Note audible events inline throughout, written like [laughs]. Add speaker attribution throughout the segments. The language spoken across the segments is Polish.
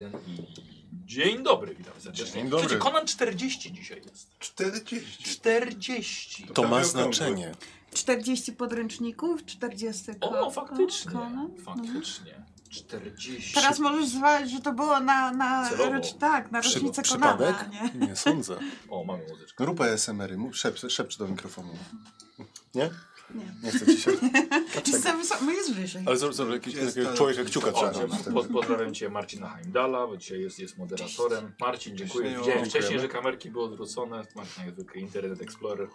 Speaker 1: Jeden i- Dzień dobry, witam serdecznie.
Speaker 2: Dzień dobry.
Speaker 1: Słuchajcie, Conan 40 dzisiaj jest.
Speaker 2: 40.
Speaker 1: 40.
Speaker 2: To
Speaker 3: To ma
Speaker 2: Prawie
Speaker 3: znaczenie.
Speaker 4: 40 podręczników, 40
Speaker 1: O, no,
Speaker 4: ko-
Speaker 1: faktycznie.
Speaker 4: ko- konan. Mhm.
Speaker 1: Faktycznie. 40.
Speaker 4: Teraz możesz zwalić, że to było na, na,
Speaker 1: Celowo.
Speaker 4: rocz, tak, na
Speaker 3: Przy,
Speaker 4: rocznicę
Speaker 3: przypadek?
Speaker 4: Konana, nie?
Speaker 3: Nie sądzę.
Speaker 1: O, mamy muzyczkę.
Speaker 2: Grupa SMR-y, mów- szep, szepcz do mikrofonu.
Speaker 3: Nie?
Speaker 4: Nie.
Speaker 3: Nie chcę ci się...
Speaker 4: [laughs] Za wysoko, jest wyżej.
Speaker 3: Ale zobacz, zobacz jakiś,
Speaker 2: Jest,
Speaker 3: takiego
Speaker 2: ale-
Speaker 3: człowieka kciuka
Speaker 1: O,
Speaker 3: trzeba
Speaker 1: dzień-
Speaker 3: robić.
Speaker 1: po, pozdrawiam Cię Marcina Heimdala, bo dzisiaj jest, jest moderatorem. Marcin, dziękuję.
Speaker 2: Cześć. No,
Speaker 1: Widziałem wcześniej,
Speaker 2: Dziękujemy.
Speaker 1: że kamerki były odwrócone. Marcin jak zwykle Internet Explorer.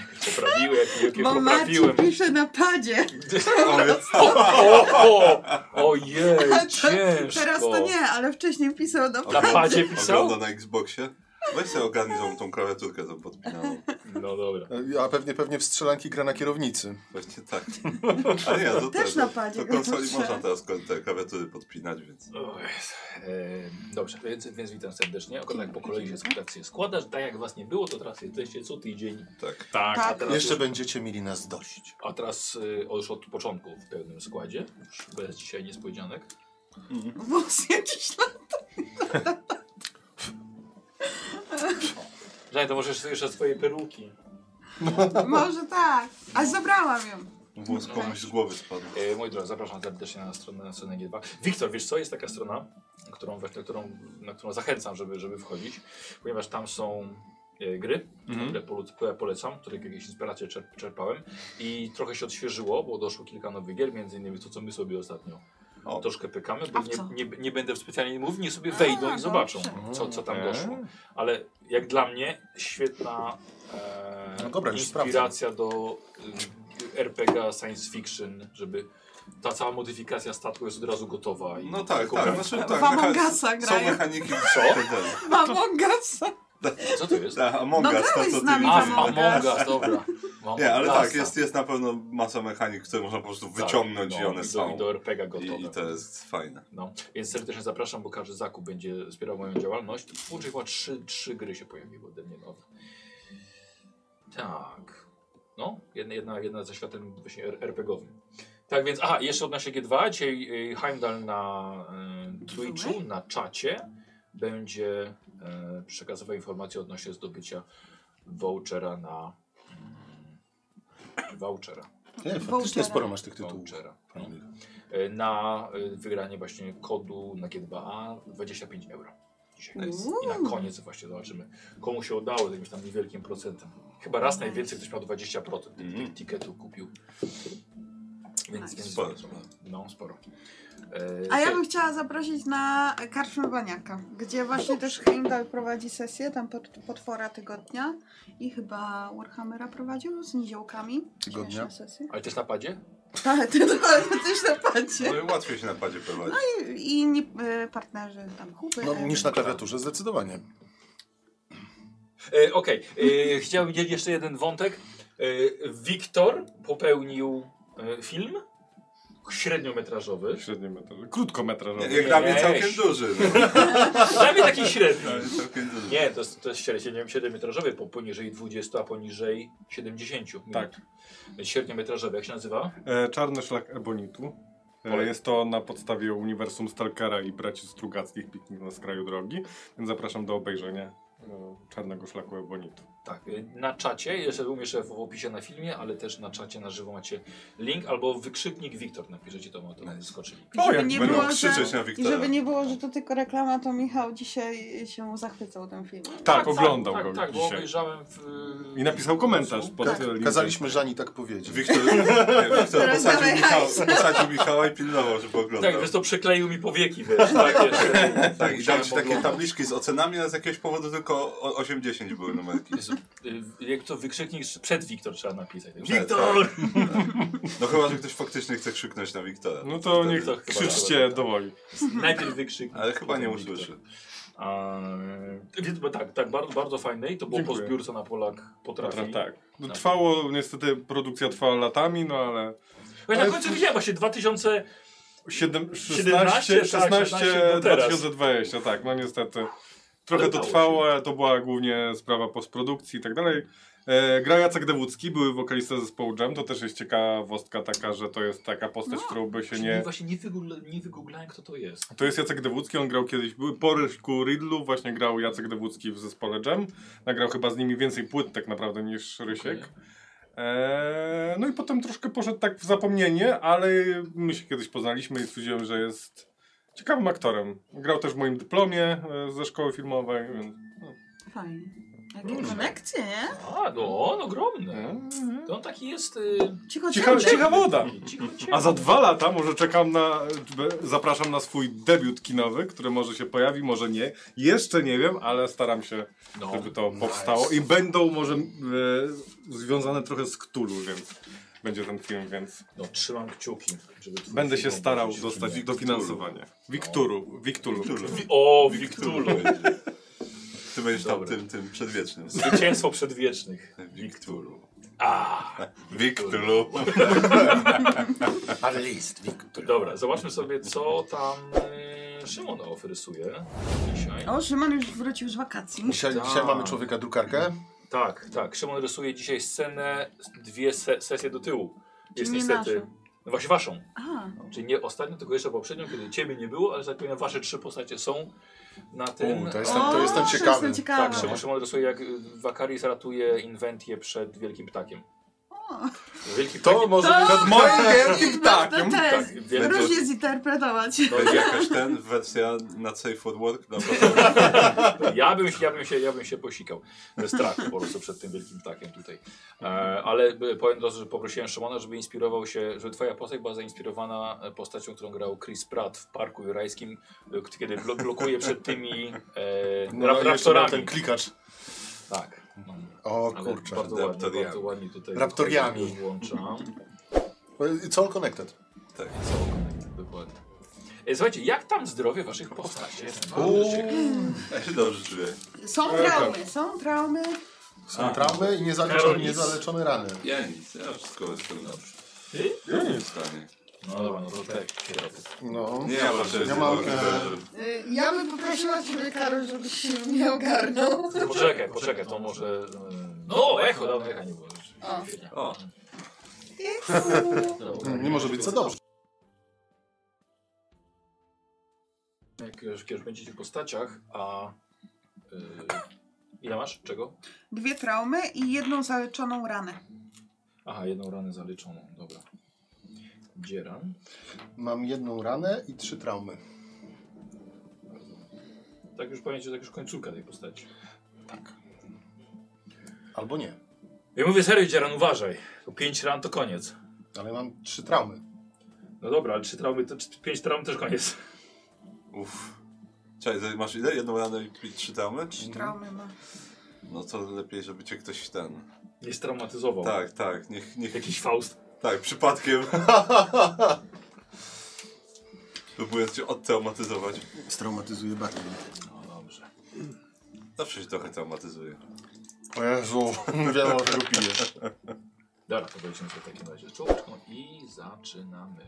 Speaker 1: Jakoś poprawiły, jak, jak je
Speaker 4: Bo Marcin
Speaker 1: poprawiłem.
Speaker 4: pisze na padzie.
Speaker 1: O, o, ojej,
Speaker 4: A to-
Speaker 1: ciężko.
Speaker 4: Teraz to nie, ale wcześniej pisał na
Speaker 1: Na
Speaker 4: padzie.
Speaker 1: padzie pisał?
Speaker 5: Ogląda na Xboxie. Weź sobie organizą tą klawiaturkę tam podpinaną.
Speaker 1: No dobra.
Speaker 3: A pewnie, pewnie w strzelanki gra na kierownicy.
Speaker 5: Właśnie
Speaker 1: [laughs]
Speaker 5: tak. A nie, to
Speaker 4: Też na padzie
Speaker 5: To
Speaker 4: go
Speaker 5: konsoli
Speaker 4: duszę.
Speaker 5: można teraz ko- te klawiatury podpinać, więc...
Speaker 1: O Jezu. E, Dobrze, więc, więc witam serdecznie. Akurat tak po kolei się składasz, się składasz. Tak jak was nie było, to teraz jesteście co tydzień.
Speaker 5: Tak.
Speaker 1: Tak, A
Speaker 4: Tak.
Speaker 1: teraz,
Speaker 3: Jeszcze będziecie mieli nas dość.
Speaker 1: a teraz y, już od początku w pełnym składzie. Już Bez dzisiaj niespodzianek.
Speaker 4: Włos jakiś na...
Speaker 1: Żaj, to możesz jeszcze swoje peruki.
Speaker 4: Może tak. A zabrałam ją.
Speaker 5: Włos
Speaker 1: No.
Speaker 5: komuś z głowy spadł.
Speaker 1: E, moi drodzy, zapraszam serdecznie na stronę, na stronę G2. Wiktor, wiesz co, jest taka strona, którą, właśnie- którą, na którą zachęcam, żeby, żeby wchodzić, ponieważ tam są e, gry, które, polu, które polecam, które jakieś inspiracje czerp, czerpałem i trochę się odświeżyło, bo doszło kilka nowych gier, między innymi to, co my sobie ostatnio
Speaker 5: O.
Speaker 1: troszkę pykamy, bo
Speaker 4: A w co?
Speaker 1: nie, nie, nie będę specjalnie mówił, niech sobie wejdą
Speaker 4: A,
Speaker 1: i zobaczą,
Speaker 4: dobrze.
Speaker 1: co, co tam
Speaker 3: Eee.
Speaker 1: doszło. Ale jak dla mnie świetna e,
Speaker 3: No dobra, już
Speaker 1: inspiracja do y, RPG science fiction, żeby ta cała modyfikacja statku jest od razu gotowa. I
Speaker 5: No tak,
Speaker 1: tylko-
Speaker 5: tak. Znaczy, tak
Speaker 4: W Among
Speaker 5: mecha-
Speaker 4: Usa
Speaker 5: Są
Speaker 4: grają.
Speaker 5: mechaniki.
Speaker 1: [laughs]
Speaker 5: Co?
Speaker 4: Mam Ogasa.
Speaker 1: Co to
Speaker 5: [laughs]
Speaker 1: jest?
Speaker 5: Tak, Among
Speaker 4: No
Speaker 5: Us, to
Speaker 4: grałeś
Speaker 5: co
Speaker 4: z
Speaker 5: ty
Speaker 4: nami
Speaker 1: A,
Speaker 5: widzisz.
Speaker 1: w
Speaker 4: Among Us.
Speaker 1: Among Us, dobra. W
Speaker 5: Nie, ale
Speaker 1: Among
Speaker 5: tak,
Speaker 1: Usa.
Speaker 5: jest, jest na pewno masa mechanik, które można po prostu wyciągnąć
Speaker 1: Tak,
Speaker 5: i
Speaker 1: no,
Speaker 5: one
Speaker 1: do-
Speaker 5: są.
Speaker 1: I do RPG gotowe.
Speaker 5: I, I to jest fajne.
Speaker 1: No, więc serdecznie zapraszam, bo każdy zakup będzie wspierał moją działalność. Twórczy chyba trzy, trzy gry się pojawiły ode mnie nowe. Tak. No, jedna, jedna, jedna ze światem właśnie R- RPGowym. Tak więc, aha, jeszcze odnośnie G2, dzisiaj y, Heimdall na y, Twitchu, na czacie będzie y, przekazywał informacje odnośnie zdobycia vouchera na... Y, vouchera.
Speaker 3: Nie, faktycznie
Speaker 4: Vouchera.
Speaker 3: sporo masz tych tytułów.
Speaker 1: Vouchera. No e, na e, wygranie właśnie kodu na G2A 25 euro. Dzisiaj.
Speaker 4: Nice.
Speaker 1: I na koniec właśnie zobaczymy, komu się udało z jakimś tam niewielkim procentem. Chyba raz najwięcej ktoś miał 20% tych, tych
Speaker 5: Mhm.
Speaker 1: tiketów kupił. Więc,
Speaker 4: Nice.
Speaker 1: więc
Speaker 5: Sporo.
Speaker 1: No, sporo. E,
Speaker 4: A ja
Speaker 1: słuchaj,
Speaker 4: bym chciała zaprosić na karczmę Baniaka, gdzie właśnie też Heimdall prowadzi sesję, tam pod, potwora tygodnia i chyba Warhammera prowadził z niziołkami.
Speaker 3: Tygodnia?
Speaker 4: Śmieszne sesje. [laughs]
Speaker 1: Ale też na padzie?
Speaker 4: Tak, ty dokładnie też na padzie.
Speaker 5: No i łatwiej się na padzie prowadzi.
Speaker 4: I inni y, partnerzy tam Huby.
Speaker 3: No,
Speaker 4: Ewy.
Speaker 3: niż
Speaker 2: tak-
Speaker 3: na klawiaturze zdecydowanie.
Speaker 1: E, Okej, e, chciałbym dzielić jeszcze jeden wątek. E, Wiktor popełnił e, film
Speaker 5: [laughs]
Speaker 1: średniometrażowy.
Speaker 6: Średniometrażowy. Krótkometrażowy.
Speaker 5: No, Jak dla mnie
Speaker 1: Weź.
Speaker 5: całkiem duży. No.
Speaker 1: Dla mnie taki średni.
Speaker 5: Dla mnie całkiem duży.
Speaker 1: Nie, to jest, to jest średnio- średniometrażowy, po poniżej 20, a poniżej 70 minut.
Speaker 6: Tak.
Speaker 1: Średniometrażowy, jak się nazywa?
Speaker 6: E, Czarny szlak ebonitu.
Speaker 1: Polec-
Speaker 6: E, jest to na podstawie uniwersum Stalkera i braci Strugackich Piknik na skraju drogi. Więc zapraszam do obejrzenia e, Czarnego szlaku ebonitu.
Speaker 1: Tak. y, Na czacie, jeszcze umiesz w opisie na filmie, ale też na czacie na żywo macie link albo wykrzyknik Wiktor napiszecie, to, to
Speaker 5: Nice.
Speaker 1: skoczyli.
Speaker 4: I żeby
Speaker 6: jak
Speaker 4: nie
Speaker 5: Będą
Speaker 4: było,
Speaker 5: krzyczeć
Speaker 4: że,
Speaker 5: na
Speaker 4: I
Speaker 5: Wiktora.
Speaker 4: żeby nie było, że to tylko reklama, to Michał dzisiaj się zachwycał tym filmem.
Speaker 6: Tak, oglądał
Speaker 1: tak,
Speaker 6: go
Speaker 1: tak, bo
Speaker 6: dzisiaj.
Speaker 1: obejrzałem w...
Speaker 6: I napisał komentarz pod
Speaker 4: Tak.
Speaker 6: e, linkiem.
Speaker 3: Kazaliśmy Żani tak powiedzieć.
Speaker 5: Wiktor, nie, Wiktor
Speaker 4: Teraz
Speaker 5: posadził,
Speaker 4: dawaj
Speaker 5: Michała,
Speaker 4: hajs.
Speaker 5: posadził Michała i pilnował, żeby oglądał.
Speaker 1: Tak, więc to przykleił mi powieki, wiesz, tak, jeszcze.
Speaker 5: Tak, i
Speaker 1: Musiałem
Speaker 5: dał ci takie
Speaker 1: oglądać.
Speaker 5: tabliczki z ocenami, a z jakiegoś powodu tylko o- 8-10 były numerki.
Speaker 1: Jezu, y, Jak to wykrzyknik przed Wiktor trzeba napisać. tak?
Speaker 5: Wiktor! No chyba, że ktoś faktycznie chce krzyknąć na Wiktora.
Speaker 6: No to
Speaker 5: Wtedy-
Speaker 6: niech
Speaker 1: to chyba
Speaker 6: krzyczcie
Speaker 1: nawet.
Speaker 6: dowoli.
Speaker 1: Najpierw wykrzyknik.
Speaker 5: Ale chyba nie
Speaker 1: potem Wiktor.
Speaker 5: usłyszy.
Speaker 1: A, więc bo tak, tak, bardzo, bardzo fajne i to było po
Speaker 6: Dziękuję.
Speaker 1: zbiórce na Polak potrafi.
Speaker 6: Potrafi, tak. No,
Speaker 1: Tak.
Speaker 6: Trwało, niestety produkcja trwała latami, no ale
Speaker 1: Choć na
Speaker 6: Ale-
Speaker 1: końcu widziałem właśnie 2000,
Speaker 6: 7, 16,
Speaker 1: 17,
Speaker 6: 17,
Speaker 1: tak, 16, no teraz.
Speaker 6: 2020, tak, no niestety. Trochę to
Speaker 1: Udało
Speaker 6: trwało, ale to była głównie sprawa postprodukcji i tak dalej. E, grał Jacek Dewódzki, były wokalista zespołu Jam. To też jest ciekawostka taka, że to jest taka postać, którą by się
Speaker 1: No, Czyli
Speaker 6: nie...
Speaker 1: Właśnie nie, wygoogl- nie wygooglałem, kto to jest.
Speaker 6: To jest Jacek Dewódzki, on grał kiedyś, były pory ku Riddlu, właśnie grał Jacek Dewódzki w zespole Jam. Nagrał chyba z nimi więcej płyt tak naprawdę niż Rysiek. Eee, no i potem troszkę poszedł tak w zapomnienie, ale my się kiedyś poznaliśmy i stwierdziłem, że jest ciekawym aktorem. Grał też w moim dyplomie e, ze szkoły filmowej, więc...
Speaker 4: Fajnie. Jakie konekcje, nie?
Speaker 1: A, no on ogromny.
Speaker 6: Eee.
Speaker 1: To on taki jest... Y,
Speaker 4: Cicho,
Speaker 6: Cicha,
Speaker 4: cicho.
Speaker 6: cicha woda!
Speaker 1: cicho, cicho.
Speaker 6: A za dwa lata może czekam na. be- Zapraszam na swój debiut kinowy, który może się pojawi, może nie. Jeszcze nie wiem, ale staram się,
Speaker 1: No.
Speaker 6: żeby to powstało. I będą może e, związane trochę z Cthulhu, więc będzie ten film, więc
Speaker 1: No, trzymam kciuki. Żeby twój
Speaker 6: będę się
Speaker 1: film
Speaker 6: starał
Speaker 1: obejrzeć.
Speaker 6: dostać dofinansowanie. Wikturu. Wikturu.
Speaker 5: Wi-
Speaker 1: O,
Speaker 5: Wiktulu.
Speaker 1: Wiktulu.
Speaker 5: Ty będziesz tam
Speaker 1: Dobra.
Speaker 5: tym, tym przedwiecznym.
Speaker 1: Zwycięstwo przedwiecznych.
Speaker 5: Wiktulu.
Speaker 1: A,
Speaker 5: Wiktulu.
Speaker 3: Ale list, Wiktor.
Speaker 1: dobra, zobaczmy sobie, co tam y, Szymon ofrysuje dzisiaj.
Speaker 4: O, Szymon już wrócił z wakacji.
Speaker 3: Dzisiaj, dzisiaj mamy człowieka drukarkę.
Speaker 1: Tak, tak. Szymon rysuje dzisiaj scenę, dwie se sesje do tyłu. Jest
Speaker 4: nie
Speaker 1: niestety.
Speaker 4: naszą.
Speaker 1: No właśnie waszą.
Speaker 4: A,
Speaker 1: Czyli nie ostatnią, tylko jeszcze poprzednią, kiedy ciebie nie było, ale że tak powiem, wasze trzy postacie są na tym.
Speaker 3: U, to jestem,
Speaker 4: O,
Speaker 3: to jestem
Speaker 4: to
Speaker 3: ciekawy.
Speaker 4: jestem ciekawa.
Speaker 1: Tak, Szymon, Szymon rysuje jak y, Wakaris ratuje inwentię przed wielkim ptakiem. Wielki ptak.
Speaker 3: To może być przed moim wielkim ptakiem.
Speaker 4: No, to
Speaker 1: Tak,
Speaker 4: jest.
Speaker 1: wielki,
Speaker 4: Różnie zinterpretować.
Speaker 5: Będzie jakaś ten wersja na Safe at Work No, na początku.
Speaker 1: ja, bym, się- ja, bym się, ja bym się posikał ze strachu po prostu przed tym wielkim ptakiem tutaj. E, ale y, powiem od razu, że poprosiłem Szymona, żeby inspirował się, żeby twoja postać była zainspirowana e, postacią, którą grał Chris Pratt w Parku Jurajskim, y, kiedy blo blokuje przed tymi e,
Speaker 3: No,
Speaker 1: rap
Speaker 3: i jeszcze miał
Speaker 1: raptorami.
Speaker 3: ten klikacz.
Speaker 1: Tak. No,
Speaker 3: O
Speaker 1: ale
Speaker 3: kurczę.
Speaker 1: bardzo ładnie,
Speaker 5: raptoriami.
Speaker 1: bardzo ładnie tutaj
Speaker 3: Raptoriami.
Speaker 1: wychodzi, włączam.
Speaker 3: It's all connected.
Speaker 5: Tak.
Speaker 1: Dokładnie. E, Słuchajcie, jak tam zdrowie waszych postaci? Jestem bardzo
Speaker 3: Uuu,
Speaker 1: ciekaw.
Speaker 5: Ja się dobrze czuję.
Speaker 4: Są traumy, są traumy.
Speaker 3: Są traumy i niezaleczone,
Speaker 1: Karol, nic.
Speaker 3: niezaleczone rany.
Speaker 5: Ja nic, ja wszystko jestem dobrze.
Speaker 1: Ty?
Speaker 5: Ja nie w stanie.
Speaker 1: No dobra, no to tak.
Speaker 3: No.
Speaker 5: Nie, ja proszę,
Speaker 3: Ja
Speaker 5: ja
Speaker 3: mam,
Speaker 5: mam...
Speaker 3: e,
Speaker 4: Y, Ja bym poprosiła Ciebie, Karol, żebyś się mnie ogarnął.
Speaker 1: Poczekaj, poczekaj, to może... e, No, echo, dawno echa nie było.
Speaker 4: O.
Speaker 5: O,
Speaker 1: Dobra.
Speaker 3: Nie może być za dobrze.
Speaker 1: Jak już, jak już będziecie w postaciach, a... y, ile masz? Czego?
Speaker 4: Dwie traumy i jedną zaleczoną ranę.
Speaker 1: Aha, jedną ranę zaliczoną, dobra. Dzieran.
Speaker 3: Mam jedną ranę i trzy traumy.
Speaker 1: Tak już pamiętacie, tak już końcówka tej postaci.
Speaker 3: Albo nie.
Speaker 1: Ja mówię serio, Dzieran, uważaj. Bo pięć ran to koniec.
Speaker 3: Ale mam trzy traumy.
Speaker 1: No dobra, ale trzy traumy, to, czy- pięć traum też koniec.
Speaker 5: uff. Cześć, masz ile? Jedną ranę i i trzy tamy?
Speaker 4: Trzy traumy ma.
Speaker 5: No to lepiej, żeby cię ktoś ten...
Speaker 1: Nie straumatyzował.
Speaker 5: Tak, tak, niech, niech...
Speaker 1: Jakiś Faust.
Speaker 5: Tak, przypadkiem. [laughs] Próbując cię odtraumatyzować.
Speaker 2: Straumatyzuje bardziej.
Speaker 1: No dobrze.
Speaker 5: Zawsze się trochę traumatyzuje.
Speaker 3: O
Speaker 2: [laughs]
Speaker 3: Jezu, wiem o czego piję.
Speaker 1: Dobra, to wejdźmy sobie w takim razie czołówką i zaczynamy.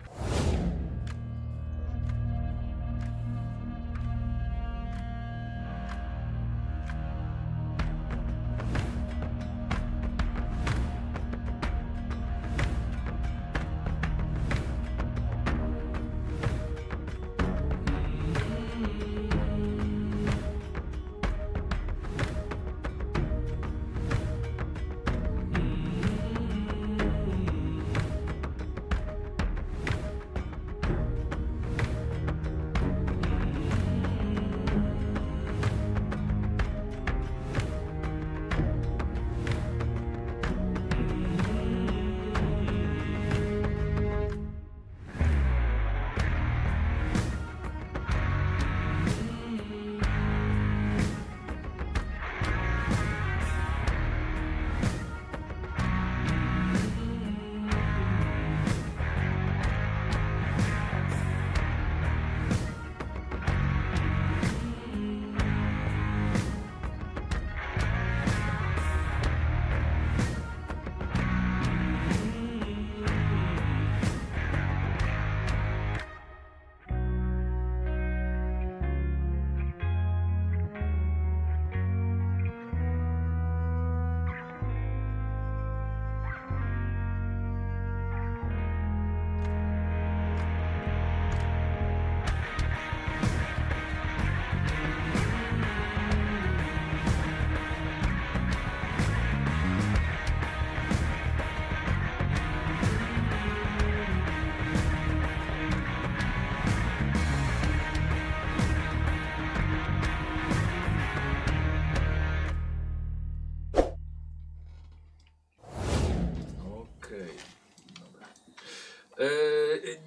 Speaker 1: E,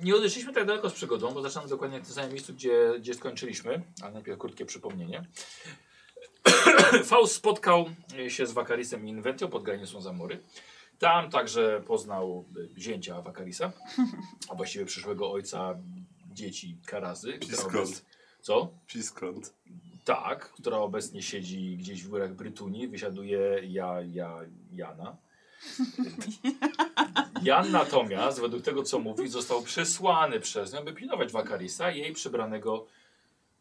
Speaker 1: nie odeszliśmy tak daleko z przygodą, bo zaczynamy dokładnie w tym samym miejscu, gdzie, gdzie skończyliśmy, ale najpierw krótkie przypomnienie. [coughs] Faust spotkał e, się z Wakarisem i Inventio pod granicą Zamory. Tam także poznał e, zięcia Wakarisa, a właściwie przyszłego ojca dzieci Karazy. która
Speaker 5: Piskot.
Speaker 1: obecnie- Co?
Speaker 5: Piskrąt.
Speaker 1: Tak, która obecnie siedzi gdzieś w górach Brytunii, wysiaduje ja, ja, Jana. Jan natomiast, według tego co mówi, został przesłany przez nią, by pilnować Wakarisa, jej przybranego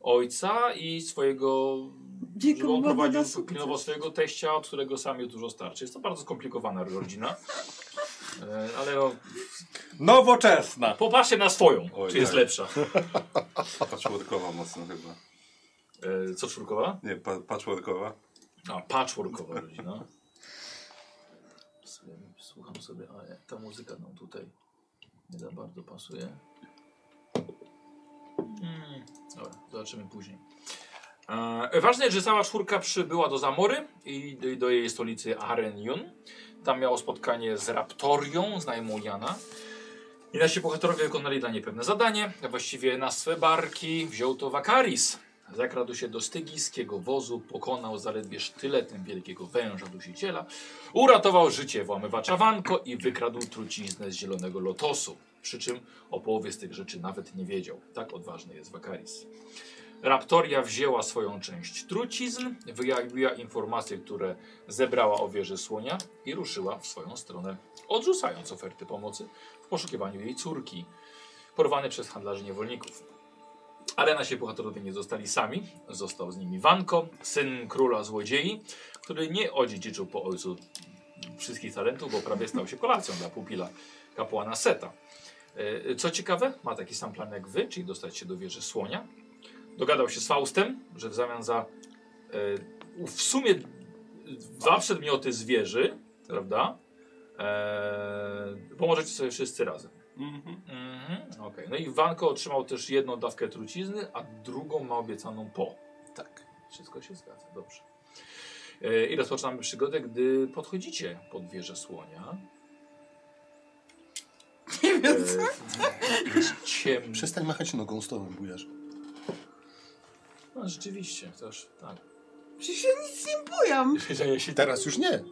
Speaker 1: ojca i swojego,
Speaker 4: Dzięki
Speaker 1: żeby on
Speaker 4: Bogu,
Speaker 1: prowadził,
Speaker 4: na sukces.
Speaker 1: pilnował swojego teścia, od którego sam je dużo starczy. Jest to bardzo skomplikowana rodzina, E, ale o,
Speaker 6: Nowoczesna!
Speaker 1: popatrzcie na swoją,
Speaker 5: Oj,
Speaker 1: czy jest
Speaker 5: tak.
Speaker 1: lepsza.
Speaker 5: Patchworkowa mocno chyba.
Speaker 1: E, Co czwórkowa?
Speaker 5: Nie, pa patchworkowa.
Speaker 1: A, patchworkowa rodzina. Sobie- Słucham sobie, ale ta muzyka nam tutaj nie za bardzo pasuje. Mm, dobra, zobaczymy później. E, ważne jest, że cała czwórka przybyła do Zamory i do, do jej stolicy Arenion. Tam miało spotkanie z Raptorią, znajomą Jana. I nasi bohaterowie wykonali dla niej pewne zadanie, a właściwie na swe barki wziął to Wakaris. Zakradł się do stygijskiego wozu, pokonał zaledwie sztyletem wielkiego węża dusiciela, uratował życie włamywacza Wanko i wykradł truciznę z zielonego lotosu. Przy czym o połowie z tych rzeczy nawet nie wiedział. Tak odważny jest Wakaris. Raptoria wzięła swoją część trucizn, wyjawiła informacje, które zebrała o wieży słonia i ruszyła w swoją stronę, odrzucając oferty pomocy w poszukiwaniu jej córki, porwany przez handlarzy niewolników. Ale nasi bohaterowie nie zostali sami. Został z nimi Wanko, syn króla złodziei, który nie odziedziczył po ojcu wszystkich talentów, bo prawie stał się kolacją dla pupila kapłana Seta. E, Co ciekawe, ma taki sam plan jak wy, czyli dostać się do wieży słonia. Dogadał się z Faustem, że w zamian za e, w sumie dwa przedmioty z wieży, prawda? E, pomożecie sobie wszyscy razem. Mhm, okej. No i Wanko otrzymał też jedną dawkę trucizny, a drugą ma obiecaną po. Tak. Wszystko się zgadza, dobrze. E, I rozpoczynamy przygodę, gdy podchodzicie pod wieżę słonia.
Speaker 4: Nie
Speaker 1: E,
Speaker 4: wiem, co.
Speaker 1: jest ciemno.
Speaker 2: Przestań machać nogą stołem, bujarz.
Speaker 1: No, rzeczywiście, też tak.
Speaker 4: Przecież ja nic nie bujam.
Speaker 1: Ja się
Speaker 2: Teraz już nie.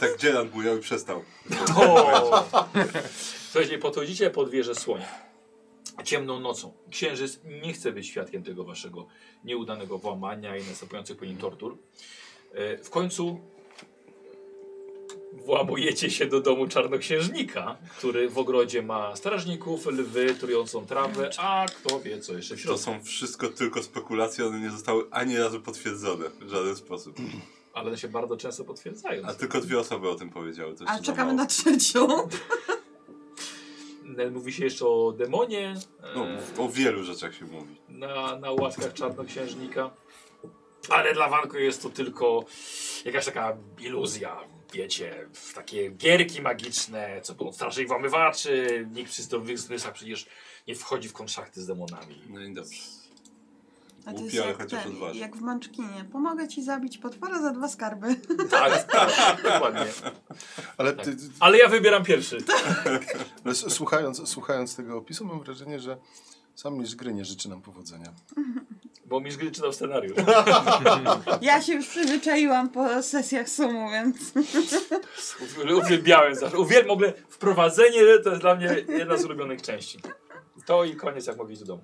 Speaker 5: Tak dzielan bujał i przestał.
Speaker 1: O! [laughs] Słuchajcie, podchodzicie pod wieżę słonia. Ciemną nocą. Księżyc nie chce być świadkiem tego waszego nieudanego włamania i następujących po nim tortur. E, W końcu włamujecie się do domu czarnoksiężnika, który w ogrodzie ma strażników, lwy, trującą trawę, a kto wie co jeszcze w
Speaker 5: To
Speaker 1: środku.
Speaker 5: są wszystko tylko spekulacje, one nie zostały ani razu potwierdzone w żaden sposób.
Speaker 1: Ale one się bardzo często potwierdzają.
Speaker 5: A tylko dwie osoby o tym powiedziały. To
Speaker 4: Ale
Speaker 5: jeszcze za
Speaker 4: czekamy
Speaker 5: mało.
Speaker 4: na trzecią.
Speaker 1: Mówi się jeszcze o demonie. e,
Speaker 5: No, o wielu rzeczach się mówi.
Speaker 1: na, na łaskach czarnoksiężnika. Ale dla Wanko jest to tylko jakaś taka iluzja, wiecie, takie gierki magiczne, co było strasznych włamywaczy, nikt przy zdrowych zmysłach przecież nie wchodzi w konszachty z demonami.
Speaker 5: No i dobrze.
Speaker 4: A to jest
Speaker 5: Głupi, ale
Speaker 4: jak,
Speaker 5: chociaż
Speaker 4: ten,
Speaker 5: odważny.
Speaker 4: jak w Mączkinie. Pomogę ci zabić potwora za dwa skarby. [laughs]
Speaker 1: Tak, tak, [laughs] dokładnie.
Speaker 2: Ale ty, ty,
Speaker 1: Ale ja wybieram pierwszy.
Speaker 2: ale s- słuchając, słuchając tego opisu mam wrażenie, że sam mistrz gry nie życzy nam powodzenia.
Speaker 1: Bo mi gry czytał scenariusz.
Speaker 4: Ja się już przyzwyczaiłam po sesjach sumu, więc...
Speaker 1: Uwielbiałem zawsze. Uwielbiam w ogóle wprowadzenie, to jest dla mnie jedna z ulubionych części. To i koniec, jak mogę iść do domu.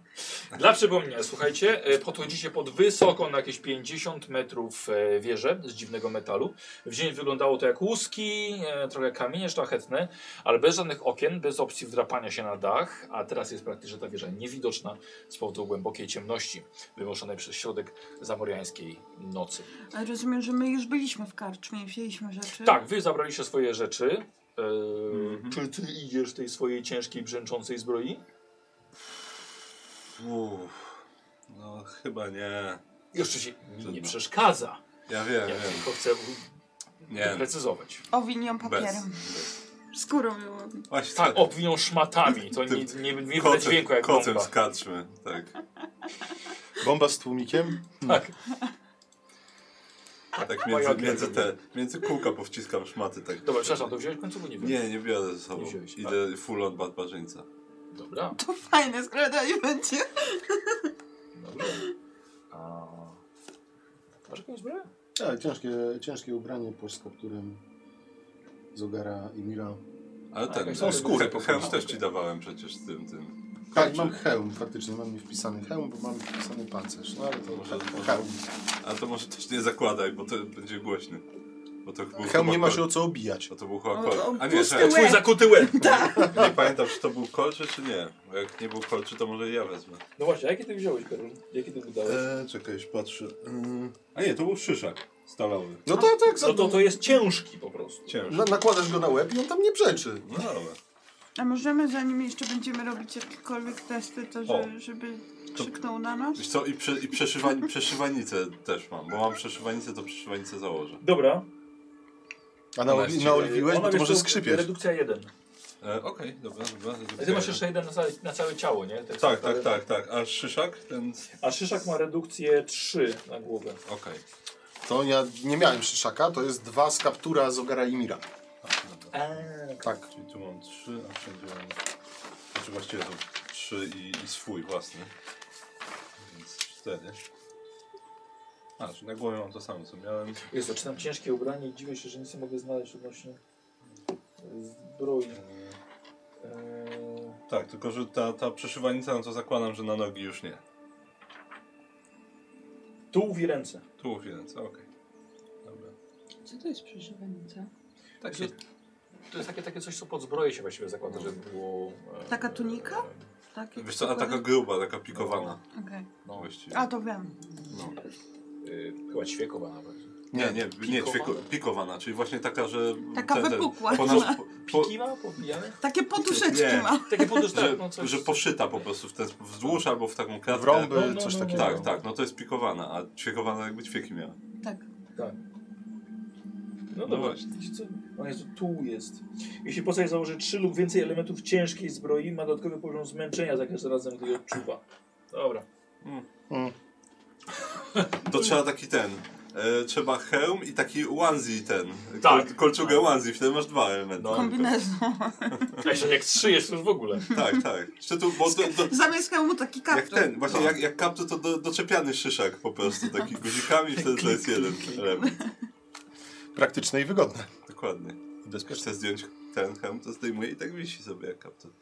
Speaker 1: Dla przypomnienia, słuchajcie, e, podchodzicie pod wysoką, na jakieś 50 metrów e, wieżę z dziwnego metalu. W dzień wyglądało to jak łuski, e, trochę kamienie szlachetne, ale bez żadnych okien, bez opcji wdrapania się na dach, a teraz jest praktycznie ta wieża niewidoczna z powodu głębokiej ciemności wymuszonej przez środek zamoriańskiej nocy.
Speaker 4: Ale Rozumiem, że my już byliśmy w karczmie i wzięliśmy rzeczy.
Speaker 1: Tak, wy zabraliście swoje rzeczy. Eee, Czy ty idziesz w tej swojej ciężkiej, brzęczącej zbroi?
Speaker 5: Uff, no chyba nie.
Speaker 1: Jeszcze się mi nie
Speaker 5: Trudno.
Speaker 1: przeszkadza.
Speaker 5: Ja wiem,
Speaker 1: Ja
Speaker 5: wiem.
Speaker 1: tylko chcę u-
Speaker 5: Nie,
Speaker 1: precyzować.
Speaker 4: Owin ją
Speaker 5: bez.
Speaker 4: papierem.
Speaker 5: bez.
Speaker 4: Skórą ją owin.
Speaker 5: Właśnie
Speaker 1: Tak, obwiną szmatami. To nie, nie, nie będzie
Speaker 5: kocem,
Speaker 1: dźwięku jak
Speaker 5: kocem
Speaker 1: bomba.
Speaker 5: skaczmy. Tak.
Speaker 2: Bomba z tłumikiem?
Speaker 1: Tak.
Speaker 5: tak
Speaker 1: Moja
Speaker 5: między, między,
Speaker 1: odległość.
Speaker 5: te, między kółka powciskam szmaty. Tak.
Speaker 1: Dobra, przepraszam, to wziąłeś końcówkę? Nie wiem. tak.
Speaker 5: Nie, nie biorę ze sobą.
Speaker 1: Nie wziąłeś,
Speaker 5: Idę full on barbarzyńca.
Speaker 1: Dobra,
Speaker 4: To fajne skradanie będzie.
Speaker 1: dobrze. A... Masz jakąś zbroję?
Speaker 3: Tak, ciężkie, ciężkie ubranie po którym Zogara i Mira.
Speaker 5: Ale
Speaker 1: A,
Speaker 5: ten,
Speaker 1: jakaś tam skóra
Speaker 5: he-
Speaker 1: po
Speaker 5: hełm
Speaker 1: prostu.
Speaker 5: też ci dawałem przecież z tym, tym.
Speaker 3: Tak, mam hełm, faktycznie mam niewpisany hełm, bo mam wpisany pancerz. No ale to
Speaker 5: Może-
Speaker 3: hełm.
Speaker 5: A to może też nie zakładaj, bo to będzie głośny. Bo to był
Speaker 3: Hełm
Speaker 5: chyba
Speaker 3: nie ma
Speaker 5: kol.
Speaker 3: się o co obijać.
Speaker 5: Bo to był chyba
Speaker 4: O, No, to
Speaker 5: kol. A nie,
Speaker 4: pusty
Speaker 5: czekaj,
Speaker 1: Twój
Speaker 4: Łeb.
Speaker 1: zakuty łeb.
Speaker 5: nie pamiętam, czy to był kolczy, czy nie. Bo jak nie był kolczy, to może i ja wezmę.
Speaker 1: No właśnie, a jaki ty wziąłeś, Karol? Jaki ty budowałeś?
Speaker 2: E,
Speaker 5: Eee, czekaj, już patrzę.
Speaker 2: Mm.
Speaker 5: Eee, A nie, to był szyszak stalowy.
Speaker 3: No to tak,
Speaker 1: No to, to jest ciężki po prostu.
Speaker 5: Ciężki.
Speaker 3: Na, nakładasz go na łeb i on tam nie przeczy.
Speaker 5: No dobra.
Speaker 4: A możemy, zanim jeszcze będziemy robić jakiekolwiek testy, to że, żeby krzyknął na nas?
Speaker 5: Wiesz co, i, prze, i przeszywań, przeszywanicę też mam. Bo mam przeszywanicę, to przeszywanicę założę.
Speaker 1: Dobra. E,
Speaker 2: A na,
Speaker 5: Właściwie.
Speaker 2: naoliwiłeś, bo
Speaker 1: Ona
Speaker 2: to
Speaker 1: wiesz,
Speaker 2: może
Speaker 1: to
Speaker 2: skrzypieć.
Speaker 1: Redukcja 1.
Speaker 5: Eee, Okej, dobra, dobra.
Speaker 1: A ty masz jeszcze jeden na całe, na całe ciało, nie? Te-
Speaker 5: Tak, tak, tak, tak. A szyszak? Ten...
Speaker 1: A Szyszak ma redukcję 3 na głowę.
Speaker 5: Okej.
Speaker 3: To ja nie miałem szyszaka, to jest dwa z kaptura Zogara i Mira.
Speaker 5: Tak. Czyli tu mam trzy, a wszędzie mam... Znaczy właściwie to trzy i, i swój własny. Więc cztery. A, czyli na głowie mam to samo, co miałem.
Speaker 1: Jezu, czytam ciężkie ubranie i dziwię się, że nic nie mogę znaleźć odnośnie zbroi. Eee,
Speaker 5: Tak, tylko że ta, ta przeszywanica, no to zakładam, że na nogi już nie.
Speaker 1: tułów i ręce.
Speaker 5: Tu ręce, okej. Dobra.
Speaker 7: Co to jest przeżywanica?
Speaker 5: Tak
Speaker 1: się- To jest takie, takie coś, co pod zbroję się właściwie zakłada, żeby było... e,
Speaker 4: Taka tunika? Tak,
Speaker 5: Wiesz co, a taka gruba, taka pikowana
Speaker 4: Okej.
Speaker 1: No,
Speaker 5: właściwie.
Speaker 4: A to wiem.
Speaker 5: No.
Speaker 1: e, chyba ćwiekowa nawet.
Speaker 5: Nie, nie, nie, ćwieko, pikowana, czyli właśnie taka, że...
Speaker 4: Taka wypukła.
Speaker 5: ponad, po, po,
Speaker 1: [laughs] Piki ma pobijane?
Speaker 4: Takie poduszeczki
Speaker 5: Nie.
Speaker 4: ma.
Speaker 1: Takie poduszki,
Speaker 5: że,
Speaker 1: no coś.
Speaker 5: że poszyta po prostu w ten sp- wzdłuż albo w taką kratkę.
Speaker 3: W rąby,
Speaker 1: No, no,
Speaker 3: coś
Speaker 1: no, no.
Speaker 3: takiego.
Speaker 5: Tak, tak, no to jest pikowana, a ćwiekowana jakby ćwieki miała.
Speaker 4: Tak.
Speaker 1: No
Speaker 5: No
Speaker 1: dobra.
Speaker 5: właśnie.
Speaker 1: Wiecie co? O Jezu, tu jest. Jeśli postać założy 3 lub więcej elementów ciężkiej zbroi, ma dodatkowy poziom zmęczenia za każdym razem, gdy ją odczuwa. Dobra.
Speaker 5: To trzeba taki ten, e, trzeba hełm i taki onesie ten,
Speaker 1: Tak.
Speaker 5: kol, kolczugę onesie, wtedy masz dwa elementy.
Speaker 1: No.
Speaker 4: Kombinezon.
Speaker 1: A jeszcze jak 3 jest, to już w ogóle.
Speaker 5: Tak, tak. Jeszcze tu, bo to, to,
Speaker 4: Zamiast hełmu taki
Speaker 5: jak
Speaker 4: kaptur.
Speaker 5: ten, właśnie jak, jak kaptur to do, doczepiany szyszak po prostu, taki guzikami, wtedy to jest jeden element.
Speaker 2: Praktyczne i wygodne.
Speaker 5: Dokładnie. Bezpiecznie. Chcę zdjąć ten hełm, to zdejmuję i tak wisi sobie jak kaptur.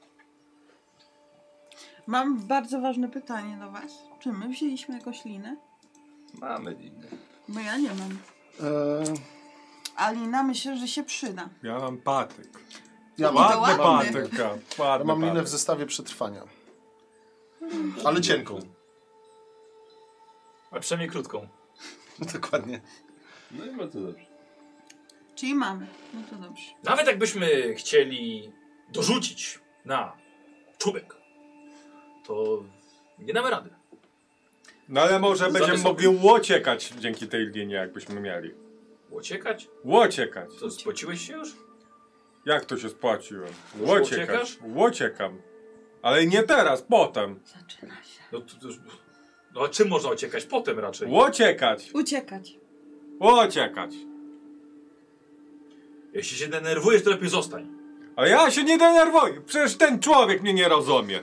Speaker 4: Mam bardzo ważne pytanie do was. Czy my wzięliśmy jakąś linę?
Speaker 5: Mamy linę.
Speaker 4: Bo ja nie mam.
Speaker 2: E,
Speaker 3: Eee,
Speaker 4: A lina myślę, że się przyda.
Speaker 6: Ja mam patyk.
Speaker 3: ja mam,
Speaker 6: Ładny
Speaker 4: ładny.
Speaker 6: patyk. a,
Speaker 3: ja
Speaker 6: Ładny
Speaker 3: mam linę w
Speaker 6: patyk.
Speaker 3: zestawie przetrwania. Ale
Speaker 2: [laughs]
Speaker 3: cienką.
Speaker 1: A przynajmniej krótką.
Speaker 3: Dokładnie.
Speaker 5: No i bardzo dobrze.
Speaker 4: Czyli mamy. No to dobrze.
Speaker 1: Nawet jakbyśmy chcieli dorzucić na czubek, to nie damy rady.
Speaker 6: No ale może
Speaker 1: Za
Speaker 6: będziemy
Speaker 1: wysoko.
Speaker 6: mogli łociekać dzięki tej linie, jakbyśmy mieli.
Speaker 1: Uciekać?
Speaker 6: Łociekać.
Speaker 1: To spociłeś się już?
Speaker 6: Jak to się spłaciłem?
Speaker 1: Już
Speaker 6: Łociekać.
Speaker 1: uciekasz?
Speaker 6: Łociekam. Ale nie teraz, potem.
Speaker 4: Zaczyna się.
Speaker 1: No to, to już... No a czym można uciekać? Potem raczej.
Speaker 6: Łociekać.
Speaker 4: Uciekać.
Speaker 6: Łociekać.
Speaker 1: Jeśli się denerwujesz, to lepiej zostań.
Speaker 6: Ale ja się nie denerwuję. Przecież ten człowiek mnie nie rozumie.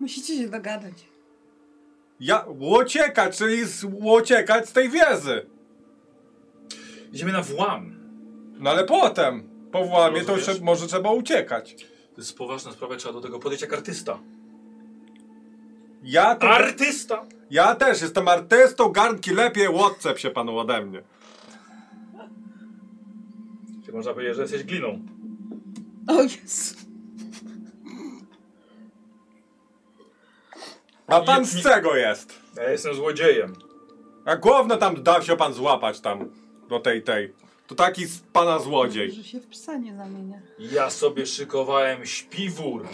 Speaker 4: Musicie się dogadać.
Speaker 6: Ja, łociekać, czyli z, łociekać z tej wiedzy.
Speaker 1: Idziemy na włam.
Speaker 6: No ale potem, po włamie, to
Speaker 1: Rozumiesz?
Speaker 6: jeszcze może trzeba uciekać.
Speaker 1: To jest poważna sprawa, trzeba do tego podejść jak artysta.
Speaker 6: Ja, to,
Speaker 1: Artysta!
Speaker 6: ja też jestem artystą, garnki lepiej, łodcep się panu ode mnie.
Speaker 1: Czy można powiedzieć, że jesteś gliną?
Speaker 4: O Jezu.
Speaker 6: A pan
Speaker 1: Nie-
Speaker 6: z czego jest?
Speaker 1: Ja jestem złodziejem.
Speaker 6: A główno tam da się pan złapać tam, do tej, tej. To taki z pana złodziej.
Speaker 4: Że się w psa nie zamienia.
Speaker 1: Ja sobie szykowałem śpiwór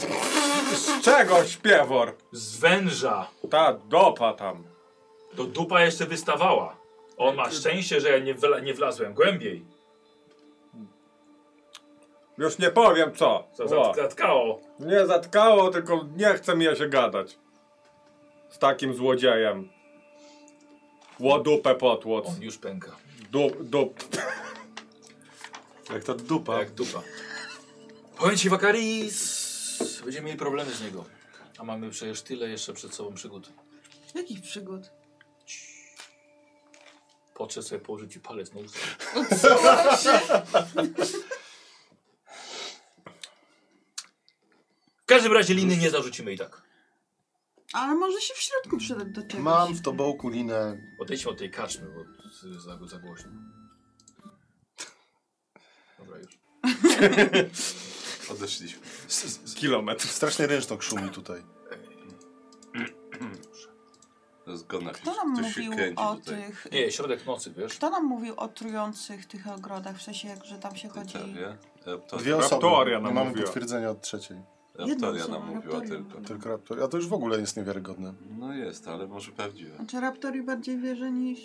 Speaker 6: Z czego śpiewor?
Speaker 1: z węża.
Speaker 6: Ta dopa tam.
Speaker 1: Do dupa jeszcze wystawała. On ma szczęście, że ja nie, wla nie wlazłem głębiej.
Speaker 6: Już nie powiem co.
Speaker 1: Co
Speaker 6: O,
Speaker 1: zatkało.
Speaker 6: nie zatkało, tylko nie chce mi ja się gadać. Z takim złodziejem. Łodupę potłoc.
Speaker 1: On już pęka.
Speaker 6: Dup, dup.
Speaker 2: Jak ta dupa.
Speaker 1: Jak dupa. Powiem ci, Wakaris, Będziemy mieli problemy z niego. A mamy przecież tyle jeszcze przed sobą przygód.
Speaker 4: Jakich przygód?
Speaker 1: Potrzeb sobie położyć i palec na usta.
Speaker 4: Odsuwam się.
Speaker 1: W każdym razie liny nie zarzucimy i tak.
Speaker 4: Ale może się w środku przydać do czegoś.
Speaker 2: Mam w tobołku linę.
Speaker 1: Odejdźmy od tej karczmy, bo z- za, za głośno. Dobra już.
Speaker 5: Odeszliśmy.
Speaker 2: S- s-
Speaker 6: Kilometr.
Speaker 2: Strasznie rynsztok szumi tutaj.
Speaker 5: Zgodna
Speaker 4: Kto nam mówił o tych...
Speaker 1: Nie, środek nocy, wiesz?
Speaker 4: Kto nam mówił o trujących tych ogrodach? W sensie, jak, że tam się chodzi...
Speaker 5: Raptoria.
Speaker 2: Dwie
Speaker 5: Raptoria,
Speaker 2: osoby.
Speaker 1: no
Speaker 6: Raptoria nam
Speaker 2: Nie mamy
Speaker 6: mówiła.
Speaker 2: potwierdzenia od trzeciej.
Speaker 5: raptoria
Speaker 4: osoba,
Speaker 5: nam mówiła
Speaker 7: raptorium.
Speaker 5: tylko.
Speaker 2: Tylko raptor. A to już w ogóle jest niewiarygodne.
Speaker 5: No jest, ale może prawdziwe.
Speaker 4: Znaczy raptori bardziej wierzy niż...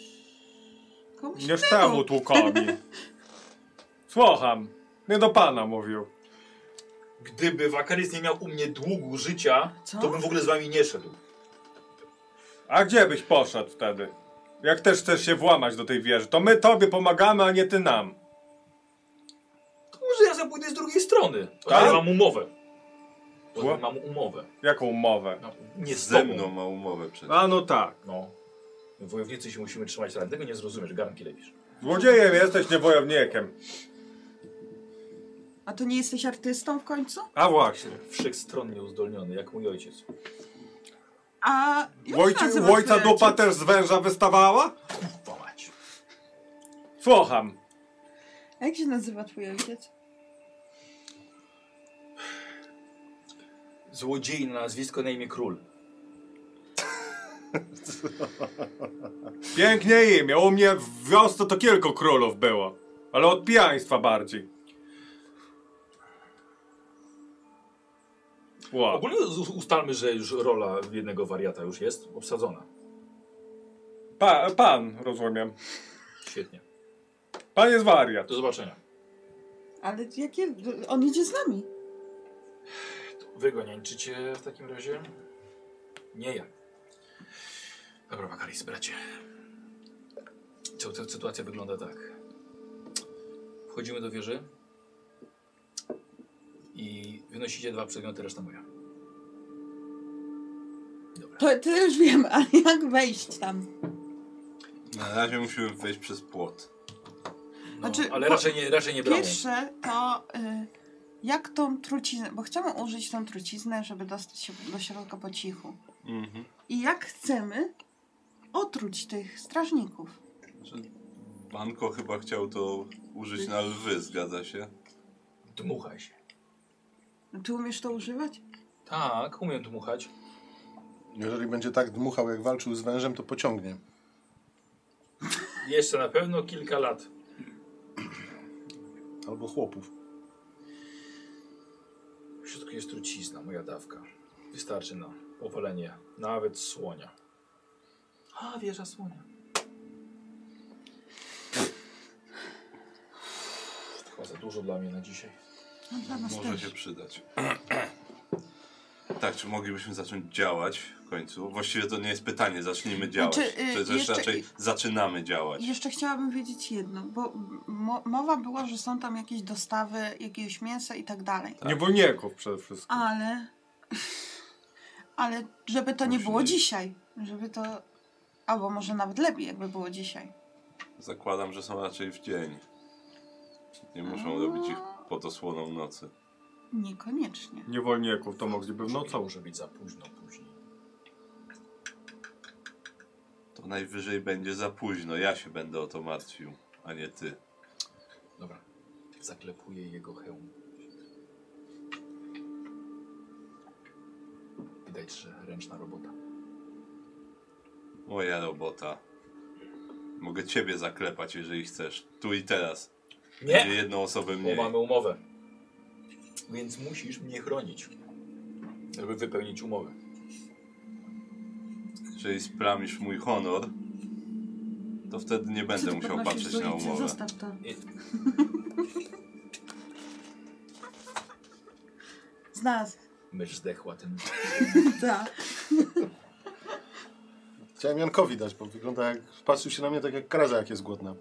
Speaker 4: Komuś
Speaker 6: Nie
Speaker 4: innemu.
Speaker 6: temu tłukami. Słucham. Nie do pana mówił.
Speaker 1: Gdyby Wakaris nie miał u mnie długu życia,
Speaker 4: Co?
Speaker 1: to bym w ogóle z wami nie szedł.
Speaker 6: A gdzie byś poszedł wtedy? Jak też chcesz się włamać do tej wieży, to my tobie pomagamy, a nie ty nam.
Speaker 1: To może ja zapójdę z drugiej strony.
Speaker 6: Tak?
Speaker 1: Ale mam umowę. Bo
Speaker 6: Ła-
Speaker 1: mam umowę.
Speaker 6: Jaką umowę?
Speaker 1: No, Nie z
Speaker 5: Ze
Speaker 1: tobą.
Speaker 5: mną ma umowę przed.
Speaker 6: A no tak.
Speaker 1: No. Wojownicy się musimy trzymać razem. Tego nie zrozumiesz, garnki lepisz.
Speaker 6: Złodziejem jesteś, nie wojownikiem.
Speaker 4: A to nie jesteś artystą w końcu?
Speaker 6: A właśnie.
Speaker 1: Wszechstronnie uzdolniony, jak mój ojciec.
Speaker 4: A... jak
Speaker 6: Łojci,
Speaker 4: nazywa
Speaker 6: łojca
Speaker 4: twój
Speaker 6: dupa
Speaker 4: ojciec?
Speaker 6: też z węża wystawała?
Speaker 1: Kurwa mać.
Speaker 6: Słucham.
Speaker 4: A Jak się nazywa twój ojciec?
Speaker 1: Złodziej na nazwisko na imię Król.
Speaker 6: Pięknie imię. U mnie w wiosce to kilku królów było. Ale od pijaństwa bardziej. Ła.
Speaker 1: Ogólnie u- ustalmy, że już rola jednego wariata już jest obsadzona.
Speaker 6: Pa, pan, rozumiem.
Speaker 1: Świetnie.
Speaker 6: Pan jest wariat.
Speaker 1: Do zobaczenia.
Speaker 4: Ale jakie... On idzie z nami.
Speaker 1: Wygończycie w takim razie? Nie ja. Dobra, Makaris, bracie. Co, ta sytuacja wygląda tak. Wchodzimy do wieży i wynosicie dwa przedmioty, reszta moja. Dobra.
Speaker 4: To, to już wiem, [laughs] ale jak wejść tam?
Speaker 5: Na razie musimy wejść przez płot.
Speaker 1: No,
Speaker 4: znaczy,
Speaker 1: ale
Speaker 4: po-
Speaker 1: raczej nie, raczej nie bramą.
Speaker 4: Pierwsze to y, jak tą truciznę, bo chcemy użyć tą truciznę, żeby dostać się do środka po cichu.
Speaker 5: Mhm.
Speaker 4: I jak chcemy otruć tych strażników.
Speaker 5: Znaczy, Banko chyba chciał to użyć na lwy, zgadza się?
Speaker 1: Dmuchaj się.
Speaker 4: No, Ty umiesz to używać?
Speaker 1: Tak, umiem dmuchać.
Speaker 2: Jeżeli będzie tak dmuchał, jak walczył z wężem, to pociągnie.
Speaker 1: Jeszcze na pewno kilka lat.
Speaker 2: Albo chłopów.
Speaker 1: W środku jest trucizna, moja dawka. Wystarczy na powalenie nawet słonia. A, wieża słonia. Chyba za dużo dla mnie na dzisiaj.
Speaker 4: No, dla nas
Speaker 5: Może
Speaker 4: też.
Speaker 5: się przydać. Tak, czy moglibyśmy zacząć działać w końcu? Właściwie to nie jest pytanie, zacznijmy działać.
Speaker 4: Znaczy, y,
Speaker 5: to jest
Speaker 4: jeszcze-
Speaker 5: raczej zaczynamy działać.
Speaker 4: Jeszcze chciałabym wiedzieć jedno, bo mo- mowa była, że są tam jakieś dostawy jakiegoś mięsa i tak dalej.
Speaker 6: Niewolników przede wszystkim.
Speaker 4: Ale. Ale żeby to nie
Speaker 5: Musi
Speaker 4: było
Speaker 5: być.
Speaker 4: dzisiaj. Żeby to. Albo może nawet lepiej, jakby było dzisiaj.
Speaker 5: Zakładam, że są raczej w dzień. Nie muszą robić ich pod osłoną nocy.
Speaker 4: Niekoniecznie.
Speaker 6: Niewolników to mogliby w
Speaker 1: Może-
Speaker 6: nocą.
Speaker 1: Może być za późno później.
Speaker 5: To najwyżej będzie za późno. Ja się będę o to martwił, a nie ty.
Speaker 1: Dobra. Zaklepuję jego hełm. Widać, że ręczna robota.
Speaker 5: Moja robota. Mogę ciebie zaklepać, jeżeli chcesz. Tu i teraz. Będzie jedną osobę
Speaker 1: Bo
Speaker 5: mniej.
Speaker 1: mamy umowę. Więc musisz mnie chronić. Żeby wypełnić umowę.
Speaker 5: Jeżeli splamisz mój honor, to wtedy nie będę
Speaker 4: Co ty
Speaker 5: musiał
Speaker 4: podnosisz
Speaker 5: patrzeć
Speaker 4: z
Speaker 5: na
Speaker 4: ulicy?
Speaker 5: umowę.
Speaker 4: Zostaw to.
Speaker 1: Nie.
Speaker 4: Znalazł.
Speaker 1: Mysz zdechła tym.
Speaker 4: Tak.
Speaker 2: Chciałem Jankowi dać, bo wygląda jak... Patrzył się na mnie tak jak kraza, jak jest głodna.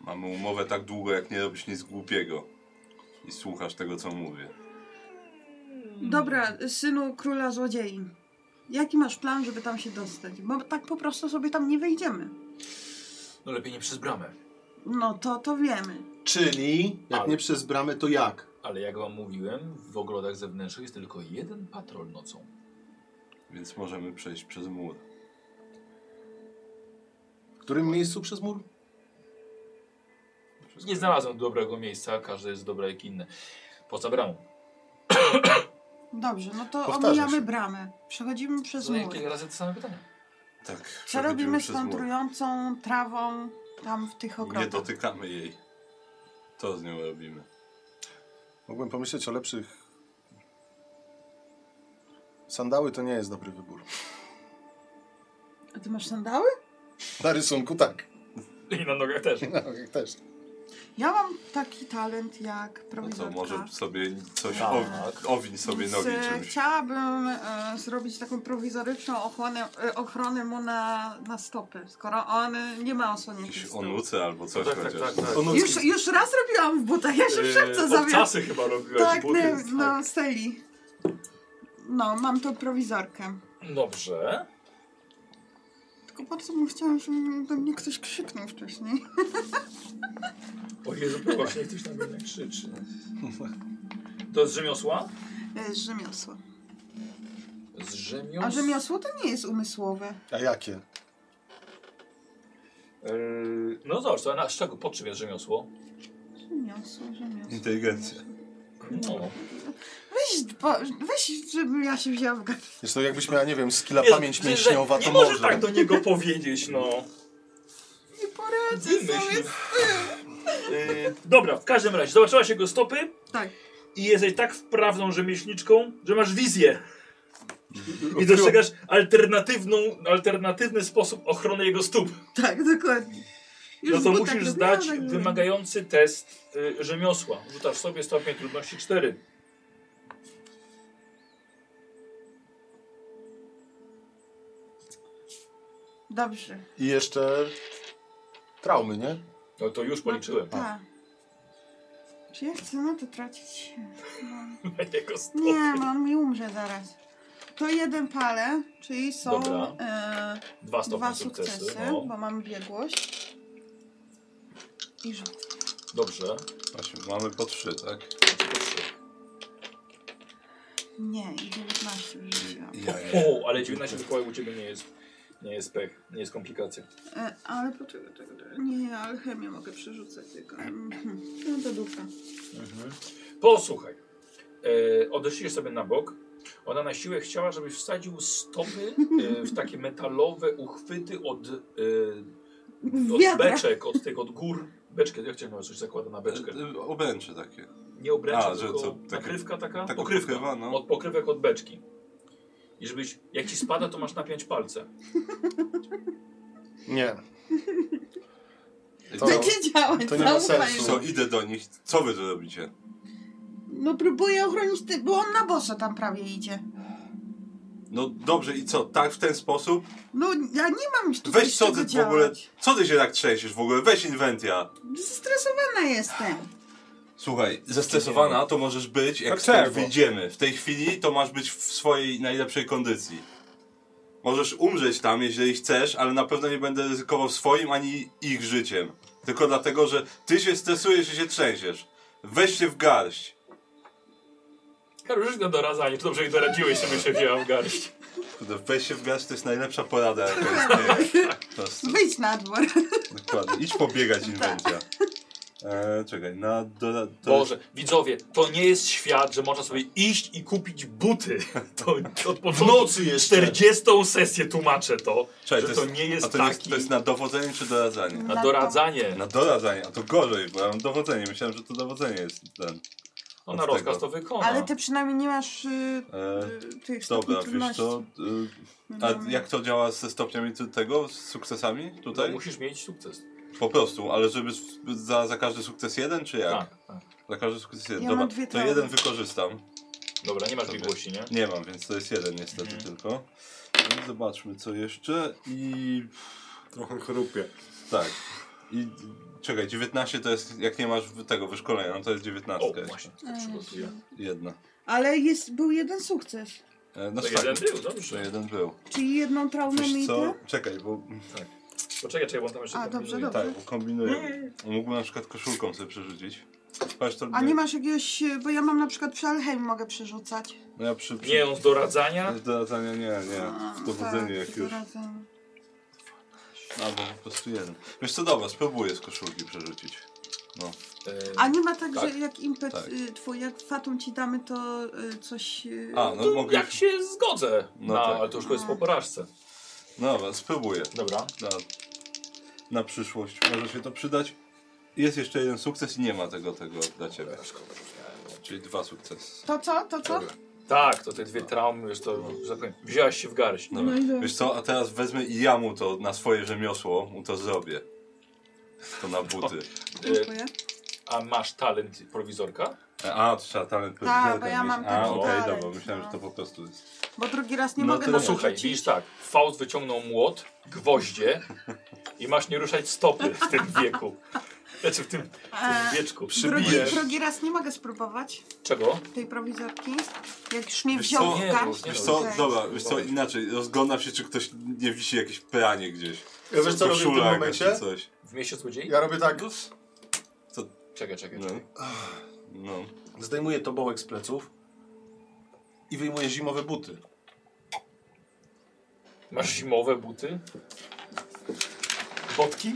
Speaker 5: Mamy umowę tak długo, jak nie robisz nic głupiego. I słuchasz tego, co mówię.
Speaker 4: Dobra, synu króla złodziei. Jaki masz plan, żeby tam się dostać? Bo tak po prostu sobie tam nie wejdziemy.
Speaker 1: No lepiej nie przez bramę.
Speaker 4: No to to wiemy.
Speaker 3: Czyli, jak
Speaker 1: Ale.
Speaker 3: nie przez bramę, to jak?
Speaker 1: Ale jak wam mówiłem, w ogrodach zewnętrznych jest tylko jeden patrol nocą.
Speaker 5: Więc możemy przejść przez mur.
Speaker 3: W którym miejscu przez mur?
Speaker 1: Nie znalazłem dobrego miejsca, każde jest dobre jak inne. Poza bramą.
Speaker 4: Dobrze, no to
Speaker 2: Powtarzasz.
Speaker 4: omijamy bramę. Przechodzimy przez
Speaker 1: Zadaję
Speaker 4: mur.
Speaker 1: No kilka razy te same pytania.
Speaker 5: Tak.
Speaker 4: Co robimy z tą trującą trawą tam w tych
Speaker 5: Nie
Speaker 4: ogrodach?
Speaker 5: dotykamy jej. To z nią robimy.
Speaker 2: Mogłem pomyśleć o lepszych. Sandały to nie jest dobry wybór.
Speaker 4: A ty masz sandały?
Speaker 2: Na rysunku tak. [laughs]
Speaker 1: I na nogach też. Tak,
Speaker 2: No, jak też.
Speaker 4: Ja mam taki talent jak
Speaker 5: No
Speaker 4: prowizorka.
Speaker 5: to może sobie coś
Speaker 1: Tak.
Speaker 5: owi- owin sobie
Speaker 4: Więc,
Speaker 5: nogi
Speaker 4: e,
Speaker 5: czymś.
Speaker 4: Chciałabym e, zrobić taką prowizoryczną ochronę, e, ochronę mu na, na stopy, skoro on e, nie ma osłoniętych
Speaker 5: Jakieś
Speaker 4: stóp.
Speaker 5: onuce albo coś
Speaker 1: tak, tak,
Speaker 5: chociaż.
Speaker 1: tak, tak.
Speaker 2: Ono-
Speaker 4: Już, już raz robiłam w butach, ja się w szafce zawiałam.
Speaker 1: Obcasy Yy, chyba robiłeś.
Speaker 4: Tak,
Speaker 1: buty,
Speaker 4: nie,
Speaker 1: tak.
Speaker 4: no steli. No, mam tą prowizorkę.
Speaker 1: Dobrze.
Speaker 4: Tylko bardzo bym chciała, żeby do mnie ktoś krzyknął wcześniej.
Speaker 1: O Jezu, właśnie ktoś na mnie krzyczy. To jest rzemiosła?
Speaker 4: E, Rzemiosło.
Speaker 1: Z rzemiosła.
Speaker 4: A rzemiosło to nie jest umysłowe.
Speaker 2: A jakie?
Speaker 1: No zobacz, to na, z czego, po czym jest rzemiosło?
Speaker 4: Rzemiosło, rzemiosło.
Speaker 5: Inteligencja.
Speaker 1: No.
Speaker 4: Weź, dba- weź żeby ja się wzięła w garść.
Speaker 2: Zresztą jakbyś miała, nie wiem, skilla
Speaker 1: Jezu,
Speaker 2: pamięć
Speaker 1: że- że
Speaker 2: mięśniowa, to
Speaker 1: nie może
Speaker 2: może.
Speaker 1: tak do niego powiedzieć, no.
Speaker 4: Nie poradzę
Speaker 1: Wymyśl.
Speaker 2: Y,
Speaker 1: Yy, dobra, w każdym razie zobaczyłaś jego stopy
Speaker 4: Tak.
Speaker 1: i jesteś tak wprawną rzemieślniczką, że masz wizję. I dostrzegasz alternatywną, alternatywny sposób ochrony jego stóp.
Speaker 4: Tak, dokładnie.
Speaker 1: No
Speaker 4: w
Speaker 1: to
Speaker 4: butach
Speaker 1: musisz
Speaker 4: robiłam,
Speaker 1: zdać
Speaker 4: tak robiłam.
Speaker 1: wymagający test y, rzemiosła. Rzucasz sobie stopień trudności 4.
Speaker 4: Dobrze.
Speaker 2: I jeszcze traumy, nie?
Speaker 1: No to już policzyłem.
Speaker 4: Tak. Czy ja chcę na to tracić? No.
Speaker 1: Na jego stopy.
Speaker 4: Nie, no on mi umrze zaraz. To jeden pale, czyli są
Speaker 1: Dobra.
Speaker 4: e,
Speaker 1: Dwa stopnie
Speaker 4: dwa
Speaker 1: sukcesy.
Speaker 4: sukcesy,
Speaker 1: No.
Speaker 4: bo mam biegłość. I rzucę.
Speaker 1: Dobrze.
Speaker 5: Właśnie, mamy po trzy, tak?
Speaker 4: Nie, i 19 rzuciłam.
Speaker 5: I ja, ja.
Speaker 1: O, ale 19 wykołaj u ciebie nie jest, nie jest pech, nie jest komplikacja.
Speaker 4: E, ale poczekaj, czekaj, czekaj. nie, nie, alchemię mogę przerzucać tylko.
Speaker 2: Mm.
Speaker 4: Mhm. No to dupa.
Speaker 1: Posłuchaj. E, odeszliście sobie na bok. Ona na siłę chciała, żebyś wsadził stopy e, w takie metalowe uchwyty od, e, od
Speaker 4: Wiadra.
Speaker 1: beczek, od tych od gór. Beczkę, jak cię coś zakłada na beczkę.
Speaker 5: E, e, Obręcze takie.
Speaker 1: Nie obręcze,
Speaker 5: A, że
Speaker 1: tylko
Speaker 5: co, takie-
Speaker 1: nakrywka taka,
Speaker 5: taka
Speaker 1: pokrywka,
Speaker 5: pokrywa, no.
Speaker 1: od pokrywek od beczki. I żebyś, jak ci spada, to masz napiąć palce.
Speaker 2: Nie.
Speaker 5: I
Speaker 2: To-
Speaker 5: co?
Speaker 4: Będzie działać,
Speaker 2: to nie ma
Speaker 4: zaufaj
Speaker 2: sensu.
Speaker 4: mi.
Speaker 5: Co, idę do nich. Co wy tu robicie?
Speaker 4: No próbuję ochronić, ty, bo on na boso tam prawie idzie.
Speaker 5: No dobrze, i co? Tak w ten sposób?
Speaker 4: No ja nie mam już tutaj
Speaker 5: Weź
Speaker 4: z
Speaker 5: co ty
Speaker 4: czego
Speaker 5: w ogóle.
Speaker 4: działać.
Speaker 5: Co ty się tak trzęsiesz w ogóle? Weź inwentia.
Speaker 4: Zestresowana jestem.
Speaker 5: Słuchaj, zestresowana to możesz być, jak
Speaker 6: Tak
Speaker 5: stąd
Speaker 6: czerwo.
Speaker 5: wyjdziemy. W tej chwili to masz być w swojej najlepszej kondycji. Możesz umrzeć tam, jeżeli chcesz, ale na pewno nie będę ryzykował swoim ani ich życiem. Tylko dlatego, że ty się stresujesz i się trzęsiesz. Weź się w garść.
Speaker 1: Karol, już na doradzanie, to dobrze jej doradziłeś, żeby się wzięła w garść.
Speaker 5: Kurde, Weź się w garść to jest najlepsza porada, jaka jest. nie? Po prostu.
Speaker 4: Wyjdź na dwór.
Speaker 5: Dokładnie. Idź
Speaker 4: Tak.
Speaker 5: pobiegać inwentia. Eee, czekaj, na do, to
Speaker 1: Boże, widzowie, to nie jest świat, że można sobie iść i kupić
Speaker 5: [laughs]
Speaker 1: buty. To od
Speaker 3: W
Speaker 1: początku
Speaker 3: nocy jeszcze.
Speaker 1: 40 sesję tłumaczę to,
Speaker 5: Czekaj,
Speaker 1: że to, nie jest
Speaker 5: a to,
Speaker 1: taki...
Speaker 5: jest, to jest na dowodzenie czy doradzanie?
Speaker 1: na doradzanie.
Speaker 5: Na doradzanie, a to gorzej, bo ja mam dowodzenie. Myślałem, że to dowodzenie jest ten.
Speaker 1: No na
Speaker 5: od tego.
Speaker 1: rozkaz to wykona.
Speaker 4: Ale ty przynajmniej nie masz y,
Speaker 5: E,
Speaker 4: y, tych
Speaker 5: dobra,
Speaker 4: stopni
Speaker 5: wiesz co?
Speaker 4: trudności.
Speaker 5: Y,
Speaker 4: No,
Speaker 5: a jak to działa ze stopniami tu- tego, z sukcesami
Speaker 1: To
Speaker 5: tutaj?
Speaker 1: musisz mieć sukces.
Speaker 5: Po prostu, ale żeby s- za, za każdy sukces jeden, czy jak?
Speaker 1: Tak, tak.
Speaker 5: Za każdy sukces jeden.
Speaker 4: Ja mam
Speaker 5: dobra,
Speaker 4: dwie
Speaker 5: to
Speaker 4: traumy.
Speaker 5: jeden wykorzystam.
Speaker 1: Dobra, nie masz
Speaker 5: Dobra.
Speaker 1: biegłości, nie?
Speaker 5: Nie mam, więc to jest jeden niestety
Speaker 1: Mhm.
Speaker 5: tylko. No, Zobaczmy co jeszcze i
Speaker 6: Trochę chrupie.
Speaker 5: tak. I czekaj, 19 to jest, jak nie masz tego wyszkolenia, no to jest 19.
Speaker 1: O,
Speaker 5: jeszcze.
Speaker 4: No,
Speaker 1: właśnie, to przygotuję.
Speaker 5: Jedna.
Speaker 4: Ale jest, był jeden sukces.
Speaker 5: E, No
Speaker 1: To
Speaker 5: tak,
Speaker 1: jeden był,
Speaker 5: To
Speaker 1: dobrze.
Speaker 5: jeden był.
Speaker 4: Czyli jedną traumę
Speaker 5: Wiesz
Speaker 4: mi
Speaker 5: co?
Speaker 4: tę?
Speaker 5: Czekaj, bo
Speaker 1: Poczekaj, czekaj, bo on tam jeszcze
Speaker 4: A,
Speaker 1: kombinuje.
Speaker 4: dobrze, dobrze.
Speaker 5: tak, bo kombinuję. Mógłbym na przykład koszulką sobie przerzucić. Patrz, to
Speaker 4: A nie masz jakiegoś, y, bo ja mam na przykład przy Alchemii mogę przerzucać.
Speaker 5: No ja przy, przy...
Speaker 1: Nie, on z doradzania.
Speaker 5: Z doradzania nie, nie.
Speaker 4: A,
Speaker 5: Dowodzenie
Speaker 4: tak,
Speaker 5: jak już.
Speaker 4: doradzenie.
Speaker 5: Albo po prostu jeden. Wiesz co, dobra, spróbuję z koszulki przerzucić. No.
Speaker 1: E,
Speaker 4: A nie ma tak,
Speaker 5: Tak.
Speaker 4: że jak impet
Speaker 5: Tak.
Speaker 4: y, twój, jak fatą ci damy, to y, coś... y,
Speaker 5: A, no
Speaker 1: To
Speaker 5: mogę...
Speaker 1: jak się zgodzę,
Speaker 5: No
Speaker 1: na,
Speaker 5: tak.
Speaker 1: ale to już jest po porażce.
Speaker 5: No dobra, spróbuję.
Speaker 1: Dobra.
Speaker 5: Na, na przyszłość może się to przydać. Jest jeszcze jeden sukces i nie ma tego, tego dla ciebie. Czyli dwa sukcesy.
Speaker 4: To co? To co?
Speaker 1: Tak, to te dwie traumy, już to, że tak powiem, wzięłaś się w garść.
Speaker 5: Dobra.
Speaker 4: No i dobra.
Speaker 5: Wiesz co, a teraz wezmę i ja mu to na swoje rzemiosło, mu to zrobię. To na buty.
Speaker 1: E,
Speaker 4: Dziękuję.
Speaker 1: a masz talent prowizorka?
Speaker 5: No. A, to trzeba talent
Speaker 4: Tak, bo
Speaker 5: prezydenta
Speaker 4: ja
Speaker 5: mieć.
Speaker 4: mam
Speaker 5: A,
Speaker 4: taki
Speaker 5: okej,
Speaker 4: talent,
Speaker 5: dobra, myślałem,
Speaker 4: no.
Speaker 5: że to po prostu jest.
Speaker 4: Bo drugi raz nie
Speaker 5: No
Speaker 4: mogę
Speaker 5: to
Speaker 4: na
Speaker 5: nie.
Speaker 1: Słuchaj, widzisz tak, Faust wyciągnął młot, gwoździe i masz nie ruszać stopy w tym wieku. Znaczy w tym, w tym wieczku.
Speaker 4: Drugi,
Speaker 5: przybijesz.
Speaker 4: drugi raz nie mogę spróbować
Speaker 1: Czego?
Speaker 4: tej prowizorki, jak już mnie
Speaker 5: Wiesz
Speaker 4: wziął
Speaker 5: co?
Speaker 4: w
Speaker 1: Nie,
Speaker 4: garść.
Speaker 1: bo-
Speaker 5: Wiesz
Speaker 1: no,
Speaker 5: co,
Speaker 4: okej.
Speaker 5: dobra, wiesz co, inaczej, rozglądam się, czy ktoś nie wisi jakieś pranie gdzieś.
Speaker 2: Ja wiesz co robię w tym
Speaker 5: Koszula jakaś
Speaker 2: momencie?
Speaker 5: czy coś.
Speaker 1: W mieście złodziei?
Speaker 2: Ja robię tak.
Speaker 1: Czekaj, czekaj.
Speaker 5: No.
Speaker 1: czekaj.
Speaker 5: no.
Speaker 2: Zdejmuję tobołek z pleców i wyjmuję zimowe buty.
Speaker 1: Masz zimowe buty?
Speaker 2: Botki?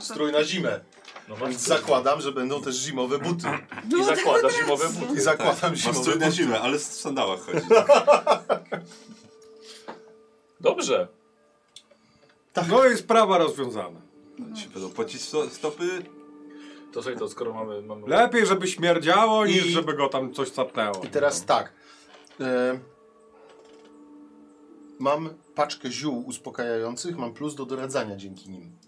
Speaker 2: Strój na zimę.
Speaker 1: No masz
Speaker 2: Więc zakładam, że będą też zimowe buty.
Speaker 4: No,
Speaker 1: I zakładasz zimowe
Speaker 2: I
Speaker 1: buty.
Speaker 2: zakładam
Speaker 5: Masz
Speaker 2: zimowe
Speaker 5: strój na
Speaker 2: buty.
Speaker 5: zimę, ale w sandałach chodzi.
Speaker 1: Dobrze.
Speaker 6: No i sprawa rozwiązana.
Speaker 4: No.
Speaker 5: Ci będą płacić sto, stopy?
Speaker 1: To sobie to, skoro mamy... mamy...
Speaker 6: Lepiej, żeby śmierdziało, niż
Speaker 2: I-
Speaker 6: żeby go tam coś capnęło.
Speaker 2: I teraz tak. E, mam paczkę ziół uspokajających, mam plus do doradzania dzięki nim.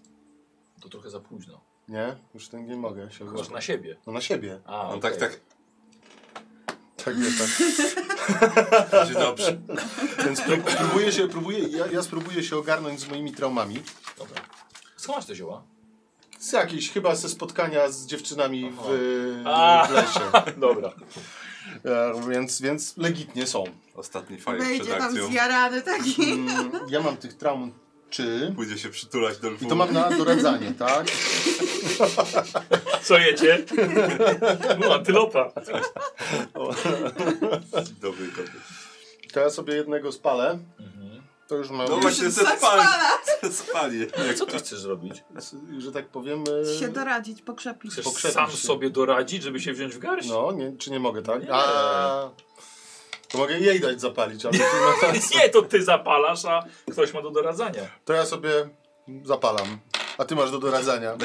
Speaker 1: To trochę za późno.
Speaker 2: Nie? Już ten nie mogę się
Speaker 1: Masz na siebie.
Speaker 2: No na siebie.
Speaker 1: A,
Speaker 5: No
Speaker 1: okej.
Speaker 5: tak, tak.
Speaker 2: Tak, nie, tak.
Speaker 5: Będzie dobrze.
Speaker 2: [laughs] Więc pró- próbuję się, próbuję, ja, ja spróbuję się ogarnąć z moimi traumami.
Speaker 1: Dobra. Skąd masz te zioła?
Speaker 2: Z jakiejś, chyba ze spotkania z dziewczynami w,
Speaker 1: Aha. A.
Speaker 2: w lesie.
Speaker 1: Dobra.
Speaker 2: E, więc, więc legitnie są.
Speaker 5: Ostatni fajek przed
Speaker 4: Wejdzie tam
Speaker 5: akcją.
Speaker 4: zjarany taki.
Speaker 2: Mm, ja mam tych traum czy...
Speaker 5: Pójdzie się przytulać do lwu.
Speaker 2: I to mam na doradzanie, tak?
Speaker 1: Co jecie? No, antylopa.
Speaker 5: Dobry kobiet.
Speaker 2: To ja sobie jednego spalę. To już mam,
Speaker 5: No właśnie, se spali. Se spali.
Speaker 1: Co ty chcesz zrobić?
Speaker 2: że tak powiem... e,
Speaker 4: Się doradzić, pokrzepić.
Speaker 1: Chcesz
Speaker 2: Pokrzepić
Speaker 1: sam
Speaker 2: się.
Speaker 1: sobie doradzić, żeby się wziąć w garść? [laughs]
Speaker 2: No, nie, czy nie mogę, tak?
Speaker 1: Nie.
Speaker 2: A, to mogę jej dać zapalić, ale to,
Speaker 1: Nie, to ty zapalasz, a ktoś ma do doradzania.
Speaker 2: to ja sobie zapalam. A ty masz do doradzania.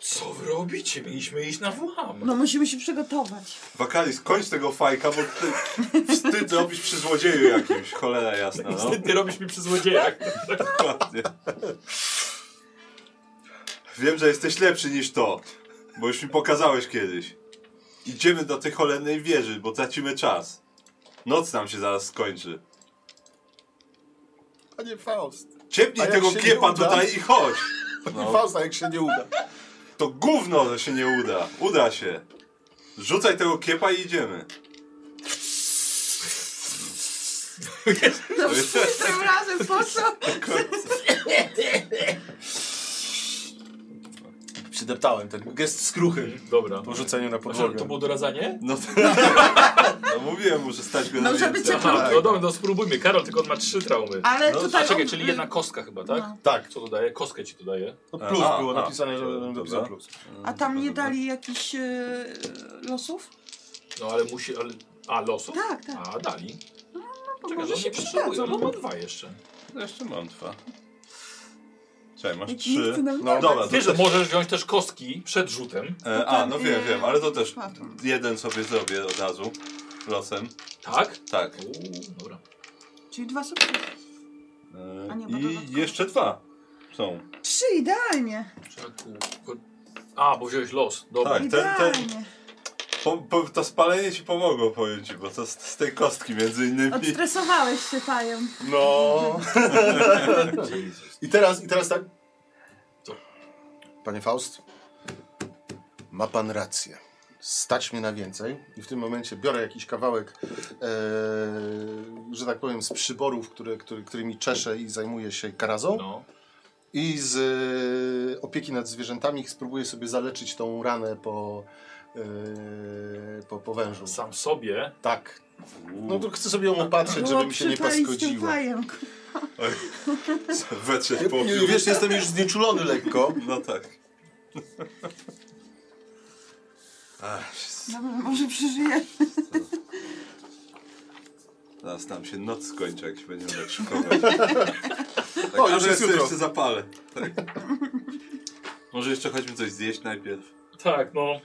Speaker 1: Co wy robicie? Mieliśmy iść na włam.
Speaker 4: No musimy się przygotować.
Speaker 5: Wakalis, kończ tego fajka, bo ty wstyd robić przy złodzieju jakimś. Cholera jasna, no.
Speaker 1: Ty, ty robisz mi przy złodziejach.
Speaker 5: Dokładnie. Wiem, że jesteś lepszy niż to, bo już mi pokazałeś kiedyś. Idziemy do tej cholernej wieży, bo tracimy czas. Noc nam się zaraz skończy.
Speaker 2: Panie Faust. A
Speaker 5: Ciepnij
Speaker 2: jak
Speaker 5: tego
Speaker 2: się nie
Speaker 5: kiepa
Speaker 2: uda?
Speaker 5: tutaj i chodź.
Speaker 2: Panie
Speaker 5: No.
Speaker 2: Fausta, jak się nie uda.
Speaker 5: To gówno, że się nie uda. Uda się. Rzucaj tego kiepa i idziemy.
Speaker 4: No tym razem po co?
Speaker 2: Przydeptałem ten gest skruchy
Speaker 1: Dobra.
Speaker 2: po rzuceniu na
Speaker 1: Znaczy, to
Speaker 2: podłogę.
Speaker 1: było doradzanie?
Speaker 5: No, to... [laughs] no mówiłem mu, że stać go na
Speaker 4: No, żeby
Speaker 5: miejsce.
Speaker 4: cię
Speaker 1: Aha, no dobra, no spróbujmy. Karol, tylko on ma trzy traumy.
Speaker 4: Ale
Speaker 5: No,
Speaker 4: tutaj...
Speaker 1: A czekaj,
Speaker 4: on-
Speaker 1: czyli jedna kostka chyba,
Speaker 4: No.
Speaker 1: tak?
Speaker 2: Tak,
Speaker 1: Co to daje? Kostkę ci to daje.
Speaker 2: to plus
Speaker 5: A,
Speaker 2: było
Speaker 5: a,
Speaker 2: napisane, że
Speaker 5: dobra.
Speaker 2: będę napisał plus.
Speaker 4: A tam nie dali jakichś e, losów?
Speaker 1: No ale musi... Ale... A, losu?
Speaker 4: Tak, tak.
Speaker 1: A, dali.
Speaker 4: Bo
Speaker 1: Czekaj, że
Speaker 4: może
Speaker 1: on
Speaker 4: się
Speaker 1: nie potrzebuje. No
Speaker 4: przydadzą.
Speaker 1: ma dwa jeszcze.
Speaker 5: No jeszcze mam dwa. Czekaj, masz
Speaker 4: Jak
Speaker 5: trzy.
Speaker 4: nikt nam
Speaker 2: No,
Speaker 4: nie
Speaker 5: Dobra,
Speaker 1: Ty,
Speaker 5: to
Speaker 1: że
Speaker 5: też...
Speaker 1: możesz wziąć też kostki przed rzutem.
Speaker 5: e, A, no wiem, wiem, ale to też
Speaker 4: Padł.
Speaker 5: jeden sobie zrobię od razu. Losem.
Speaker 1: Tak?
Speaker 5: Tak.
Speaker 1: Uuu, dobra.
Speaker 4: Czyli dwa sukcesy.
Speaker 5: E,
Speaker 4: A nie, bo
Speaker 5: I
Speaker 4: dodatkowo.
Speaker 5: jeszcze dwa są.
Speaker 4: Trzy, idealnie.
Speaker 1: Czeku. ko- A, bo wziąłeś los. Dobra.
Speaker 5: Tak. ten- ten-
Speaker 4: Idealnie.
Speaker 5: Po, po, to spalenie ci pomogło, powiem ci, bo to z, z tej kostki między innymi.
Speaker 4: Odstresowałeś się tajem.
Speaker 2: No. I teraz, i teraz tak.
Speaker 1: Co?
Speaker 2: Panie Faust, ma pan rację. stać mnie na więcej i w tym momencie biorę jakiś kawałek, e, że tak powiem, z przyborów, które, który, którymi czeszę i zajmuję się karazą
Speaker 1: No.
Speaker 2: i z e, opieki nad zwierzętami spróbuję sobie zaleczyć tą ranę po, e, po, po wężu.
Speaker 1: Sam sobie.
Speaker 2: Tak. No to chcę sobie ją opatrzyć, [laughs] żeby mi się nie paskudziło.
Speaker 5: [laughs] Wetrzeć po
Speaker 2: I- i Wiesz, jestem już znieczulony lekko.
Speaker 5: No tak. [laughs] Ach,
Speaker 4: Dobra, No, może przeżyję.
Speaker 5: zaraz nam się noc skończy, jak się będziemy
Speaker 2: [laughs]
Speaker 5: tak szykować. Tak,
Speaker 2: O, już
Speaker 5: a,
Speaker 2: jest
Speaker 5: że jeszcze-
Speaker 2: jutro.
Speaker 5: Jeszcze zapalę. Tak. Może jeszcze chodźmy coś zjeść najpierw,
Speaker 1: Tak, no.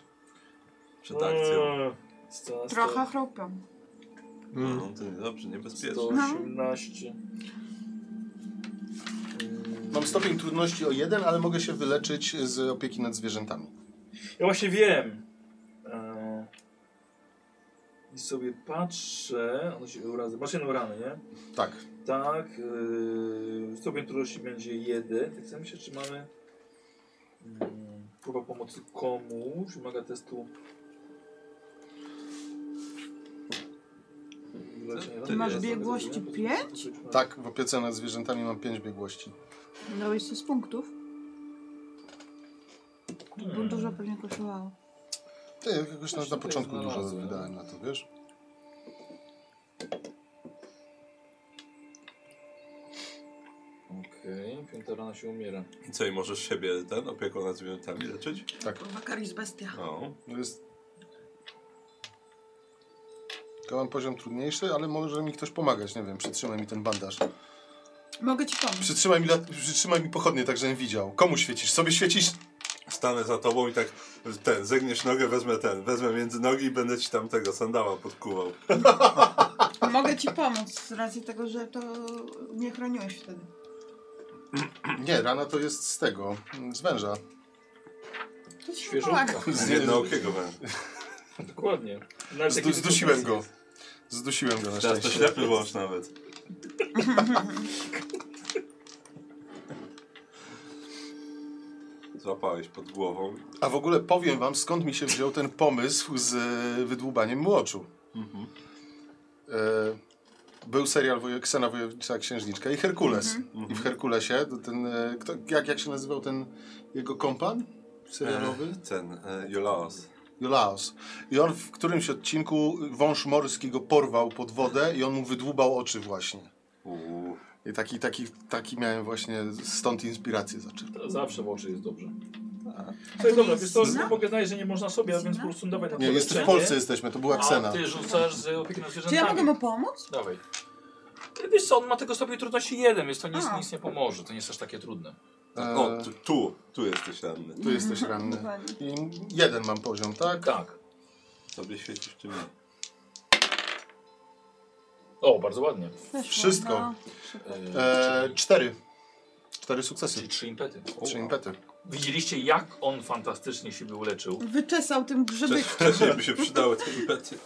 Speaker 5: przed akcją.
Speaker 1: Eee, sto- sto-
Speaker 4: Trochę chrupią.
Speaker 5: No to niedobrze, niebezpiecznie.
Speaker 1: 118.
Speaker 2: Mam stopień trudności o jeden, ale mogę się wyleczyć z opieki nad zwierzętami.
Speaker 1: Ja właśnie wiem. Eee, I sobie patrzę. Ono się urazy. Masz jedną ranę, nie?
Speaker 2: Tak.
Speaker 1: Tak. Yy, stopień trudności będzie jeden. Tak samo się, czy mamy. mm, Próba pomocy komuś wymaga testu.
Speaker 5: Ty
Speaker 1: Ranny
Speaker 5: masz
Speaker 1: jest,
Speaker 4: biegłości
Speaker 1: tak,
Speaker 4: pięć?
Speaker 1: tak,
Speaker 2: Tak, w opiece nad zwierzętami mam pięć biegłości.
Speaker 4: Dałeś to z punktów? Bo
Speaker 1: Hmm.
Speaker 4: dużo pewnie kosztowało.
Speaker 2: Ty, jakoś na,
Speaker 1: Właśnie
Speaker 2: na
Speaker 1: to
Speaker 2: początku dużo
Speaker 1: znalazłem.
Speaker 2: wydałem na to, wiesz?
Speaker 1: Okej, piąta rana się umiera.
Speaker 5: I co, i możesz siebie ten opieką nad zwierzętami leczyć?
Speaker 4: Wakaris bestia.
Speaker 5: No.
Speaker 2: To jest... Ja mam poziom trudniejszy, ale może mi ktoś pomagać, nie wiem, przytrzymaj mi ten bandaż.
Speaker 4: Mogę ci pomóc.
Speaker 2: Przytrzymaj mi, lat- przytrzymaj mi pochodnie, tak żebym widział. Komu świecisz? Sobie świecisz? [clears throat]
Speaker 5: Stanę za tobą i tak ten, zegniesz nogę, wezmę ten, wezmę między nogi i będę ci tam tego sandała podkuwał.
Speaker 4: Mogę ci pomóc z racji tego, że to nie chroniłeś wtedy.
Speaker 2: Nie, rana to jest z tego, z węża.
Speaker 4: To ci
Speaker 1: Świeżutko.
Speaker 4: pomaga.
Speaker 5: Z jednookiego węża.
Speaker 1: Dokładnie. Nawet
Speaker 2: Zdu,
Speaker 1: jakiś-
Speaker 2: zdusiłem go. Zdusiłem go na
Speaker 1: tak
Speaker 5: Teraz to
Speaker 2: szczęście.
Speaker 5: ślepy wąż nawet.
Speaker 1: [laughs]
Speaker 5: Złapałeś pod głową.
Speaker 2: A w ogóle powiem wam, skąd mi się wziął ten pomysł z e, wydłubaniem młoczu. E, Był serial woje- Ksena Wojownicza Księżniczka i Herkules. I w Herkulesie, to ten, e, kto, jak, jak się nazywał ten jego kompan serialowy?
Speaker 5: Ten, e, Jolaos.
Speaker 2: Jolaos. I on w którymś odcinku wąż morski go porwał pod wodę i on mu wydłubał oczy właśnie.
Speaker 5: Uuu.
Speaker 2: I taki, taki, taki miałem właśnie, stąd inspirację zaczerpałem.
Speaker 1: To zawsze w oczy jest dobrze. To jest dobra, wiesz co,
Speaker 4: Zna?
Speaker 1: mogę znaleźć, że nie można sobie, a więc po prostu dawać na
Speaker 2: Nie, jest w
Speaker 1: poleczenie.
Speaker 2: Polsce jesteśmy, to była Ksena.
Speaker 1: A ty rzucasz z opieki nad
Speaker 4: Czy
Speaker 1: zwierzętami.
Speaker 4: ja mogę mu pomóc?
Speaker 1: Dawaj. Wiesz co, on ma tego sobie trudności jeden, więc to nic,
Speaker 4: A.
Speaker 1: nic nie pomoże. To nie jest aż takie trudne.
Speaker 2: E,
Speaker 5: O, No, tu, tu, tu jesteś ranny.
Speaker 2: tu jesteś ranny.
Speaker 4: Dokładnie.
Speaker 2: I jeden mam poziom, tak?
Speaker 1: Tak.
Speaker 5: Sobie świecisz
Speaker 1: [laughs]
Speaker 5: czy nie?
Speaker 1: O, bardzo ładnie.
Speaker 4: Weszło,
Speaker 2: Wszystko.
Speaker 4: no.
Speaker 2: E, cztery. Cztery sukcesy.
Speaker 1: Czyli trzy impety.
Speaker 2: Trzy impety.
Speaker 1: Widzieliście, jak on fantastycznie siebie uleczył.
Speaker 4: Wyczesał tym grzybykiem.
Speaker 5: Wcześniej by się przydały te impety.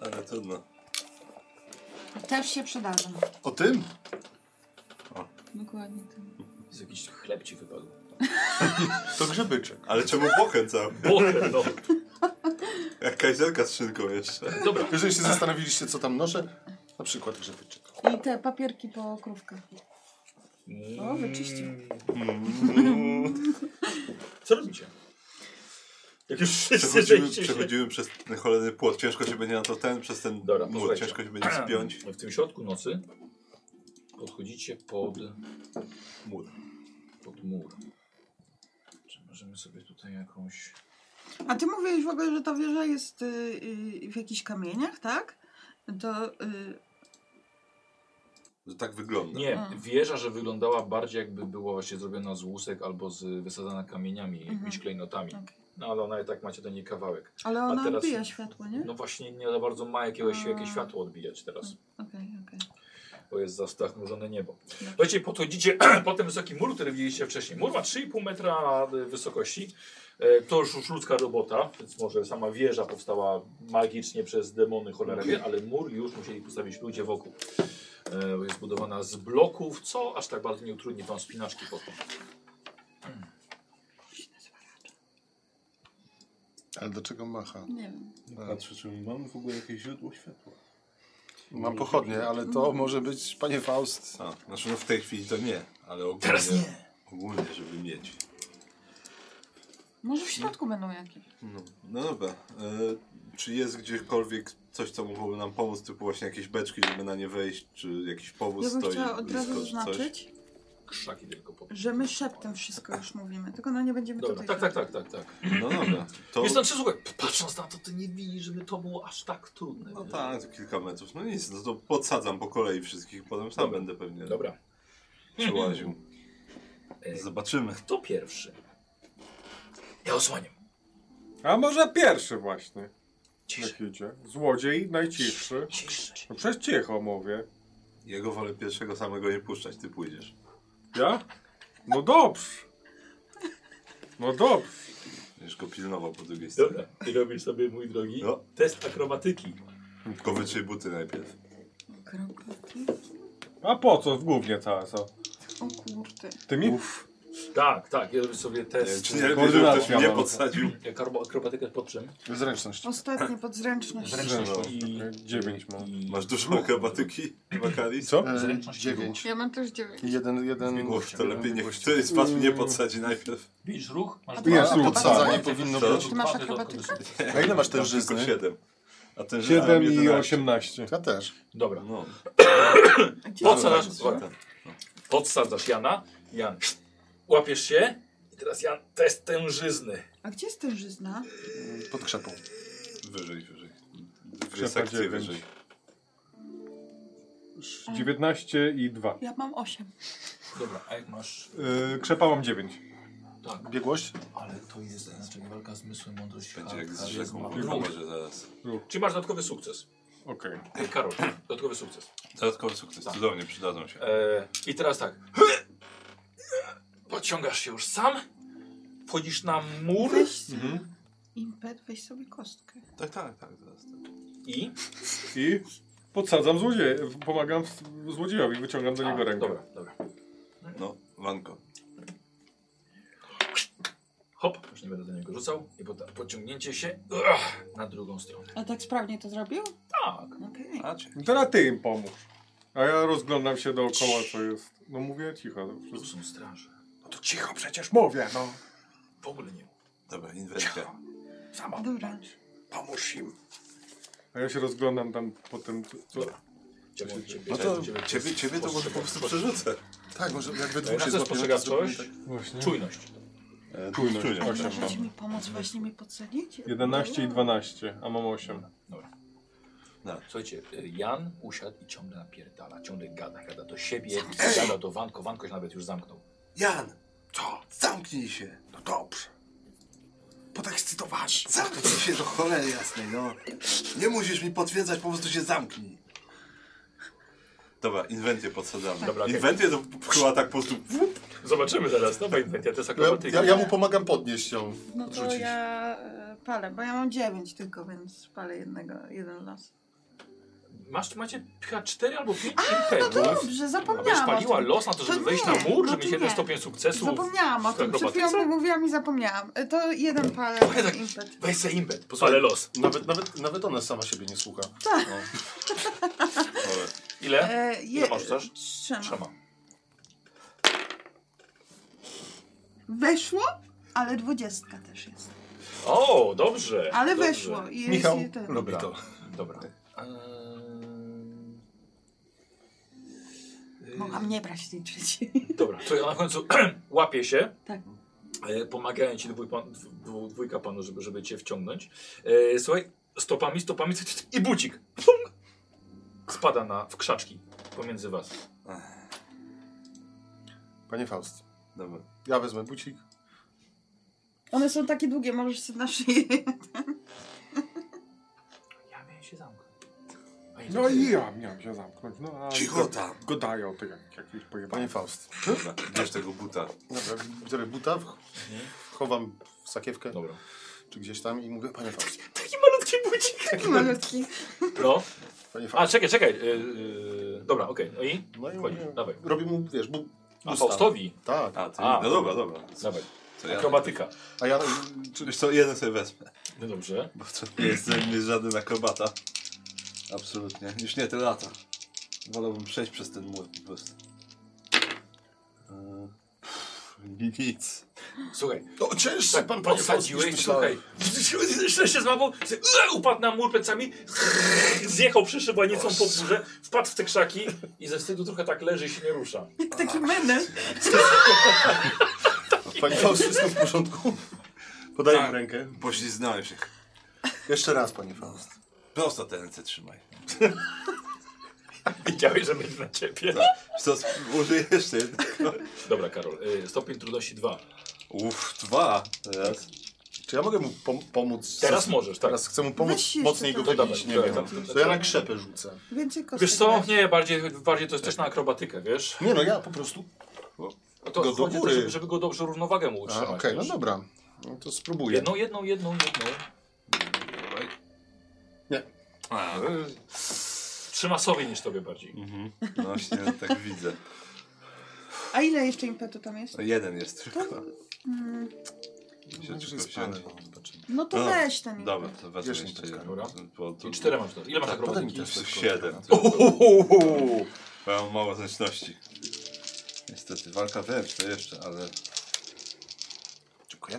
Speaker 5: Ale trudno.
Speaker 4: Też się przydadzą.
Speaker 2: O tym?
Speaker 7: Dokładnie tak.
Speaker 1: Z jakiś chleb ci wypadł.
Speaker 2: To grzybyczek.
Speaker 5: Ale czemu bochen cały?
Speaker 1: Boże, no.
Speaker 5: Jak kajzelka z szynką
Speaker 1: [laughs]
Speaker 5: jeszcze.
Speaker 1: Dobra.
Speaker 2: Jeżeli się zastanowiliście, co tam noszę, na przykład grzybyczek.
Speaker 4: I te papierki po krówkach.
Speaker 1: Mm.
Speaker 4: O, wyczyścił.
Speaker 1: Co robicie? Jak już wszyscy
Speaker 5: Przechodzimy,
Speaker 1: żeście się-
Speaker 5: przechodzimy przez ten cholerny płot. Ciężko się będzie na to ten, przez ten
Speaker 1: Dobra,
Speaker 5: mur.
Speaker 1: posłuchajcie.
Speaker 5: Ciężko się będzie spiąć.
Speaker 1: W tym środku nocy podchodzicie pod,
Speaker 5: Mur.
Speaker 1: pod mur. Czy możemy sobie tutaj jakąś...
Speaker 4: A ty mówiłeś w ogóle, że ta wieża jest y, y, w jakichś kamieniach, tak? To y,
Speaker 5: To tak wygląda.
Speaker 1: Nie,
Speaker 4: Mm.
Speaker 1: wieża, że wyglądała bardziej jakby była właśnie zrobiona z łusek albo z wysadzana kamieniami,
Speaker 4: Mhm.
Speaker 1: jakimiś klejnotami.
Speaker 4: Okej.
Speaker 1: No ale ona i tak macie do niej kawałek.
Speaker 4: Ale ona
Speaker 1: teraz-
Speaker 4: odbija światło, nie?
Speaker 1: No właśnie nie za bardzo ma jakiegoś,
Speaker 4: A.
Speaker 1: jakieś światło odbijać teraz.
Speaker 4: Okej, okej.
Speaker 1: bo jest za- zachmurzone niebo.
Speaker 4: No.
Speaker 1: Słuchajcie, podchodzicie [clears throat] po ten wysoki mur, który widzieliście wcześniej. Mur ma 3,5 metra y, wysokości. E, To już już ludzka robota, więc może sama wieża powstała magicznie przez demony cholera
Speaker 4: Mhm.
Speaker 1: wie, ale mur już musieli postawić ludzie wokół. E, bo Jest budowana z bloków, co aż tak bardzo nie utrudni wam spinaczki potem.
Speaker 2: Ale do czego macha?
Speaker 4: Nie wiem.
Speaker 5: Patrzę, czy mamy w ogóle jakieś źródło światła.
Speaker 2: Mam pochodnie, ale to może być, panie Faust.
Speaker 5: A, znaczy no w tej chwili to nie, ale ogólnie...
Speaker 1: Teraz nie.
Speaker 5: Ogólnie, żeby mieć.
Speaker 4: Może w środku będą jakieś.
Speaker 5: No, no dobra. E, czy jest gdziekolwiek coś, co mogłoby nam pomóc, typu właśnie jakieś beczki, żeby na nie wejść, czy jakiś powóz
Speaker 4: Ja bym
Speaker 5: stoi
Speaker 4: chciała od razu
Speaker 5: blisko, czy coś?
Speaker 4: zaznaczyć,
Speaker 1: Krzaki tylko po...
Speaker 4: że my szeptem wszystko już mówimy, tylko no nie będziemy
Speaker 1: Dobra,
Speaker 4: tutaj...
Speaker 1: tak, tak, tak, tak, tak.
Speaker 5: No dobra. To...
Speaker 1: Jest tam słuchaj, patrząc na to, ty nie widzisz, żeby to było aż tak trudne.
Speaker 5: No
Speaker 1: wiesz?
Speaker 5: tak, to kilka metrów. No nic, no to podsadzam po kolei wszystkich, potem sam
Speaker 1: Dobra.
Speaker 5: będę pewnie
Speaker 1: Dobra.
Speaker 5: przyłaził.
Speaker 1: Ej.
Speaker 5: Zobaczymy.
Speaker 1: Kto pierwszy? Ja osłaniam.
Speaker 6: A może pierwszy właśnie,
Speaker 1: Ciszy,
Speaker 6: jak idzie. Złodziej najcichszy.
Speaker 1: ciszy.
Speaker 6: No przecież cicho mówię.
Speaker 5: Jego wolę pierwszego samego nie puszczać, ty pójdziesz.
Speaker 6: Ja? No dobrze. No dobrze.
Speaker 5: Będziesz go pilnował po drugiej stronie.
Speaker 1: Dobra, ty robisz sobie, mój drogi,
Speaker 5: No.
Speaker 1: test akrobatyki.
Speaker 5: Tylko wytrzyj buty najpierw.
Speaker 4: Krokoty?
Speaker 6: A po co w głównie cała co?
Speaker 4: O kurde.
Speaker 6: Ty mi?
Speaker 1: Tak, tak, ja robię sobie
Speaker 5: Nie wiem,
Speaker 1: test.
Speaker 5: Czy nie lepiej, żeby
Speaker 6: Koordynacja
Speaker 5: ktoś mnie
Speaker 6: mam.
Speaker 5: podsadził?
Speaker 1: Jak arbo- akrobatykę pod czym?
Speaker 2: Zręczność.
Speaker 4: Ostatnie podręczność.
Speaker 1: Zręczność i...
Speaker 6: Dziewięć mam.
Speaker 1: i...
Speaker 5: no. Masz dużo akrobatyki, Bakaris?
Speaker 6: Co?
Speaker 2: E,
Speaker 1: Zręczność
Speaker 2: Dziewięć.
Speaker 4: Ja mam też dziewięć.
Speaker 2: Jeden, jeden.
Speaker 5: Głoś, to lepiej niech któryś z was mnie podsadzi najpierw.
Speaker 1: Widzisz ruch? Masz
Speaker 4: Widzisz
Speaker 2: ruch,
Speaker 4: podsadzanie
Speaker 2: powinno
Speaker 5: być.
Speaker 4: Ty masz
Speaker 1: Dwa dodatkowe
Speaker 4: akrobatykę?
Speaker 1: sukcesy.
Speaker 2: A ile masz
Speaker 5: Tam
Speaker 2: tężyzny?
Speaker 5: Tylko siedem. A ten
Speaker 6: Siedem i osiemnaście.
Speaker 2: Ja też.
Speaker 1: Dobra.
Speaker 5: No. tak,
Speaker 1: Podsadzasz,
Speaker 5: Dobra.
Speaker 1: podsadzasz Jana. Jan, łapiesz się. I teraz Jan, test tężyzny.
Speaker 4: A gdzie jest tężyzna?
Speaker 2: Pod krzepą.
Speaker 5: Wyżej, wyżej. Dwie
Speaker 6: Krzepa
Speaker 5: sekcje
Speaker 6: dziewięć.
Speaker 5: wyżej.
Speaker 6: Dziewiętnaście i dwa.
Speaker 4: Ja mam osiem.
Speaker 1: Dobra, a jak masz...
Speaker 6: Yy, krzepa mam dziewięć.
Speaker 1: Tak.
Speaker 2: Biegłość?
Speaker 1: Ale to jest znaczenie walka z zmysłem, mądrość,
Speaker 5: Będzie jak z
Speaker 1: charyzma,
Speaker 5: rzeką.
Speaker 1: ruch.
Speaker 5: Może zaraz.
Speaker 1: Czyli masz dodatkowy sukces.
Speaker 6: Okej.
Speaker 1: Ej, Karol, dodatkowy sukces.
Speaker 5: Dodatkowy sukces,
Speaker 1: Tak.
Speaker 5: cudownie, przydadzą się.
Speaker 1: E, I teraz tak. Pociągasz się już sam. Wchodzisz na mur
Speaker 4: Weź
Speaker 6: Mhm.
Speaker 4: impet, weź sobie kostkę.
Speaker 5: Tak, tak, tak, zaraz. tak.
Speaker 1: i...
Speaker 6: I podsadzam złodzieja. Pomagam w- złodziejowi, wyciągam do niego
Speaker 1: A,
Speaker 6: rękę.
Speaker 1: Dobra, dobra.
Speaker 5: No, Wanko.
Speaker 1: Hop, już nie będę do niego rzucał. I potem pociągnięcie się ugh, na drugą stronę.
Speaker 4: A tak sprawnie to zrobił?
Speaker 1: Tak.
Speaker 4: Okej.
Speaker 5: Macie.
Speaker 6: No Teraz ty im pomóż. A ja rozglądam się dookoła, co jest. No mówię cicho. to
Speaker 1: Tu
Speaker 6: wszystko.
Speaker 1: są straże.
Speaker 6: No to cicho przecież mówię, no.
Speaker 1: W ogóle nie.
Speaker 5: Dobra, inwencja.
Speaker 1: Sama.
Speaker 4: Dobra.
Speaker 1: Pomóż im.
Speaker 6: A ja się rozglądam tam po tym, co- co...
Speaker 1: Ciebie, ciebie,
Speaker 2: No to
Speaker 1: ciebie,
Speaker 5: Ciebie, ciebie to może po prostu przerzucę.
Speaker 2: Tak, może jak we
Speaker 1: Na
Speaker 2: dwóch
Speaker 1: co
Speaker 2: się złapiemy,
Speaker 1: jest
Speaker 2: to
Speaker 1: postrzegawczość?
Speaker 2: zrobimy
Speaker 5: tak?
Speaker 6: Właśnie.
Speaker 1: Czujność.
Speaker 5: Czujność.
Speaker 4: A
Speaker 1: tak
Speaker 5: Czujność.
Speaker 4: możecie mi pomóc właśnie mi podsadzić?
Speaker 6: 11 i 12, a mam 8.
Speaker 1: Dobra.
Speaker 5: No.
Speaker 1: Słuchajcie, y, Jan usiadł i ciągle napierdala, ciągle gada, gada do siebie, gada do Wanko, Wanko się nawet już zamknął.
Speaker 5: Jan! Co? Zamknij się! No dobrze. Podekscytowałeś. Zamknij się do cholery jasnej, no. Nie musisz mi potwierdzać, po prostu się zamknij. Dobra, inwencję podsadzamy.
Speaker 1: Dobra, okej.
Speaker 5: inwencję to chyba tak po prostu...
Speaker 1: Zobaczymy teraz, no bo inwentia to jest
Speaker 2: tak. Ja, ja, ja mu pomagam podnieść ją.
Speaker 4: No to
Speaker 2: Rzucić.
Speaker 4: ja e, palę, bo ja mam dziewięć tylko, więc palę jednego, jeden los.
Speaker 1: Masz, macie chyba 4 albo 5 impetów.
Speaker 4: no Dobrze,
Speaker 1: Będziesz
Speaker 4: zapomniałam. o
Speaker 1: paliła
Speaker 4: tym.
Speaker 1: los na to, żeby
Speaker 4: To
Speaker 1: wejść
Speaker 4: nie,
Speaker 1: na mur, żeby
Speaker 4: no to
Speaker 1: mieć jeden
Speaker 4: nie.
Speaker 1: stopień sukcesu.
Speaker 4: Zapomniałam o
Speaker 1: w
Speaker 4: tym. Przed chwilą
Speaker 1: akrobatyce?
Speaker 4: mówiłam i zapomniałam. E, To jeden palę
Speaker 1: Ojej, tak.
Speaker 4: impet.
Speaker 1: Weź sobie impet, ale los.
Speaker 2: Nawet, nawet, nawet ona sama siebie nie słucha.
Speaker 5: Dobra.
Speaker 1: Ile?
Speaker 4: E,
Speaker 1: Ile masz też?
Speaker 4: Trzema.
Speaker 1: Trzema.
Speaker 4: Weszło, ale dwudziestka też jest.
Speaker 1: O, dobrze.
Speaker 4: Ale
Speaker 1: dobrze.
Speaker 4: weszło. i Jest
Speaker 2: Michał
Speaker 4: i ten.
Speaker 2: lubi to.
Speaker 1: Dobra.
Speaker 4: Mogłam nie brać liczyć.
Speaker 1: Dobra, to ja na końcu [clears throat] łapię się.
Speaker 4: Tak.
Speaker 1: E, Pomagają ci dwój pan, dwu- dwójka panu, żeby, żeby cię wciągnąć. E, słuchaj, stopami, stopami i bucik. Pum! Spada na, w krzaczki pomiędzy was.
Speaker 2: Panie Faust,
Speaker 5: Dobra.
Speaker 2: ja wezmę bucik.
Speaker 4: [laughs] One są takie długie, możesz sobie na szyję.
Speaker 1: Ja miałem się zamknąć.
Speaker 6: No i ja miałem się zamknąć. No, a
Speaker 5: Cicho tam.
Speaker 6: Godają to jak, jakieś pojebanie.
Speaker 2: Panie Faust.
Speaker 5: Dobra, bierz tego buta.
Speaker 2: Dobra, biorę buta, wch- chowam w sakiewkę
Speaker 1: Dobra.
Speaker 2: czy gdzieś tam i mówię, panie Faust,
Speaker 1: Taki malutki bucik.
Speaker 4: Taki malutki.
Speaker 1: No.
Speaker 2: panie
Speaker 1: A,
Speaker 2: Faust.
Speaker 1: czekaj, czekaj. E, e, dobra, okej. No i?
Speaker 2: No i
Speaker 1: Wchodzisz,
Speaker 2: mówię,
Speaker 1: dawaj.
Speaker 2: robię mu, wiesz, bu,
Speaker 1: A
Speaker 2: busta.
Speaker 1: Faustowi?
Speaker 2: Tak.
Speaker 5: A, ty,
Speaker 1: A.
Speaker 5: no dobra, dobra.
Speaker 1: Dawaj.
Speaker 5: To ja,
Speaker 1: Akrobatyka.
Speaker 2: A ja...
Speaker 5: wiesz co, jeden sobie wezmę.
Speaker 1: No dobrze.
Speaker 5: Bo to nie jest ze mnie żaden akrobata. Absolutnie. Już nie te lata. Wolałbym przejść przez ten mur po prostu. Eee, pff, Nic.
Speaker 1: Słuchaj,
Speaker 2: O, No, cięższy
Speaker 1: tak
Speaker 2: pan,
Speaker 1: pan
Speaker 2: panie
Speaker 1: podsadziłeś,
Speaker 2: Polski, myślałem.
Speaker 1: słuchaj. Szczęście złapał, se- upadł na mur plecami, zjechał przyszybanicą po górze, wpadł w te krzaki i ze wstydu trochę tak leży i się nie rusza.
Speaker 4: Taki menel.
Speaker 2: Pani Faust, wszystko w porządku?
Speaker 6: Podaję
Speaker 5: Tak.
Speaker 6: mu rękę.
Speaker 5: Pośliznąłem się.
Speaker 2: Jeszcze raz, panie Faust.
Speaker 5: Prosto te ręce trzymaj.
Speaker 1: Wiedziałeś, że będzie na ciebie.
Speaker 5: Wiesz Co, sp- użyję jeszcze jednego.
Speaker 1: No. Dobra, Karol, y, stopień trudności 2.
Speaker 5: Uff, dwa. Teraz.
Speaker 2: Czy ja mogę mu pom pomóc?
Speaker 1: Teraz możesz, tak.
Speaker 2: Teraz chcę mu pomóc
Speaker 4: Weź jeszcze
Speaker 2: mocniej go
Speaker 4: tak.
Speaker 2: wydawać,
Speaker 1: To
Speaker 2: nie
Speaker 1: dawaj,
Speaker 2: wiem.
Speaker 1: to- to-
Speaker 2: To ja na krzepę rzucę.
Speaker 4: Więcej kostek.
Speaker 1: Wiesz co?
Speaker 4: weź.
Speaker 1: Nie, bardziej, bardziej to jest też na akrobatykę, wiesz?
Speaker 2: Nie no, ja po prostu...
Speaker 1: A To
Speaker 2: Go do
Speaker 1: chodzi o to,
Speaker 2: góry.
Speaker 1: żeby, żeby go dobrze równowagę mu
Speaker 2: A,
Speaker 1: utrzymać.
Speaker 2: Okej, no
Speaker 1: wiesz?
Speaker 2: dobra. No to spróbuję.
Speaker 1: Jedną, jedną, jedną, jedną.
Speaker 2: Nie.
Speaker 5: A,
Speaker 1: Trzyma sobie y, niż tobie bardziej.
Speaker 5: mhm. No właśnie, tak widzę.
Speaker 4: A ile jeszcze impetu tam jest?
Speaker 5: No, jeden jest tylko.
Speaker 4: Mm,
Speaker 5: Się
Speaker 2: Może
Speaker 5: tylko
Speaker 2: No, jest
Speaker 5: wziąć.
Speaker 2: pan, zobaczymy.
Speaker 4: No to
Speaker 5: No,
Speaker 4: weź ten impet.
Speaker 5: Dobra, to wezmę
Speaker 2: Jeszcze
Speaker 5: jeszcze
Speaker 2: taka,
Speaker 5: jeden.
Speaker 1: dobra.
Speaker 5: Bo to-
Speaker 1: I cztery masz. Ile masz
Speaker 2: Podaj mi
Speaker 1: akrobatyki?
Speaker 2: też
Speaker 5: to
Speaker 2: wszystko.
Speaker 5: siedem.
Speaker 2: Uhuhu!
Speaker 5: Bo ja mam mało zręczności. Niestety, walka wręcz to jeszcze, ale
Speaker 2: Dziękuję.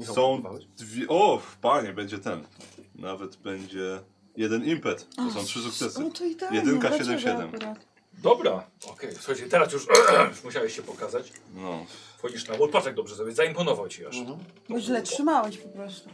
Speaker 2: Michał,
Speaker 5: są
Speaker 2: próbowałeś?
Speaker 5: dwie... O, panie, będzie ten. Nawet będzie jeden impet. To są trzy sukcesy.
Speaker 4: No to idealnie.
Speaker 5: Jedynka,
Speaker 4: dlaczego
Speaker 5: siedem, siedem.
Speaker 4: akurat?
Speaker 1: Dobra, okej, słuchajcie, teraz już [clears throat] musiałeś się pokazać.
Speaker 5: No,
Speaker 1: Wchodzisz na mur, patrz jak dobrze sobie, zaimponował ci aż. No,
Speaker 4: Bo Mhm. źle trzymałeś po prostu.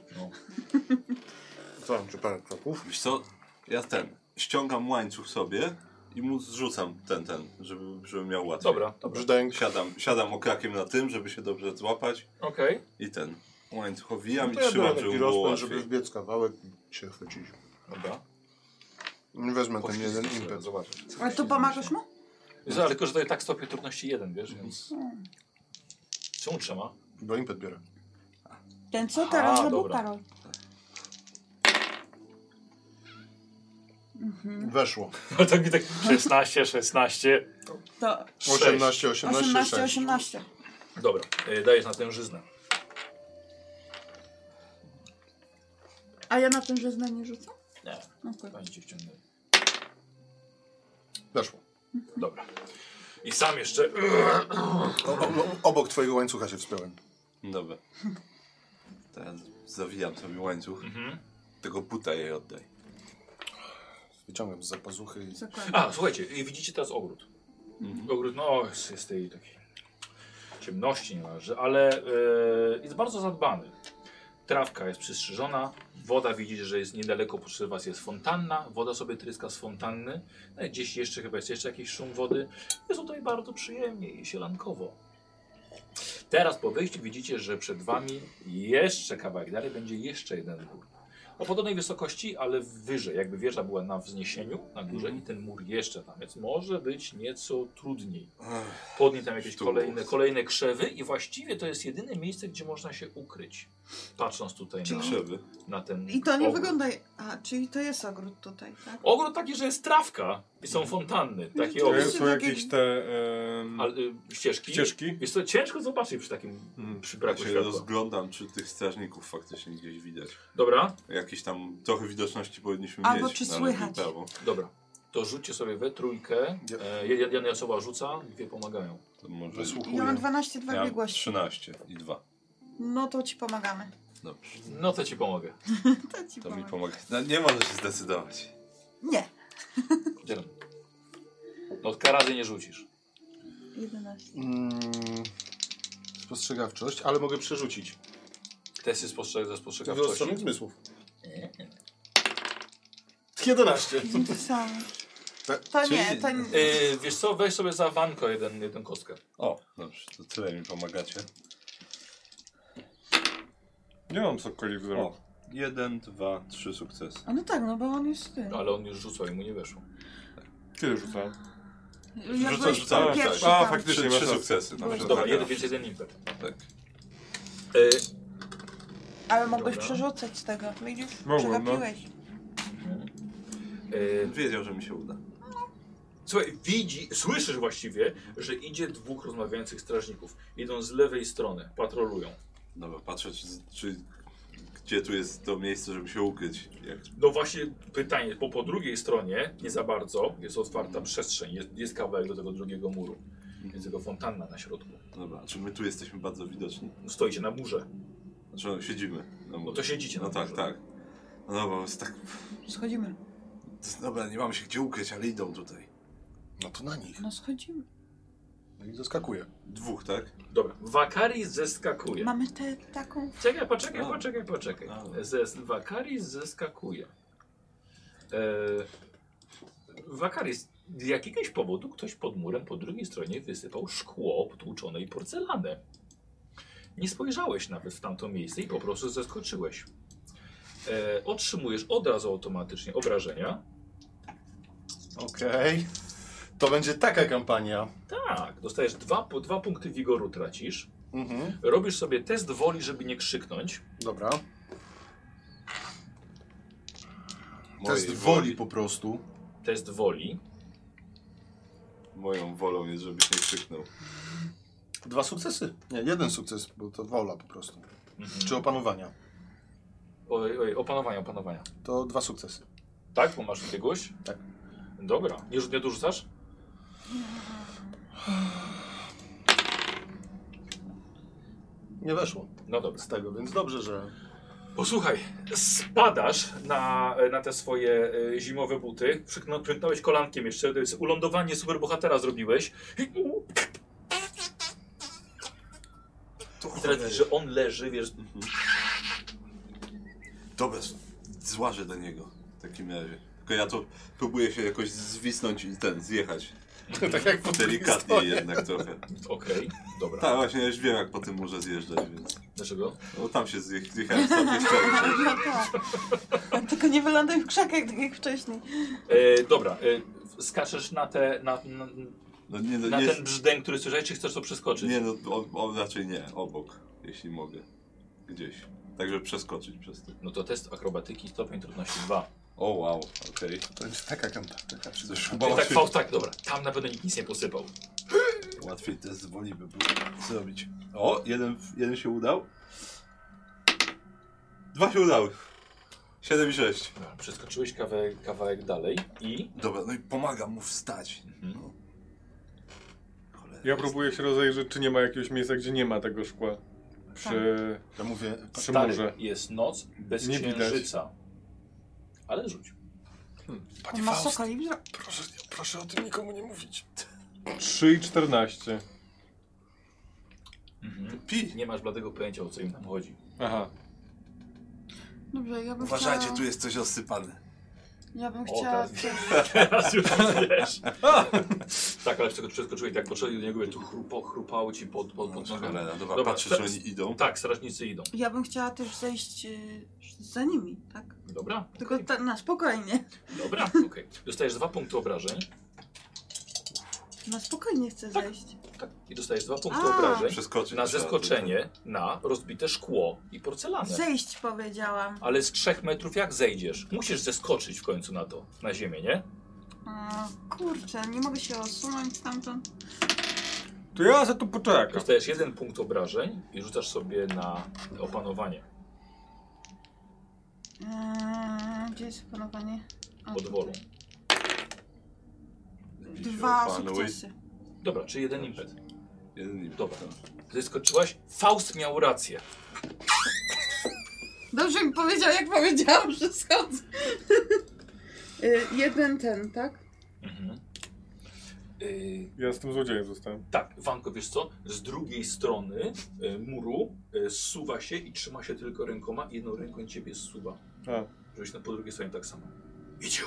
Speaker 2: Co, czy parę kroków?
Speaker 5: wiesz co? Ja ten, ściągam łańcuch sobie i mu zrzucam ten, ten, żeby, żeby miał
Speaker 1: no,
Speaker 5: łatwiej.
Speaker 1: Dobra, dobra.
Speaker 2: Brzdęk.
Speaker 5: Siadam, siadam okrakiem na tym, żeby się dobrze złapać
Speaker 1: Okej,
Speaker 5: i ten łańcuch owijam
Speaker 2: No
Speaker 5: i
Speaker 2: To ja
Speaker 5: trzymam,
Speaker 2: biorę
Speaker 5: żeby
Speaker 2: taki
Speaker 5: mu było
Speaker 2: rozpęd,
Speaker 5: łatwiej.
Speaker 2: żeby wbiec kawałek i się chwycić.
Speaker 1: dobra.
Speaker 2: Nie Wezmę ten
Speaker 1: Poślizgnij
Speaker 2: jeden
Speaker 1: się,
Speaker 2: impet.
Speaker 1: Zobaczysz.
Speaker 4: Ale to pomagasz mu?
Speaker 1: Za- Ale tylko, że to i tak stopień trudności jeden, wiesz, więc...
Speaker 4: Hmm.
Speaker 1: Czemu trzyma? [laughs]
Speaker 2: Bo impet biorę.
Speaker 4: Ten co
Speaker 1: Aha,
Speaker 4: teraz robił
Speaker 1: dobra.
Speaker 4: Karol?
Speaker 2: Weszło.
Speaker 1: Ale tak mi tak 16, 16,
Speaker 4: To
Speaker 2: 18, 18,
Speaker 4: 18,
Speaker 2: 18
Speaker 4: 18.
Speaker 1: Dobra, y, dajesz na tę żyznę.
Speaker 4: A ja na tym żeznę nie rzucam? No
Speaker 1: Nie,
Speaker 4: Okej.
Speaker 1: pani cię wciągnęli.
Speaker 2: Weszło.
Speaker 1: Dobra. I sam jeszcze...
Speaker 2: O, o, obok twojego łańcucha się wspiąłem.
Speaker 5: No Dobra. Teraz zawijam sobie łańcuch.
Speaker 1: Mhm.
Speaker 5: Tego buta jej oddaj.
Speaker 2: Wyciągam z zapazuchy i...
Speaker 4: Zakładam.
Speaker 1: A, słuchajcie, y, widzicie teraz ogród. Ogród, no, jest, jest tej takiej ciemności niemalże, ale y, jest bardzo zadbany. Trawka jest przystrzyżona, woda widzicie, że jest niedaleko przy was jest fontanna, woda sobie tryska z fontanny, no i gdzieś jeszcze chyba jest jeszcze jakiś szum wody. Jest tutaj bardzo przyjemnie i sielankowo. Teraz po wyjściu widzicie, że przed wami jeszcze kawałek dalej będzie jeszcze jeden mur. O podobnej wysokości, ale wyżej, jakby wieża była na wzniesieniu, na górze
Speaker 5: Mhm.
Speaker 1: i ten mur jeszcze tam, więc może być nieco trudniej.
Speaker 5: Ech,
Speaker 1: Podnie tam jakieś
Speaker 5: Tu.
Speaker 1: kolejne, kolejne krzewy i właściwie to jest jedyne miejsce, gdzie można się ukryć, patrząc tutaj na,
Speaker 5: Krzewy.
Speaker 1: na ten
Speaker 4: I to nie
Speaker 1: ogród.
Speaker 4: wygląda. A, czyli to jest ogród tutaj, tak?
Speaker 1: Ogród taki, że jest trawka i są fontanny, takie
Speaker 6: To
Speaker 1: ogród.
Speaker 4: jest-
Speaker 6: są jakieś te em,
Speaker 1: Ale, y, ścieżki.
Speaker 6: ścieżki.
Speaker 1: Jest to ciężko zobaczyć przy takim
Speaker 6: Mm.
Speaker 1: przy
Speaker 5: Mhm. Ja
Speaker 1: braku
Speaker 5: się
Speaker 1: światła.
Speaker 5: rozglądam, czy tych strażników faktycznie gdzieś widać.
Speaker 1: Dobra,
Speaker 5: Jakieś tam trochę widoczności powinniśmy mieć.
Speaker 4: Albo czy
Speaker 5: na lewo i
Speaker 4: słychać.
Speaker 5: prawo.
Speaker 1: dobra. To rzućcie sobie we trójkę.
Speaker 2: Ja-
Speaker 1: E, jed- jedna osoba rzuca, dwie pomagają.
Speaker 5: To może...
Speaker 4: Ja mam
Speaker 2: Wysłuchuję.
Speaker 4: 12,
Speaker 5: Ja
Speaker 4: 2
Speaker 5: mam
Speaker 4: biegłości.
Speaker 5: 13 i 2.
Speaker 4: No to ci pomagamy.
Speaker 5: Dobrze,
Speaker 1: No to ci pomogę.
Speaker 4: To ci
Speaker 5: to mi
Speaker 4: pomagamy.
Speaker 5: pomaga. No, nie może się zdecydować.
Speaker 4: Nie.
Speaker 1: Dzielam. No od karazy nie rzucisz.
Speaker 4: 11. [laughs]
Speaker 2: Mm, spostrzegawczość, ale mogę przerzucić.
Speaker 1: Testy spostrzeg ze
Speaker 2: Wyostrzonych
Speaker 1: spostrzegawczości.
Speaker 2: zmysłów.
Speaker 1: Nie.
Speaker 2: 11.
Speaker 4: To samo.
Speaker 2: Ta-
Speaker 4: To
Speaker 5: czyli-
Speaker 4: nie, to nie.
Speaker 1: E, wiesz co, weź sobie za wanko jeden, jedną kostkę.
Speaker 5: O, dobrze, to tyle mi pomagacie.
Speaker 6: Nie mam cokolwiek w zero.
Speaker 5: O, 1, 2, 3 sukcesy.
Speaker 4: A no tak, no bo on jest ty.
Speaker 1: No ale on już rzucał i mu nie weszło.
Speaker 6: Kiedy rzucałem?
Speaker 4: Ja
Speaker 5: Rzucam,
Speaker 4: byłeś
Speaker 5: rzucam,
Speaker 4: pierwszy
Speaker 5: rzucam.
Speaker 4: tam.
Speaker 6: A, faktycznie.
Speaker 5: 3,
Speaker 6: masz
Speaker 5: 3
Speaker 6: rację.
Speaker 5: sukcesy. na
Speaker 4: Dobra,
Speaker 5: przykład.
Speaker 1: Dobra, jeden, więc jeden impet.
Speaker 5: Tak.
Speaker 1: E,
Speaker 4: Ale mogłeś
Speaker 1: Dobra.
Speaker 4: przerzucać z tego, widzisz?
Speaker 6: Mogłem, no.
Speaker 4: Przegapiłeś.
Speaker 1: e,
Speaker 5: Wiedział, że mi się uda.
Speaker 1: Słuchaj, widzi, słyszysz właściwie, że idzie dwóch rozmawiających strażników. Idą z lewej strony, patrolują.
Speaker 5: Dobra, patrzę, czy, czy, gdzie tu jest to miejsce, żeby się ukryć. Jak,
Speaker 1: No właśnie pytanie, bo po drugiej stronie nie za bardzo jest otwarta przestrzeń, jest, jest kawałek do tego drugiego muru. Jest tylko fontanna na środku.
Speaker 5: dobra, czy my tu jesteśmy bardzo widoczni?
Speaker 1: No Stoicie na murze.
Speaker 5: Znaczy, no, siedzimy. na
Speaker 1: No
Speaker 5: murze.
Speaker 1: to siedzicie na
Speaker 5: No tak,
Speaker 1: murze.
Speaker 5: tak. No dobra, jest tak...
Speaker 4: Schodzimy.
Speaker 5: Dobra, nie mamy się gdzie ukryć, ale idą tutaj.
Speaker 2: No to na nich.
Speaker 7: No schodzimy.
Speaker 2: No i zaskakuje.
Speaker 5: Dwóch, tak?
Speaker 1: Dobra, Wakaris zeskakuje.
Speaker 4: Mamy tę taką
Speaker 1: Czekaj, poczekaj,
Speaker 5: No.
Speaker 1: poczekaj, poczekaj.
Speaker 5: No.
Speaker 1: Zes, Wakaris zeskakuje. E, Wakaris, z jakiegoś powodu ktoś pod murem po drugiej stronie wysypał szkło obtłuczone i porcelanę. Nie spojrzałeś nawet w tamto miejsce i po prostu zeskoczyłeś. E, otrzymujesz od razu automatycznie obrażenia.
Speaker 2: Okej. To będzie taka kampania.
Speaker 1: Tak, dostajesz dwa, po dwa punkty wigoru tracisz.
Speaker 2: Mhm.
Speaker 1: Robisz sobie test woli, żeby nie krzyknąć.
Speaker 2: Dobra.
Speaker 5: Mojej
Speaker 2: Test woli po prostu.
Speaker 1: Test woli.
Speaker 5: Moją wolą jest, żebyś nie krzyknął.
Speaker 2: Dwa sukcesy. Nie, jeden sukces, bo to wola po prostu.
Speaker 1: Mhm.
Speaker 2: Czy opanowania.
Speaker 1: Oj, oj, opanowania, opanowania.
Speaker 2: To dwa sukcesy.
Speaker 1: Tak, bo masz jakiegoś?
Speaker 2: Tak.
Speaker 1: Dobra. Nie, rzu- nie dorzucasz?
Speaker 2: Nie weszło
Speaker 1: No dobra.
Speaker 2: z tego, więc dobrze, że...
Speaker 1: Posłuchaj, spadasz na, na te swoje e, zimowe buty, przyknął- przyknąłeś kolankiem jeszcze, to jest ulądowanie superbohatera zrobiłeś. I u- I teraz widzisz, że on leży, wiesz,
Speaker 5: Dobra, z- złażę do niego w takim razie. Tylko ja to próbuję się jakoś zwisnąć i ten, zjechać.
Speaker 2: tak [laughs] jak po
Speaker 5: Delikatnie jednak trochę.
Speaker 1: okej, dobra.
Speaker 5: Tak, właśnie ja już wiem jak po tym może zjeżdżać, więc...
Speaker 1: Dlaczego?
Speaker 5: No tam się zje- zjechałem sam nie chciałem.
Speaker 4: No tak. Tylko nie wylądaj w krzakach, tak jak wcześniej.
Speaker 1: E, dobra, e, skaczesz na, te, na, na,
Speaker 5: No nie, no,
Speaker 1: na
Speaker 5: nie,
Speaker 1: ten brzdęk, który słyszałeś, czy chcesz to przeskoczyć?
Speaker 5: nie, no on, on raczej nie, obok, jeśli mogę. Gdzieś. Także przeskoczyć przez to.
Speaker 1: No to test akrobatyki, stopień trudności 2.
Speaker 5: O wow, okej.
Speaker 2: To jest taka kampania.
Speaker 5: Coś
Speaker 1: I
Speaker 5: chyba
Speaker 1: tak,
Speaker 5: łatwiej,
Speaker 1: Faust, tak, dobra, tam na pewno nikt nic nie posypał.
Speaker 5: łatwiej test woli by było zrobić. O, jeden, jeden się udał. Dwa się udały. Siedem i sześć.
Speaker 1: Dobra, Przeskoczyłeś kawałek, kawałek dalej i...
Speaker 5: Dobra, no i pomagam mu wstać. No. Cholera.
Speaker 6: Ja próbuję się rozejrzeć, czy nie ma jakiegoś miejsca, gdzie nie ma tego szkła. Przy,
Speaker 2: Ja mówię,
Speaker 6: przy
Speaker 1: Stary,
Speaker 6: murze.
Speaker 1: jest noc bez
Speaker 6: Nie widać.
Speaker 1: księżyca. Ale rzuć.
Speaker 2: panie
Speaker 4: On ma
Speaker 2: Faust,
Speaker 4: soka libra.
Speaker 2: proszę, proszę o tym nikomu nie mówić.
Speaker 6: 3 i 14.
Speaker 5: Pi.
Speaker 1: Nie masz bladego pojęcia, o co im tam chodzi. [laughs]
Speaker 6: Aha.
Speaker 4: Dobrze, ja bym
Speaker 5: Uważajcie,
Speaker 4: chciała...
Speaker 5: tu jest coś osypane.
Speaker 4: Ja bym
Speaker 1: O,
Speaker 4: chciała...
Speaker 1: teraz, teraz już wiesz. [laughs] tak, ale tylko przeskoczyłeś, tak podszedł do niego, mówię, tu chrupo, chrupało ci pod, pod,
Speaker 5: No,
Speaker 1: pod nogami.
Speaker 5: Cholera, dobra,
Speaker 1: Dobra,
Speaker 5: patrzę, czy
Speaker 1: teraz-
Speaker 5: oni idą.
Speaker 1: Tak, strażnicy idą.
Speaker 4: Ja bym chciała też zejść y, za nimi, tak?
Speaker 1: Dobra,
Speaker 4: Tylko
Speaker 1: okej.
Speaker 4: ta, na spokojnie.
Speaker 1: dobra,
Speaker 4: [laughs]
Speaker 1: okej. Dostajesz dwa punkty obrażeń.
Speaker 4: Na spokojnie chcę
Speaker 1: Tak.
Speaker 4: zejść.
Speaker 1: Tak, i dostajesz dwa punkty
Speaker 4: A.
Speaker 1: obrażeń
Speaker 5: Przeskoczyć.
Speaker 1: na
Speaker 5: trzeba
Speaker 1: zeskoczenie
Speaker 6: tak.
Speaker 1: na rozbite szkło i porcelanę.
Speaker 4: Zejść powiedziałam.
Speaker 1: Ale z trzech metrów jak zejdziesz? Musisz zeskoczyć w końcu na to, na ziemię, nie?
Speaker 4: A, kurczę, nie mogę się osunąć stamtąd.
Speaker 6: To ja za to poczekam.
Speaker 1: Dostajesz jeden punkt obrażeń i rzucasz sobie na opanowanie,
Speaker 4: Eee, gdzie jest panowanie? A,
Speaker 1: pod wolą.
Speaker 5: tutaj.
Speaker 4: Dwa
Speaker 5: Panuj.
Speaker 4: sukcesy.
Speaker 1: Dobra, czy jeden impet.
Speaker 5: Jeden impet.
Speaker 1: Dobra. Zeskoczyłaś? Faust miał rację.
Speaker 4: Dobrze mi powiedział, jak powiedziałam, że schodzę. Y, Jeden ten, tak?
Speaker 1: Mhm. Yy,
Speaker 6: Ja z tym złodziejem zostałem.
Speaker 1: tak, Wanko, wiesz co? Z drugiej strony y, muru y, zsuwa się i trzyma się tylko rękoma i jedną ręką ciebie zsuwa.
Speaker 6: A.
Speaker 1: Żebyś na po drugiej stronie tak samo. Idź ją,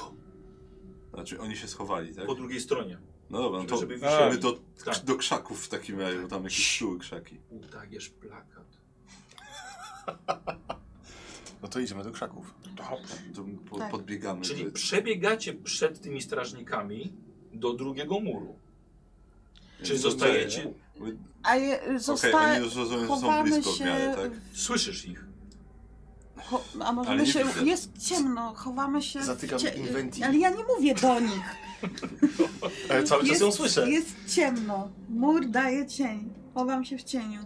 Speaker 5: Znaczy oni się schowali, tak?
Speaker 1: po drugiej stronie.
Speaker 5: No dobra, no to
Speaker 1: Żeby
Speaker 5: idziemy
Speaker 1: wisieli.
Speaker 5: do,
Speaker 1: Tak.
Speaker 5: do krzaków w takim razie, bo tam jakieś czuły krzaki.
Speaker 1: Udajesz plakat.
Speaker 2: No to idziemy do krzaków.
Speaker 5: To po,
Speaker 4: Tak.
Speaker 5: podbiegamy.
Speaker 1: Czyli
Speaker 5: do-
Speaker 1: przebiegacie przed tymi strażnikami do drugiego muru. Czy
Speaker 5: Dobrze.
Speaker 1: zostajecie?
Speaker 5: Okej,
Speaker 4: A je,
Speaker 5: oni już rozumiem, że są
Speaker 4: chowamy
Speaker 5: blisko w
Speaker 4: się
Speaker 5: miarę, tak?
Speaker 1: Słyszysz ich.
Speaker 4: Cho- a może
Speaker 5: Ale
Speaker 4: my
Speaker 5: nie
Speaker 4: się.
Speaker 5: widzę.
Speaker 4: Jest ciemno, chowamy się. w
Speaker 2: Zatykam
Speaker 4: cie-
Speaker 2: inwentiv.
Speaker 4: Ale ja nie mówię do nich.
Speaker 2: Ale E, cały czas
Speaker 4: Jest-
Speaker 2: ją słyszę.
Speaker 4: Jest ciemno. Mur daje cień. Chowam się w cieniu.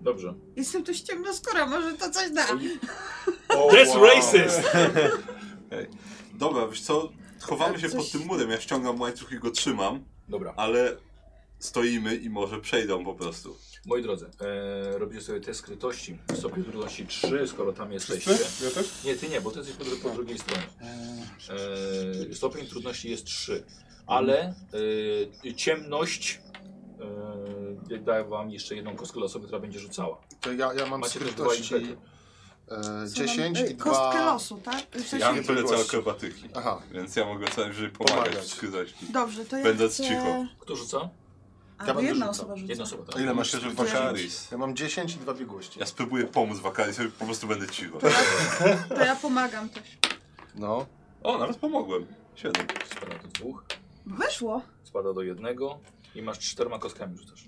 Speaker 1: Dobrze.
Speaker 4: Jestem tu ciemno skóra, może to coś da.
Speaker 1: That's racist!
Speaker 5: Dobra, wiesz co? Chowamy się
Speaker 4: Coś-
Speaker 5: pod tym murem. Ja ściągam łańcuch i go trzymam,
Speaker 1: Dobra,
Speaker 5: ale stoimy i może przejdą po prostu.
Speaker 1: moi drodzy, e, robicie sobie test skrytości. Stopień trudności 3, skoro tam jesteście.
Speaker 6: Wszyscy? Ja też?
Speaker 1: Nie, ty nie, bo ty jesteś po, dru- po drugiej stronie. E, stopień trudności jest 3, ale e, ciemność e, daje wam jeszcze jedną kostkę losu, która będzie rzucała.
Speaker 2: To ja, ja mam
Speaker 1: Macie też dwa
Speaker 2: skryptości
Speaker 1: impety.
Speaker 2: e,
Speaker 4: Co mam-
Speaker 2: 10
Speaker 4: y,
Speaker 2: i 2...
Speaker 4: Kostkę losu, tak? W sensie-
Speaker 5: Ja tyle co
Speaker 2: Biegłości.
Speaker 5: akrobatyki,
Speaker 2: Aha,
Speaker 5: więc ja mogę co najwyżej pomagać
Speaker 2: Pomagać.
Speaker 5: w skrytości.
Speaker 4: Dobrze, to ja
Speaker 5: Będąc
Speaker 4: chcę...
Speaker 5: cicho.
Speaker 1: Kto rzuca?
Speaker 4: Albo
Speaker 2: będę
Speaker 4: jedna
Speaker 2: rzucał.
Speaker 4: osoba rzuca.
Speaker 1: Jedna osoba,
Speaker 2: A
Speaker 1: tak?
Speaker 2: ile masz
Speaker 5: Myślę, że
Speaker 2: jeszcze?
Speaker 5: Wakaris.
Speaker 2: Ja mam 10 i 2 biegłości.
Speaker 5: Ja spróbuję pomóc Wakaris, po prostu będę cicho.
Speaker 4: To ja pomagam też.
Speaker 2: No.
Speaker 5: O, nawet pomogłem. Siedem.
Speaker 1: Spada do dwóch,
Speaker 4: Wyszło.
Speaker 1: spada do jednego i masz czterema kostkami rzucasz.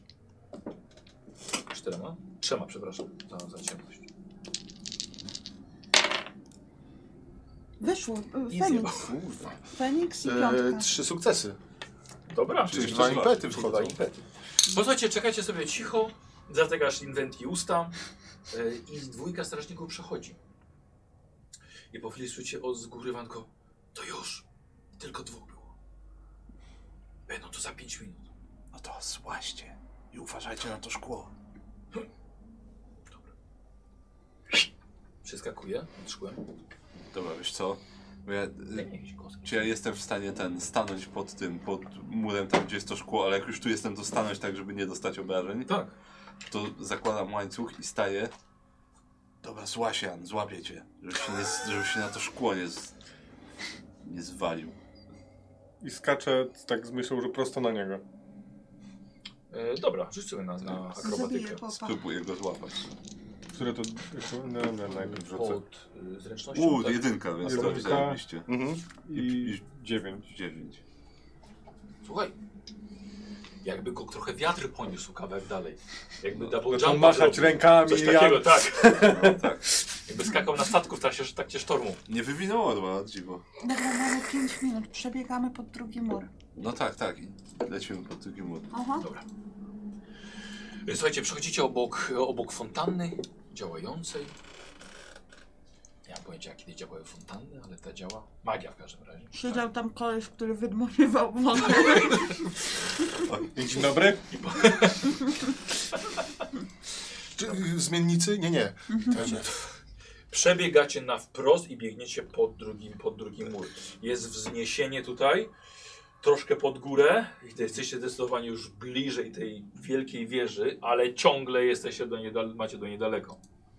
Speaker 1: Czterema? Trzema, przepraszam, za, za ciemność.
Speaker 4: Wyszło.
Speaker 1: I
Speaker 4: y, Feniks.
Speaker 2: Kurwa.
Speaker 4: Feniks i
Speaker 2: E,
Speaker 4: piątka.
Speaker 2: trzy sukcesy.
Speaker 1: Dobra,
Speaker 2: Czyli
Speaker 5: Czyli
Speaker 2: dwa
Speaker 5: dwa.
Speaker 2: impety
Speaker 1: Czyli dwa
Speaker 2: wchodzą.
Speaker 1: impety. Posłuchajcie, czekajcie sobie cicho, zategasz inwent i usta y, i dwójka strażników przechodzi. I po chwili słyszycie od z góry wanko, to już, tylko dwóch było. Będą to za pięć minut.
Speaker 8: No to złaście i uważajcie na to szkło.
Speaker 1: Przeskakuje pod szkłem.
Speaker 5: Dobra, wiesz co? Bo Ja, y,
Speaker 1: Jakiś kostek.
Speaker 5: czy ja jestem w stanie ten stanąć pod tym, pod murem tam, gdzie jest to szkło, ale jak już tu jestem, to stanąć tak, żeby nie dostać obrażeń.
Speaker 1: Tak.
Speaker 5: To zakładam łańcuch i staję. Dobra, złasian, złapię cię. Żeby się, nie, z- żeby się na to szkło nie, z, nie zwalił.
Speaker 6: I skaczę tak z myślą, że prosto na niego.
Speaker 1: E, dobra, rzuć sobie na, na
Speaker 4: Zabiję
Speaker 1: akrobatykę.
Speaker 4: popa.
Speaker 5: Spróbuję go złapać.
Speaker 6: Które to... No, no, najpierw rzucę.
Speaker 1: Pod y, zręcznością.
Speaker 5: Uuu,
Speaker 1: tak.
Speaker 5: jedynka, więc to
Speaker 6: Jedynka.
Speaker 5: zajebiście.
Speaker 2: Mhm.
Speaker 6: I dziewięć.
Speaker 5: Dziewięć.
Speaker 1: Słuchaj, jakby go trochę wiatr poniósł kawałek dalej. Jakby double
Speaker 6: No
Speaker 1: no,
Speaker 6: to
Speaker 1: jump
Speaker 6: machać rękami.
Speaker 1: Coś
Speaker 6: ja-
Speaker 1: takiego,
Speaker 6: [laughs]
Speaker 1: tak.
Speaker 5: No, tak.
Speaker 1: Jakby skakał na statku w trakcie, w trakcie sztormu.
Speaker 5: Nie wywinęło dwa, dziwo.
Speaker 4: Dobra, mamy 5 minut. Przebiegamy pod drugi mur.
Speaker 5: No tak, tak. I lecimy po drugim mur.
Speaker 4: Aha.
Speaker 1: Dobra. Słuchajcie, przechodzicie obok, obok fontanny działającej. Nie mam pojęcia, kiedy działały fontanny, ale ta działa. Magia w każdym razie.
Speaker 4: Siedział tam koleś, który wydmuchiwał wodę.
Speaker 6: Dzień dobry.
Speaker 2: Czy, zmiennicy? Nie, nie.
Speaker 4: Mhm.
Speaker 1: Przebiegacie na wprost i biegniecie pod drugim, pod drugim mur. Jest wzniesienie tutaj, troszkę pod górę. I to Jesteście zdecydowanie już bliżej tej wielkiej wieży, ale ciągle jesteście do niej, dal- macie do niej daleko.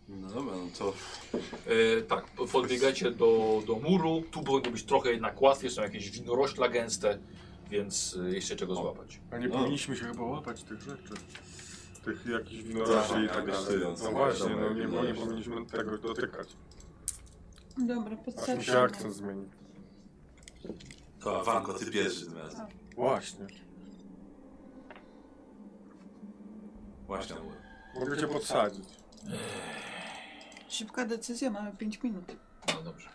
Speaker 5: No dobra, no to
Speaker 1: E, tak, po- podbiegacie do, do muru. Tu powinno być trochę jednak łatwiej, są jakieś winorośla gęste, więc e, jeszcze czego złapać.
Speaker 6: A nie
Speaker 5: No.
Speaker 6: powinniśmy się chyba łapać tych rzeczy. Tych jakichś winorośli i tak
Speaker 5: Tak,
Speaker 6: dalej.
Speaker 5: tak,
Speaker 6: No
Speaker 5: tak,
Speaker 6: właśnie,
Speaker 5: tak,
Speaker 6: no
Speaker 5: tak,
Speaker 6: nie,
Speaker 5: tak,
Speaker 6: bo nie
Speaker 5: tak.
Speaker 6: powinniśmy tego dotykać.
Speaker 4: Dobra,
Speaker 6: Aż mi
Speaker 4: podstawmy.
Speaker 6: się akcent zmieni.
Speaker 5: To Wanko, ty pierwszy tym razem.
Speaker 6: Właśnie.
Speaker 5: Właśnie.
Speaker 6: Mogę cię podsadzić.
Speaker 4: Szybka decyzja, mamy 5 minut.
Speaker 1: No dobrze.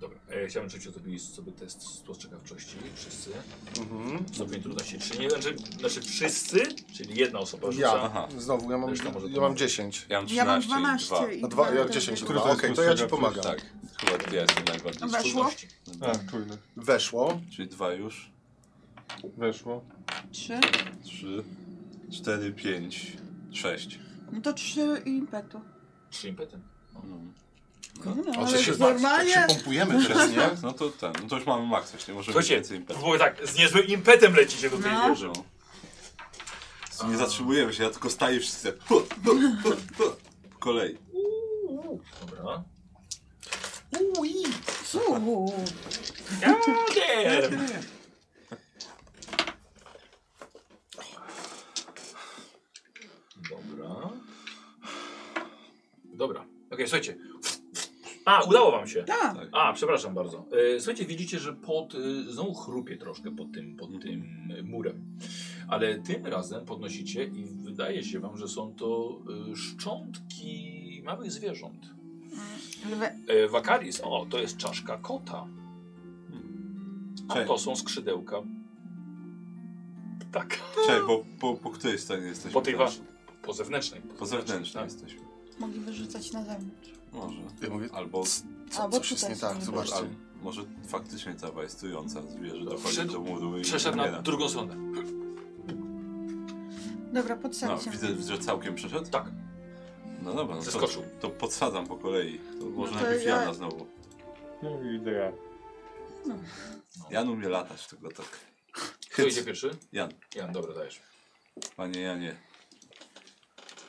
Speaker 1: Dobra, e, chciałbym, żebyście zrobili sobie test spostrzegawczości, wszyscy.
Speaker 2: Mhm.
Speaker 1: Stopień trudności 3, nie, znaczy, znaczy wszyscy, czyli jedna osoba rzuca.
Speaker 2: Ja.
Speaker 5: Aha.
Speaker 2: Znowu, ja mam,
Speaker 1: Zresztą może to
Speaker 2: ja mam
Speaker 1: może.
Speaker 2: 10.
Speaker 5: Ja mam 13
Speaker 4: Ja mam
Speaker 5: i dwa.
Speaker 4: 12 i
Speaker 2: A No dwa,
Speaker 4: dwa
Speaker 2: ja
Speaker 4: też
Speaker 2: 10 i
Speaker 4: nie
Speaker 6: Który
Speaker 2: dwa.
Speaker 6: to
Speaker 2: Okej,
Speaker 6: jest
Speaker 2: to ja ci
Speaker 6: plus
Speaker 2: pomagam.
Speaker 5: Tak, chyba dwie jestem najbardziej.
Speaker 4: No Weszło?
Speaker 1: Trudności.
Speaker 6: Tak, czujny.
Speaker 2: Weszło.
Speaker 5: Czyli dwa już.
Speaker 6: Weszło.
Speaker 4: Trzy.
Speaker 5: Trzy, cztery, pięć, sześć.
Speaker 4: No to trzy i impetu.
Speaker 1: Trzy impety.
Speaker 4: Kurna,
Speaker 2: O,
Speaker 4: No, ale
Speaker 2: się, tak
Speaker 4: normalnie.
Speaker 2: się pompujemy teraz, nie?
Speaker 5: No to ten, no to już mamy maks właśnie, możemy mieć
Speaker 1: Słuchajcie,
Speaker 5: więcej impetu.
Speaker 1: próbuję tak, z niezłym impetem lecicie do tej
Speaker 4: No.
Speaker 1: wieży.
Speaker 5: No. Nie zatrzymujemy się, ja tylko staję wszyscy. tak, hu, hu, hu, hu. Po kolei.
Speaker 1: Dobra.
Speaker 4: Uuu.
Speaker 1: Ja, nie. Dobra. Dobra. Okej, słuchajcie. A, udało wam się.
Speaker 4: Tak.
Speaker 1: A, przepraszam bardzo. E, słuchajcie, widzicie, że pod, e, znowu chrupie troszkę pod tym, pod tym e, murem. Ale tym razem podnosicie i wydaje się wam, że są to e, szczątki małych zwierząt.
Speaker 4: Lwy.
Speaker 1: E, Wakaris, o, to jest czaszka kota. A
Speaker 5: Cześć.
Speaker 1: to są skrzydełka. Tak,
Speaker 5: Czekaj, bo po, po której stronie jesteśmy?
Speaker 1: po tej
Speaker 5: teraz?
Speaker 1: waszej, Tak. po zewnętrznej.
Speaker 5: Po zewnętrznej jesteśmy.
Speaker 4: Mogli wyrzucać na zewnątrz.
Speaker 5: Może.
Speaker 2: Ja mówię,
Speaker 5: Albo,
Speaker 4: A,
Speaker 2: co,
Speaker 4: bo
Speaker 2: coś jest
Speaker 4: tutaj
Speaker 2: nie
Speaker 4: są
Speaker 2: tak,
Speaker 4: duże.
Speaker 5: może,
Speaker 2: zobaczcie.
Speaker 5: al, może faktycznie ta wajstująca zwierzę dochodzi
Speaker 1: Wszedł-
Speaker 5: do muru i
Speaker 1: Przeszedł na
Speaker 5: umiera.
Speaker 1: drugą stronę.
Speaker 4: Dobra,
Speaker 5: No,
Speaker 4: podsadźcie.
Speaker 5: widzę, że całkiem przeszedł?
Speaker 1: Tak.
Speaker 5: No dobra, no to,
Speaker 1: Zeskoczył.
Speaker 5: to podsadzam po kolei. To może
Speaker 4: No to
Speaker 5: najpierw
Speaker 4: ja-
Speaker 5: Jana znowu.
Speaker 6: No i idę ja.
Speaker 5: Jan umie latać, tylko tak.
Speaker 1: Kto idzie pierwszy?
Speaker 5: Jan,
Speaker 1: Jan, dobra, dajesz.
Speaker 5: panie Janie.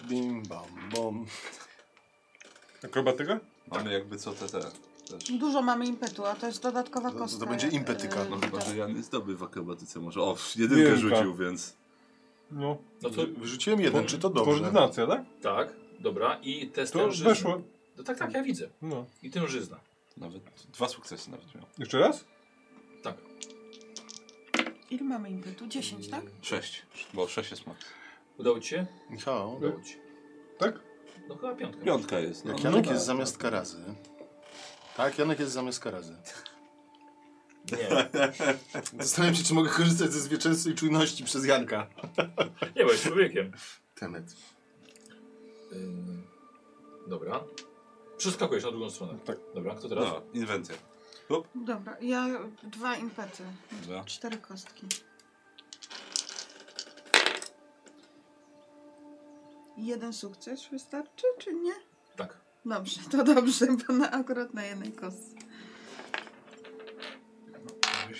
Speaker 2: Bim, bam, bom.
Speaker 6: Akrobatyka?
Speaker 5: Mamy jakby co te, te też.
Speaker 4: Dużo mamy impetu, a to jest dodatkowa
Speaker 2: To- to
Speaker 4: kostka.
Speaker 2: będzie impetyka.
Speaker 4: y,
Speaker 5: No
Speaker 4: do-
Speaker 5: chyba, że Jan jest dobry w akrobatyce może. O, jedynkę
Speaker 6: Jedynka.
Speaker 5: rzucił, więc...
Speaker 6: No.
Speaker 1: No to
Speaker 2: Wyrzuciłem jeden, czy to dobrze?
Speaker 6: Koordynacja, tak?
Speaker 1: tak, dobra. I test
Speaker 6: To
Speaker 1: tężyzny.
Speaker 6: weszło.
Speaker 1: No tak, tak, ja widzę.
Speaker 6: No.
Speaker 1: I tężyzna.
Speaker 5: Nawet dwa sukcesy nawet miał.
Speaker 6: Jeszcze raz?
Speaker 1: Tak.
Speaker 4: Ile mamy impetu? 10, tak?
Speaker 5: Sześć, bo sześć jest max.
Speaker 1: Udało ci się?
Speaker 2: Michał,
Speaker 1: Udało ci się.
Speaker 6: Tak?
Speaker 1: No chyba piątka.
Speaker 5: Piątka jest. No.
Speaker 2: jak Janek jest zamiast karazy. Tak, Janek jest zamiast karazy.
Speaker 1: Nie,
Speaker 2: Zastanawiam się, czy mogę korzystać ze zwycięstwa i czujności przez Janka.
Speaker 1: nie, bo jest człowiekiem.
Speaker 2: Tenet.
Speaker 1: Ym, Dobra. Przeskakujesz na drugą stronę.
Speaker 6: Tak.
Speaker 1: Dobra, kto teraz?
Speaker 5: No, inwencja.
Speaker 4: Dobra, ja dwa impety.
Speaker 5: Dobra.
Speaker 4: Cztery kostki. Jeden sukces wystarczy, czy nie?
Speaker 1: Tak.
Speaker 4: Dobrze, to dobrze, bo na, akurat na jednej kostce.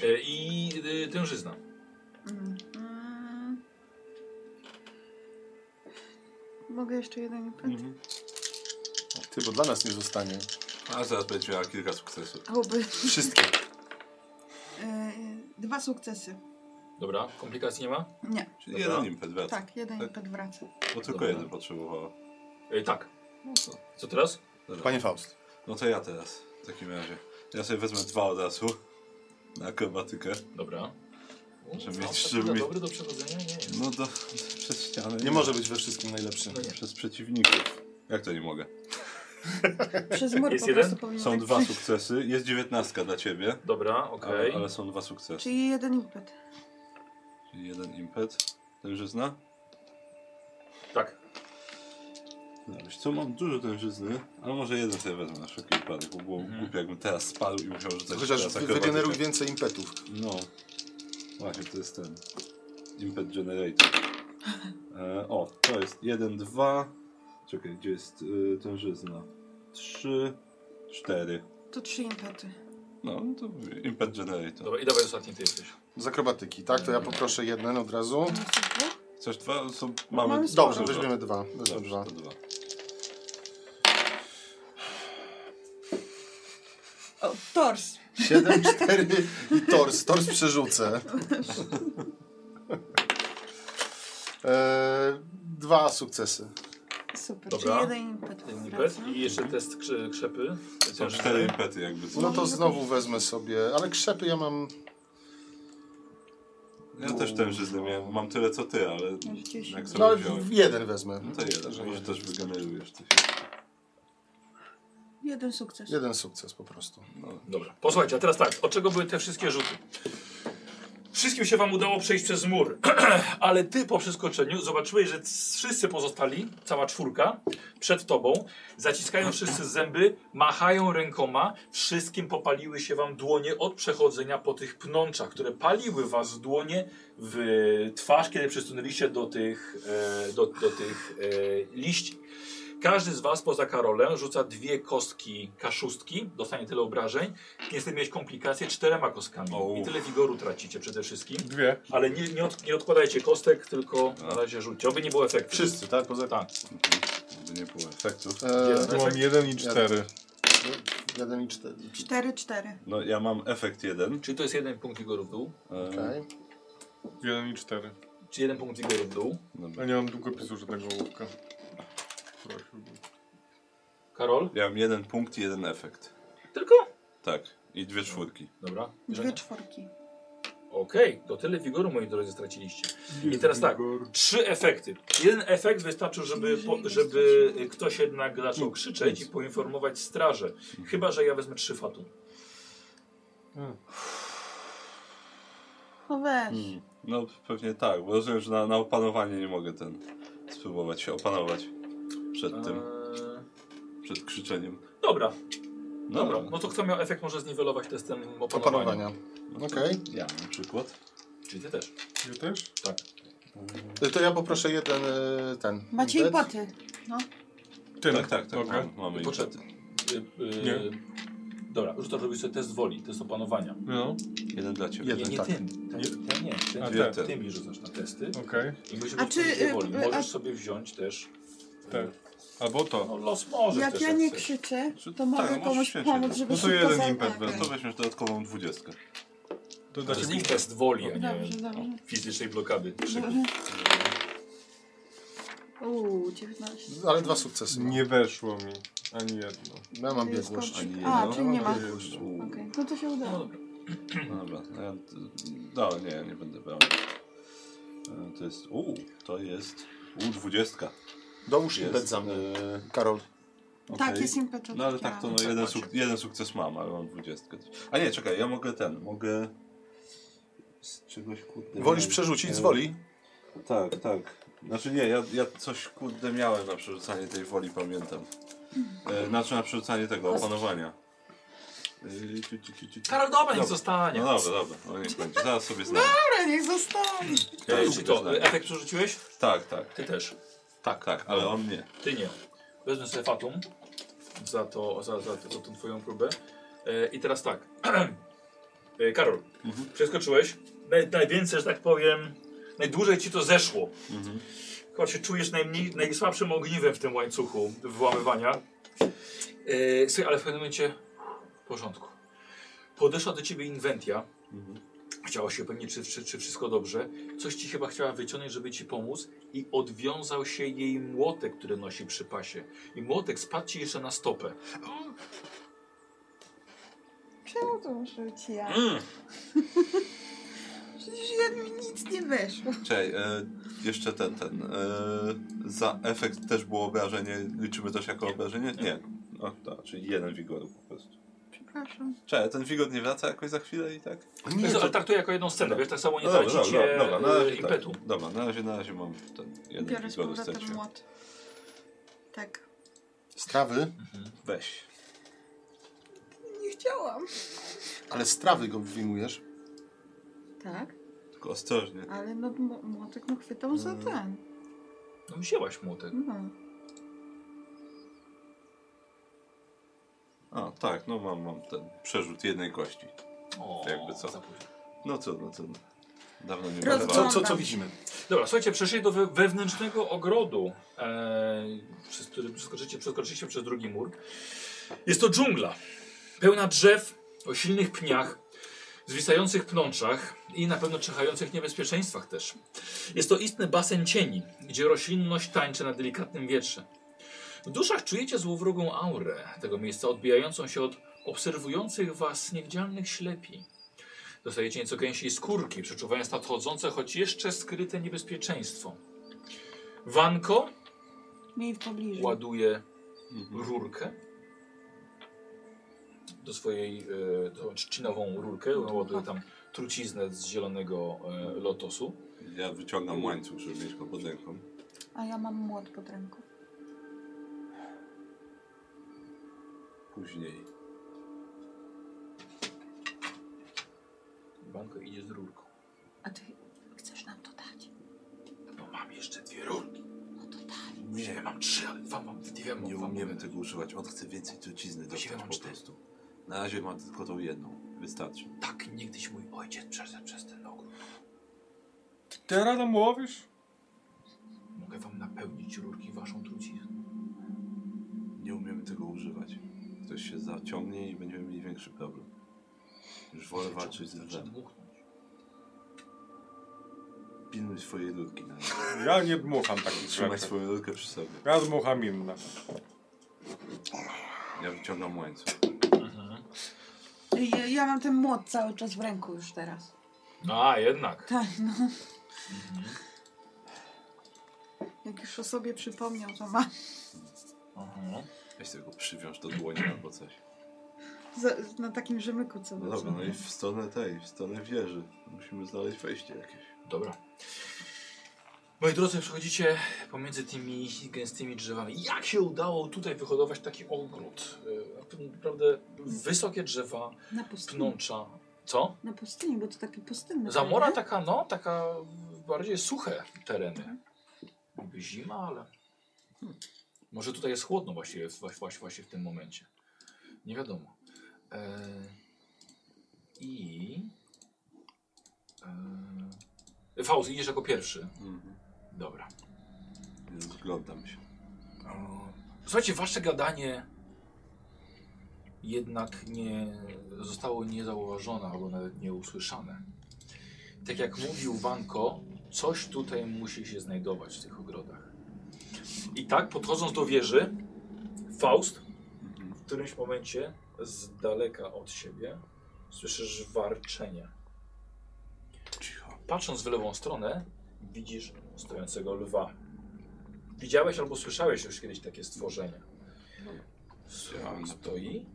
Speaker 1: E, I y, tężyzna.
Speaker 4: Mm. Mm. Mogę jeszcze jeden impet?
Speaker 1: Mhm.
Speaker 2: Ty, bo dla nas nie zostanie.
Speaker 5: A zaraz będzie miała kilka sukcesów.
Speaker 4: Oby.
Speaker 2: Wszystkie.
Speaker 4: E, dwa sukcesy.
Speaker 1: Dobra, komplikacji nie ma?
Speaker 4: Nie,
Speaker 5: Czyli
Speaker 1: Dobra.
Speaker 5: jeden impet wraca.
Speaker 4: tak, jeden
Speaker 5: Tak.
Speaker 4: impet wraca.
Speaker 5: Bo tylko
Speaker 1: Dobra.
Speaker 5: jeden potrzebowała.
Speaker 1: E, tak.
Speaker 5: No to,
Speaker 1: Co teraz?
Speaker 5: dobra.
Speaker 2: Panie Faust.
Speaker 5: no to ja teraz, w takim razie. Ja sobie wezmę dwa od razu. Na akrobatykę.
Speaker 1: Dobra. U,
Speaker 5: Żeby
Speaker 1: no,
Speaker 5: mieć-
Speaker 1: to
Speaker 5: żeby
Speaker 1: chyba
Speaker 5: mieć-
Speaker 1: Dobry do przechodzenia? Nie, nie.
Speaker 5: No do, przez ścianę.
Speaker 2: Nie może być we wszystkim najlepszy.
Speaker 1: No nie.
Speaker 5: Przez przeciwników. Jak to nie mogę?
Speaker 4: Przez mur
Speaker 1: Jest
Speaker 4: po
Speaker 1: jeden?
Speaker 4: prostu powinien
Speaker 5: Są
Speaker 4: tak
Speaker 5: dwa
Speaker 4: przejść.
Speaker 5: sukcesy. Jest dziewiętnastka dla ciebie.
Speaker 1: Dobra,
Speaker 5: Ale,
Speaker 1: okej.
Speaker 5: ale są dwa sukcesy.
Speaker 4: Czyli jeden impet.
Speaker 5: Czyli jeden impet. Tężyzna?
Speaker 1: Tak.
Speaker 5: No, wiesz co, mam dużo tężyzny, ale może jeden sobie wezmę na wszelki wypadek, bo było głupio jakbym teraz spadł i musiał rzucać
Speaker 2: Chociaż
Speaker 5: teraz
Speaker 2: wy-
Speaker 5: akrobatykę.
Speaker 2: wygeneruj więcej impetów.
Speaker 5: No. Właśnie, to jest ten. Impet Generator. E, o, to jest 1, 2. Czekaj, gdzie jest y, tężyzna? 3, 4.
Speaker 4: To trzy impety.
Speaker 5: No, no to Impet Generator.
Speaker 1: Dobra, i dawaj ostatni ty jesteś.
Speaker 2: Z akrobatyki, tak? To ja poproszę jeden od razu.
Speaker 4: Tam są dwa?
Speaker 5: Chcesz dwa? Są, mamy
Speaker 4: Mamy sporo.
Speaker 2: Dobrze, weźmiemy dwa. Weźmy
Speaker 5: Dobrze,
Speaker 2: dwa.
Speaker 5: to dwa.
Speaker 4: O, tors.
Speaker 2: Siedem, cztery i tors. Tors
Speaker 4: [laughs]
Speaker 2: przerzucę. Eee, dwa sukcesy.
Speaker 4: Super,
Speaker 1: Dobra.
Speaker 4: czyli jeden impet.
Speaker 1: Ten impet
Speaker 4: wraca.
Speaker 1: i jeszcze test krze krzepy.
Speaker 5: Są cztery impety jakby. co.
Speaker 2: No to znowu wezmę sobie, ale krzepy ja mam...
Speaker 5: Ja też tężyznę miałem, mam tyle co ty, ale
Speaker 4: rzeczywiście.
Speaker 5: jak
Speaker 2: No
Speaker 5: sobie
Speaker 2: ale
Speaker 5: wziąłem.
Speaker 2: jeden wezmę.
Speaker 5: No to jeden, może też wygenerujesz coś.
Speaker 4: Jeden sukces.
Speaker 2: Jeden sukces po prostu.
Speaker 1: Dobra, posłuchajcie, a teraz tak, od czego były te wszystkie rzuty? Wszystkim się wam udało przejść przez mur, [clears throat] ale ty po przeskoczeniu zobaczyłeś, że c- wszyscy pozostali, cała czwórka, przed tobą, zaciskają wszyscy zęby, machają rękoma, wszystkim popaliły się wam dłonie od przechodzenia po tych pnączach, które paliły was dłonie w twarz, kiedy przystąpiliście do tych, e, do, do tych e, liści. Każdy z was poza Karolem rzuca dwie kostki kaszustki, dostanie tyle obrażeń. Niestety mieć komplikacje czterema kostkami
Speaker 5: O.
Speaker 1: i tyle wigoru tracicie przede wszystkim.
Speaker 6: Dwie.
Speaker 1: Ale nie, nie, od, nie odkładajcie kostek, tylko na razie rzućcie, aby nie było efektu.
Speaker 2: Wszyscy, tak? Poza...
Speaker 1: Tak.
Speaker 5: Żeby nie było efektów.
Speaker 2: Eee,
Speaker 6: Tu mam jeden i cztery.
Speaker 2: jeden i cztery.
Speaker 4: Cztery, cztery.
Speaker 5: No ja mam efekt jeden.
Speaker 1: Czyli to jest jeden punkt wigoru w dół.
Speaker 5: E,
Speaker 2: Okej.
Speaker 6: Jeden i cztery.
Speaker 1: Czy jeden punkt wigoru w dół.
Speaker 5: dobra.
Speaker 6: Ja nie mam długopisu żadnego łówka. Prosiłbym.
Speaker 1: Karol?
Speaker 5: Ja mam jeden punkt i jeden efekt.
Speaker 1: Tylko?
Speaker 5: Tak. I dwie czwórki.
Speaker 1: Dobra.
Speaker 4: Dwie czwórki.
Speaker 1: Okej, to tyle wigoru, moi drodzy, straciliście. I teraz tak, trzy efekty. Jeden efekt wystarczył, żeby, po, żeby y, ktoś jednak zaczął krzyczeć i poinformować strażę. Chyba, że ja wezmę trzy fatum.
Speaker 4: No weź.
Speaker 5: Mm. No pewnie tak, bo rozumiem, że na, na opanowanie nie mogę ten spróbować się opanować przed tym,
Speaker 1: Eee,
Speaker 5: przed krzyczeniem.
Speaker 1: dobra,
Speaker 5: No,
Speaker 1: dobra. No to kto miał efekt, może zniwelować testem opanowania.
Speaker 2: Opanowania. Okej.
Speaker 5: Ja na przykład.
Speaker 1: Czyli ty też.
Speaker 6: Ja też?
Speaker 2: To ja poproszę jeden e, ten.
Speaker 4: Macie
Speaker 2: bet.
Speaker 4: i boty.
Speaker 6: Ty,
Speaker 5: Tak, tak, tak.
Speaker 6: Dobra.
Speaker 5: Mamy, mamy
Speaker 1: Poczekaj. Y, y,
Speaker 6: Nie.
Speaker 1: Dobra, już to robisz sobie test woli, test opanowania.
Speaker 6: No,
Speaker 5: jeden dla ciebie.
Speaker 2: Jeden,
Speaker 1: nie, nie
Speaker 2: tak.
Speaker 1: tym. Ten, ten nie. Ten,
Speaker 6: A,
Speaker 1: ty,
Speaker 5: ten.
Speaker 1: ty mi rzucasz na testy.
Speaker 6: okej.
Speaker 1: I musimy
Speaker 4: A
Speaker 1: mieć
Speaker 4: czy,
Speaker 1: pozycję
Speaker 4: y,
Speaker 1: woli.
Speaker 4: y, a-
Speaker 1: Możesz sobie wziąć też.
Speaker 6: Tak. Albo to.
Speaker 1: No los możesz
Speaker 4: Jak
Speaker 1: też.
Speaker 4: ja
Speaker 1: jak
Speaker 4: nie
Speaker 1: chcesz.
Speaker 4: krzyczę,
Speaker 5: Czy-
Speaker 4: to
Speaker 5: tak,
Speaker 4: mogę
Speaker 5: możesz
Speaker 4: komuś
Speaker 5: krzyczeć.
Speaker 4: pomóc, żeby
Speaker 6: No to
Speaker 4: szybko Tak.
Speaker 6: jeden
Speaker 4: zareagować.
Speaker 6: impet wezmę,
Speaker 5: To weźmiesz dodatkową dwudziestkę.
Speaker 6: To znaczy
Speaker 1: To
Speaker 6: dla
Speaker 1: jest
Speaker 6: ciebie.
Speaker 1: ich test woli, a nie
Speaker 7: Dobrze, dobrze.
Speaker 1: fizycznej blokady.
Speaker 4: Uuu, 19.
Speaker 2: Ale dwa sukcesy.
Speaker 6: Nie weszło mi ani jedno.
Speaker 2: Ja mam
Speaker 4: To jest
Speaker 2: biegłość.
Speaker 4: koszyk.
Speaker 5: ani
Speaker 4: A,
Speaker 5: jedno.
Speaker 4: czyli nie ma. Okej,
Speaker 5: Jezu.
Speaker 4: no to się
Speaker 1: No
Speaker 4: udało.
Speaker 1: dobra.
Speaker 5: No dobra, no ja, no, nie, ja nie będę brał. E, To jest, u, to jest, u, dwudziestka.
Speaker 2: Dołóż i
Speaker 5: Jest,
Speaker 2: bet za mnie. Mhm.
Speaker 5: e,
Speaker 2: Karol.
Speaker 4: Tak,
Speaker 5: okej.
Speaker 4: jest impet od
Speaker 5: No ale tak, to
Speaker 4: Kiara.
Speaker 5: no,
Speaker 2: Tak
Speaker 5: jeden,
Speaker 2: macie.
Speaker 5: suk jeden sukces mam, ale mam dwudziestkę. A nie, czekaj, ja mogę ten, mogę z czegoś kurde...
Speaker 2: Wolisz
Speaker 5: miałem.
Speaker 2: przerzucić z woli?
Speaker 5: Tak, tak. Znaczy nie, ja, ja coś kurde miałem na przerzucanie tej woli, pamiętam. E, znaczy na przerzucanie tego opanowania. E, ciu, ciu, ciu, ciu, ciu.
Speaker 1: Karol, dobra, niech
Speaker 5: Dobra.
Speaker 1: zostanie.
Speaker 5: No dobra, dobra, no niech będzie, zaraz sobie znajdę.
Speaker 4: Dobra, niech zostanie.
Speaker 5: Ja już
Speaker 1: Czy
Speaker 5: to
Speaker 1: to
Speaker 5: znajdę.
Speaker 1: efekt przerzuciłeś?
Speaker 5: Tak, tak,
Speaker 1: Ty też.
Speaker 5: tak, tak, ale on nie.
Speaker 1: Ty nie. Wezmę sobie fatum za, to, za, za, za tą twoją próbę. E, I teraz tak. [clears throat] e, Karol, przeskoczyłeś. Naj, najwięcej, że tak powiem, najdłużej ci to zeszło. Chyba się czujesz najmniej, najsłabszym ogniwem w tym łańcuchu wyłamywania. E, słuchaj, ale w pewnym momencie w porządku. Podeszła do ciebie inwentia. Chciała się upewnić, czy, czy, czy wszystko dobrze. Coś ci chyba chciała wyciągnąć, żeby ci pomóc i odwiązał się jej młotek, który nosi przy pasie. I młotek spadł ci jeszcze na stopę.
Speaker 4: Czemu to muszę być ja?
Speaker 5: Mm.
Speaker 4: [laughs] Przecież ja mi nic nie weszło.
Speaker 5: Czekaj, e, jeszcze ten, ten. E, za efekt też było obrażenie. Liczymy też jako obrażenie? Nie. O, tak, czyli jeden wigoru po prostu.
Speaker 4: Przepraszam.
Speaker 5: Czekaj, ten wigor nie wraca jakoś za chwilę i tak?
Speaker 1: Nie, ale tak to jako jedną scenę,
Speaker 5: Dobra.
Speaker 1: wiesz, tak samo nie
Speaker 5: No
Speaker 1: tracicie
Speaker 5: dobra, dobra, na
Speaker 1: e,
Speaker 5: razie tak.
Speaker 1: impetu.
Speaker 5: Dobra, na razie, na razie mam ten jeden
Speaker 4: Biorę z
Speaker 5: wigor
Speaker 4: powrotem
Speaker 5: straciłem.
Speaker 4: młot. Tak.
Speaker 2: Strawy.
Speaker 5: Weź.
Speaker 4: Nie chciałam.
Speaker 2: Ale strawy go wyjmujesz.
Speaker 4: Tak,
Speaker 5: Tylko ostrożnie.
Speaker 4: ale no m- młotek no chwytał za
Speaker 5: Mm.
Speaker 4: ten.
Speaker 1: No wzięłaś młotek.
Speaker 4: No.
Speaker 5: A, tak, no mam, mam ten przerzut jednej kości.
Speaker 1: O,
Speaker 5: Jakby co.
Speaker 1: za późno.
Speaker 5: No trudno, trudno. Dawno nie
Speaker 4: Rozumiem.
Speaker 5: brałem.
Speaker 4: co- co
Speaker 2: widzimy?
Speaker 1: Dobra, słuchajcie, przeszli do we, wewnętrznego ogrodu, e, przez który przeskoczycie, przeskoczyliście przez drugi mur. Jest to dżungla, pełna drzew o silnych pniach, zwisających pnączach i na pewno czyhających niebezpieczeństwach też. Jest to istny basen cieni, gdzie roślinność tańczy na delikatnym wietrze. W duszach czujecie złowrogą aurę tego miejsca, odbijającą się od obserwujących was niewidzialnych ślepi. Dostajecie nieco gęsiej skórki, przeczuwając nadchodzące, choć jeszcze skryte niebezpieczeństwo. Wanko
Speaker 4: Miej w pobliżu.
Speaker 1: ładuje
Speaker 5: Mhm.
Speaker 1: rurkę do swojej e, tą trzcinową rurkę, ładuje tam truciznę z zielonego e, lotosu.
Speaker 5: Ja wyciągam łańcuch, żeby mieć go pod ręką.
Speaker 4: A ja mam młot pod ręką.
Speaker 5: Później.
Speaker 1: Wanko idzie z rurką.
Speaker 4: A ty chcesz nam to dać?
Speaker 1: No mam jeszcze dwie rurki.
Speaker 4: No to daj.
Speaker 1: Nie, ja mam trzy, ale wam mam dwie. Mam,
Speaker 5: Nie
Speaker 1: wam
Speaker 5: umiemy
Speaker 1: mam-
Speaker 5: tego używać. On chce więcej trucizny
Speaker 1: Właściwie
Speaker 5: dostać
Speaker 1: mam
Speaker 5: po
Speaker 1: cztery.
Speaker 5: prostu. Na razie mam tylko tą jedną. Wystarczy.
Speaker 1: Tak niegdyś mój ojciec przeszedł przez ten ogród.
Speaker 6: Ty rano łowisz?
Speaker 1: Mogę wam napełnić rurki waszą trucizną.
Speaker 5: Nie umiemy tego używać. Ktoś się zaciągnie i będziemy mieli większy problem. Już wolę walczyć z
Speaker 1: Znaczy,
Speaker 5: lwem.
Speaker 1: Dmuchnąć.
Speaker 5: Pilnuj swojej ludki na razie.
Speaker 6: Ja nie dmucham takich
Speaker 5: Trzymaj
Speaker 6: rzeczy.
Speaker 5: swoją ludkę przy sobie.
Speaker 6: Ja dmucham inne.
Speaker 5: Ja wyciągam łańcuch.
Speaker 4: Ja, ja mam ten młot cały czas w ręku już teraz.
Speaker 1: A, jednak.
Speaker 4: Tak, no. Jak już o sobie przypomniał, to ma.
Speaker 1: Aha.
Speaker 5: Weź sobie go przywiąż do dłoni albo coś.
Speaker 4: Z, na takim rzemyku, co
Speaker 5: No dobra, no i w stronę tej, w stronę wieży. Musimy znaleźć wejście jakieś.
Speaker 1: Dobra. Moi drodzy, przechodzicie pomiędzy tymi gęstymi drzewami. Jak się udało tutaj wyhodować taki ogród? Y, Naprawdę wysokie drzewa,
Speaker 7: Na pustyni.
Speaker 1: pnącza. Co?
Speaker 7: Na pustyni, bo to takie pustynne.
Speaker 4: Mhm.
Speaker 1: Zamora
Speaker 7: tereny.
Speaker 1: taka, no, taka bardziej suche tereny. Niby Zima, ale... Hmm. Może tutaj jest chłodno właściwie, właśnie, właśnie w tym momencie. Nie wiadomo. E... I... E... Faust, idziesz jako pierwszy.
Speaker 5: Mhm.
Speaker 1: Dobra.
Speaker 5: Więc Zglądam się.
Speaker 1: Słuchajcie, wasze gadanie jednak nie zostało niezauważone albo nawet nie usłyszane. Tak jak mówił Wanko, coś tutaj musi się znajdować w tych ogrodach. I tak, podchodząc do wieży, Faust w którymś momencie z daleka od siebie słyszysz warczenie. Patrząc w lewą stronę, widzisz stojącego lwa. Widziałeś albo słyszałeś już kiedyś takie stworzenie.
Speaker 5: Widziałem.
Speaker 1: Stoi.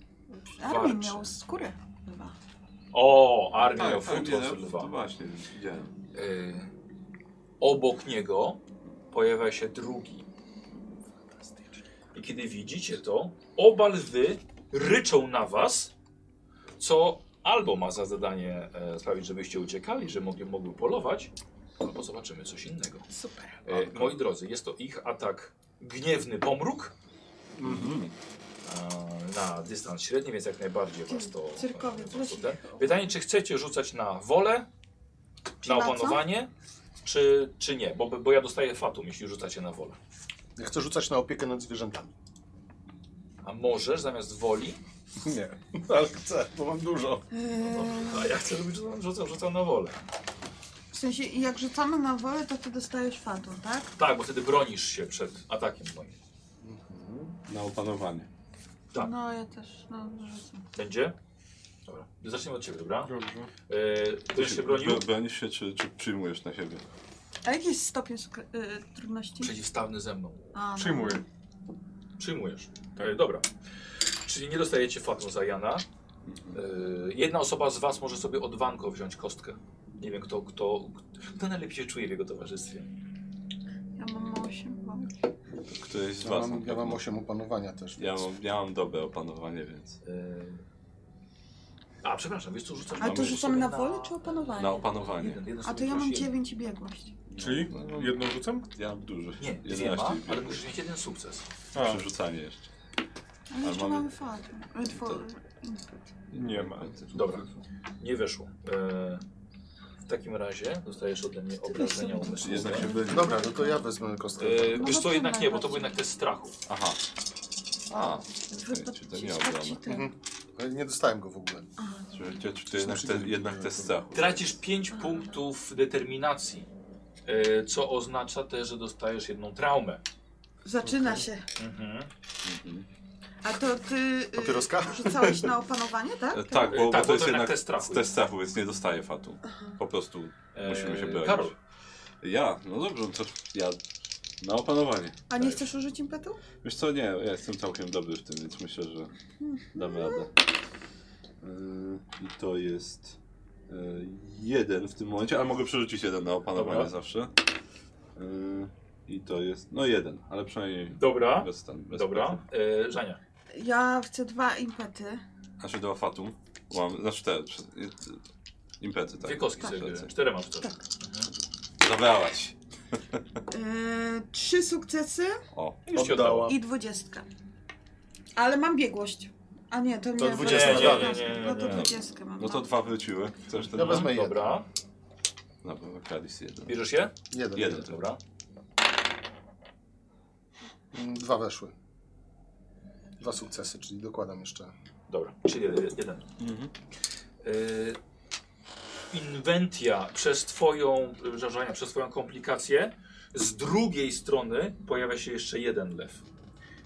Speaker 4: Armin
Speaker 1: warczy.
Speaker 4: miał skórę. Chyba.
Speaker 1: O, armia
Speaker 5: Tak, tak,
Speaker 1: futro
Speaker 5: nie, no, To
Speaker 1: lwa.
Speaker 5: właśnie, więc widziałem.
Speaker 1: Y, obok niego pojawia się drugi. I kiedy widzicie to, oba lwy ryczą na was, co albo ma za zadanie e, sprawić, żebyście uciekali, że mogli, mogły polować, albo zobaczymy coś innego.
Speaker 4: Super.
Speaker 1: E, moi drodzy, jest to ich atak gniewny pomruk e, na dystans średni, więc jak najbardziej was to...
Speaker 4: Cyrkowiec,
Speaker 1: was to
Speaker 4: właśnie.
Speaker 1: ten. Pytanie, czy chcecie rzucać na wolę, na
Speaker 4: na co?
Speaker 1: opanowanie, czy, czy nie? Bo, bo ja dostaję fatum, jeśli rzucacie na wolę.
Speaker 2: Ja chcę rzucać na opiekę nad zwierzętami.
Speaker 1: A możesz zamiast woli?
Speaker 2: Nie, ale chcę, bo mam dużo.
Speaker 1: A No, ja chcę, żebyś rzucał- rzucał, rzucał na wolę.
Speaker 4: Eee, W sensie, jak rzucamy na wolę, to ty dostajesz fatum, tak?
Speaker 1: Tak, bo wtedy bronisz się przed atakiem moim.
Speaker 5: Na opanowanie.
Speaker 1: Tak.
Speaker 4: No, ja też, no, rzucę.
Speaker 1: Będzie? Dobra. Zaczniemy od ciebie, dobra?
Speaker 6: Dobrze.
Speaker 1: Yy, będziesz się bronił?
Speaker 5: Bro- Bronisz się, czy, czy przyjmujesz na siebie?
Speaker 4: A jaki jest stopień skr- y, trudności?
Speaker 1: Przeciwstawny ze mną.
Speaker 4: A, no.
Speaker 6: Przyjmuję.
Speaker 1: Przyjmujesz. E, dobra. Czyli nie dostajecie fatu za Jana. E, jedna osoba z was może sobie od Wanko wziąć kostkę. Nie wiem, kto, kto, kto najlepiej się czuje w jego towarzystwie.
Speaker 4: Ja mam 8 wolę.
Speaker 5: To któryś z
Speaker 2: Ja
Speaker 5: was.
Speaker 2: mam,
Speaker 5: na
Speaker 2: ja mam
Speaker 5: pewno.
Speaker 2: 8 opanowania też.
Speaker 5: Ja
Speaker 2: więc-
Speaker 5: mam, ja mam dobre opanowanie, więc.
Speaker 1: E, a, przepraszam, wiesz co, rzucasz
Speaker 4: Ale to
Speaker 5: Mamy
Speaker 4: rzucamy na
Speaker 1: sobie
Speaker 4: wolę czy opanowanie?
Speaker 5: Na opanowanie.
Speaker 1: Jeden, jeden
Speaker 4: A
Speaker 1: sobie
Speaker 4: to ja
Speaker 1: wziąłeś
Speaker 4: mam
Speaker 1: jeden.
Speaker 4: 9 i biegłość.
Speaker 6: Czyli
Speaker 5: No,
Speaker 6: jedną rzucam?
Speaker 5: Ja mam dużo.
Speaker 1: Nie, dwiema,
Speaker 5: 11
Speaker 1: ale musisz mieć jeden sukces.
Speaker 6: A,
Speaker 5: Przerzucanie jeszcze.
Speaker 4: Ale
Speaker 5: Ale
Speaker 4: jeszcze
Speaker 5: mamy-
Speaker 4: mamy fatum. Y, two-
Speaker 5: To-
Speaker 4: input.
Speaker 6: nie ma.
Speaker 1: Dobra. Nie weszło. E, w takim razie dostajesz ode mnie obrażenia umysłowe.
Speaker 5: Jednak się byli.
Speaker 2: Dobra, no to ja wezmę kostkę.
Speaker 1: E,
Speaker 4: No
Speaker 1: wiesz
Speaker 4: bo
Speaker 1: co,
Speaker 4: to
Speaker 1: jednak nie, bo to
Speaker 4: najbardziej.
Speaker 1: był jednak test strachu.
Speaker 5: Aha. A,
Speaker 4: Wypad-
Speaker 5: czy to nie
Speaker 4: spadł
Speaker 5: obrona?
Speaker 4: ci ten.
Speaker 2: Mhm. E, Nie dostałem go w ogóle.
Speaker 5: czy, czy, czy to jednak te, jednak te strachu. E,
Speaker 1: Tracisz 5 punktów determinacji, e, co oznacza też, że dostajesz jedną traumę.
Speaker 4: Zaczyna się.
Speaker 5: Mhm.
Speaker 4: A to ty y,
Speaker 2: Papieroska?
Speaker 4: rzucałeś na opanowanie, tak?
Speaker 5: E, Tak,
Speaker 1: E,
Speaker 5: bo, bo to jest jednak
Speaker 1: test strachu.
Speaker 5: test strachu, więc nie dostaję fatu. Po prostu
Speaker 1: E,
Speaker 5: musimy się bronić.
Speaker 1: Karol,
Speaker 5: Ja, no dobrze, no to ja na opanowanie.
Speaker 4: A nie
Speaker 5: Tak.
Speaker 4: chcesz użyć impetu?
Speaker 5: Wiesz co, nie, ja jestem całkiem dobry w tym, więc myślę, że damy radę. Yy, I to jest yy, jeden w tym momencie, ale mogę przerzucić jeden na opanowanie
Speaker 1: Dobra.
Speaker 5: zawsze. Yy, I to jest, no jeden, ale przynajmniej
Speaker 1: dobra,
Speaker 5: bez ten, bez Tak.
Speaker 1: dobra.
Speaker 5: strachu.
Speaker 1: E, Żania,
Speaker 4: Ja chcę dwa impety.
Speaker 5: Znaczy dwa fatum, bo mam, znaczy te, prze- y, impety, tak.
Speaker 1: dwie kostki
Speaker 5: Prze-
Speaker 1: sobie bierze, czterema wtedy.
Speaker 4: Tak.
Speaker 5: Zabrałaś.
Speaker 4: Y, Trzy sukcesy
Speaker 5: O,
Speaker 1: Już ci oddało.
Speaker 4: i dwudziestka. Ale mam biegłość. A nie, to nie.
Speaker 2: dwudziestka,
Speaker 4: to-
Speaker 2: nie,
Speaker 1: nie, nie, nie,
Speaker 4: No to
Speaker 1: nie.
Speaker 4: dwudziestkę mam.
Speaker 5: no to dwa wróciły. Chcesz ten?
Speaker 1: No
Speaker 2: Ja wezmę jeden.
Speaker 1: Dobra,
Speaker 5: Dobra, Kalis jeden.
Speaker 1: bierzesz je?
Speaker 2: Jeden.
Speaker 5: Jeden.
Speaker 1: Dobra.
Speaker 2: Mm, Dwa weszły. Dwa sukcesy, czyli dokładam jeszcze.
Speaker 1: Dobra, czyli jeden. jeden.
Speaker 5: Mhm.
Speaker 1: Y, Inwentia przez twoją, y, żarzania, przez twoją komplikację, z drugiej strony pojawia się jeszcze jeden lew.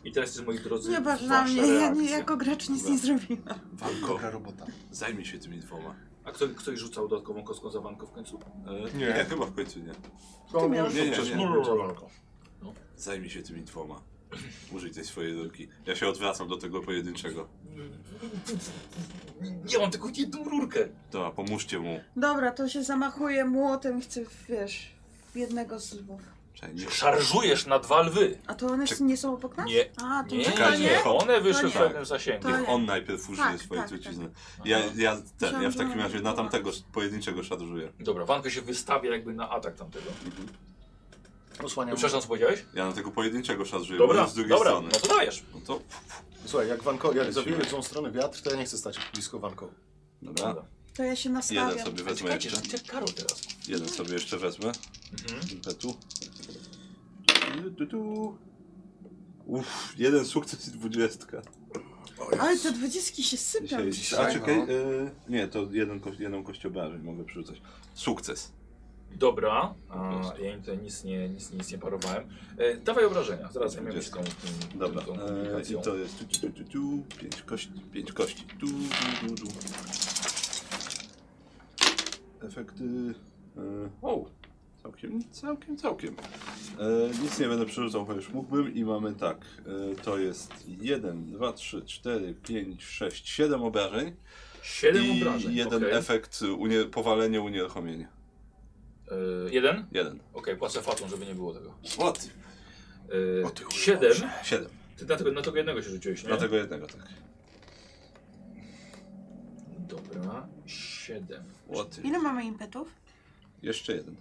Speaker 1: I teraz jest, moi drodzy,
Speaker 4: No. Nie patrz na
Speaker 1: wasza
Speaker 4: mnie, ja nie,
Speaker 1: reakcja.
Speaker 4: jako gracz nic nie zrobiłam.
Speaker 5: Wanko,
Speaker 2: Dobra robota.
Speaker 5: zajmij się tymi dwoma.
Speaker 1: A kto, ktoś rzucał dodatkową kostką za Wanko w końcu?
Speaker 5: E,
Speaker 6: Nie.
Speaker 5: nie, chyba w końcu nie.
Speaker 2: To
Speaker 4: miałeś-
Speaker 5: Nie, nie, nie.
Speaker 1: Blablabla.
Speaker 5: Zajmij się tymi dwoma. Użyj tej swojej rurki. Ja się odwracam do tego pojedynczego.
Speaker 1: Ja mam tylko jedną rurkę.
Speaker 5: To, pomóżcie mu.
Speaker 4: Dobra, to się zamachuje młotem i chce, wiesz, w jednego z lwów.
Speaker 5: Czekaj, nie-
Speaker 1: Szarżujesz na dwa lwy.
Speaker 4: A to one
Speaker 5: Czek-
Speaker 4: nie są obok nas?
Speaker 1: Nie.
Speaker 4: Tak? A, to
Speaker 1: Nie,
Speaker 4: nie,
Speaker 5: Czekaj,
Speaker 4: to nie.
Speaker 5: nie.
Speaker 1: One wyszły w
Speaker 5: To nie.
Speaker 1: pewnym zasięgu.
Speaker 4: To-
Speaker 5: Niech on najpierw użyje
Speaker 4: Tak,
Speaker 5: swojej
Speaker 4: tak,
Speaker 5: trucizny. Ja, ja, ten, ja w takim razie na tamtego pojedynczego szadrzuję.
Speaker 1: Dobra, Wanko się wystawia jakby na atak tamtego.
Speaker 4: No.
Speaker 2: Osłaniam.
Speaker 1: Przepraszam, co powiedziałeś?
Speaker 5: Ja na tego pojedynczego szadrzuję, bo
Speaker 1: Dobra,
Speaker 5: on z drugiej
Speaker 1: dobra,
Speaker 5: strony.
Speaker 1: no to dajesz.
Speaker 5: No to,
Speaker 2: Słuchaj, jak, wanko, jak
Speaker 5: Lecimy.
Speaker 2: zabije w tą stronę wiatr, to ja nie chcę stać blisko wanką.
Speaker 5: dobra.
Speaker 4: To ja się
Speaker 5: Jeden
Speaker 4: nastawiam.
Speaker 5: sobie
Speaker 1: A
Speaker 5: wezmę
Speaker 1: czekajcie,
Speaker 5: jeszcze.
Speaker 1: gdzie Karol teraz?
Speaker 5: Jeden sobie jeszcze wezmę.
Speaker 1: Mhm.
Speaker 5: Impetu. Tu, tu, tu. Uff, jeden sukces i dwudziestka.
Speaker 4: Ale te dwudziestki się sypią
Speaker 5: Sześć.
Speaker 4: dzisiaj.
Speaker 5: A czekaj,
Speaker 1: no.
Speaker 5: e, nie, to jeden, ko- jedną kość obrażeń mogę przerzucać. Sukces.
Speaker 1: Dobra, a,
Speaker 5: prostu.
Speaker 1: ja im tutaj nic nie, nic, nic nie parowałem. E, dawaj obrażenia, zaraz zajmiemy się tą, tą,
Speaker 5: Dobra,
Speaker 1: tą, tą
Speaker 5: e,
Speaker 1: komplikacją.
Speaker 5: i to jest tu, tu, tu, tu, tu, pięć kości, pięć kości, tu, tu, tu, tu. Efekty e, wow, całkiem, całkiem, całkiem. E, nic nie będę przerzucał, chociaż mógłbym i mamy tak, e, to jest 1, 2, 3, 4, 5, 6, 7 obrażeń
Speaker 1: Siedem
Speaker 5: i
Speaker 1: obrażeń,
Speaker 5: jeden
Speaker 1: okej.
Speaker 5: efekt unie, powalenie, unieruchomienie.
Speaker 1: E, jeden?
Speaker 5: Jeden.
Speaker 1: Okej, płacę fatą, żeby nie było tego.
Speaker 5: What?
Speaker 1: E, siedem?
Speaker 5: Siedem.
Speaker 1: Ty na tego, na tego jednego się rzuciłeś, nie?
Speaker 5: Dlatego jednego, tak.
Speaker 1: Dobra, siedem.
Speaker 5: What?
Speaker 4: Ile mamy impetów?
Speaker 5: Jeszcze jeden.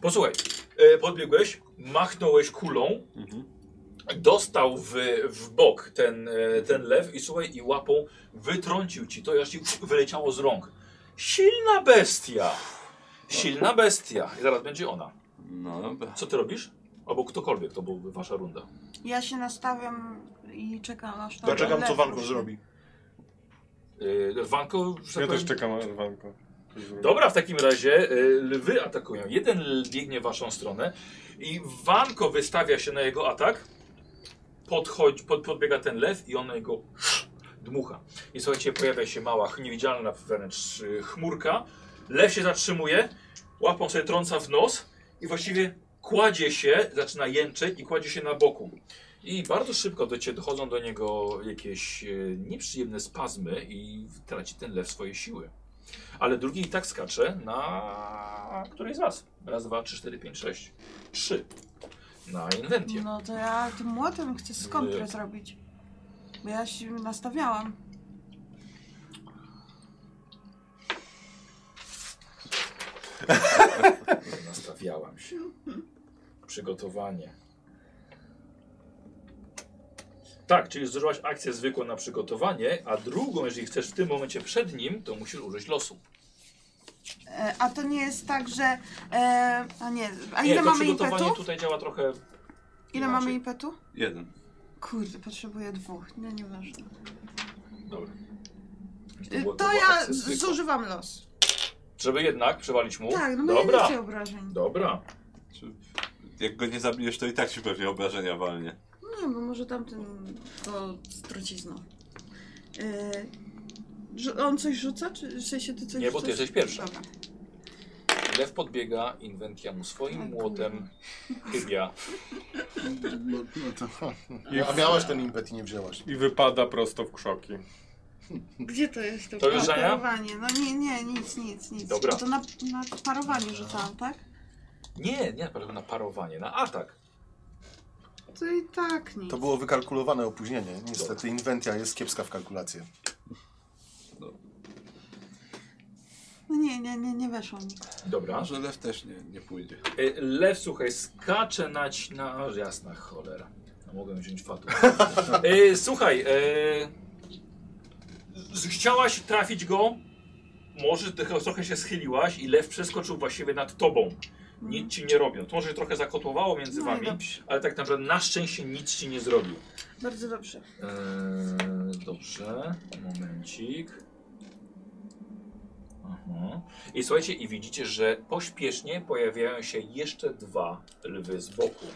Speaker 1: Posłuchaj, e, podbiegłeś, machnąłeś kulą,
Speaker 5: Mhm.
Speaker 1: dostał w, w bok ten, e, ten lew i słuchaj, i łapą wytrącił ci to, aż ci wyleciało z rąk. Silna bestia! Silna bestia! I zaraz będzie ona.
Speaker 5: No dobra.
Speaker 1: Co ty robisz? Albo ktokolwiek, to byłby wasza runda.
Speaker 4: Ja się nastawiam i czekam aż tam.
Speaker 2: Ja czekam, co
Speaker 4: lew
Speaker 2: wanko
Speaker 4: ruszy.
Speaker 2: zrobi.
Speaker 1: Yy, Wanko, że tak
Speaker 6: Ja też
Speaker 1: powiem-
Speaker 6: czekam na Wanko.
Speaker 1: Dobra, w takim razie y, lwy atakują. Jeden l- biegnie w waszą stronę i Wanko wystawia się na jego atak. Podchodzi, pod, podbiega ten lew i on go dmucha. I słuchajcie, pojawia się mała, ch- niewidzialna wręcz y, chmurka. Lew się zatrzymuje, łapą sobie trąca w nos i właściwie kładzie się, zaczyna jęczeć i kładzie się na boku. I bardzo szybko do cie, dochodzą do niego jakieś y, nieprzyjemne spazmy i traci ten lew swoje siły. Ale drugi i tak skacze na której z was. Raz, dwa, trzy, cztery, pięć, sześć. Trzy. Na inwentię.
Speaker 4: No to ja tym młotem chcę skontrę
Speaker 1: Nie.
Speaker 4: zrobić. Bo ja się nastawiałam.
Speaker 1: Nastawiałam się. Przygotowanie. Tak, czyli zużyłaś akcję zwykłą na przygotowanie, a drugą, jeżeli chcesz w tym momencie przed nim, to musisz użyć losu.
Speaker 4: E, a to nie jest tak, że. E, a nie, a
Speaker 1: Nie,
Speaker 4: ile
Speaker 1: to
Speaker 4: mamy
Speaker 1: przygotowanie
Speaker 4: impetu?
Speaker 1: tutaj działa trochę.
Speaker 4: Ile
Speaker 1: inaczej.
Speaker 4: mamy impetu?
Speaker 5: Jeden.
Speaker 4: Kurde, potrzebuję dwóch. No nieważne.
Speaker 1: Dobra.
Speaker 4: E,
Speaker 1: była-
Speaker 4: To
Speaker 1: była
Speaker 4: ja
Speaker 1: akcja zwykła.
Speaker 4: zużywam los.
Speaker 1: Żeby jednak przewalić mu.
Speaker 4: Tak, no bo ja nie
Speaker 1: Dobra.
Speaker 4: chcę obrażeń.
Speaker 1: Dobra.
Speaker 5: Czy jak go nie zabijesz, to i tak ci pewnie obrażenia walnie.
Speaker 4: Nie, No, bo może tamten to z trucizną. E, rzu- on coś rzuca? Czy w sensie ty coś
Speaker 1: Nie, bo ty
Speaker 4: rzucasz?
Speaker 1: jesteś pierwsza.
Speaker 4: Dobra.
Speaker 1: Lew podbiega Inwentianu swoim
Speaker 4: Oj,
Speaker 1: młotem. Chybia.
Speaker 2: No, no to, a miałaś ten impet i nie wzięłaś.
Speaker 6: I wypada prosto w krzoki.
Speaker 4: Gdzie to jest to,
Speaker 1: To już Ania?
Speaker 4: parowanie? No nie, nie, nic, nic, nic.
Speaker 1: Dobra.
Speaker 4: To na, na parowanie rzucałam, tak?
Speaker 1: Nie, nie, na parowanie, na atak.
Speaker 4: To i tak nic.
Speaker 2: To było wykalkulowane opóźnienie. Niestety inwentia jest kiepska w kalkulację.
Speaker 4: No nie, nie, nie, nie weszło mi.
Speaker 1: Dobra.
Speaker 5: Może lew też nie, nie pójdzie.
Speaker 1: Y, Lew, słuchaj, skacze na... ć- na o, jasna cholera. No, mogłem wziąć fatu. Y, słuchaj, y, z- chciałaś trafić go, może trochę, trochę się schyliłaś i lew przeskoczył właściwie nad tobą. Nic ci nie robią. To może się trochę zakotłowało między
Speaker 4: No i
Speaker 1: wami,
Speaker 4: dobrze.
Speaker 1: ale tak naprawdę na szczęście nic ci nie zrobił.
Speaker 4: Bardzo dobrze.
Speaker 1: Eee, dobrze, momencik. Aha. I słuchajcie, i widzicie, że pośpiesznie pojawiają się jeszcze dwa lwy z boku.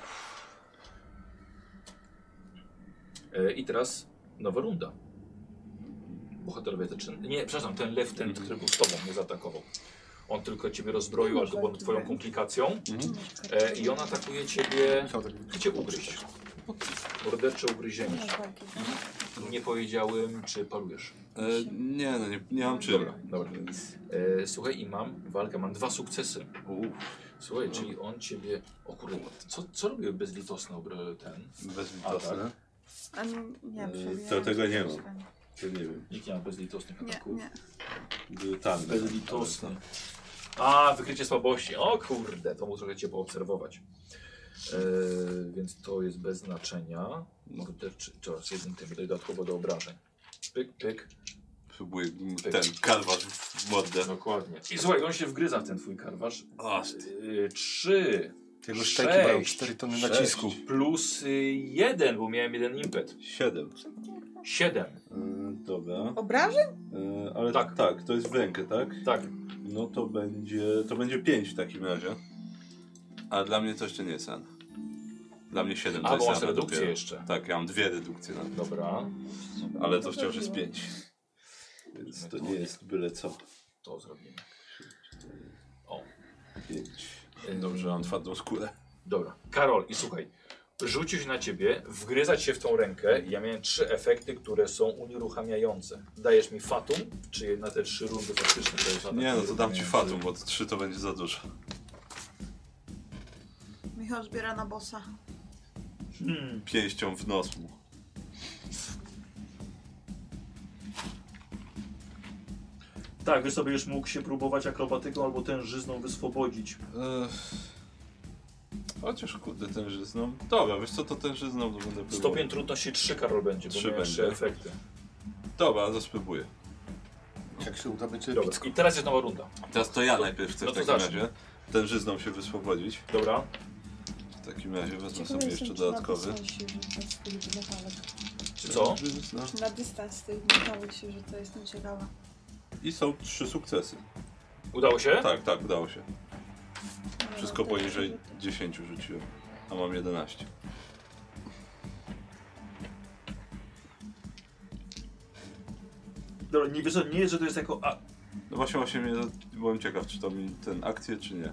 Speaker 1: Eee, I teraz nowa runda. bohaterowie zaczynali. Nie, przepraszam, ten lew, ten, który był z tobą, nie zaatakował. On tylko ciebie rozbroił, ale to było twoją komplikacją. E, I on atakuje ciebie.
Speaker 2: tak
Speaker 1: Chcecie ugryźć. Mordercze ugryzienie. I nie powiedziałem, czy parujesz.
Speaker 5: E, nie, no nie, nie mam czym.
Speaker 1: Dobra, dobra.
Speaker 5: Więc...
Speaker 1: E, słuchaj, i mam walkę, mam dwa sukcesy.
Speaker 5: Uff,
Speaker 1: Słuchaj, czyli on ciebie. O kurde, co, co robił bezlitosny obr- ten?
Speaker 9: Bez litosa.
Speaker 4: A nie, nie,
Speaker 9: Yy,
Speaker 4: przewijam.
Speaker 9: to- tego nie mam. To nie wiem.
Speaker 1: Nikt nie ma bezlitosnych
Speaker 4: Nie,
Speaker 1: ataków.
Speaker 4: nie.
Speaker 9: Były Tam.
Speaker 1: Bezlitosny. A, wykrycie słabości. O kurde, to mu trochę cię poobserwować. E, więc to jest bez znaczenia. Mogę też, czy, to jest jeden tym tutaj dodatkowo do obrażeń. Pyk, pyk.
Speaker 5: próbuję m, ten kalwasz w mordę.
Speaker 1: Dokładnie. I słuchaj, on się wgryza w ten twój karwasz.
Speaker 5: O,
Speaker 1: Yy, trzy.
Speaker 2: Jego
Speaker 1: sześć,
Speaker 2: szteki mają 4 tony
Speaker 9: sześć.
Speaker 2: nacisku.
Speaker 1: Plus y, jeden, bo miałem jeden impet.
Speaker 9: Siedem.
Speaker 1: Siedem.
Speaker 9: E, Dobra.
Speaker 4: Obrażeń?
Speaker 9: E, Ale
Speaker 1: Tak.
Speaker 9: tak. to jest w rękę, tak?
Speaker 1: Tak.
Speaker 9: No to będzie. To będzie pięć w takim razie.
Speaker 5: a dla mnie to jeszcze nie jest An. Dla mnie 7 to
Speaker 1: A, bo
Speaker 5: jest
Speaker 1: masz
Speaker 5: An
Speaker 1: redukcję
Speaker 5: dopiero.
Speaker 1: jeszcze.
Speaker 5: Tak, ja mam dwie redukcje na to.
Speaker 1: Dobra.
Speaker 9: Ale to wciąż jest pięć. Więc to nie jest byle co.
Speaker 1: To zrobimy.
Speaker 9: Pięć.
Speaker 5: Dobrze, mam twardą skórę.
Speaker 1: Dobra. Karol, i słuchaj. Rzucił się na ciebie, wgryzać się w tą rękę. Ja miałem trzy efekty, które są unieruchamiające. Dajesz mi fatum, czy na te trzy rundy faktycznie to jest atak
Speaker 5: Nie no, to dam ci
Speaker 1: unieruchamiający?
Speaker 5: fatum, bo trzy to będzie za dużo.
Speaker 4: Michał zbiera na bossa.
Speaker 1: Hmm.
Speaker 5: Pięścią w nos mu.
Speaker 1: Tak, wy sobie już mógł się próbować akrobatyką albo tężyzną wyswobodzić.
Speaker 5: Ech. Chociaż kurde ten żyzną. Dobra, wiesz co, to ten żyzną to będę próbował.
Speaker 1: Stopień trudności 3 Karol będzie, bo
Speaker 5: Trzy
Speaker 1: miałem trzy
Speaker 5: będzie.
Speaker 1: efekty.
Speaker 5: Dobra, to spróbuję.
Speaker 2: Jak się uda, będzie
Speaker 1: Dobra. I teraz jest nowa runda.
Speaker 5: Teraz to ja najpierw chcę
Speaker 1: no
Speaker 5: w
Speaker 1: to
Speaker 5: takim
Speaker 1: zacznij.
Speaker 5: razie. Ten żyzną się wyswobodzić.
Speaker 1: Dobra.
Speaker 5: W takim razie wezmę sobie jeszcze dodatkowy.
Speaker 1: Czy co?
Speaker 5: Żyzna.
Speaker 4: Czy na dystans tych metalowych się, że to jestem ciekawa.
Speaker 5: I są trzy sukcesy.
Speaker 1: Udało się?
Speaker 5: Tak, tak, udało się. Wszystko
Speaker 4: No, tak,
Speaker 5: poniżej
Speaker 4: żeby-
Speaker 5: 10 rzuciłem, a mam 11.
Speaker 1: Dobra, nie wiesz, co, nie jest, że to jest jako. A,
Speaker 5: No właśnie, właśnie mnie, byłem ciekaw, czy to mi ten akcję, czy nie.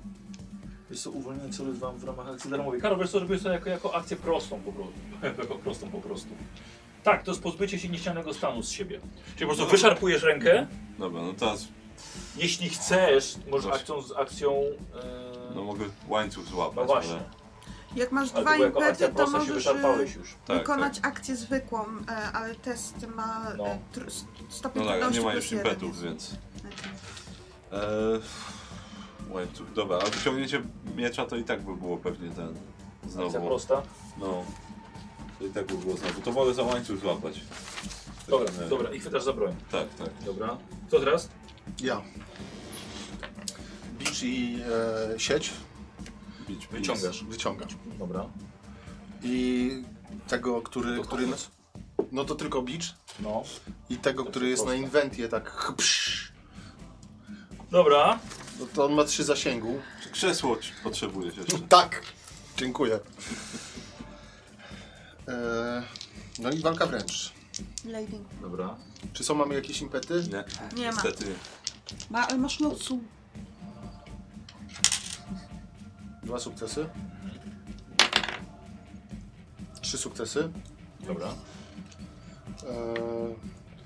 Speaker 1: jest to uwolnienie, co jest wam w ramach akcji darmowej. Karol, wiesz co, robisz to jako, jako akcję prostą po prostu. [laughs] jako prostą po prostu. Tak, to jest pozbycie się nieścianego stanu z siebie. Czyli po
Speaker 5: No.
Speaker 1: prostu wyszarpujesz rękę.
Speaker 5: Dobra, no teraz
Speaker 1: Jeśli chcesz, możesz
Speaker 5: No Właśnie.
Speaker 1: akcją z akcją. Yy...
Speaker 5: no mogę łańcuch złapać.
Speaker 1: No właśnie.
Speaker 5: ale-
Speaker 4: Jak masz
Speaker 1: Ale
Speaker 4: dwa
Speaker 1: to była jako akcja
Speaker 4: impety, to
Speaker 1: prosta, się
Speaker 4: możesz e,
Speaker 1: wyszarpałeś już.
Speaker 5: tak,
Speaker 4: wykonać akcję zwykłą, e, ale test ma
Speaker 1: No.
Speaker 4: e, tr- s- stopień
Speaker 5: No tak, a
Speaker 4: trudności
Speaker 5: nie ma
Speaker 4: plus
Speaker 5: już
Speaker 4: jeden.
Speaker 5: impetów, więc.
Speaker 4: Okej.
Speaker 5: Eee, łańcuch, dobra, a wyciągnięcie miecza to i tak by było pewnie ten.
Speaker 1: Akcja
Speaker 5: Znowu.
Speaker 1: prosta.
Speaker 5: No. To i tak by było znowu. To wolę za łańcuch złapać. Tak,
Speaker 1: Dobra,
Speaker 5: nie.
Speaker 1: dobra, i chwytasz za broń.
Speaker 5: Tak, tak.
Speaker 1: Dobra. Co teraz?
Speaker 2: Ja. Bicz i e, sieć
Speaker 5: Bić, bić.
Speaker 1: Wyciągasz.
Speaker 2: wyciągam.
Speaker 1: Dobra.
Speaker 2: I tego, który...
Speaker 1: To
Speaker 2: który
Speaker 1: koniec.
Speaker 2: no to tylko bicz.
Speaker 1: No.
Speaker 2: I tego,
Speaker 1: To
Speaker 2: który
Speaker 1: jest
Speaker 2: jest na
Speaker 1: proste.
Speaker 2: inwentie, tak [laughs] chpsz.
Speaker 1: Dobra.
Speaker 2: No to on ma trzy zasięgu.
Speaker 5: Czy Krzesło ci- potrzebujesz jeszcze.
Speaker 2: Tak! Dziękuję. E, no i walka wręcz.
Speaker 4: Lady.
Speaker 1: Dobra.
Speaker 2: Czy są, mamy jakieś impety?
Speaker 5: Nie,
Speaker 4: Nie ma.
Speaker 5: niestety nie.
Speaker 4: ma ale masz losu.
Speaker 2: Dwa sukcesy. Trzy sukcesy.
Speaker 1: Dobra.
Speaker 2: E,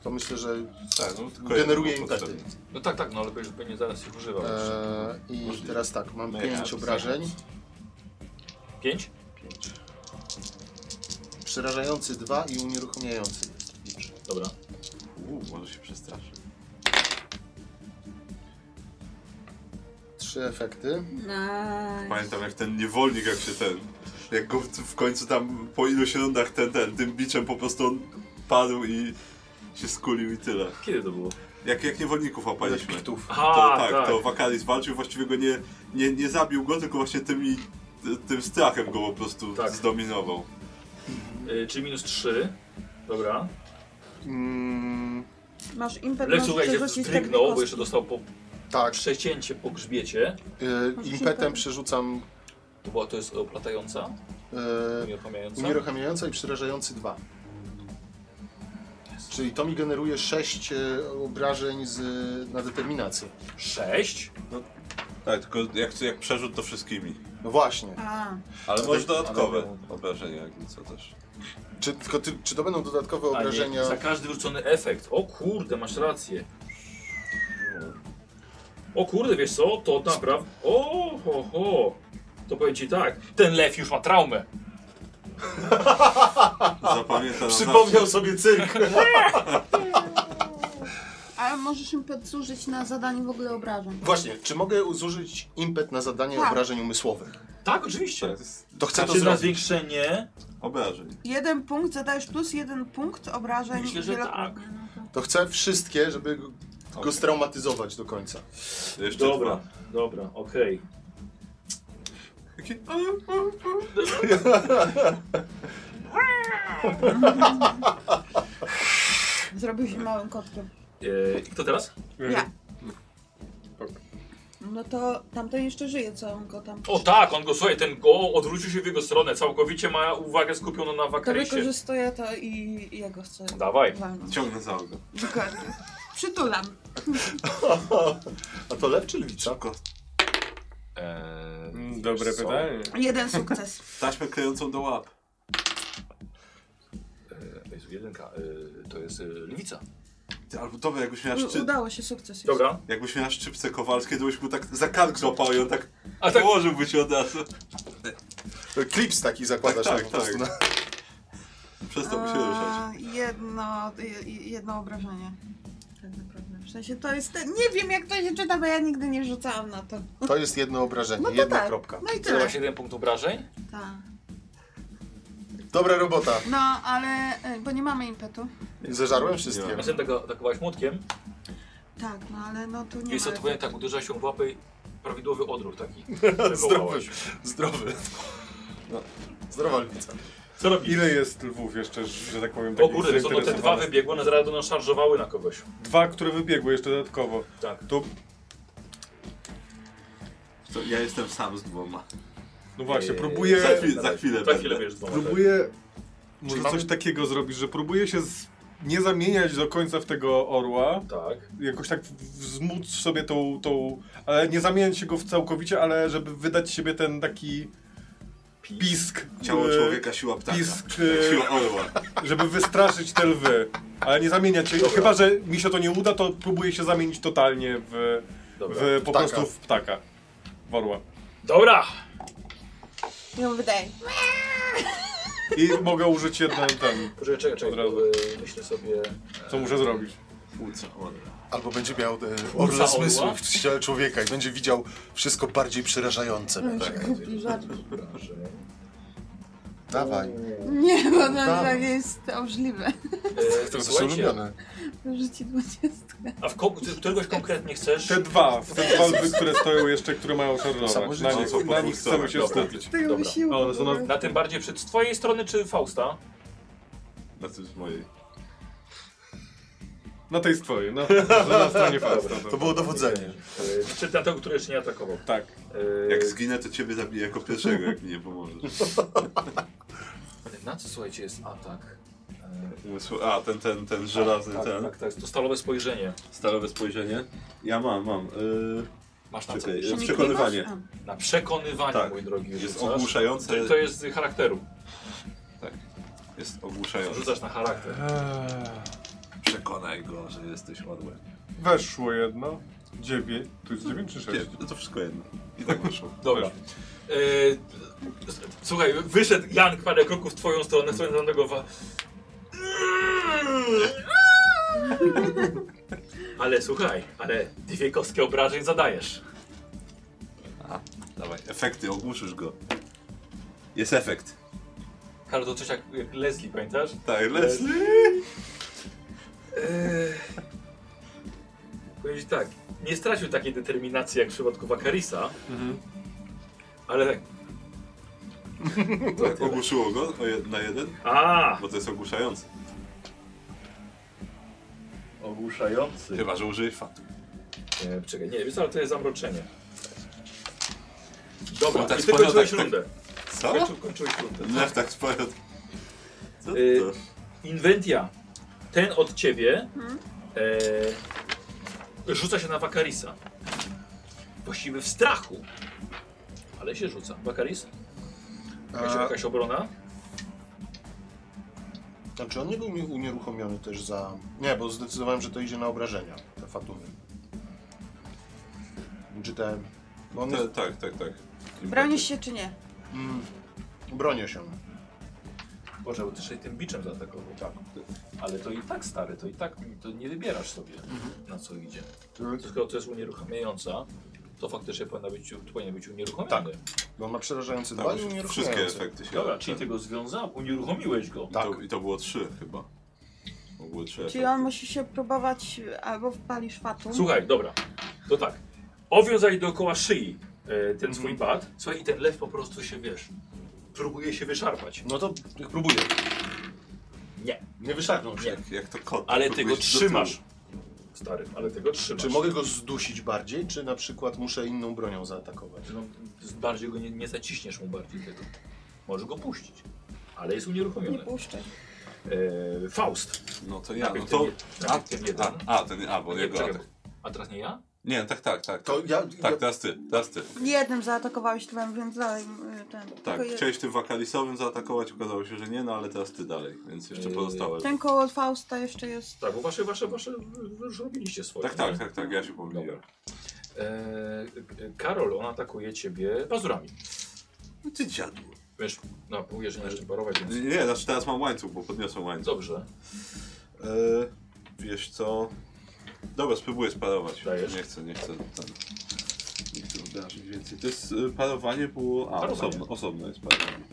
Speaker 2: to myślę, że
Speaker 5: Tak, no, tylko
Speaker 2: generuje
Speaker 5: jedno było
Speaker 2: impety.
Speaker 5: potrzebne.
Speaker 1: No tak, tak, no ale będziesz pewnie zaraz ich używał.
Speaker 5: Eee.
Speaker 1: jeszcze.
Speaker 2: E, I
Speaker 5: Możliwe.
Speaker 2: teraz tak, mam
Speaker 5: No ja
Speaker 2: pięć
Speaker 5: mam
Speaker 2: obrażeń.
Speaker 1: Pięć?
Speaker 2: Przerażający dwa i unieruchomiający jest. bicz.
Speaker 1: Dobra.
Speaker 5: Uuu, może się przestraszy.
Speaker 2: Trzy efekty.
Speaker 10: Nice.
Speaker 5: Pamiętam jak ten niewolnik, jak się ten, jak go w, w końcu tam po iluś rundach ten, ten, tym biczem po prostu on padł i się skulił i tyle.
Speaker 1: Kiedy to było?
Speaker 5: Jak, jak niewolników łapaliśmy. To,
Speaker 2: Piktów.
Speaker 5: tak, to Wakaris walczył, właściwie go nie, nie, nie zabił go, tylko właśnie tymi, ty- tym strachem go po prostu
Speaker 1: Tak.
Speaker 5: zdominował.
Speaker 1: Y, czyli minus 3. Dobra.
Speaker 2: Mm,
Speaker 4: Masz impet,
Speaker 1: Lecz
Speaker 4: możesz
Speaker 1: słuchaj, się
Speaker 4: przerzucić te
Speaker 1: wzdrygnął, bo
Speaker 4: dwie
Speaker 1: jeszcze dostał po
Speaker 2: tak,
Speaker 1: przecięcie po grzbiecie.
Speaker 2: e, impetem
Speaker 4: impetem.
Speaker 2: przerzucam
Speaker 1: To była to jest oplatająca,
Speaker 2: e,
Speaker 1: unieruchamiająca.
Speaker 2: unieruchamiająca i przerażający dwa. Czyli to mi generuje 6 obrażeń z, na determinację.
Speaker 1: Sześć?
Speaker 5: Tak, tylko jak, jak przerzut to wszystkimi.
Speaker 2: No właśnie.
Speaker 4: A,
Speaker 5: Ale może dodatkowe obrażenia, jak nic, co też.
Speaker 2: Czy, tylko ty, czy to będą dodatkowe
Speaker 1: A nie,
Speaker 2: obrażenia?
Speaker 1: za każdy wyrzucony efekt. O kurde, masz rację. O kurde, wiesz co, to naprawdę... O, ho, ho. To powiem ci tak, ten lew już ma traumę.
Speaker 5: Zapamiętam.
Speaker 2: Przypomniał sobie cyrk.
Speaker 1: [laughs]
Speaker 4: ale możesz im podsłużyć na zadaniu w ogóle obrażeń.
Speaker 2: Właśnie, czy mogę zużyć impet na zadanie
Speaker 4: Tak.
Speaker 2: obrażeń umysłowych?
Speaker 1: Tak, oczywiście.
Speaker 2: To no- chcę to
Speaker 1: Znaczy na
Speaker 2: zrobić.
Speaker 1: zwiększenie...
Speaker 5: Obrażeń.
Speaker 4: Jeden punkt, zadajesz plus jeden punkt obrażeń.
Speaker 1: Myślę, że tak.
Speaker 4: wielokrotnie.
Speaker 2: To chcę wszystkie, żeby go- go straumatyzować do końca.
Speaker 5: Jeszcze
Speaker 1: Dobra,
Speaker 5: dwa.
Speaker 1: dobra, okej. tak.
Speaker 4: Zrobił się małym kotkiem.
Speaker 1: E, I kto teraz?
Speaker 4: Ja.
Speaker 6: Dobra.
Speaker 4: No to tamten jeszcze żyje, co on go tam...
Speaker 1: O tak, on go, słuchaj, ten go odwrócił się w jego stronę, całkowicie ma uwagę skupioną na
Speaker 4: To
Speaker 1: wakarysie.
Speaker 4: wykorzystuję to i, i ja go chcę
Speaker 1: Dawaj.
Speaker 4: walnąć.
Speaker 5: Ciągnę za ogon.
Speaker 4: Dokładnie. Przytulam.
Speaker 2: A to lew czy lwica?
Speaker 1: Eee,
Speaker 6: Mm, Dobre
Speaker 1: Co?
Speaker 6: pytanie.
Speaker 4: Jeden sukces.
Speaker 5: Taśmę klejącą do łap.
Speaker 1: Jezu, jedynka, eee, to jest eee, lwica.
Speaker 4: Tak.
Speaker 5: Ty, albo dobra, jakbyś miała,
Speaker 1: No,
Speaker 4: U,
Speaker 5: szczy...
Speaker 4: udało się sukces. już.
Speaker 1: Dobra.
Speaker 5: jakbyś miała szczypce kowalskie, to byś mu tak za kark złapał i on tak
Speaker 1: A tak,
Speaker 5: położyłby ci od razu.
Speaker 2: Klips taki zakładasz
Speaker 5: Tak,
Speaker 2: tak,
Speaker 5: tak,
Speaker 2: po prostu.
Speaker 5: tak.
Speaker 2: na-
Speaker 5: Przestał mi się ruszać.
Speaker 4: Eee, jedno, je- jedno obrażenie. Tak naprawdę. W sensie to jest. Ten, nie wiem, jak to się czyta, bo ja nigdy nie rzucałam na to.
Speaker 2: To jest jedno obrażenie,
Speaker 4: No to
Speaker 2: jedna
Speaker 4: tak.
Speaker 2: kropka.
Speaker 4: No i tyle.
Speaker 1: Zero 7 punkt obrażeń.
Speaker 4: Tak.
Speaker 2: Dobra robota.
Speaker 4: No, ale. e, bo nie mamy impetu.
Speaker 2: Zeżarłem wszystkie.
Speaker 1: Ja tak atakowałeś młotkiem.
Speaker 4: Tak, no ale no tu nie
Speaker 1: Jest
Speaker 4: ma.
Speaker 1: odwołanie tak, uderza się w łapy i prawidłowy odruch taki.
Speaker 2: Zdrowy.
Speaker 1: wywołałeś.
Speaker 2: Zdrowy. No. Zdrowa lwica.
Speaker 1: Co robi?
Speaker 6: Ile jest lwów jeszcze, że tak powiem,
Speaker 1: O
Speaker 6: takich
Speaker 1: kurde, wiesz co, no te dwa
Speaker 6: zainteresowanych?
Speaker 1: wybiegły, one zaraz będą szarżowały na kogoś.
Speaker 6: Dwa, które wybiegły jeszcze dodatkowo.
Speaker 1: Tak.
Speaker 6: To,
Speaker 5: To ja jestem sam z dwoma.
Speaker 6: no właśnie,
Speaker 1: Eee,
Speaker 6: próbuję...
Speaker 5: Za chwilę- za chwilę
Speaker 1: Za chwilę
Speaker 5: będę.
Speaker 1: będziesz dwoma. tak.
Speaker 6: Próbuję może
Speaker 2: mamy-
Speaker 6: coś takiego zrobić, że próbuję się z... nie zamieniać do końca w tego orła,
Speaker 1: Tak.
Speaker 6: jakoś tak wzmóc sobie tą, tą, ale nie zamieniać się go w całkowicie, ale żeby wydać z siebie ten taki pisk,
Speaker 5: Ciało
Speaker 6: e,
Speaker 5: człowieka, siła ptaka.
Speaker 6: pisk,
Speaker 5: Jak
Speaker 6: e,
Speaker 5: Siła orła.
Speaker 6: [laughs] żeby wystraszyć te lwy, ale nie zamieniać się, chyba że mi się to nie uda, to próbuję się zamienić totalnie w,
Speaker 1: Dobra.
Speaker 6: w po
Speaker 2: Ptaka.
Speaker 6: prostu w ptaka, w orła.
Speaker 1: Dobra!
Speaker 4: Nie wydaje.
Speaker 6: I mogę użyć jeden ten,
Speaker 1: Poczekaj, czekaj, czekaj,
Speaker 6: Od razu.
Speaker 1: bo, e, myślę sobie...
Speaker 6: co muszę zrobić.
Speaker 5: Płuca orła.
Speaker 2: Albo będzie miał e, orle
Speaker 1: orła?
Speaker 2: zmysłów w ciele człowieka i będzie widział wszystko bardziej przerażające.
Speaker 1: Obrażeń.
Speaker 2: Dawaj.
Speaker 4: Nie, bo to tak jest obrzydliwe.
Speaker 1: E,
Speaker 2: To jest
Speaker 1: słuchajcie,
Speaker 2: ulubione.
Speaker 4: Rzuci 20.
Speaker 1: a w ko- ty- któregoś konkretnie chcesz?
Speaker 6: Te dwa, te dwa lwy, które stoją jeszcze, które mają szarżować. Na
Speaker 2: Samożycie.
Speaker 6: nich,
Speaker 5: Są po
Speaker 6: na
Speaker 5: dwóch
Speaker 6: nich chcemy
Speaker 5: stronach,
Speaker 6: się
Speaker 5: dobra.
Speaker 6: skupić.
Speaker 4: Tego
Speaker 1: Dobra.
Speaker 4: siłą.
Speaker 6: O, to na-
Speaker 1: Na tym bardziej przy z twojej strony czy Fausta?
Speaker 5: Na tym z mojej.
Speaker 6: Na tej swojej, na, na stronie Fausta.
Speaker 2: To było dowodzenie.
Speaker 1: E, Czy na tego, który jeszcze nie atakował?
Speaker 6: Tak.
Speaker 1: E,
Speaker 5: Jak zginę, to ciebie zabiję jako pierwszego, jak mi nie pomożesz.
Speaker 1: Na co słuchajcie jest atak? E,
Speaker 5: Umysł- A, ten, ten, ten żelazny,
Speaker 1: tak,
Speaker 5: ten.
Speaker 1: tak, tak, to stalowe spojrzenie.
Speaker 5: Stalowe spojrzenie. Ja mam, mam. Yy,
Speaker 1: Masz na co?
Speaker 5: czekaj,
Speaker 4: Przenikliwość?
Speaker 5: przekonywanie.
Speaker 4: A,
Speaker 1: Na przekonywanie,
Speaker 5: Tak.
Speaker 1: mój drogi.
Speaker 5: Jest
Speaker 1: rzucasz.
Speaker 5: ogłuszające.
Speaker 1: To, to jest z charakteru.
Speaker 5: Jest ogłuszające.
Speaker 1: Rzucasz na
Speaker 5: Tak.
Speaker 1: charakter.
Speaker 5: Przekonaj go, że jesteś orłem.
Speaker 6: Weszło jedno. Dziewięć. Tu jest dziewięć czy sześć?
Speaker 5: Nie, to wszystko jedno. I tak wyszło.
Speaker 1: Dobra. E, s- słuchaj, wyszedł Jan parę kroków w twoją stronę, w stronę tamtego wa... Ale słuchaj, ale dwie kostki obrażeń zadajesz.
Speaker 5: [laughs] Dawaj, efekty, ogłuszysz go. Jest efekt.
Speaker 1: Karol, to coś jak, jak Leslie, pamiętasz?
Speaker 5: Tak, Leslie.
Speaker 1: Eee, Powiedzieć tak, nie stracił takiej determinacji jak w przypadku Wakarisa,
Speaker 5: Mhm.
Speaker 1: ale tak.
Speaker 5: Tak, ogłuszyło go o jed- na jeden,
Speaker 1: A,
Speaker 5: bo to jest ogłuszające.
Speaker 1: Ogłuszający.
Speaker 5: Chyba, że użyjesz fatu.
Speaker 1: E, czekaj, nie, wiesz, co, ale to jest zamroczenie. Dobra,
Speaker 5: Tak
Speaker 1: i ty
Speaker 5: spojrzał,
Speaker 1: kończyłeś
Speaker 5: tak, tak.
Speaker 1: rundę.
Speaker 5: Co?
Speaker 1: Kończy, kończyłeś rundę.
Speaker 5: Lew tak spadł. Co
Speaker 1: Y,
Speaker 5: to?
Speaker 1: Inventia. Ten od ciebie
Speaker 4: Mhm.
Speaker 1: e, rzuca się na Wakarisa. Właściwie w strachu, ale się rzuca. Wakaris? Jakaś,
Speaker 2: A-
Speaker 1: jakaś obrona?
Speaker 2: Znaczy on nie był mi- unieruchomiony też za... Nie, bo zdecydowałem, że to idzie na obrażenia, te fatumy. Czy te... Bo on
Speaker 5: Te,
Speaker 2: jest...
Speaker 5: tak, tak, tak.
Speaker 4: Bronisz się czy nie?
Speaker 2: Mm, bronię się.
Speaker 1: Boże, bo ty się tym biczem zaatakował. Tak. Ale to i tak stary, to i tak to nie wybierasz sobie na co idzie. Tylko to jest unieruchamiająca, to faktycznie powinna być, powinien być unieruchomiony.
Speaker 2: Bo on ma przerażający dwa
Speaker 5: Tam
Speaker 2: i
Speaker 5: już
Speaker 2: unieruchomiający.
Speaker 5: Tak, wszystkie efekty się
Speaker 1: Tak. Dobra,
Speaker 5: tak.
Speaker 1: czyli ty go związał, unieruchomiłeś go.
Speaker 5: I to, I to było trzy chyba. To Było trzy
Speaker 4: Czyli
Speaker 5: efekty.
Speaker 4: on musi się próbować e, albo wpalisz fatum.
Speaker 1: Słuchaj, dobra, to tak. Owiązaj dookoła szyi e, ten swój bat, słuchaj, i ten lew po prostu się, wiesz, próbuje się wyszarpać.
Speaker 2: No to próbuję.
Speaker 1: Nie,
Speaker 2: Nie wyszarpnął się.
Speaker 1: nie.
Speaker 5: Jak to kot.
Speaker 1: Ale ty
Speaker 5: próbujesz
Speaker 1: go
Speaker 5: do tyłu.
Speaker 1: trzymasz. Stary, ale ty go trzymasz.
Speaker 2: Czy mogę go zdusić bardziej, czy na przykład muszę inną bronią zaatakować?
Speaker 1: No, z- bardziej go nie, nie zaciśniesz mu bardziej tego. Możesz go puścić, ale jest unieruchomiony.
Speaker 4: Nie puszczę.
Speaker 1: E, Faust.
Speaker 5: No to ja, no
Speaker 1: Najpierw
Speaker 5: to...
Speaker 1: ten jed- najpierw ten jeden.
Speaker 5: A, a, ten, a, bo
Speaker 1: Nie,
Speaker 5: jego
Speaker 1: czekaj,
Speaker 5: atak.
Speaker 1: bo- A teraz nie ja?
Speaker 5: Nie, tak, tak, tak.
Speaker 2: To ja... ja...
Speaker 5: Tak, teraz ty, teraz ty.
Speaker 4: Jednym zaatakowałeś dwem, więc dalej y, ten.
Speaker 5: Tak,
Speaker 4: tylko jed-
Speaker 5: chciałeś tym wakalisowym zaatakować, okazało się, że nie, no ale teraz ty dalej, więc jeszcze
Speaker 1: Yy,
Speaker 5: pozostałe.
Speaker 4: Ten koło Fausta jeszcze jest.
Speaker 1: Tak, bo wasze, wasze, wasze wy już robiliście swoje.
Speaker 5: Tak, tak,
Speaker 1: nie?
Speaker 5: tak, tak, ja się pomyliłem.
Speaker 1: E, Karol, on atakuje ciebie pazurami.
Speaker 5: No ty dziadu.
Speaker 1: Wiesz, no mówię, że nie jeszcze parować, więc...
Speaker 5: Nie, znaczy teraz mam łańcuch, bo podniosłem łańcuch.
Speaker 1: Dobrze.
Speaker 5: E, wiesz co? Dobra, spróbuję sparować.
Speaker 1: Dajesz?
Speaker 5: Nie chcę, nie chcę. Ten... Nie chcę wydarzeń więcej. To jest y, parowanie było. A,
Speaker 1: Parowanie.
Speaker 5: osobne, osobne jest parowanie.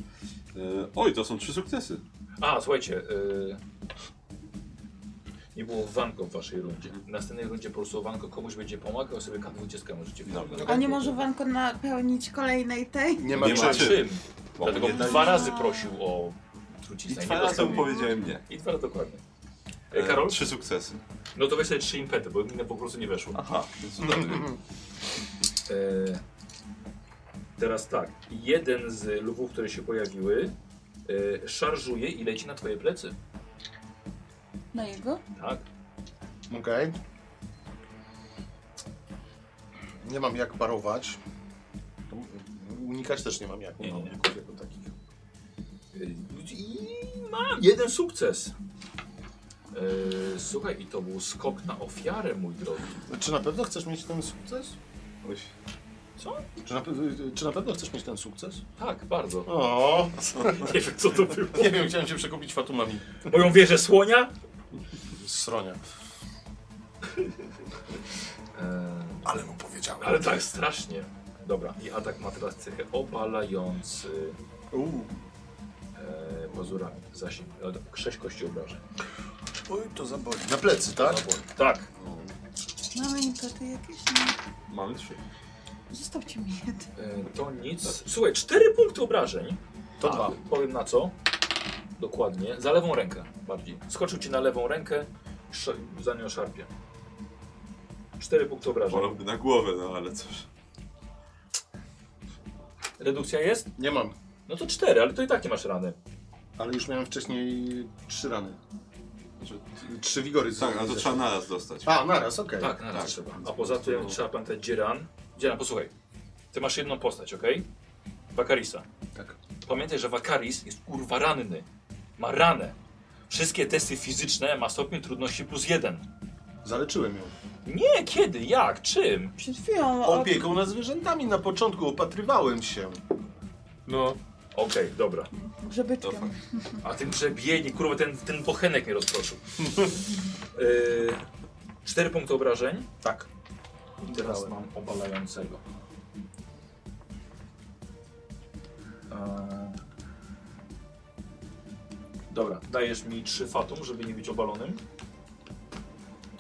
Speaker 5: E, oj, to są trzy sukcesy.
Speaker 1: A, słuchajcie. Y... Nie było wanko w waszej rundzie. W następnej rundzie po prostu wanko komuś będzie pomagał, sobie K20 możecie
Speaker 5: Dobra.
Speaker 1: wziąć.
Speaker 4: A nie może Wanko napełnić kolejnej tej?
Speaker 2: Nie ma
Speaker 5: Nie
Speaker 1: Nie ma
Speaker 5: ma
Speaker 2: czym.
Speaker 1: czym.
Speaker 5: Bo
Speaker 1: Dlatego
Speaker 5: nie
Speaker 1: dwa razy prosił o truciznę.
Speaker 5: I
Speaker 1: nie
Speaker 5: dwa razy
Speaker 1: dostał
Speaker 5: mu
Speaker 1: jej.
Speaker 5: powiedziałem nie.
Speaker 1: I dwa razy dokładnie. E, Karol,
Speaker 5: Trzy sukcesy.
Speaker 1: no to weź sobie trzy impety, bo mi po prostu nie weszło.
Speaker 5: Aha, więc dobry.
Speaker 1: E, teraz tak. Jeden z lwów, które się pojawiły, e, szarżuje i leci na twoje plecy.
Speaker 4: Na jego?
Speaker 1: Tak.
Speaker 2: Okej. Nie mam jak parować. Unikać też nie mam jak.
Speaker 1: Nie,
Speaker 2: Nie,
Speaker 1: nie,
Speaker 2: mam
Speaker 1: nie.
Speaker 2: uników jako takich.
Speaker 1: E, I ma jeden sukces. E, słuchaj, i to był skok na ofiarę, mój drogi.
Speaker 2: Czy na pewno chcesz mieć ten sukces?
Speaker 5: Oś.
Speaker 1: Co?
Speaker 2: Czy na, pe- czy na pewno chcesz mieć ten sukces?
Speaker 1: Tak, bardzo.
Speaker 2: O,
Speaker 1: Nie wiem, co to było.
Speaker 2: nie wiem, chciałem się przekupić Fatumami.
Speaker 1: Moją wieżę słonia?
Speaker 2: Sronia.
Speaker 1: E,
Speaker 8: Ale mu powiedziałem.
Speaker 1: ale tak, strasznie. Dobra, i atak ma teraz cechę obalający
Speaker 2: Uuu.
Speaker 1: e, pazurami. Zasięg, e, sześć kości obrażeń.
Speaker 2: Oj, to zaboli. Na plecy, tak?
Speaker 1: Zabój. Tak.
Speaker 4: Mamy impety jakieś? Nie.
Speaker 5: Mamy trzy.
Speaker 4: Zostawcie mi jeden.
Speaker 1: E, to nic. Słuchaj, cztery punkty obrażeń.
Speaker 2: To
Speaker 1: A,
Speaker 8: Tak.
Speaker 2: dwa.
Speaker 1: Powiem na co. Dokładnie. Za lewą rękę bardziej. Skoczył ci na lewą rękę, sz- za nią szarpie. Cztery punkty obrażeń.
Speaker 5: Wolałby na głowę, no ale cóż.
Speaker 1: Redukcja jest?
Speaker 2: Nie mam.
Speaker 1: No to cztery, ale to i tak nie masz rany.
Speaker 2: Ale już miałem wcześniej trzy rany.
Speaker 5: Znaczy,
Speaker 2: Trzy wigory.
Speaker 5: Tak, a to trzeba naraz dostać.
Speaker 2: A, naraz, okej.
Speaker 1: Tak, na raz
Speaker 5: tak.
Speaker 1: trzeba. A poza tym trzeba pamiętać Dzieran. Dzieran, posłuchaj. Ty masz jedną postać, ok? Wakarisa.
Speaker 2: Tak.
Speaker 1: Pamiętaj, że Wakaris jest kurwa ranny. Ma ranę. Wszystkie testy fizyczne ma stopień trudności plus jeden.
Speaker 2: Zaleczyłem ją.
Speaker 1: Nie, kiedy, jak, czym?
Speaker 4: Przed chwilą o,
Speaker 2: Opieką nad zwierzętami na początku opatrywałem się.
Speaker 6: No,
Speaker 1: Okej, dobra.
Speaker 5: To
Speaker 4: grzebyczkiem.
Speaker 5: fakt.
Speaker 1: A ten grzebienie, kurwa, ten, ten bochenek mnie [laughs] rozproszył. yy, cztery punkty obrażeń.
Speaker 2: Tak.
Speaker 1: I teraz mam obalającego. Eee... Dobra, dajesz mi trzy fatum, żeby nie być obalonym.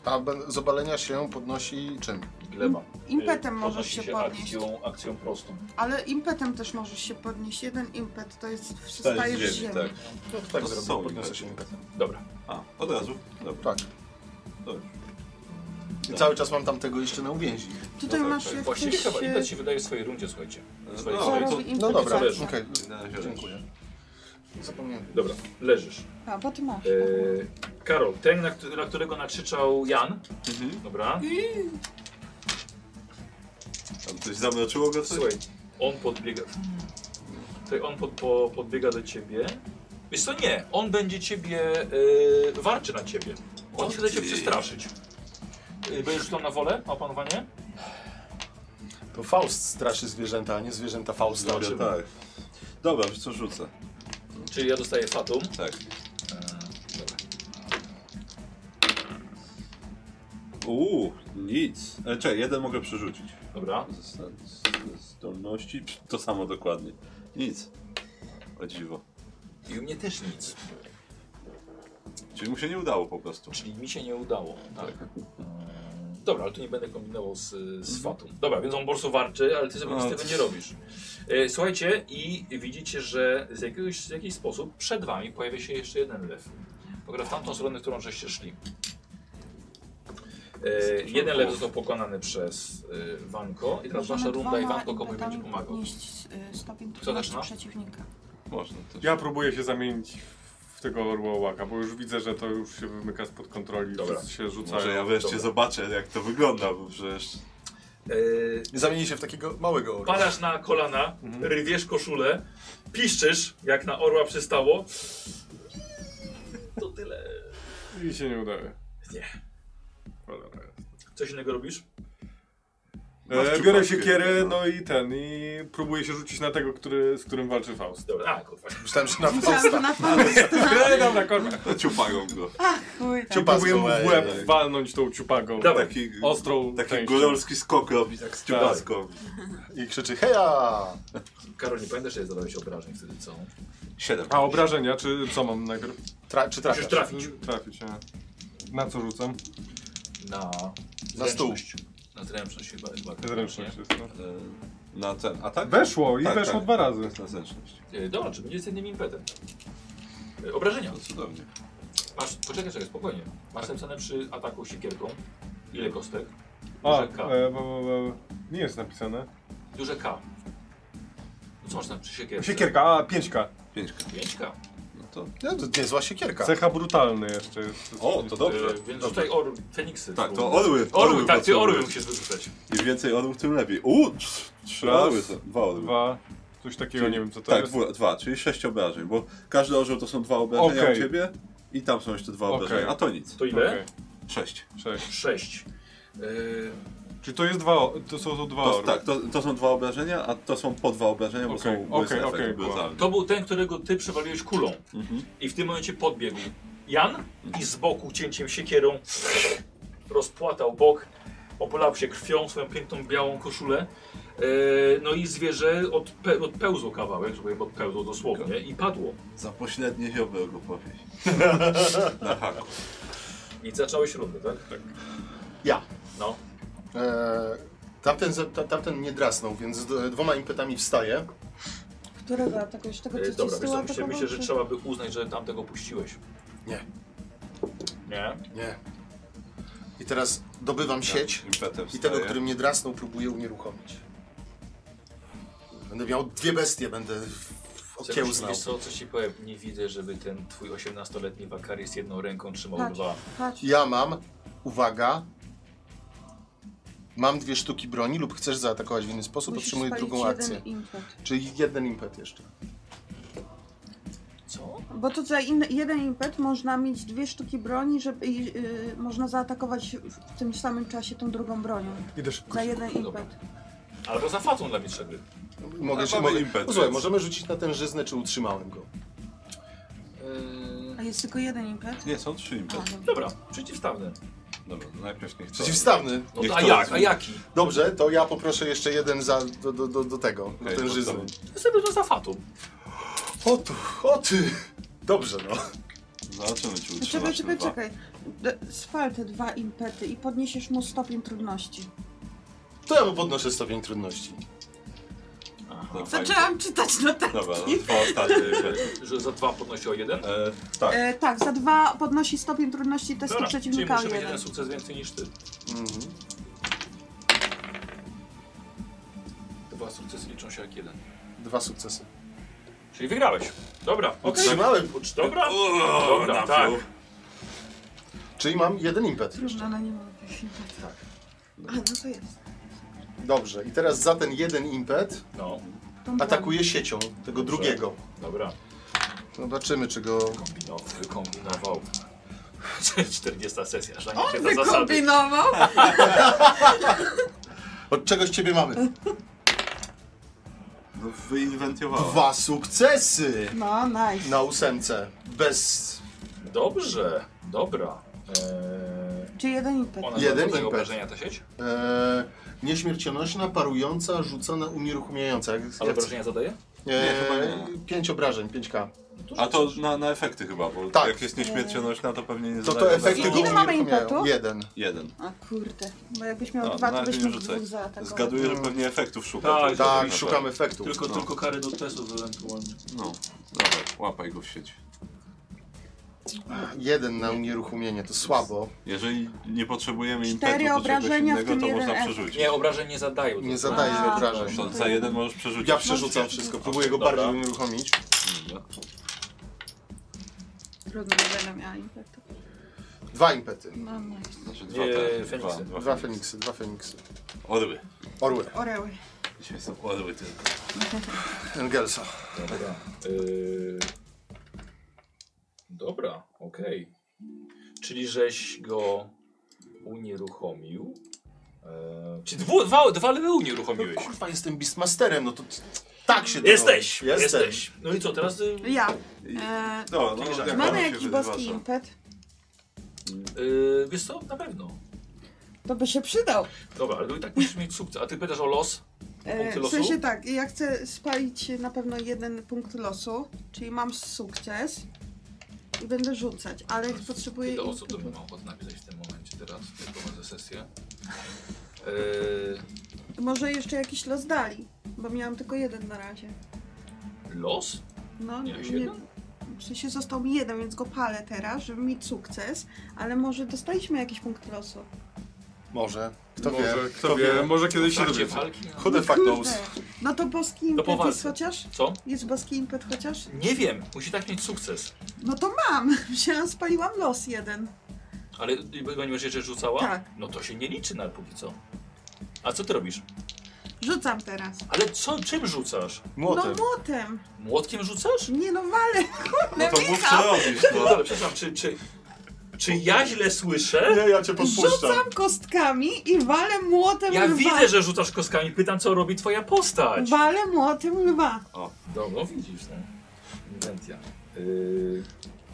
Speaker 2: A ben- z obalenia się podnosi czym?
Speaker 1: Gleba.
Speaker 4: Impetem
Speaker 1: Yy,
Speaker 4: Mhm. możesz
Speaker 1: podnosi
Speaker 4: się podnieść.
Speaker 1: Akcją, akcją prostą.
Speaker 4: Ale impetem też możesz się podnieść. Jeden impet to jest przystajesz w ziemi.
Speaker 5: tak.
Speaker 2: No to
Speaker 5: To
Speaker 2: tak zrobię,
Speaker 5: są
Speaker 2: podniosę
Speaker 5: impety.
Speaker 2: się.
Speaker 1: Dobra.
Speaker 5: A, od razu? Dobra.
Speaker 2: Tak.
Speaker 5: Dobrze.
Speaker 2: I cały czas mam tamtego jeszcze na uwięzi.
Speaker 4: Tutaj
Speaker 5: No tak,
Speaker 4: masz
Speaker 5: tak.
Speaker 4: jak
Speaker 1: Właściwie
Speaker 4: coś...
Speaker 1: chyba
Speaker 4: e,
Speaker 1: impet się wydaje w swojej rundzie, słuchajcie. W swojej...
Speaker 5: No.
Speaker 4: co
Speaker 5: i to-
Speaker 4: robi
Speaker 2: No
Speaker 4: impet
Speaker 2: dobra,
Speaker 1: zależy.
Speaker 4: zawsze.
Speaker 2: okej.
Speaker 5: Na razie
Speaker 2: Dziękuję. Zapomniałem.
Speaker 1: Dobra, leżysz.
Speaker 4: A, bo ty masz. tak.
Speaker 1: Eee, Karol, ten, na, któ- na którego nakrzyczał Jan. Dobra.
Speaker 5: Tam coś zamroczyło go coś?
Speaker 1: Słuchaj, on podbiega. Tutaj on pod, po, podbiega do ciebie. Wiesz co, nie, on będzie ciebie, y, warczy na ciebie. On
Speaker 5: O
Speaker 1: chce cię
Speaker 5: ty.
Speaker 1: przestraszyć. Yy, będziesz tam na wolę, opanowanie?
Speaker 2: To Faust straszy zwierzęta, a nie zwierzęta Fausta.
Speaker 5: Dobra, tak. Dobra, wiesz co rzucę.
Speaker 1: Czyli ja dostaję fatum.
Speaker 5: Tak. Uuu, nic. E, czekaj, jeden mogę przerzucić.
Speaker 1: Dobra.
Speaker 5: Ze sta- z- z Zdolności, Psz, to samo dokładnie. Nic. O dziwo.
Speaker 1: I u mnie też nic.
Speaker 5: Czyli mu się nie udało po prostu.
Speaker 1: Czyli mi się nie udało. Tak. Yy, Dobra, ale tu nie będę kombinował z, z fatum. Dobra, więc on po prostu warczy, ale ty sobie nic z
Speaker 5: Mhm. No,
Speaker 1: tego
Speaker 5: to-
Speaker 1: nie robisz. Yy, Słuchajcie, i widzicie, że z jakiegoś z jakiś sposób przed wami pojawia się jeszcze jeden lew. Pogra w tamtą stronę, którą żeście szli. Yy, jeden lew został pokonany przez yy, Wanko i teraz wasza runda i Wanko komuś będzie pomagał.
Speaker 4: Podnieść, y, stopień
Speaker 1: Kto zaczyna?
Speaker 4: trudności przeciwnika.
Speaker 5: Można też.
Speaker 6: Ja próbuję się zamienić w tego orła łaka, bo już widzę, że to już się wymyka spod kontroli,
Speaker 1: Dobra.
Speaker 6: wszyscy się rzucają.
Speaker 5: Może ja wreszcie
Speaker 1: Dobra.
Speaker 5: zobaczę jak to wygląda, bo przecież... [laughs]
Speaker 1: Yy,
Speaker 2: Zamieni się w takiego małego orła.
Speaker 1: Padasz na kolana,
Speaker 5: Mhm.
Speaker 1: rywiesz koszulę, piszczysz, jak na orła przystało. To tyle.
Speaker 6: I się nie udaje.
Speaker 1: Nie.
Speaker 6: Cholera jest.
Speaker 1: Coś innego robisz?
Speaker 6: E,
Speaker 5: Masz
Speaker 6: biorę
Speaker 5: ciupatkę,
Speaker 6: siekierę,
Speaker 5: no.
Speaker 6: no i ten, i próbuję się rzucić na tego, który, z którym walczy Faust.
Speaker 1: Dobra, a kurwa.
Speaker 2: Myślałem, że na
Speaker 4: Myślałam, że
Speaker 2: Fausta.
Speaker 4: na Fausta.
Speaker 6: [laughs] E, dobra, korka.
Speaker 5: Ciupagą go.
Speaker 4: Chuj, tak.
Speaker 6: Ja próbuję mu w łeb
Speaker 2: ej.
Speaker 6: walnąć tą ciupagą.
Speaker 1: Dawaj.
Speaker 5: Taki,
Speaker 6: Ostrą
Speaker 5: taki
Speaker 6: częścią.
Speaker 5: góralski skok robi, tak z ciupaską.
Speaker 2: I krzyczy heja!
Speaker 1: Karol, nie pamiętasz, że jest zadałeś obrażeń wtedy, co?
Speaker 5: Siedem.
Speaker 6: A obrażenia, czy co mam najpierw?
Speaker 2: Tra czy
Speaker 1: Musisz
Speaker 2: trafiasz?
Speaker 1: trafić
Speaker 6: Trafić, a... Na co rzucam?
Speaker 1: na
Speaker 2: Na stół.
Speaker 1: zręczność. Na zręczność chyba. chyba tak,
Speaker 6: Zręczność jest, no.
Speaker 5: E, Na ten
Speaker 2: no.
Speaker 5: atak?
Speaker 6: Weszło i
Speaker 5: Tak,
Speaker 6: weszło
Speaker 5: tak.
Speaker 6: dwa
Speaker 5: To
Speaker 6: razy.
Speaker 5: jest na zręczność.
Speaker 1: nie? Yy, Dobra, czy będzie z jednym impetem? Yy, Obrażenia.
Speaker 5: To cudownie.
Speaker 1: Masz, poczekaj, czekaj, spokojnie. Masz napisane przy ataku siekierką. Ile kostek?
Speaker 6: A,
Speaker 1: Duże K.
Speaker 6: e, bo, bo, bo, nie jest napisane.
Speaker 1: Duże K. No co masz tam przy siekierce? E,
Speaker 6: Siekierka, a, pięćka.
Speaker 5: Pięćka.
Speaker 1: 5K.
Speaker 5: No to...
Speaker 2: No, to niezła siekierka.
Speaker 6: Cecha brutalny jeszcze jest.
Speaker 5: O, to dobrze.
Speaker 1: Yy, więc
Speaker 5: dobrze.
Speaker 1: tutaj or, Feniksy.
Speaker 5: Tak, to
Speaker 1: spróbuj.
Speaker 5: orły.
Speaker 1: Orły, tak, ty
Speaker 5: potrzebujesz.
Speaker 1: orły musisz wyrzucać.
Speaker 5: Im więcej orłów, tym lepiej. U, trz- trzy
Speaker 6: Raz,
Speaker 5: orły są. Dwa orły.
Speaker 6: Dwa, coś takiego, nie wiem co to
Speaker 5: tak,
Speaker 6: jest.
Speaker 5: dwu- dwa, czyli sześć obrażeń, bo każdy orzeł to są dwa obrażenia
Speaker 6: Okej.
Speaker 5: u ciebie i tam są jeszcze dwa
Speaker 6: Okej.
Speaker 5: obrażenia, a to nic.
Speaker 1: To ile?
Speaker 6: Okej,
Speaker 5: Sześć.
Speaker 6: sześć.
Speaker 1: Sześć. Yy,
Speaker 6: Czyli to jest dwa, o- to są to dwa
Speaker 5: To,
Speaker 6: orły.
Speaker 5: tak, to, to są dwa obrażenia, a to są po dwa obrażenia, bo
Speaker 6: Okej,
Speaker 5: są bo jest
Speaker 6: okej,
Speaker 5: efekt
Speaker 6: okej,
Speaker 5: brutalny.
Speaker 1: to był ten, którego ty przewaliłeś kulą.
Speaker 5: Mhm.
Speaker 1: I w tym momencie podbiegł Jan i z boku cięciem siekierą rozpłatał bok, opolał się krwią swoją piękną białą koszulę. Yy, no i zwierzę odpe, odpełzło kawałek, żeby odpełzło dosłownie i padło.
Speaker 5: Za pośrednie ziobę go powieść. Na haku.
Speaker 1: I zacząłeś rundę, tak?
Speaker 2: Ja.
Speaker 1: No.
Speaker 2: E, tamten, za- ta, tamten nie drasnął, więc z d- dwoma impetami wstaje.
Speaker 11: Którego
Speaker 4: tak,
Speaker 11: atakujesz? Tego,
Speaker 1: Yy,
Speaker 11: co
Speaker 1: dobra,
Speaker 11: ci
Speaker 1: wiesz
Speaker 11: stół
Speaker 1: co, myślę, myślę, że
Speaker 11: atakował, czy-
Speaker 1: trzeba by uznać, że tamtego puściłeś.
Speaker 2: Nie.
Speaker 1: Nie?
Speaker 2: Nie. I teraz dobywam sieć
Speaker 5: Impetem
Speaker 2: i tego,
Speaker 5: wstaje.
Speaker 2: który mnie drasnął, próbuję unieruchomić. Będę miał dwie bestie, będę w- okiełznał.
Speaker 1: Wiesz co, coś ci powiem, nie widzę, żeby ten twój 18-letni wakary z jedną ręką trzymał
Speaker 4: Tak.
Speaker 1: dwa.
Speaker 4: Chodź.
Speaker 2: Ja mam, uwaga, mam dwie sztuki broni lub chcesz zaatakować w inny sposób,
Speaker 4: Musisz
Speaker 2: otrzymuję
Speaker 4: spalić
Speaker 2: drugą
Speaker 4: jeden
Speaker 2: akcję.
Speaker 4: impet.
Speaker 2: Czyli jeden impet jeszcze.
Speaker 1: Co?
Speaker 4: Bo to za in, jeden impet można mieć dwie sztuki broni, żeby i, y, można zaatakować w w tym samym czasie tą drugą bronią.
Speaker 6: Idę szybko.
Speaker 4: Za jeden
Speaker 1: Dobra.
Speaker 4: impet.
Speaker 1: Albo za fatą dla mistrza gry.
Speaker 2: Mogę
Speaker 5: A
Speaker 2: się,
Speaker 5: mamy
Speaker 2: mogę...
Speaker 5: impet,
Speaker 2: O, Słuchaj,
Speaker 5: więc-
Speaker 2: możemy rzucić na ten żyzny, czy utrzymałem go.
Speaker 1: Yy,
Speaker 4: A jest tylko jeden impet?
Speaker 5: Nie, są trzy
Speaker 4: A,
Speaker 5: impety.
Speaker 4: dobra.
Speaker 1: dobra, przeciwstawne.
Speaker 5: Dobra, no najpierw niech to.
Speaker 2: Przeciwstawny.
Speaker 1: No
Speaker 5: Niech
Speaker 1: to a
Speaker 5: to
Speaker 1: jak, a
Speaker 5: rozumie.
Speaker 1: jaki?
Speaker 2: Dobrze, to ja poproszę jeszcze jeden za, do, do, do, do tego, do
Speaker 5: Okej,
Speaker 2: tężyzny.
Speaker 5: to
Speaker 1: To sobie to za fatą.
Speaker 2: O tu, o ty! Dobrze no.
Speaker 5: Zobaczymy, czy
Speaker 4: No Czekaj,
Speaker 5: utrzymasz
Speaker 4: czekaj,
Speaker 5: dwa.
Speaker 4: czekaj. D- Spal te dwa impety i podniesiesz mu stopień trudności.
Speaker 2: To ja mu podnoszę stopień trudności.
Speaker 5: No, fajnie.
Speaker 2: Znaczy-
Speaker 4: Zaczęłam czytać notatki.
Speaker 5: Dobra, no, dwa ostatnie impety.
Speaker 1: Że za dwa podnosi o jeden?
Speaker 5: E, tak,
Speaker 4: E, tak, za dwa podnosi stopień trudności testu
Speaker 1: Dobra, czyli
Speaker 4: przeciwnika o
Speaker 1: muszę mieć jeden
Speaker 4: jeden.
Speaker 1: sukces więcej niż ty. Dwa sukcesy liczą się jak jeden.
Speaker 2: Dwa sukcesy.
Speaker 1: Czyli wygrałeś. Dobra, okej.
Speaker 2: Utrzymałem.
Speaker 1: Dobra,
Speaker 5: O,
Speaker 1: dobra,
Speaker 5: na
Speaker 1: tak.
Speaker 5: fiu.
Speaker 2: Czyli mam jeden impet.
Speaker 4: Trudno, no nie mam tych impetów.
Speaker 1: Tak.
Speaker 4: A, no to jest.
Speaker 2: Dobrze, i teraz za ten jeden impet
Speaker 1: No,
Speaker 4: Tą
Speaker 2: atakuję siecią tego drugiego.
Speaker 1: dobra.
Speaker 2: No zobaczymy, czy go.
Speaker 1: Kombinował. Wykombinował. [laughs] 40 sesja, że
Speaker 4: długą.
Speaker 1: nie
Speaker 4: On
Speaker 1: za zasady.
Speaker 4: wykombinował.
Speaker 2: Od czegoś ciebie mamy.
Speaker 5: No wyinwentowała.
Speaker 2: Dwa sukcesy
Speaker 4: No, nice.
Speaker 2: na ósemce. Bez.
Speaker 1: Dobrze, dobra. Eee,
Speaker 4: Czy jeden impet?
Speaker 1: ona
Speaker 2: Jeden
Speaker 1: Jeden tego
Speaker 2: impet.
Speaker 1: obrażenia ta sieć?
Speaker 2: E, nieśmiercionośna, parująca, rzucona, unieruchamiająca. Jak,
Speaker 1: Ale
Speaker 2: jak,
Speaker 1: obrażenia zadaje?
Speaker 2: e,
Speaker 5: chyba
Speaker 2: pięć obrażeń, 5K.
Speaker 5: A to na, na efekty chyba, bo
Speaker 2: Tak.
Speaker 5: jak jest nieśmiercionośna, to pewnie nie
Speaker 2: To
Speaker 5: zadaje
Speaker 2: to efekty
Speaker 5: obrażeń.
Speaker 2: go
Speaker 4: Ile mamy
Speaker 2: unieruchamiają.
Speaker 4: impetu?
Speaker 2: Jeden.
Speaker 5: Jeden.
Speaker 4: A kurde, bo jakbyś miał
Speaker 5: No,
Speaker 4: dwa, to
Speaker 5: nawet
Speaker 4: byś
Speaker 5: nie
Speaker 4: mógł
Speaker 5: rzucaj.
Speaker 4: dwóch zaatakować.
Speaker 5: Zgaduję, że pewnie efektów szuka.
Speaker 1: Tak,
Speaker 5: Tylko-
Speaker 2: Tak,
Speaker 5: na
Speaker 2: szukam efektów.
Speaker 1: Tylko,
Speaker 5: No.
Speaker 1: tylko kary do testów ewentualnie.
Speaker 5: No, dawaj, łapaj go w sieci.
Speaker 2: Jeden na unieruchomienie, to słabo.
Speaker 5: Jeżeli nie potrzebujemy
Speaker 4: Cztery
Speaker 5: impetu do czegoś
Speaker 4: obrażenia, w
Speaker 5: innego,
Speaker 4: tym
Speaker 5: to można
Speaker 4: jeden
Speaker 5: przerzucić.
Speaker 1: Nie, obrażeń nie zadają.
Speaker 2: Nie zadaje
Speaker 4: A.
Speaker 2: obrażeń.
Speaker 5: To za jeden możesz przerzucić.
Speaker 2: Ja przerzucam wszystko, próbuję go
Speaker 1: Dobra.
Speaker 2: bardziej unieruchomić.
Speaker 4: Trudno, nie będę miała impetu.
Speaker 2: Dwa impety.
Speaker 4: No, nice.
Speaker 5: Znaczy dwa,
Speaker 1: Nie,
Speaker 5: te,
Speaker 1: Feniksy.
Speaker 5: dwa,
Speaker 2: Dwa
Speaker 5: dwa.
Speaker 2: Feniksy, dwa Feniksy.
Speaker 5: Orły.
Speaker 2: Orły.
Speaker 4: Oreły.
Speaker 5: Dzisiaj są orły tylko.
Speaker 2: Engelsa.
Speaker 1: Dobra. Yy... Dobra, okej. Czyli żeś go unieruchomił. Eee, Czyli dwu, dwa, dwa lewy unieruchomiłeś.
Speaker 2: Kurwa, jestem Beastmasterem, no to t- tak się
Speaker 1: No, Jesteś,
Speaker 2: robi. Jestem.
Speaker 1: jesteś. No i co, teraz y,
Speaker 4: Ja.
Speaker 5: I-
Speaker 4: E,
Speaker 5: No, no,
Speaker 1: Czyli
Speaker 5: jak
Speaker 1: żadne.
Speaker 5: ona
Speaker 4: mamy
Speaker 5: się
Speaker 4: jakiś
Speaker 5: wyzywa,
Speaker 4: boski
Speaker 5: to-
Speaker 4: impet?
Speaker 1: Yy, wiesz co, na pewno.
Speaker 12: To by się przydał.
Speaker 1: Dobra, ale i tak musisz mieć sukces. A ty pytasz o los? Punkty
Speaker 4: E, w
Speaker 1: losu?
Speaker 4: sensie tak, ja chcę spalić na pewno jeden punkt losu, czyli mam sukces i będę rzucać, ale potrzebuję...
Speaker 1: Ile
Speaker 4: im-
Speaker 1: osób to by ma ochotę napisać w tym momencie teraz, jak prowadzę [laughs] sesję? Eee,
Speaker 4: Może jeszcze jakiś los dali, bo miałam tylko jeden na razie.
Speaker 1: los?
Speaker 4: No,
Speaker 1: Miałeś
Speaker 4: nie-
Speaker 1: jeden?
Speaker 4: W sensie został mi jeden, więc go palę teraz, żeby mieć sukces, ale może dostaliśmy jakiś punkt losu.
Speaker 2: Może. Kto
Speaker 6: może,
Speaker 2: wie?
Speaker 6: kto wie, może
Speaker 1: W
Speaker 6: kiedyś się
Speaker 1: trakcie
Speaker 6: dowiecie.
Speaker 1: walki? no.
Speaker 2: Who the fuck knows?
Speaker 4: No to boski impet
Speaker 1: poważnie.
Speaker 4: jest chociaż?
Speaker 1: Co?
Speaker 4: Jest boski impet chociaż?
Speaker 1: Nie wiem, musi tak mieć sukces.
Speaker 4: No to mam! [laughs] Wzięłam, spaliłam los jeden.
Speaker 1: Ale i będziesz jeszcze rzucała?
Speaker 4: Tak.
Speaker 1: No to się nie liczy na póki co. A co ty robisz?
Speaker 4: Rzucam teraz.
Speaker 1: Ale co, czym rzucasz?
Speaker 2: Młotem.
Speaker 4: No młotem!
Speaker 1: Młotkiem rzucasz?
Speaker 4: Nie no, wale!
Speaker 5: No to mów co robisz,
Speaker 1: No
Speaker 5: no.
Speaker 1: dobra, przepraszam, czy, czy, czy ja źle słyszę?
Speaker 2: Nie, ja cię podpuszczam.
Speaker 4: Rzucam kostkami i walę młotem
Speaker 1: Ja
Speaker 4: lwa.
Speaker 1: widzę, że rzucasz kostkami, pytam co robi twoja postać.
Speaker 4: Walę młotem lwa.
Speaker 1: Dobra, no widzisz, no. Inwentia. Yy...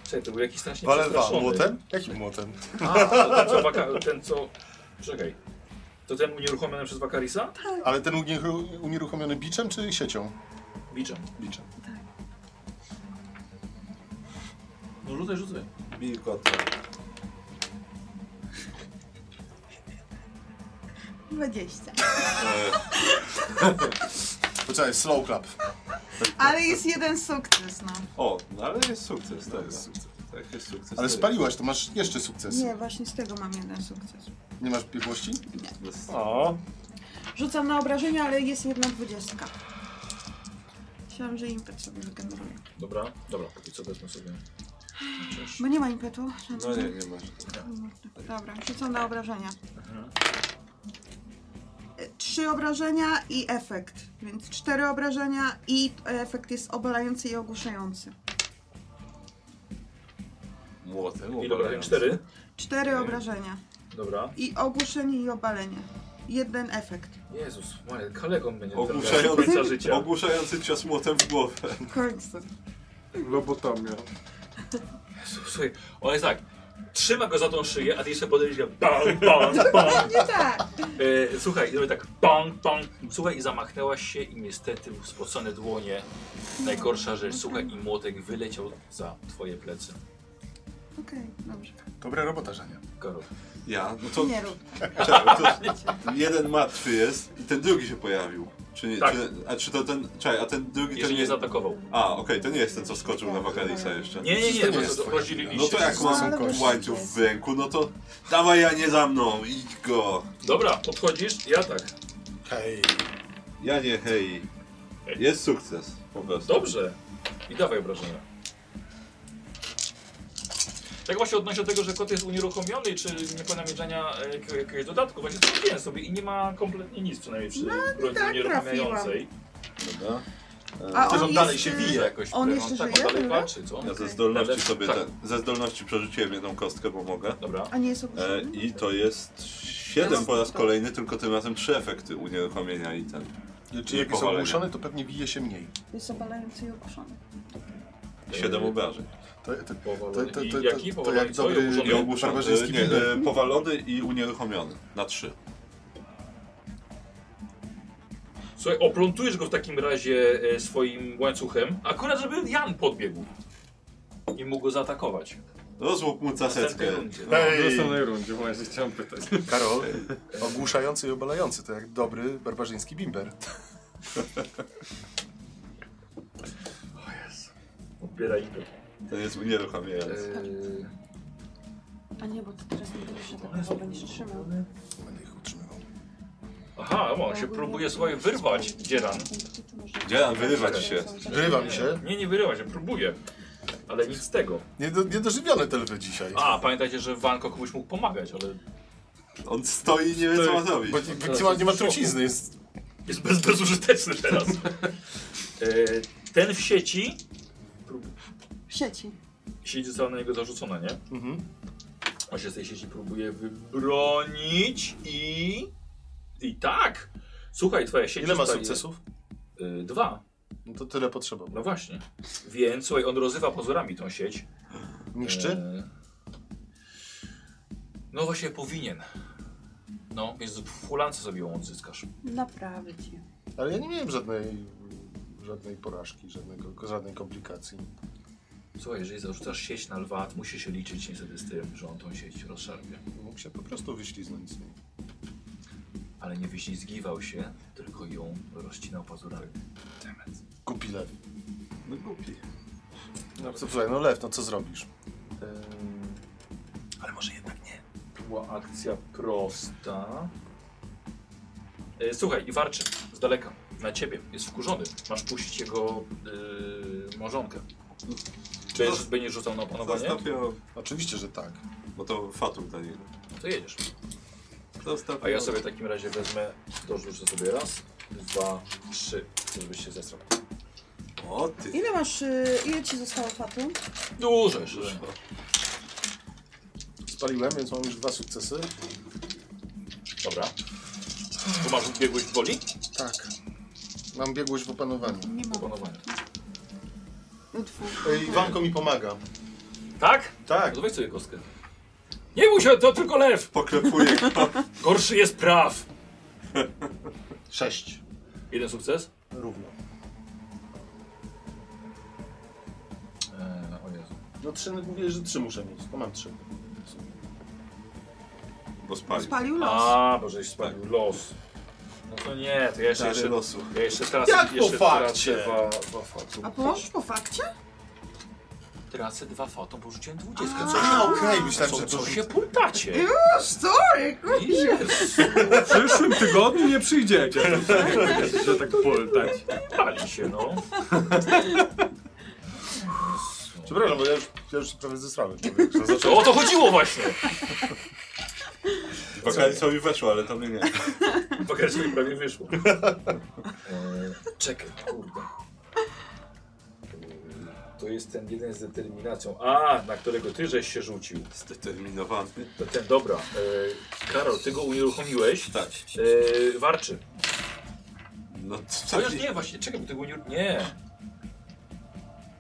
Speaker 1: Czekaj, to był jakiś strasznie
Speaker 2: Walę dwa.
Speaker 1: przestraszony.
Speaker 2: Młotem? Jakim młotem?
Speaker 1: A, to ten co, waka... ten co... Czekaj. To ten unieruchomiony przez Wakarisa?
Speaker 2: Ale ten unieru- unieruchomiony biczem czy siecią?
Speaker 1: Biczem.
Speaker 2: Biczem.
Speaker 1: No rzucaj, rzucaj.
Speaker 5: Bij kota.
Speaker 4: 20.
Speaker 5: E,
Speaker 2: Poczekaj, slow clap.
Speaker 4: Ale jest jeden sukces, no.
Speaker 5: O, no ale jest sukces, tak jest sukces. Tak jest sukces.
Speaker 2: Ale
Speaker 5: tak.
Speaker 2: spaliłaś, to masz jeszcze sukces.
Speaker 4: Nie, właśnie z tego mam jeden sukces.
Speaker 2: Nie masz biegłości?
Speaker 5: Jest-
Speaker 2: O.
Speaker 4: Rzucam na obrażenia, ale jest jedna dwudziestka. Myślałam, że impet sobie wygeneruje.
Speaker 1: Dobra, dobra, póki co wezmę sobie. Chociaż...
Speaker 4: Bo nie ma impetu.
Speaker 5: No nie, nie masz.
Speaker 4: Dobra, rzucam na obrażenia.
Speaker 1: Mhm.
Speaker 4: E, Trzy obrażenia i efekt. Więc cztery obrażenia i efekt jest obalający i ogłuszający.
Speaker 5: Młotem.
Speaker 1: Ile obrażeń?
Speaker 5: obalając.
Speaker 1: Cztery?
Speaker 4: Cztery
Speaker 5: Okej.
Speaker 4: obrażenia.
Speaker 1: Dobra.
Speaker 4: I ogłuszenie i obalenie. Jeden efekt.
Speaker 1: Jezus, Maria, kalegą będzie
Speaker 5: Ogłuszający-
Speaker 1: do końca życia.
Speaker 5: Ogłuszający cios młotem w głowę.
Speaker 4: W końcu.
Speaker 2: no.
Speaker 6: Lobotomia.
Speaker 1: Słuchaj, on jest tak. Trzyma go za tą szyję, a ty jeszcze podejdziesz go bang, bang, bang.
Speaker 4: Nie tak.
Speaker 1: E, słuchaj, i robi tak bang, bang. Słuchaj, i zamachnęłaś się i niestety w spocone dłonie. Najgorsza rzecz, słuchaj, i młotek wyleciał za twoje plecy.
Speaker 4: Okej, dobrze.
Speaker 2: Dobra robota, Żania.
Speaker 1: Karol.
Speaker 5: Ja? No to,
Speaker 4: Nie rób.
Speaker 5: czekaj, to jeden martwy jest i ten drugi się pojawił. Czy nie,
Speaker 1: Tak.
Speaker 5: czy, a czy to ten, czekaj, a ten drugi
Speaker 1: Jeszcze
Speaker 5: ten
Speaker 1: nie zaatakował.
Speaker 5: A, okej, to nie jest ten, co skoczył na Wakarisa jeszcze.
Speaker 1: Nie, nie, nie,
Speaker 2: To nie
Speaker 1: bo
Speaker 2: jest
Speaker 1: to
Speaker 2: twoje.
Speaker 5: No
Speaker 1: rozdzieliliście.
Speaker 5: to jak mam
Speaker 4: Ale wiesz,
Speaker 5: łańcuch
Speaker 4: jest.
Speaker 5: w ręku, no to dawaj ja nie za mną, idź go.
Speaker 1: Dobra, podchodzisz, ja tak.
Speaker 2: Hej.
Speaker 5: Ja nie, hej. Jest sukces, po prostu.
Speaker 1: Dobrze. I dawaj obrażenia. Tak właśnie odnośnie tego, że kot jest unieruchomiony, czy nie powinna mieć żadnia e, jakiego- jakiegoś dodatku. Właśnie zrobiłem sobie i nie ma kompletnie nic, przynajmniej przy broni
Speaker 4: tak,
Speaker 1: unieruchamiającej.
Speaker 5: Dobra.
Speaker 4: A
Speaker 1: Też
Speaker 4: on
Speaker 1: on dalej
Speaker 4: jest,
Speaker 1: się
Speaker 4: y,
Speaker 1: wije jakoś.
Speaker 4: on
Speaker 1: tak,
Speaker 4: jeszcze
Speaker 1: tak,
Speaker 4: żyje,
Speaker 1: on dalej
Speaker 4: dobra?
Speaker 1: walczy, co?
Speaker 5: Ja ze
Speaker 4: Okej.
Speaker 5: zdolności
Speaker 1: Najlepszy-
Speaker 5: sobie
Speaker 1: tak.
Speaker 5: ten, ze zdolności przerzuciłem jedną kostkę, bo mogę.
Speaker 1: Dobra.
Speaker 4: A nie jest
Speaker 5: E,
Speaker 4: ogłuszony?
Speaker 5: I to jest 7 po
Speaker 4: No.
Speaker 5: raz kolejny, tylko tym razem trzy efekty unieruchomienia i ten.
Speaker 2: Czy jak jest
Speaker 5: powalenia.
Speaker 2: ogłuszony, to pewnie bije się mniej.
Speaker 4: Jest obalający i ogłuszony.
Speaker 1: Y,
Speaker 5: 7 obrażeń.
Speaker 1: tak.
Speaker 2: To, to,
Speaker 1: Powalony.
Speaker 2: to- to-
Speaker 1: I
Speaker 2: to-
Speaker 1: jaki?
Speaker 2: to
Speaker 1: Powalony
Speaker 2: jak
Speaker 1: co?
Speaker 2: dobry-
Speaker 1: I ogłuszony?
Speaker 5: I ogłuszony, e,
Speaker 2: Barbarzyński
Speaker 5: nie,
Speaker 2: bidel.
Speaker 5: e, powalony i unieruchomiony na 3.
Speaker 1: Słuchaj, oplątujesz go w takim razie e, swoim łańcuchem, akurat żeby Jan podbiegł i mógł go zaatakować.
Speaker 5: Rozłup mu
Speaker 1: W następnej
Speaker 5: caseczkę.
Speaker 1: rundzie. tak?
Speaker 6: W
Speaker 2: Hej!
Speaker 6: następnej rundzie właśnie chciałem pytać.
Speaker 2: Karol, ogłuszający i obalający, to jak dobry barbarzyński bimber.
Speaker 1: Odbieraj go.
Speaker 5: To jest unieruchamiający.
Speaker 1: Eee,
Speaker 7: A nie, bo to teraz nie będziesz atakował, będziesz trzymał.
Speaker 2: Będę ich utrzymywał.
Speaker 1: Aha, on się próbuje słuchaj wyrwać, Dzieran.
Speaker 5: Dzieran, wyrywać się.
Speaker 2: Wyrywa mi się.
Speaker 1: Nie, nie wyrywa się, próbuje. Ale nic z tego.
Speaker 2: Niedo, niedożywione te lwy dzisiaj.
Speaker 1: A, pamiętajcie, że Wanko komuś mógł pomagać, ale
Speaker 5: On stoi i nie wie co ma zrobić.
Speaker 2: Bo nie, nie, ma, nie ma trucizny, jest...
Speaker 1: jest bez, bezużyteczny
Speaker 2: [laughs]
Speaker 1: teraz. Eee, ten w sieci,
Speaker 4: W sieci.
Speaker 1: sieć została na niego zarzucona, nie?
Speaker 2: Mhm.
Speaker 1: On się z tej sieci próbuje wybronić i... I tak! Słuchaj, twoja sieć
Speaker 2: Ile ma
Speaker 1: zostaje-
Speaker 2: sukcesów?
Speaker 1: Eee, dwa.
Speaker 2: No to tyle potrzeba.
Speaker 1: No właśnie. Więc słuchaj, on rozrywa pozorami tą sieć.
Speaker 2: Niszczy?
Speaker 1: E, No właśnie powinien. No, więc w hulance sobie ją odzyskasz.
Speaker 7: Naprawię cię.
Speaker 2: Ale ja nie miałem żadnej, żadnej porażki, żadnego, żadnej komplikacji.
Speaker 1: Słuchaj, jeżeli zarzucasz sieć na lwa, to musisz się liczyć niestety z tym, że on tą sieć rozszarpie.
Speaker 2: Mógł się po prostu wyśliznąć z niej.
Speaker 1: Ale nie wyślizgiwał się, tylko ją rozcinał pazurami. Demet.
Speaker 2: Głupi lew.
Speaker 5: No głupi.
Speaker 2: No, co, słuchaj, no lew, no co zrobisz?
Speaker 1: Ale może jednak nie. To była akcja prosta. E, Słuchaj, i warczy z daleka. Na ciebie. Jest wkurzony. Masz puścić jego yy, małżonkę. Będziesz, będziesz rzucał na opanowanie?
Speaker 5: Zastąpią,
Speaker 2: Oczywiście, że tak.
Speaker 5: bo to fatum dla niego.
Speaker 1: To jedziesz.
Speaker 5: Zastąpią.
Speaker 1: A ja sobie w takim razie wezmę, dorzucę sobie raz, dwa, trzy, żebyś się zestrał.
Speaker 5: O ty.
Speaker 4: Ile masz, y, ile ci zostało fatu?
Speaker 1: Dużo jeszcze.
Speaker 2: Spaliłem, więc mam już dwa sukcesy.
Speaker 1: Dobra. Tu masz biegłość woli?
Speaker 2: Tak. Mam biegłość w opanowaniu.
Speaker 4: Nie mam.
Speaker 1: Opanowanie.
Speaker 4: Dwóch.
Speaker 2: Ej, Iwanko mi pomaga.
Speaker 1: Tak?
Speaker 2: Tak.
Speaker 1: No weź sobie kostkę. Nie bój się, to tylko lew!
Speaker 5: Poklepuję go.
Speaker 1: Gorszy jest praw!
Speaker 2: Sześć.
Speaker 1: Jeden sukces?
Speaker 2: Równo.
Speaker 1: Eee, o Jezu.
Speaker 2: No trzy, mówię, że trzy muszę mieć. To mam trzy.
Speaker 5: Bo spalił.
Speaker 4: Spalił los.
Speaker 1: A, bo żeś spadł los. No to nie, to ja jeszcze,
Speaker 5: Czary
Speaker 1: jeszcze,
Speaker 5: losu.
Speaker 1: ja jeszcze teraz...
Speaker 2: Jak po
Speaker 1: jeszcze
Speaker 2: fakcie?
Speaker 1: tracę Dwa, dwa fatum.
Speaker 4: A położysz po fakcie?
Speaker 1: Tracę dwa fatum, bo rzuciłem dwudziestkę. Co
Speaker 2: A,
Speaker 1: się,
Speaker 2: okej, myślałem, że
Speaker 1: co,
Speaker 2: to
Speaker 1: co
Speaker 2: się...
Speaker 1: się pultacie?
Speaker 4: Już, No, sorry!
Speaker 1: Jezu,
Speaker 6: W przyszłym tygodniu nie przyjdziecie. Że tak poltać.
Speaker 1: pali się no.
Speaker 2: [laughs] Przepraszam, bo ja już, ja już prawie zesrałem człowiek. że
Speaker 1: To
Speaker 2: zacząłem-
Speaker 1: o to chodziło właśnie.
Speaker 5: Wakalicowi weszło, ale to mnie nie.
Speaker 1: Pokaż mi prawie [laughs] wyszło. Eee, czekaj, kurde. Eee, To jest ten jeden z determinacją. A, na którego ty żeś się rzucił.
Speaker 5: Zdeterminowany.
Speaker 1: To ten, dobra. Eee, Karol, ty go unieruchomiłeś.
Speaker 5: Tak.
Speaker 1: Eee, warczy.
Speaker 5: No to
Speaker 1: Chociaż nie, właśnie, czekaj, bo ty go nie... Nie.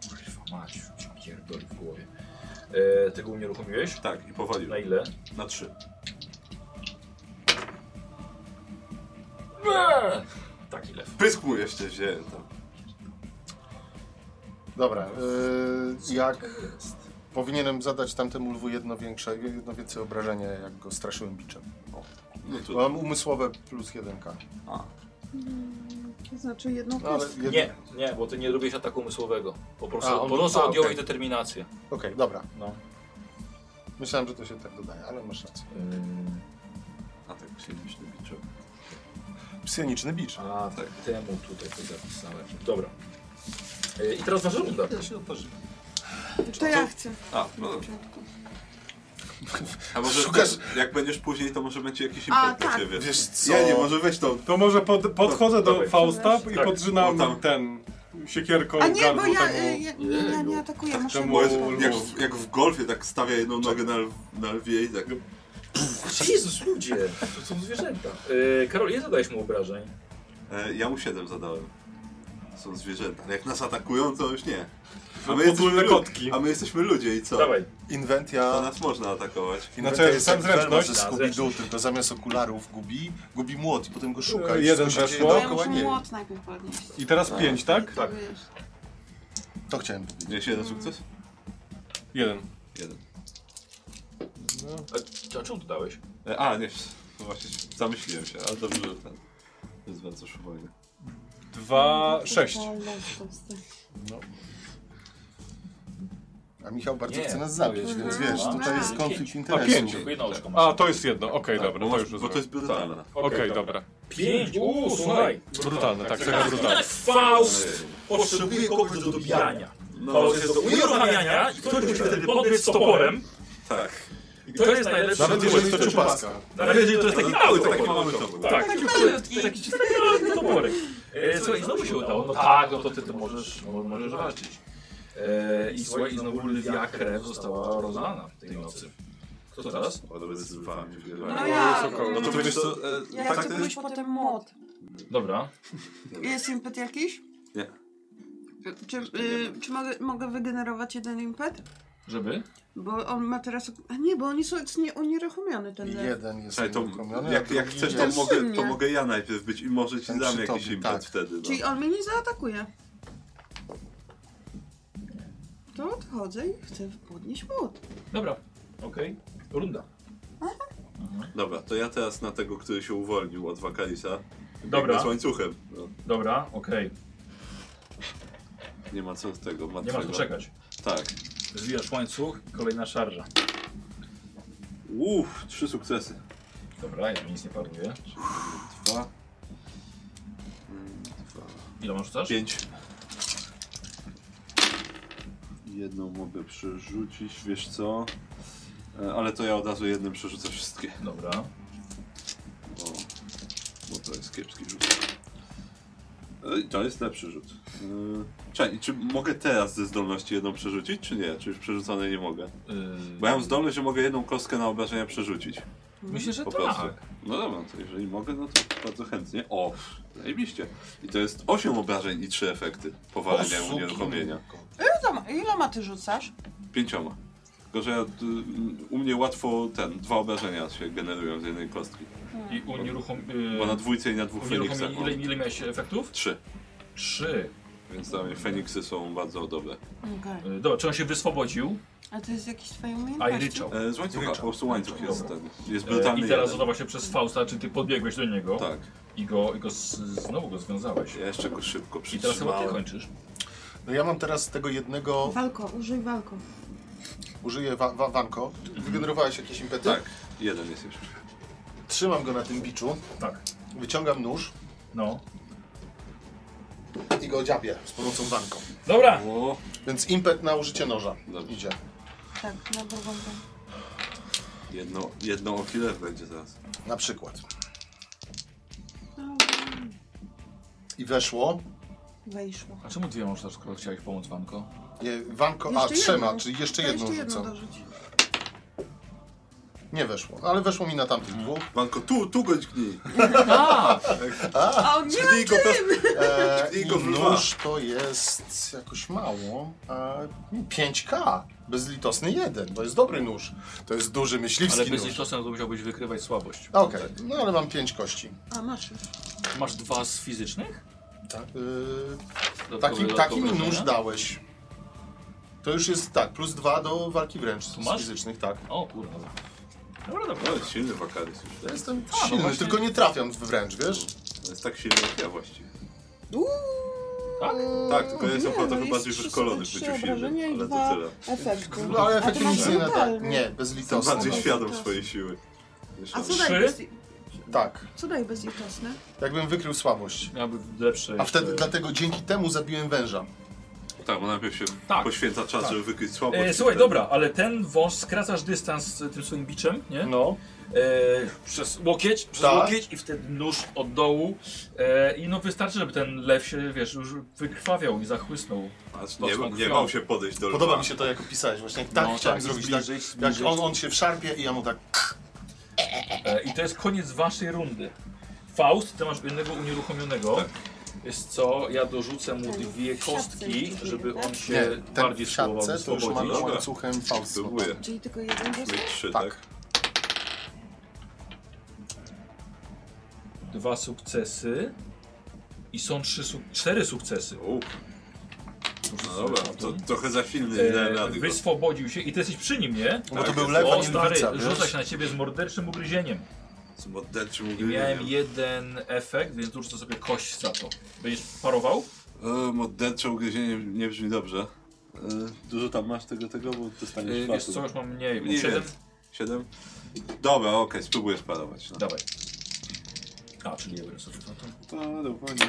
Speaker 1: Kurwa mać, już mi pierdoli w głowie. Eee, ty go unieruchomiłeś?
Speaker 5: Tak, i powalił.
Speaker 1: Na ile?
Speaker 5: Na trzy.
Speaker 1: Eee, taki lew.
Speaker 5: Pysk mu jeszcze wziąłem tam.
Speaker 2: Dobra, y, jak powinienem zadać tamtemu lwu jedno większe, jedno więcej obrażenia, jak go straszyłem biczem.
Speaker 5: No
Speaker 2: Bo
Speaker 5: tu.
Speaker 2: Mam umysłowe plus 1k.
Speaker 5: A,
Speaker 4: To znaczy jedną
Speaker 2: No, ale
Speaker 4: kostkę.
Speaker 2: jedno...
Speaker 1: Nie, nie, bo ty nie robisz ataku umysłowego. Po prostu,
Speaker 2: A, on-
Speaker 1: po prostu
Speaker 2: a,
Speaker 1: odjąłeś
Speaker 2: okej.
Speaker 1: determinację.
Speaker 2: Okej, dobra.
Speaker 1: No.
Speaker 2: Myślałem, że to się tak dodaje, ale masz rację.
Speaker 5: a tak się myślę biczem.
Speaker 2: Psioniczny bicz.
Speaker 1: A, tak. Temu tutaj to zapisałem. Dobra. E, I teraz wasza runda.
Speaker 5: się
Speaker 4: To ja chcę.
Speaker 5: A, no dobrze. A może
Speaker 2: Szukasz-
Speaker 5: te- jak będziesz później, to może będzie jakiś
Speaker 4: A,
Speaker 5: impet dla
Speaker 4: tak.
Speaker 5: ciebie.
Speaker 2: Wiesz co?
Speaker 5: Ja nie, może weź tą.
Speaker 6: To może pod, podchodzę do
Speaker 1: Dawaj.
Speaker 6: Fausta i
Speaker 1: Tak.
Speaker 6: podrzynam
Speaker 5: No tam.
Speaker 6: ten siekierką
Speaker 4: A nie, bo
Speaker 6: gardło
Speaker 4: ja, y,
Speaker 6: temu.
Speaker 4: ja, nie, ja nie atakuję, muszę
Speaker 6: Temu-
Speaker 5: Bo jest,
Speaker 4: mu-
Speaker 5: jak, w, jak w golfie, tak stawia jedną nogę na, na lwie i tak.
Speaker 1: Jezus, ludzie! To są zwierzęta. Yy, Karol, nie zadajesz mu obrażeń.
Speaker 5: E, ja mu 7 zadałem. Są zwierzęta. No Jak nas atakują, to już nie.
Speaker 6: A
Speaker 5: my jesteśmy
Speaker 6: potulne
Speaker 5: lu-
Speaker 6: kotki.
Speaker 5: A my jesteśmy ludzie i co?
Speaker 1: Dawaj.
Speaker 5: To
Speaker 2: Inwentia...
Speaker 5: nas można atakować.
Speaker 1: No
Speaker 2: Inwentia jest
Speaker 6: sam
Speaker 2: jak Velma ze
Speaker 6: zręczność.
Speaker 1: Tak,
Speaker 2: Scooby-Doo, tylko zamiast okularów gubi, gubi młot i potem go szuka.
Speaker 1: Yy,
Speaker 6: E,
Speaker 2: I no,
Speaker 6: jeden
Speaker 2: wszystko się dzieje
Speaker 6: weszło.
Speaker 13: ja
Speaker 2: Dookoła
Speaker 13: muszę
Speaker 2: niej.
Speaker 13: młot najpierw podnieść.
Speaker 6: I teraz pięć, tak?
Speaker 5: Tak.
Speaker 13: Wiesz.
Speaker 2: To chciałem powiedzieć.
Speaker 5: Miałeś jeden sukces?
Speaker 6: Jeden.
Speaker 5: Jeden.
Speaker 1: A, c- a czemu to dałeś?
Speaker 5: E, a, nie. No właśnie, zamyśliłem się, ale dobrze, że ten. Jest bardzo uwagę.
Speaker 6: Dwa, sześć.
Speaker 2: A Michał bardzo
Speaker 1: Nie,
Speaker 2: chce nas zabić,
Speaker 1: to jest-
Speaker 2: więc wiesz,
Speaker 1: A,
Speaker 2: tutaj jest
Speaker 1: pięć.
Speaker 2: konflikt
Speaker 6: A
Speaker 2: interesów.
Speaker 6: pięć.
Speaker 1: Tylko jedną oczką masz.
Speaker 6: A, to jest jedno. Okej, dobra, to już
Speaker 5: bo to Tak. jest brutalne.
Speaker 6: Okej, dobra.
Speaker 1: Pięć! Uuu, słuchaj!
Speaker 6: Brutalne, tak, tak, brutalne.
Speaker 1: Faust potrzebuje kogoś do dobijania.
Speaker 5: No,
Speaker 1: Faust jest do uruchamiania i ktoś musi wtedy podbiec z toporem.
Speaker 5: tak.
Speaker 1: I to jest najlepszy
Speaker 2: Nawet jeżeli to
Speaker 1: duet.
Speaker 2: czupaska.
Speaker 1: Nawet jeżeli to jest taki mały
Speaker 5: Taki
Speaker 1: topór.
Speaker 5: mały topór.
Speaker 1: Tak, taki malutki. Taki taki mały toporek. E, Słuchaj, znowu się udało. No tak, no to ty to możesz, mo- możesz walczyć. E, I słuchaj, i znowu lwia krew została rozlana tej nocy. Kto teraz?
Speaker 5: O, dobra, zdecydowałem się.
Speaker 4: No ja,
Speaker 5: No to wiesz co, e,
Speaker 4: ja
Speaker 5: tak
Speaker 4: chcę
Speaker 5: to
Speaker 4: pójść
Speaker 5: jest...
Speaker 4: po ten młot.
Speaker 1: Dobra.
Speaker 4: Jest impet jakiś?
Speaker 5: Nie.
Speaker 4: Czy, y, czy mogę, mogę wygenerować jeden impet?
Speaker 1: Żeby?
Speaker 4: Bo on ma teraz... A nie, bo oni są jest nie, unieruchomiony ten lew.
Speaker 2: Jeden jest
Speaker 5: Słuchaj, to,
Speaker 2: uruchomiony,
Speaker 5: jak,
Speaker 2: a
Speaker 5: jak
Speaker 2: drugi
Speaker 5: chcesz, no to
Speaker 2: jest-
Speaker 5: mogę, to
Speaker 4: Sumnie.
Speaker 5: mogę ja najpierw być i może ci
Speaker 2: Ten
Speaker 5: dam
Speaker 2: przy
Speaker 5: jakiś
Speaker 2: tobie,
Speaker 5: impet
Speaker 2: tak.
Speaker 5: wtedy.
Speaker 4: Czyli
Speaker 5: No.
Speaker 4: on mnie nie zaatakuje. To odchodzę i chcę podnieść młot.
Speaker 1: Dobra. Okej. Runda.
Speaker 5: Dobra, to ja teraz na tego, który się uwolnił od Wakalisa.
Speaker 1: Dobra.
Speaker 5: Z łańcuchem. No,
Speaker 1: Dobra, okej.
Speaker 5: nie ma co z tego.
Speaker 1: Nie ma co
Speaker 5: martwego.
Speaker 1: czekać.
Speaker 5: Tak.
Speaker 1: Zwijasz łańcuch, kolejna szarża.
Speaker 5: Uff, trzy sukcesy.
Speaker 1: Dobra, ja mi nic nie paruje.
Speaker 5: Dwa. Mm, Dwa.
Speaker 1: Ile masz rzucasz?
Speaker 5: Pięć. Jedną mogę przerzucić, wiesz co? E, Ale to ja od razu jednym przerzucę wszystkie,
Speaker 1: Dobra.
Speaker 5: bo, bo to jest kiepski rzut. E, To jest lepszy rzut. E, Czekaj, czy mogę teraz ze zdolności jedną przerzucić, czy nie? Czy już przerzuconej nie mogę?
Speaker 1: Yy,
Speaker 5: Bo ja mam zdolność, że mogę jedną kostkę na obrażenia przerzucić.
Speaker 1: Myślę, że
Speaker 5: Po
Speaker 1: tak.
Speaker 5: prostu. No dobra, to jeżeli mogę, no to bardzo chętnie. O, zajebiście. I to jest 8 obrażeń i 3 efekty powalenia i unieruchomienia.
Speaker 4: Ile, iloma ty rzucasz?
Speaker 5: Pięcioma. Tylko, że ja, d- m, u mnie łatwo ten, dwa obrażenia się generują z jednej kostki.
Speaker 1: I y, unieruchom...
Speaker 5: Bo na dwójce i na dwóch Feniksach
Speaker 1: unieruchomienie... Ile,
Speaker 5: mam
Speaker 1: ile miałeś efektów?
Speaker 5: trzy.
Speaker 1: Trzy.
Speaker 5: Więc dla mnie Feniksy są bardzo dobre.
Speaker 13: Okej.
Speaker 1: Y, Dobra, czy on się wyswobodził?
Speaker 4: A to jest jakieś twoje
Speaker 1: A i
Speaker 4: umiejętności?
Speaker 1: ryczał.
Speaker 5: E, z łańcucha, po prostu łańcuch jest
Speaker 1: Dobra.
Speaker 5: ten. Jest
Speaker 1: E,
Speaker 5: brutalny
Speaker 1: I teraz
Speaker 5: jeden.
Speaker 1: zadawa się przez Fausta, czy ty podbiegłeś do niego
Speaker 5: Tak.
Speaker 1: i go, i go z, znowu go związałeś.
Speaker 5: Ja jeszcze go szybko
Speaker 1: I teraz chyba ty
Speaker 5: przytrzymałem.
Speaker 1: kończysz.
Speaker 2: No ja mam teraz tego jednego,
Speaker 13: Walko, użyj walko.
Speaker 2: użyję wa wa wanko. Wygenerowałeś jakieś impety?
Speaker 5: Tak, jeden jest jeszcze.
Speaker 2: Trzymam go na tym biczu,
Speaker 1: Tak.
Speaker 2: wyciągam nóż
Speaker 1: No.
Speaker 2: i go dziabię z pomocą wanką.
Speaker 1: Dobra!
Speaker 5: O,
Speaker 2: Więc impet na użycie noża
Speaker 5: Dobrze.
Speaker 2: idzie.
Speaker 13: Tak, na drugą rękę.
Speaker 5: jedno, jedno o killer będzie zaraz.
Speaker 2: Na przykład. I weszło.
Speaker 13: Wejszło.
Speaker 1: A czemu dwie możesz, skoro chciałeś pomóc Wanko?
Speaker 2: Je, wanko, a
Speaker 4: Jeszcze
Speaker 2: trzema,
Speaker 4: jedną.
Speaker 2: czyli jeszcze
Speaker 4: To
Speaker 2: jedną
Speaker 4: jeszcze jedną
Speaker 2: rzucam.
Speaker 4: dorzuć.
Speaker 2: Nie weszło, ale weszło mi na tamtych dwóch.
Speaker 5: Banko, tu, tu go dźgnij!
Speaker 4: A on nie
Speaker 5: Dźgnij go, pes-
Speaker 2: E,
Speaker 5: Czyli
Speaker 2: i
Speaker 5: go w dwa.
Speaker 2: nóż to jest jakoś mało. E, 5K. Bezlitosny jeden, bo jest dobry nóż. To jest duży myśliwski
Speaker 1: Ale tak. bez
Speaker 2: nóż.
Speaker 1: liczosem to musiałbyś wykrywać słabość.
Speaker 2: A, Okej, no ale mam 5 kości.
Speaker 4: A masz
Speaker 5: Tak?
Speaker 4: już.
Speaker 1: Masz dwa z fizycznych?
Speaker 2: Tak.
Speaker 1: Dodatkowe-
Speaker 2: taki
Speaker 1: dodatkowe
Speaker 2: taki mi nóż
Speaker 1: obrażenia?
Speaker 2: dałeś. To już jest tak, plus 2 do walki wręcz z
Speaker 1: masz?
Speaker 2: fizycznych, tak.
Speaker 1: O kurwa. Dobra, dobra.
Speaker 5: No, jest silny Wakaris już.
Speaker 2: Ja
Speaker 5: Jest,
Speaker 2: jestem
Speaker 1: no
Speaker 2: silny,
Speaker 1: właśnie.
Speaker 2: tylko nie trafiam wręcz, wiesz?
Speaker 5: jest tak silny jak ja właściwie.
Speaker 1: Tak?
Speaker 5: Tak, tylko ja jestem
Speaker 4: Nie,
Speaker 5: chyba
Speaker 4: no
Speaker 5: chyba
Speaker 4: jest
Speaker 5: bardziej wyszkolony w
Speaker 4: 303
Speaker 5: byciu
Speaker 4: obrażenia
Speaker 5: silnym,
Speaker 4: i
Speaker 5: ale
Speaker 4: dwa
Speaker 5: to tyle.
Speaker 4: efekty.
Speaker 2: No ale
Speaker 4: A ty
Speaker 2: efekty
Speaker 4: masz
Speaker 2: nic nie nadają.
Speaker 4: brutalny.
Speaker 2: Nie,
Speaker 5: Jestem bardziej
Speaker 2: bezlitosny.
Speaker 5: świadom swojej siły.
Speaker 4: A co
Speaker 1: Trzy?
Speaker 4: daje bez...
Speaker 2: Tak,
Speaker 4: Co daje bezlitosny?
Speaker 2: jakbym wykrył słabość.
Speaker 1: Miałby lepsze.
Speaker 2: A wtedy
Speaker 1: jeszcze-
Speaker 2: dlatego dzięki temu zabiłem węża.
Speaker 5: tak, bo najpierw się
Speaker 1: Tak.
Speaker 5: poświęca czas,
Speaker 1: Tak.
Speaker 5: żeby wykryć słabość.
Speaker 1: E, słuchaj, dobra, ale ten wąż skracasz dystans z tym swoim biczem, nie?
Speaker 2: No.
Speaker 1: E, przez łokieć, przez
Speaker 2: Tak.
Speaker 1: łokieć i wtedy nóż od dołu. E, I no wystarczy, żeby ten lew się, wiesz, już wykrwawiał i zachłysnął.
Speaker 5: Aż
Speaker 1: mocno
Speaker 5: nie, nie
Speaker 1: krwią.
Speaker 5: bał się podejść do
Speaker 2: Podoba
Speaker 5: lwa.
Speaker 2: mi się to, jak opisałeś. Właśnie tak
Speaker 1: No,
Speaker 2: chciałem
Speaker 1: tak,
Speaker 2: zrobić.
Speaker 14: zbliżyć,
Speaker 2: tak,
Speaker 14: zbliżyć.
Speaker 2: jak on, on się wszarpie i ja mu tak...
Speaker 1: E, I to jest koniec waszej rundy. Faust, ty masz jednego unieruchomionego.
Speaker 5: Tak.
Speaker 1: Jest co, ja dorzucę mu
Speaker 7: Ten
Speaker 1: dwie
Speaker 7: w siatce
Speaker 1: kostki,
Speaker 7: jest
Speaker 1: żeby
Speaker 7: jeden,
Speaker 1: on
Speaker 7: tak?
Speaker 1: się
Speaker 2: ten
Speaker 1: bardziej
Speaker 2: w siatce
Speaker 1: spróbował
Speaker 2: to już ma
Speaker 1: oswobodzić.
Speaker 5: Dobra.
Speaker 2: łańcuchem faust.
Speaker 5: Próbuję.
Speaker 7: Czyli tylko jeden głos?
Speaker 5: Mieć trzy,
Speaker 2: Tak.
Speaker 5: tak?
Speaker 1: Dwa sukcesy. I są trzy, suk- cztery sukcesy.
Speaker 5: U, no dobra, to trochę za silny, nie dałem
Speaker 1: Mhm. E,
Speaker 5: rady go.
Speaker 1: wyswobodził się i ty jesteś przy nim, nie?
Speaker 2: Bo No to
Speaker 5: Tak,
Speaker 2: był
Speaker 5: jest.
Speaker 2: lew,
Speaker 1: O
Speaker 2: a nie
Speaker 1: stary,
Speaker 2: lwica, wiesz?
Speaker 1: rzuca się na ciebie z morderczym ugryzieniem.
Speaker 5: Z morderczym
Speaker 1: I miałem
Speaker 5: ugryzieniem.
Speaker 1: jeden efekt, więc rzucę sobie kość za to. Będziesz parował?
Speaker 5: E, Mordercze ugryzienie nie brzmi dobrze. E, Dużo tam masz tego, tego, bo dostaniesz
Speaker 1: Yy,
Speaker 5: yy,
Speaker 1: wiesz co, już mam mniej, mam
Speaker 5: Mniej
Speaker 1: siedem.
Speaker 5: więcej. Siedem? Dobra, okej, spróbuję sparować. No.
Speaker 1: Dawaj. A, czyli jeden sobie za to.
Speaker 5: To dokładnie.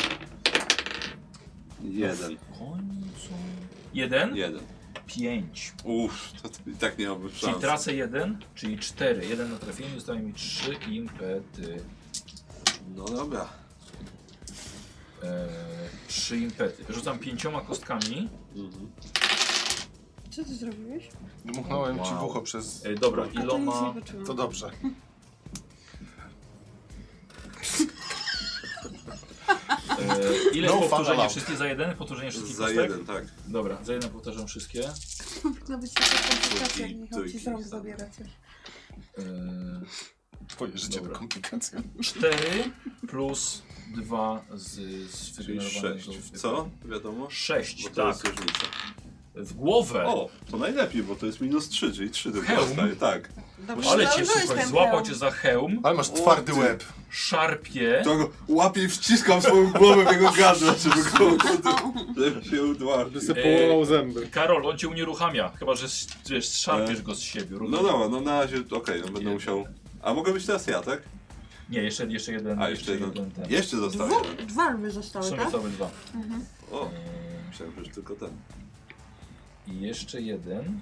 Speaker 5: Jeden.
Speaker 1: W końcu. Jeden?
Speaker 5: Jeden.
Speaker 1: Pięć.
Speaker 5: Uff, to t- i tak nie miałbym
Speaker 1: Czyli
Speaker 5: szans.
Speaker 1: tracę jeden, czyli cztery. Jeden na trafienie, zostaje mi trzy impety.
Speaker 5: No dobra.
Speaker 1: Eee, trzy impety. Rzucam pięcioma kostkami.
Speaker 7: Co ty zrobiłeś?
Speaker 2: Dmuchnąłem ci w
Speaker 1: Wow.
Speaker 2: ucho przez...
Speaker 5: E,
Speaker 1: Eee, dobra,
Speaker 7: A to nic nie
Speaker 1: iloma...
Speaker 7: wyczułam.
Speaker 2: To dobrze.
Speaker 1: Eee, ile
Speaker 2: No fun
Speaker 1: powtórzenie
Speaker 2: allowed.
Speaker 1: wszystkie za jeden? Powtórzenie wszystkich
Speaker 5: Za
Speaker 1: kostek?
Speaker 5: jeden, tak.
Speaker 1: Dobra, za jeden powtarzam wszystkie.
Speaker 7: No
Speaker 4: Powinno być taka komplikacja,
Speaker 5: Trójki,
Speaker 4: jak Michał ci z
Speaker 5: trójki
Speaker 4: rąk
Speaker 5: same.
Speaker 4: zabiera coś.
Speaker 1: Eee,
Speaker 2: Twoje życie
Speaker 1: Dobra.
Speaker 2: to komplikacja.
Speaker 1: 4 plus 2 z, z
Speaker 5: Czyli
Speaker 1: wygenerowanego
Speaker 5: sześć.
Speaker 1: wypadku.
Speaker 5: Co? Wiadomo.
Speaker 1: 6,
Speaker 5: Bo to
Speaker 1: tak.
Speaker 5: jest różnica.
Speaker 1: W głowę.
Speaker 5: O, to najlepiej, bo to jest minus 3, czyli 3 tylko
Speaker 1: Hełm?
Speaker 5: dostaję, tak.
Speaker 4: Dobrze,
Speaker 1: Ale
Speaker 4: że
Speaker 1: cię
Speaker 4: założyłeś
Speaker 1: słuchaj,
Speaker 4: ten
Speaker 1: złapał
Speaker 4: hełm.
Speaker 1: cię za hełm,
Speaker 2: Ale masz
Speaker 5: O,
Speaker 2: twardy
Speaker 5: ty.
Speaker 2: łeb.
Speaker 1: szarpie.
Speaker 5: To go łapię i wciskam swoją głowę w jego gardło, żeby go [laughs] żeby się
Speaker 6: By
Speaker 5: udławił.
Speaker 6: sobie połamał zęby.
Speaker 1: Karol, on cię unieruchamia, chyba że s- wiesz, szarpiesz go z siebie. równo.
Speaker 5: No dobra, no na razie, okej, no będę musiał... A mogę być teraz ja, tak?
Speaker 1: Nie, jeszcze, jeszcze jeden.
Speaker 5: A, jeszcze jeden.
Speaker 1: ten.
Speaker 5: Jeszcze zostaje.
Speaker 7: Dwu- Dwa lwy
Speaker 1: W
Speaker 7: zostały,
Speaker 1: sumie
Speaker 7: tak?
Speaker 1: całe dwa.
Speaker 5: O,
Speaker 1: Eee,
Speaker 5: myślałem, że tylko ten.
Speaker 1: I jeszcze jeden.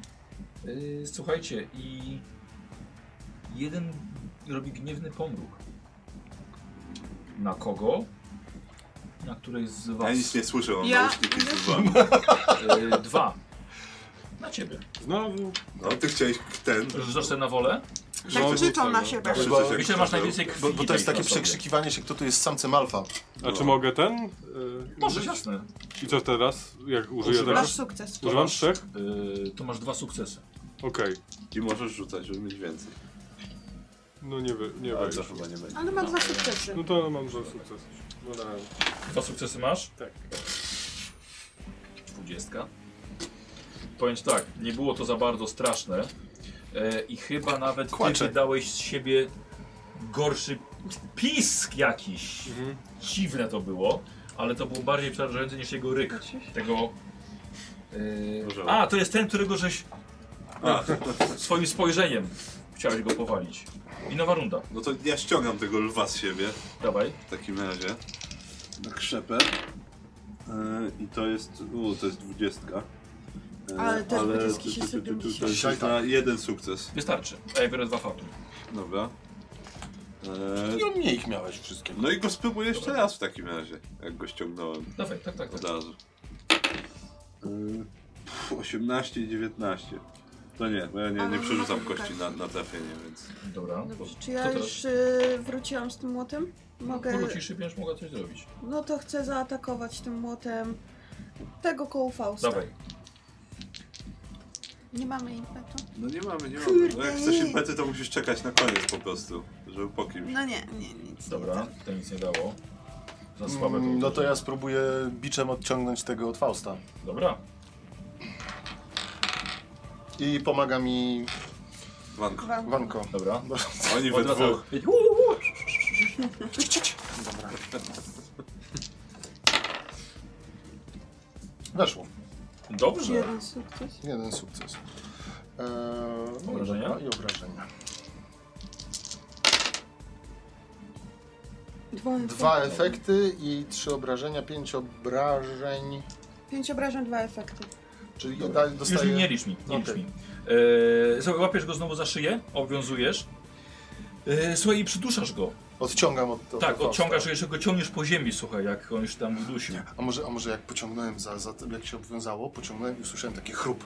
Speaker 1: Yy, słuchajcie, i jeden robi gniewny pomruk. Na kogo? Na której z was?
Speaker 5: Ja nic nie słyszę, mam
Speaker 4: Ja-
Speaker 5: nausznik i zrywam.
Speaker 1: Yy, dwa. Na ciebie.
Speaker 6: Znowu.
Speaker 5: No, ty chciałeś ten...
Speaker 1: Rzucasz sobie na wolę?
Speaker 4: Tak krzyczą na
Speaker 5: No,
Speaker 4: siebie.
Speaker 5: krzyczeć
Speaker 2: Bo
Speaker 5: jak
Speaker 1: Myślę, że masz najwięcej krwi.
Speaker 2: Bo, bo to
Speaker 1: tej
Speaker 2: jest takie
Speaker 1: na sobie.
Speaker 2: przekrzykiwanie się, kto tu jest samcem alfa.
Speaker 6: A czy mogę ten? y,
Speaker 1: Możesz,
Speaker 6: użyć?
Speaker 1: jasne.
Speaker 6: I co teraz? Jak użyję
Speaker 1: Używasz?
Speaker 6: tego?
Speaker 4: Masz sukces.
Speaker 6: Używam trzech?
Speaker 1: Yy, to masz dwa sukcesy.
Speaker 6: Okej.
Speaker 5: I możesz rzucać, żeby mieć więcej.
Speaker 6: No nie, wy, nie
Speaker 5: Ale to
Speaker 6: wejdzie.
Speaker 5: chyba nie będzie.
Speaker 7: Ale ma dwa sukcesy.
Speaker 6: No to mam dwa sukcesy. No dałem.
Speaker 1: Dwa sukcesy masz?
Speaker 6: Tak.
Speaker 1: Dwudziestka. Powiem ci tak, nie było to za bardzo straszne. E, I chyba nawet ty
Speaker 2: Kłaczek.
Speaker 1: wydałeś z siebie gorszy pisk jakiś. Dziwne to było, ale to było bardziej przerażające niż jego ryk. Tego. E,
Speaker 5: Orzeł.
Speaker 1: a, to jest ten, którego żeś no,
Speaker 5: A,
Speaker 1: swoim spojrzeniem chciałeś go powalić. I nowa runda.
Speaker 5: no to ja ściągam tego lwa z siebie.
Speaker 1: Dawaj.
Speaker 5: W takim razie na krzepę. Yy, I to jest. U, to jest dwudziestka. Yy,
Speaker 7: Ale te dwudziestki
Speaker 5: tu,
Speaker 7: się
Speaker 5: tu, tu, tu, tu,
Speaker 7: sypią
Speaker 5: to jest
Speaker 2: dzisiaj,
Speaker 5: na jeden sukces.
Speaker 1: Wystarczy. A ja biorę dwa fatum.
Speaker 5: Dobra.
Speaker 2: Ile
Speaker 5: Yy,
Speaker 2: mnie ich miałeś wszystkie?
Speaker 1: Mm,
Speaker 5: no i go spróbuję jeszcze raz w takim razie, jak go ściągnąłem
Speaker 1: Dawaj, tak, tak,
Speaker 2: No.
Speaker 1: tak.
Speaker 5: od razu. Yy, pff, 18 i 19. To nie, bo ja nie,
Speaker 4: Ale
Speaker 5: nie
Speaker 4: no
Speaker 5: przerzucam
Speaker 4: tak.
Speaker 5: kości na, na trafienie, więc.
Speaker 1: Dobra.
Speaker 4: No
Speaker 7: Dobrze, czy ja
Speaker 1: Co teraz?
Speaker 7: już y, wróciłam z tym młotem? Mogę...
Speaker 1: Wrócisz i będziesz mogła coś zrobić.
Speaker 4: No to chcę zaatakować tym młotem tego koło Fausta.
Speaker 1: Dawaj.
Speaker 4: Nie mamy impetu?
Speaker 5: No nie mamy, nie mamy. No jak chcesz impety, to musisz czekać na koniec po prostu, żeby po kimś.
Speaker 4: No nie, nie, nic. nie
Speaker 1: Dobra,
Speaker 4: da.
Speaker 1: to nic nie dało. Za słabe to.
Speaker 2: No to ja spróbuję biczem odciągnąć tego od Fausta.
Speaker 1: Dobra.
Speaker 2: I pomaga mi
Speaker 5: Wanko.
Speaker 2: Wanko.
Speaker 1: Dobra.
Speaker 5: Oni we
Speaker 1: Odwraca-
Speaker 5: dwóch.
Speaker 2: Weszło.
Speaker 1: Dobrze.
Speaker 4: Jeden sukces.
Speaker 2: Jeden sukces. Eee, no
Speaker 1: Obrażenia?
Speaker 2: dobra, I obrażenia.
Speaker 7: Dwa,
Speaker 2: Dwa efekty i trzy obrażenia, pięć obrażeń.
Speaker 4: Pięć obrażeń, dwa efekty.
Speaker 2: Czyli da,
Speaker 1: Już
Speaker 2: dostaję...
Speaker 1: nie licz mi, nie licz
Speaker 2: Okej.
Speaker 1: mi. E, słuchaj, łapiesz go znowu za szyję, obwiązujesz. E, słuchaj, i przytuszasz go.
Speaker 2: Odciągam od... od
Speaker 1: Tak,
Speaker 2: od-
Speaker 1: odciągasz, jeszcze go ciągniesz po ziemi, słuchaj, jak on już tam udusił.
Speaker 2: A może, a może jak pociągnąłem za, za tym, jak się obwiązało, pociągnąłem i usłyszałem taki chrup.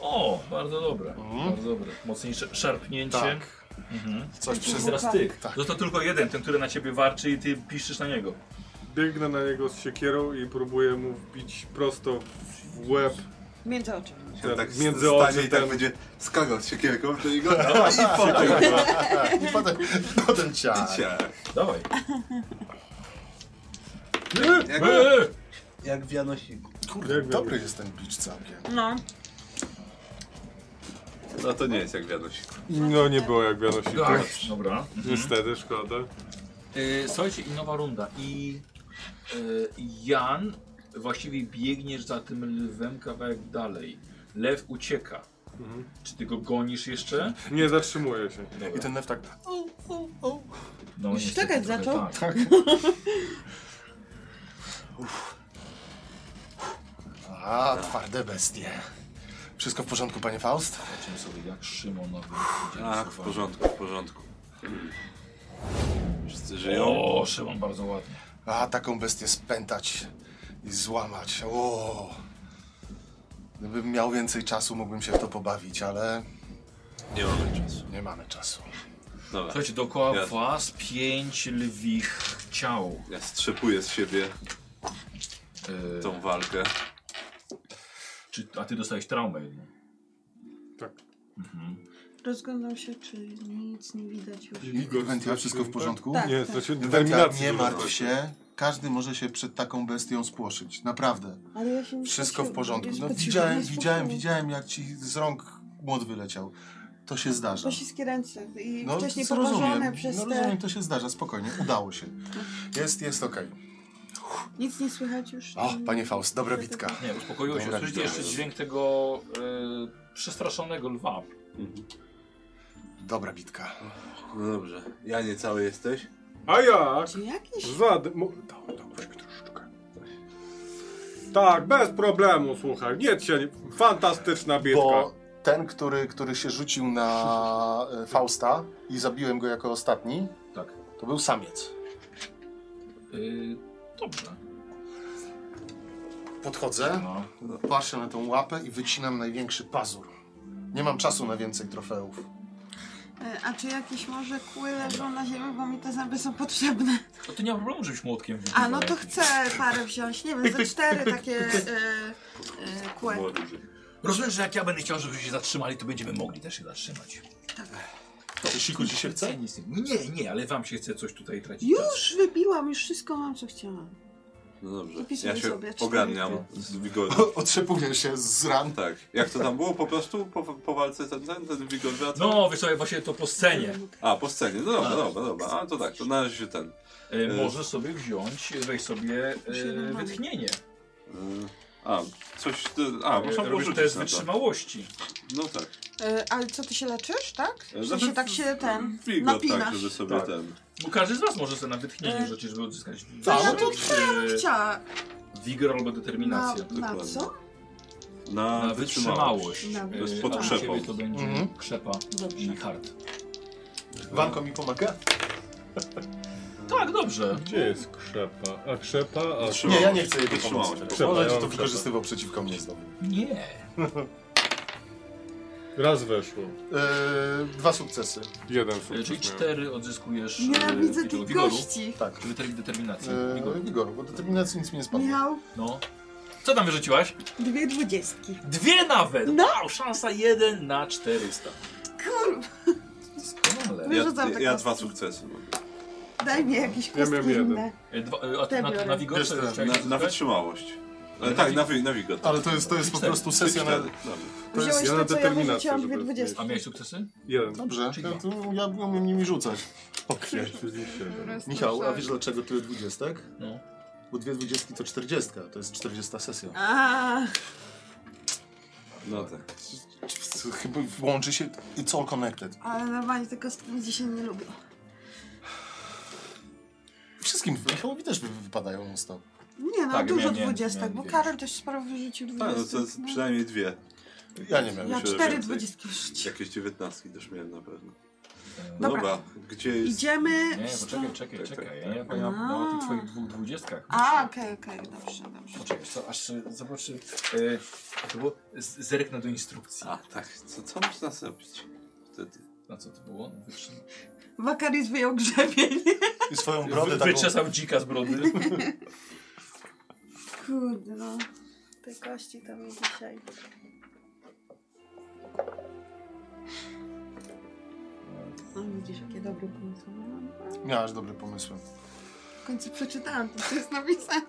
Speaker 1: O, bardzo dobre,
Speaker 2: Mhm.
Speaker 1: bardzo dobre. Mocniejsze szarpnięcie.
Speaker 2: Tak.
Speaker 1: Mhm.
Speaker 2: Coś
Speaker 1: I
Speaker 2: przez...
Speaker 1: teraz ty.
Speaker 2: Tak.
Speaker 1: Został tylko jeden, ten, który na ciebie warczy i ty piszesz na niego.
Speaker 6: Biegnę na niego z siekierą i próbuję mu wbić prosto w łeb.
Speaker 4: Między oczy.
Speaker 6: Ten,
Speaker 13: tak
Speaker 6: między
Speaker 13: między
Speaker 6: oczy
Speaker 13: stanie i tak
Speaker 6: ten-
Speaker 13: będzie skakał z siekierką do [laughs] niego i potem
Speaker 2: I potem, [laughs] potem ciach.
Speaker 13: ciach.
Speaker 1: Dawaj.
Speaker 13: Jak,
Speaker 1: Eee!
Speaker 8: Jak w Janosiku.
Speaker 2: Kurde,
Speaker 6: Jak
Speaker 2: dobry jest ten bicz całkiem.
Speaker 4: No.
Speaker 13: no to nie jest jak wiadomość.
Speaker 6: No nie było jak wiadomo
Speaker 1: Tak, Dobra.
Speaker 6: [laughs] Niestety, szkoda.
Speaker 1: E, słuchajcie, i nowa runda. I e, Jan, właściwie biegniesz za tym lwem kawałek dalej. Lew ucieka. Czy ty go gonisz jeszcze?
Speaker 6: Nie zatrzymuję się.
Speaker 2: I ten lew tak...
Speaker 1: No,
Speaker 4: Już
Speaker 1: niestety
Speaker 4: szczekać
Speaker 1: trochę
Speaker 4: zaczął.
Speaker 1: Tak.
Speaker 2: A, twarde bestie. Wszystko w porządku, panie Faust?
Speaker 1: Zobaczymy sobie, jak Szymonowi
Speaker 5: Tak,
Speaker 13: Ach, Tak, w porządku, w porządku. Wszyscy żyją.
Speaker 1: O, Szymon bardzo ładnie.
Speaker 2: A, taką bestię spętać i złamać. O. Gdybym miał więcej czasu, mógłbym się w to pobawić, ale
Speaker 13: Nie mamy czasu.
Speaker 2: nie mamy czasu.
Speaker 13: Dobra,
Speaker 1: Słuchajcie, dookoła
Speaker 13: Ja-
Speaker 1: was pięć lwich ciał.
Speaker 13: ja strzepuję z siebie
Speaker 1: E,
Speaker 13: tą walkę.
Speaker 1: Czy, a ty dostałeś traumę jedną.
Speaker 6: Tak.
Speaker 4: Rozglądam się, czy nic nie widać już.
Speaker 2: Wentia, wszystko w porządku?
Speaker 4: Tak.
Speaker 6: Nie, to się
Speaker 2: Wentia,
Speaker 6: determinacja.
Speaker 2: nie martw
Speaker 13: dużo.
Speaker 2: się. Każdy może się przed taką bestią spłoszyć. Naprawdę.
Speaker 4: Ale ja się nie
Speaker 2: Wszystko w
Speaker 4: spociłam,
Speaker 2: porządku.
Speaker 4: nie
Speaker 2: No,
Speaker 4: spociłam,
Speaker 2: widziałem,
Speaker 4: nie
Speaker 2: widziałem,
Speaker 4: spociłam.
Speaker 2: widziałem, jak ci z rąk młot wyleciał. To się zdarza.
Speaker 4: Pościskie ręce i
Speaker 2: No,
Speaker 4: wcześniej poparzone
Speaker 2: zrozumiem.
Speaker 4: przez
Speaker 2: No,
Speaker 4: te...
Speaker 2: rozumiem, to się zdarza. Spokojnie, udało się. Jest, jest okej.
Speaker 4: Nic nie słychać już.
Speaker 2: O, panie Faust, dobra bitka.
Speaker 1: Nie, uspokoiło się.
Speaker 2: Dobra,
Speaker 1: Słyszycie
Speaker 2: widziałem.
Speaker 1: jeszcze dźwięk tego e, przestraszonego lwa.
Speaker 2: Dobra bitka.
Speaker 13: No dobrze. Ja nie cały jesteś?
Speaker 6: A jak?
Speaker 4: Czy jakieś?
Speaker 6: Zad... Mo... Dałem tam troszkę, troszeczkę. Tak, bez problemu, słuchaj. Nie się. nie- Fantastyczna bitka.
Speaker 2: Bo ten, który, który się rzucił na e, Fausta i zabiłem go jako ostatni,
Speaker 1: Tak.
Speaker 2: to był samiec.
Speaker 1: Y, dobrze.
Speaker 2: Podchodzę,
Speaker 1: No.
Speaker 2: patrzę na tą łapę i wycinam największy pazur. Nie mam czasu na więcej trofeów.
Speaker 4: E, A czy jakieś może kły leżą na ziemi, bo mi te zęby są potrzebne?
Speaker 1: To ty nie ma problemu, żebyś młotkiem wybił.
Speaker 4: A no to chcę parę wziąć, nie wiem, ze cztery takie e, e, kły.
Speaker 13: Młody. żyj.
Speaker 1: Rozumiem, że jak ja będę chciał, żebyście się zatrzymali, to będziemy mogli też się zatrzymać.
Speaker 2: To siku ci się chce?
Speaker 1: Tak. Nic nie, nie, nie, ale wam się chce coś tutaj tracić.
Speaker 4: Już wybiłam, już wszystko mam, co chciałam.
Speaker 13: No dobrze.
Speaker 4: Wpisuję
Speaker 13: Ja się
Speaker 4: sobie cztery.
Speaker 13: ogarniam z [laughs] wigorem.
Speaker 2: Otrzepuję się z ran.
Speaker 13: Tak. Jak to tam było? Po prostu po, po walce ten, ten, ten wigor wraca?
Speaker 1: No, wiesz, co, właśnie to po scenie.
Speaker 13: A, po scenie. No dobra, dobra, dobra. A to tak, to na razie się ten.
Speaker 1: E, możesz sobie wziąć, weź sobie e, wytchnienie.
Speaker 13: y, A, coś. ty- A,
Speaker 1: E,
Speaker 13: można było
Speaker 1: robisz
Speaker 13: rzucić
Speaker 1: test
Speaker 13: na to.
Speaker 1: wytrzymałości.
Speaker 13: No tak.
Speaker 4: E, ale co, ty się leczysz, tak?
Speaker 13: E,
Speaker 4: Że
Speaker 13: znaczy,
Speaker 4: się tak się ten
Speaker 13: Wigor, tak,
Speaker 4: napinasz?
Speaker 13: żeby sobie
Speaker 1: Tak.
Speaker 13: ten.
Speaker 1: Bo każdy z was może sobie na wytchnienie
Speaker 4: E,
Speaker 1: rzucić, żeby odzyskać
Speaker 2: tak,
Speaker 1: e,
Speaker 2: no to
Speaker 4: Chciała.
Speaker 1: wigor albo
Speaker 4: Na,
Speaker 1: determinację.
Speaker 4: na
Speaker 13: dokładnie.
Speaker 4: co?
Speaker 13: Na,
Speaker 1: No, Na wytrzymałość.
Speaker 4: Na
Speaker 1: E,
Speaker 13: wytrzymałość. Pod
Speaker 1: a u
Speaker 13: krzepą.
Speaker 1: ciebie to będzie
Speaker 2: Mhm.
Speaker 1: krzepa i hard.
Speaker 2: Wanko mi pomaga?
Speaker 1: Tak, dobrze.
Speaker 6: Gdzie jest krzepa? A krzepa? A...
Speaker 2: Nie, ja nie chcę jego
Speaker 13: Wytrzymałość.
Speaker 2: pomocy.
Speaker 6: Trzeba,
Speaker 2: Może
Speaker 6: ja
Speaker 2: ci to
Speaker 6: mam
Speaker 2: wykorzystywał przeciwko mnie znowu.
Speaker 1: Nie.
Speaker 6: Raz weszło.
Speaker 2: Yy, dwa sukcesy.
Speaker 6: Jeden
Speaker 1: E,
Speaker 6: sukces
Speaker 1: Czyli
Speaker 6: miałem.
Speaker 1: cztery odzyskujesz
Speaker 4: Nienawidzę
Speaker 1: e,
Speaker 4: tych
Speaker 1: wigoru.
Speaker 4: gości.
Speaker 2: Tak.
Speaker 1: Czyli ter- determinację.
Speaker 2: Yy,
Speaker 1: Wigoru.
Speaker 2: Igor, bo determinacji nic mi nie spadło.
Speaker 4: Miał
Speaker 1: No. Co tam wyrzuciłaś?
Speaker 4: dwie dwudziestki.
Speaker 1: Dwie nawet!
Speaker 4: No.
Speaker 1: Wow, szansa 1 na 400.
Speaker 4: Kurwa,
Speaker 1: Doskonale.
Speaker 4: wyrzucam
Speaker 13: Ja,
Speaker 4: te
Speaker 13: ja
Speaker 4: kostki.
Speaker 13: dwa sukcesy. mam.
Speaker 4: Daj mi jakieś
Speaker 6: Ja miałem
Speaker 4: kostki
Speaker 6: jeden.
Speaker 4: inne.
Speaker 1: E, Dwa, e, a ty
Speaker 4: Te
Speaker 1: na, na
Speaker 4: biorę.
Speaker 1: Wigor
Speaker 2: Wiesz,
Speaker 1: co
Speaker 2: ten,
Speaker 1: chciałeś
Speaker 13: Na, na
Speaker 1: uzyskać?
Speaker 13: wytrzymałość.
Speaker 5: E,
Speaker 13: Ale tak, na, wi- na wigor.
Speaker 2: Ale to jest, to jest po
Speaker 1: Cztery.
Speaker 2: prostu sesja na...
Speaker 13: Cztery.
Speaker 5: no
Speaker 13: Dobra.
Speaker 5: tak.
Speaker 2: To
Speaker 4: Wziąłeś
Speaker 2: jest...
Speaker 6: ja na
Speaker 4: to, co ja
Speaker 6: determinację,
Speaker 4: wyrzuciłam, dwie
Speaker 6: żeby
Speaker 4: dwudziestki.
Speaker 1: A miałeś sukcesy?
Speaker 6: Jeden.
Speaker 2: Dobrze,
Speaker 1: Czyli
Speaker 2: ja,
Speaker 1: dwa.
Speaker 2: tu, ja umiem nimi rzucać.
Speaker 6: Ja się dzisiaj.
Speaker 2: Michał, a wiesz dlaczego tyle dwudziestek?
Speaker 1: No.
Speaker 2: Bo dwie dwudziestki to czterdziestka, to jest czterdziesta sesja.
Speaker 4: A,
Speaker 13: No tak.
Speaker 2: Chyba łączy się, it's all connected.
Speaker 4: ale normalnie te kostki dzisiaj nie lubię.
Speaker 2: Wszystkim, Michałowi też wy- wypadają non stop.
Speaker 4: Nie no,
Speaker 5: Tak,
Speaker 4: dużo
Speaker 5: miałem- miałem-
Speaker 4: dwudziestek,
Speaker 5: miałem
Speaker 4: bo
Speaker 5: więcej.
Speaker 4: Karol też sporo wyrzucił
Speaker 5: Tak, no to
Speaker 4: dwudziestek.
Speaker 5: jest przynajmniej dwie.
Speaker 2: Ja nie miałem.
Speaker 4: Ja
Speaker 5: myślę, że
Speaker 4: cztery
Speaker 5: więcej.
Speaker 4: dwudziestki wyrzuciłem.
Speaker 5: Jakieś dziewiętnastki też miałem na pewno. No
Speaker 4: Dobra.
Speaker 5: dobra, gdzie jest...
Speaker 4: Idziemy...
Speaker 1: Nie,
Speaker 4: w-
Speaker 1: poczekaj, czekaj,
Speaker 5: Tak,
Speaker 1: czekaj.
Speaker 5: tak,
Speaker 1: Ja nie
Speaker 4: No.
Speaker 1: pamiętam no, o tych twoich dwóch dwudziestkach.
Speaker 4: A, okej, okej, dobrze, dobrze.
Speaker 1: Poczekaj, co, aż y, zobaczy. Y, to było, z- zerknę do instrukcji.
Speaker 5: A tak, co, co można zrobić wtedy?
Speaker 1: Na co to było? No, Wytrzyma-
Speaker 4: Wakaris wyjął grzebień. [laughs]
Speaker 15: I swoją
Speaker 1: Wy-
Speaker 2: tak
Speaker 15: brodę taką...
Speaker 1: Wyczesał dzika z brody.
Speaker 4: Kurde no. Te kości to mi dzisiaj. No widzisz, jakie dobre pomysły miałam.
Speaker 2: Miałaś dobre pomysły.
Speaker 4: W końcu przeczytałam to, co jest napisane.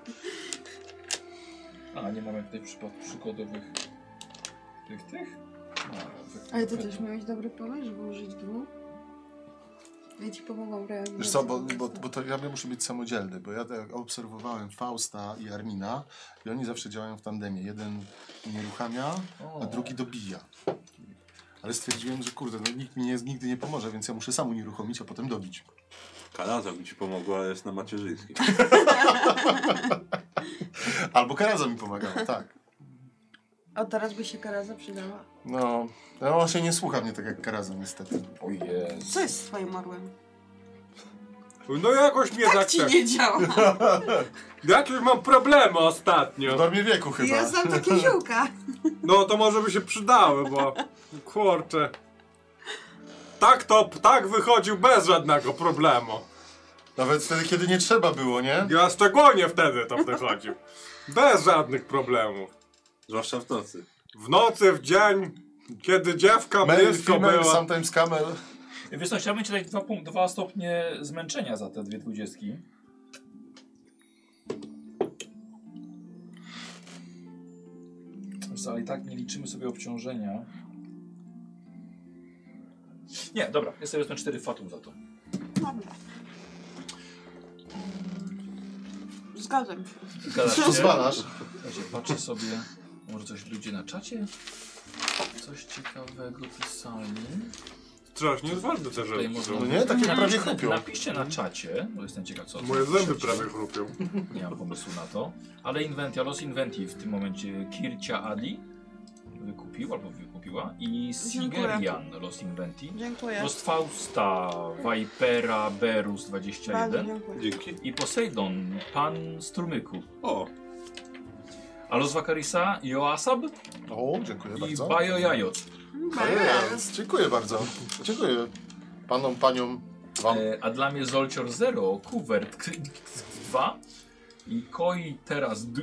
Speaker 1: A, nie mamy tutaj przypadków przykładowych tych, tych? A,
Speaker 16: Ale ty też miałeś dobry pomysł, żeby użyć dwóch. Ja ci pomogłam w realizacji.
Speaker 2: Wiesz co, bo, bo, bo to ja muszę być samodzielny, bo ja tak obserwowałem Fausta i Armina i oni zawsze działają w tandemie. Jeden unieruchamia, a drugi dobija. Ale stwierdziłem, że kurde, no, nikt mi nie, nigdy nie pomoże, więc ja muszę sam unieruchomić, a potem dobić.
Speaker 5: Kalaza mi ci pomogła, ale jest na macierzyńskim.
Speaker 2: Albo Karaza mi pomagała, [laughs] tak.
Speaker 16: A teraz by się karaza przydała.
Speaker 2: No, no on się nie słucha mnie tak jak Karaza niestety.
Speaker 1: O jest.
Speaker 4: Co jest z twoim orłem?
Speaker 6: No jakoś mnie
Speaker 4: Tak ci
Speaker 6: tak.
Speaker 4: nie działa.
Speaker 6: Jakieś No mam problemy ostatnio.
Speaker 2: W normie wieku chyba.
Speaker 4: Ja znam takie ziółka.
Speaker 6: No to może by się przydały, bo kurczę. Tak to ptak wychodził bez żadnego problemu.
Speaker 2: Nawet wtedy, kiedy nie trzeba było, nie?
Speaker 6: Ja szczególnie wtedy to wychodził. Bez żadnych problemów.
Speaker 5: Zwłaszcza w nocy.
Speaker 6: W nocy, w dzień, kiedy dziewka
Speaker 2: Male,
Speaker 6: blisko
Speaker 2: female,
Speaker 6: była.
Speaker 2: sometimes
Speaker 5: [laughs]
Speaker 2: camel.
Speaker 1: Wiesz co, chciałbym ci dać dwa, punk- dwa stopnie zmęczenia za te dwie dwudziestki. Wiesz co, ale i tak nie liczymy sobie obciążenia. Nie, dobra, jest sobie na cztery fatum za to.
Speaker 4: Dobra. Zgadzam się.
Speaker 1: Zgadza się?
Speaker 2: Pozwalasz.
Speaker 1: Słuchajcie, patrzę sobie, może coś ludzie na czacie? Coś ciekawego pisali.
Speaker 6: Strasznie odważne te
Speaker 1: Tutaj
Speaker 6: rzeczy
Speaker 1: może...
Speaker 6: są.
Speaker 2: nie? Takie prawie chrupią.
Speaker 1: Napiszcie na czacie, bo jestem ciekaw co.
Speaker 6: Moje
Speaker 1: co
Speaker 6: zęby
Speaker 1: piszecie.
Speaker 6: prawie chrupią.
Speaker 1: [laughs] Nie mam pomysłu na to. Ale Inventia, los Inventi w tym momencie Kircia Adi wykupił albo wykupiła i Sigerian los Inventi.
Speaker 4: Dziękuję.
Speaker 1: Los Fausta, Vipera, Berus 21
Speaker 4: dziękuję.
Speaker 5: Dzięki.
Speaker 1: i Poseidon, pan strumyku.
Speaker 5: O,
Speaker 1: A los Vakarisa, Joasab
Speaker 2: O, dziękuję
Speaker 1: i
Speaker 2: bardzo.
Speaker 1: Bajo Jajot.
Speaker 2: Jest, dziękuję bardzo. Dziękuję panom, paniom, wam.
Speaker 1: E, a dla mnie Zolcior 0, Kuwert 2 i Koi teraz. D-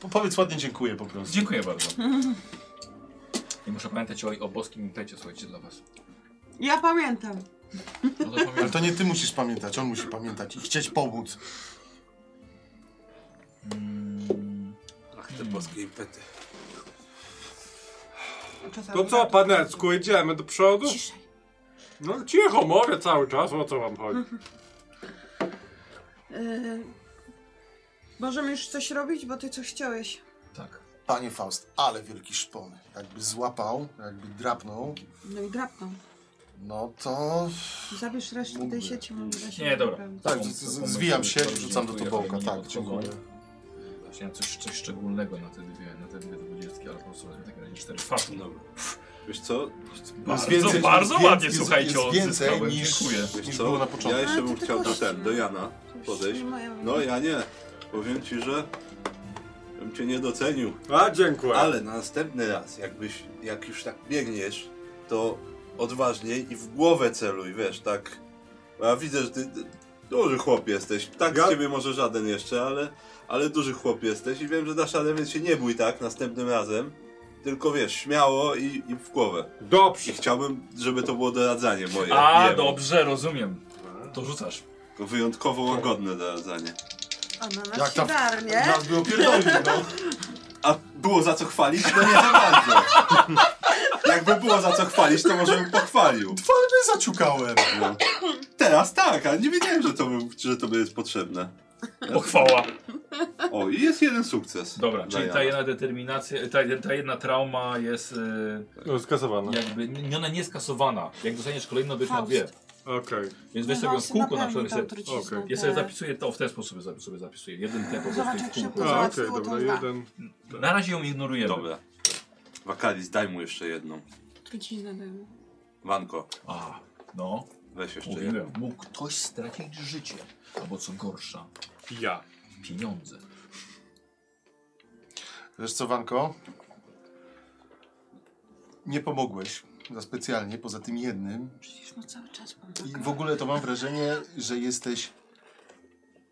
Speaker 2: Po- Powiedz ładnie dziękuję po prostu.
Speaker 1: Dziękuję bardzo. I muszę pamiętać o, o boskim impecie, słuchajcie, dla was.
Speaker 4: Ja pamiętam.
Speaker 1: No to pamiętam.
Speaker 2: [laughs] Ale to nie ty musisz pamiętać, on musi pamiętać i chcieć pomóc.
Speaker 1: Mm,
Speaker 5: ach te boskie impety.
Speaker 4: Czasami tak.
Speaker 6: To co, panecku, idziemy do przodu?
Speaker 4: Ciszej.
Speaker 6: No cicho, mówię cały czas, o co wam chodzi.
Speaker 4: Yy, możemy już coś robić, bo ty coś chciałeś.
Speaker 1: tak.
Speaker 2: Panie Faust, ale wielki szpon. Jakby złapał, jakby drapnął,
Speaker 4: No i drapną.
Speaker 2: no to...
Speaker 4: Zabierz resztę
Speaker 2: Mógłby.
Speaker 4: tej sieci, mam wrażenie.
Speaker 1: Nie, dobra.
Speaker 2: Tak, z- z- zwijam się, wrzucam do tobołka, tak, dziękuję.
Speaker 1: Chciałem coś, coś szczególnego na te dwie, na te dwie dwudziestki, ale po prostu w takim razie cztery faty.
Speaker 5: Dobra. Wiesz co?
Speaker 1: Bardzo,
Speaker 2: Jest więcej-
Speaker 1: No, bardzo
Speaker 2: jest-
Speaker 1: ładnie,
Speaker 2: jest-
Speaker 1: słuchajcie,
Speaker 2: jest więcej
Speaker 1: odzyskałem.
Speaker 2: niż-
Speaker 1: Dziękuję.
Speaker 5: Wiesz
Speaker 2: Niż
Speaker 5: co?
Speaker 2: było na początku.
Speaker 5: Ja jeszcze
Speaker 4: Ale
Speaker 5: bym
Speaker 4: ty
Speaker 5: chciał do
Speaker 4: kości,
Speaker 5: ten,
Speaker 4: no.
Speaker 5: do Jana
Speaker 4: To już
Speaker 5: podejść.
Speaker 4: nie moja wina.
Speaker 5: No ja nie. Powiem ci, że bym cię nie docenił.
Speaker 6: A, dziękuję.
Speaker 5: Ale na następny raz, jakbyś, jak już tak biegniesz, to odważniej i w głowę celuj, wiesz, tak. Ja widzę, że ty ty duży chłop jesteś. Tak
Speaker 6: Ja-
Speaker 5: z ciebie może żaden jeszcze, ale, ale duży chłop jesteś i wiem, że dasz radę, więc się nie bój tak następnym razem. Tylko wiesz, śmiało i, i w głowę.
Speaker 6: Dobrze.
Speaker 5: I chciałbym, żeby to było doradzanie moje.
Speaker 1: no, A,
Speaker 5: jemu.
Speaker 1: dobrze, rozumiem. To rzucasz.
Speaker 5: Tylko Wyjątkowo łagodne doradzanie.
Speaker 4: A na nas
Speaker 2: Jak
Speaker 4: się
Speaker 2: tam-
Speaker 4: darnie.
Speaker 2: Teraz było pierdolnie, no.
Speaker 5: A było za co chwalić? No nie za bardzo. Jakby było za co chwalić, to może bym pochwalił.
Speaker 2: Twardy zaciukałem.
Speaker 5: No. Teraz tak, ale nie wiedziałem, że to, był- że to jest potrzebne.
Speaker 1: Pochwała.
Speaker 5: O, i jest jeden sukces.
Speaker 1: Dobra, czyli
Speaker 5: Dla
Speaker 1: ta
Speaker 5: Jana.
Speaker 1: jedna determinacja, ta, ta jedna trauma jest y,
Speaker 6: Skasowana.
Speaker 1: jakby, nie, ona nie jest skasowana. Jak dostaniesz kolejną, będziesz na
Speaker 4: Faust. No
Speaker 1: dwie.
Speaker 6: Okej.
Speaker 1: Więc weź sobie w kółko na przykład. Sobie,
Speaker 6: Okej.
Speaker 1: ja sobie zapisuję to w ten sposób sobie, sobie zapisuję. Jeden ten po prostu
Speaker 17: Zobacz,
Speaker 1: w
Speaker 17: jak szybko
Speaker 1: kółko.
Speaker 6: A,
Speaker 17: załatwiło
Speaker 6: Okej,
Speaker 17: to
Speaker 6: dobra,
Speaker 17: dwa.
Speaker 6: jeden.
Speaker 1: Na razie ją ignorujemy.
Speaker 5: Dobra. Wakalis, daj mu jeszcze jedną.
Speaker 4: Trucizna dajmy.
Speaker 5: Wanko,
Speaker 1: A, no.
Speaker 5: weź jeszcze jedną.
Speaker 1: Mówiłem, mógł ktoś stracić życie. Albo co gorsza,
Speaker 6: Ja.
Speaker 1: pieniądze.
Speaker 2: Wiesz co, Wanko? Nie pomogłeś za specjalnie, poza tym jednym.
Speaker 17: Przecież no cały czas
Speaker 2: I
Speaker 17: pomaga.
Speaker 2: w ogóle to mam wrażenie, że jesteś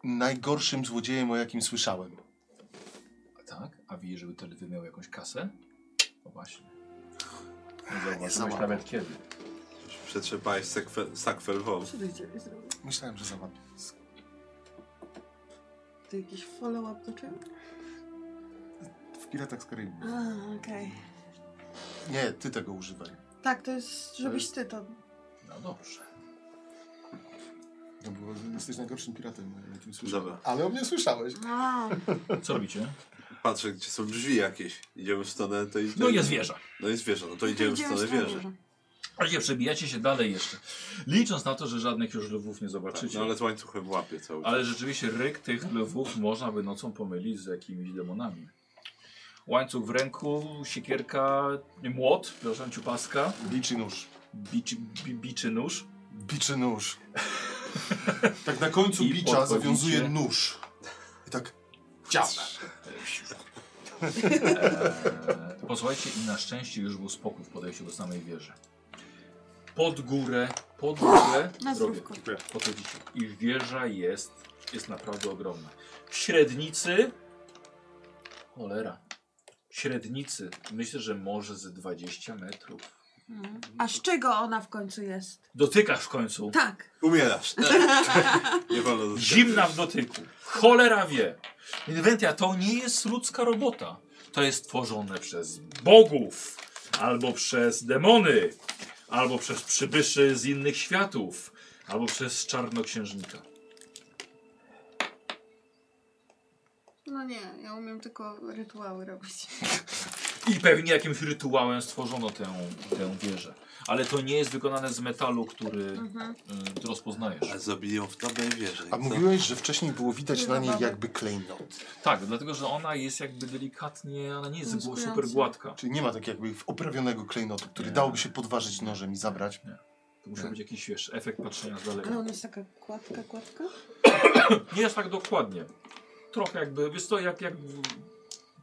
Speaker 2: najgorszym złodziejem, o jakim słyszałem.
Speaker 1: Tak? A wie, żeby Telwy miał jakąś kasę? No właśnie.
Speaker 2: Nie
Speaker 1: Zobacz
Speaker 2: załapał.
Speaker 1: nawet kiedy.
Speaker 5: Przetrzepałeś sekwe- sakwer wol.
Speaker 4: Co ty chciałeś zrobić?
Speaker 2: Myślałem, że załapał.
Speaker 4: To jakiś follow-up do czego?
Speaker 2: W Piratach z Karaibu.
Speaker 4: A, okej.
Speaker 2: Nie, ty tego używaj.
Speaker 17: Tak, to jest, żebyś ty to...
Speaker 1: No dobrze.
Speaker 2: No bo jesteś najgorszym piratem, o jakim słyszałem.
Speaker 5: Dobra.
Speaker 2: Ale o mnie słyszałeś.
Speaker 17: No,
Speaker 1: Co robicie?
Speaker 5: Patrzę, gdzie są drzwi jakieś. Idziemy w stronę tej...
Speaker 1: No jest wieża.
Speaker 5: No jest wieża, no to idziemy w stronę wieży.
Speaker 1: A gdzie przebijacie się dalej jeszcze. Licząc na to, że żadnych już lwów nie
Speaker 5: Tak,
Speaker 1: zobaczycie.
Speaker 5: no ale z łańcuchem łapie cały czas.
Speaker 1: Ale rzeczywiście ryk tych lwów można by nocą pomylić z jakimiś demonami. Łańcuch w ręku, siekierka, młot, przepraszam, ciupaska,
Speaker 2: Biczy nóż.
Speaker 1: bici, bi, biczy nóż.
Speaker 2: Biczy
Speaker 6: [laughs]
Speaker 2: nóż. tak na końcu
Speaker 1: I
Speaker 2: bicza
Speaker 1: podpowiecie.
Speaker 2: zawiązuje nóż. I tak... Ciao.
Speaker 1: Eee, posłuchajcie i na szczęście już był spokój w podejściu do samej wieży. Pod górę, pod górę,
Speaker 17: na
Speaker 1: zrobię.
Speaker 17: zdrówko.
Speaker 1: Podchodzicie. I wieża jest, jest naprawdę ogromna. W średnicy, cholera, w średnicy, myślę, że może ze 20 metrów.
Speaker 17: Mhm. A z czego ona w końcu jest?
Speaker 1: Dotykasz w końcu.
Speaker 17: Tak,
Speaker 1: [laughs]
Speaker 5: Umierasz. Nie wolno dotykać.
Speaker 1: Zimna w dotyku. Cholera wie. Inwentia to nie jest ludzka robota. To jest tworzone przez bogów, albo przez demony, albo przez przybyszy z innych światów, albo przez czarnoksiężnika.
Speaker 17: no nie, ja umiem tylko rytuały robić.
Speaker 1: I pewnie jakimś rytuałem stworzono tę, tę wieżę. Ale to nie jest wykonane z metalu, który
Speaker 17: Mhm.
Speaker 1: y, ty rozpoznajesz.
Speaker 5: A Zabili ją w dobrej wieży.
Speaker 2: A
Speaker 5: co?
Speaker 2: mówiłeś, że wcześniej było widać na niej
Speaker 17: Zabawy.
Speaker 2: jakby klejnot.
Speaker 1: Tak, dlatego że ona jest jakby delikatnie, ona nie jest była
Speaker 17: Wąskująca.
Speaker 1: super gładka.
Speaker 2: Czyli nie ma tak jakby oprawionego klejnotu, który
Speaker 1: Nie.
Speaker 2: dałoby się podważyć nożem i zabrać.
Speaker 1: To musiał być jakiś wiesz, efekt patrzenia z daleka.
Speaker 4: Ale ona jest taka kładka, kładka?
Speaker 1: Nie jest tak dokładnie. Trochę jakby, wiesz to jak, jak w-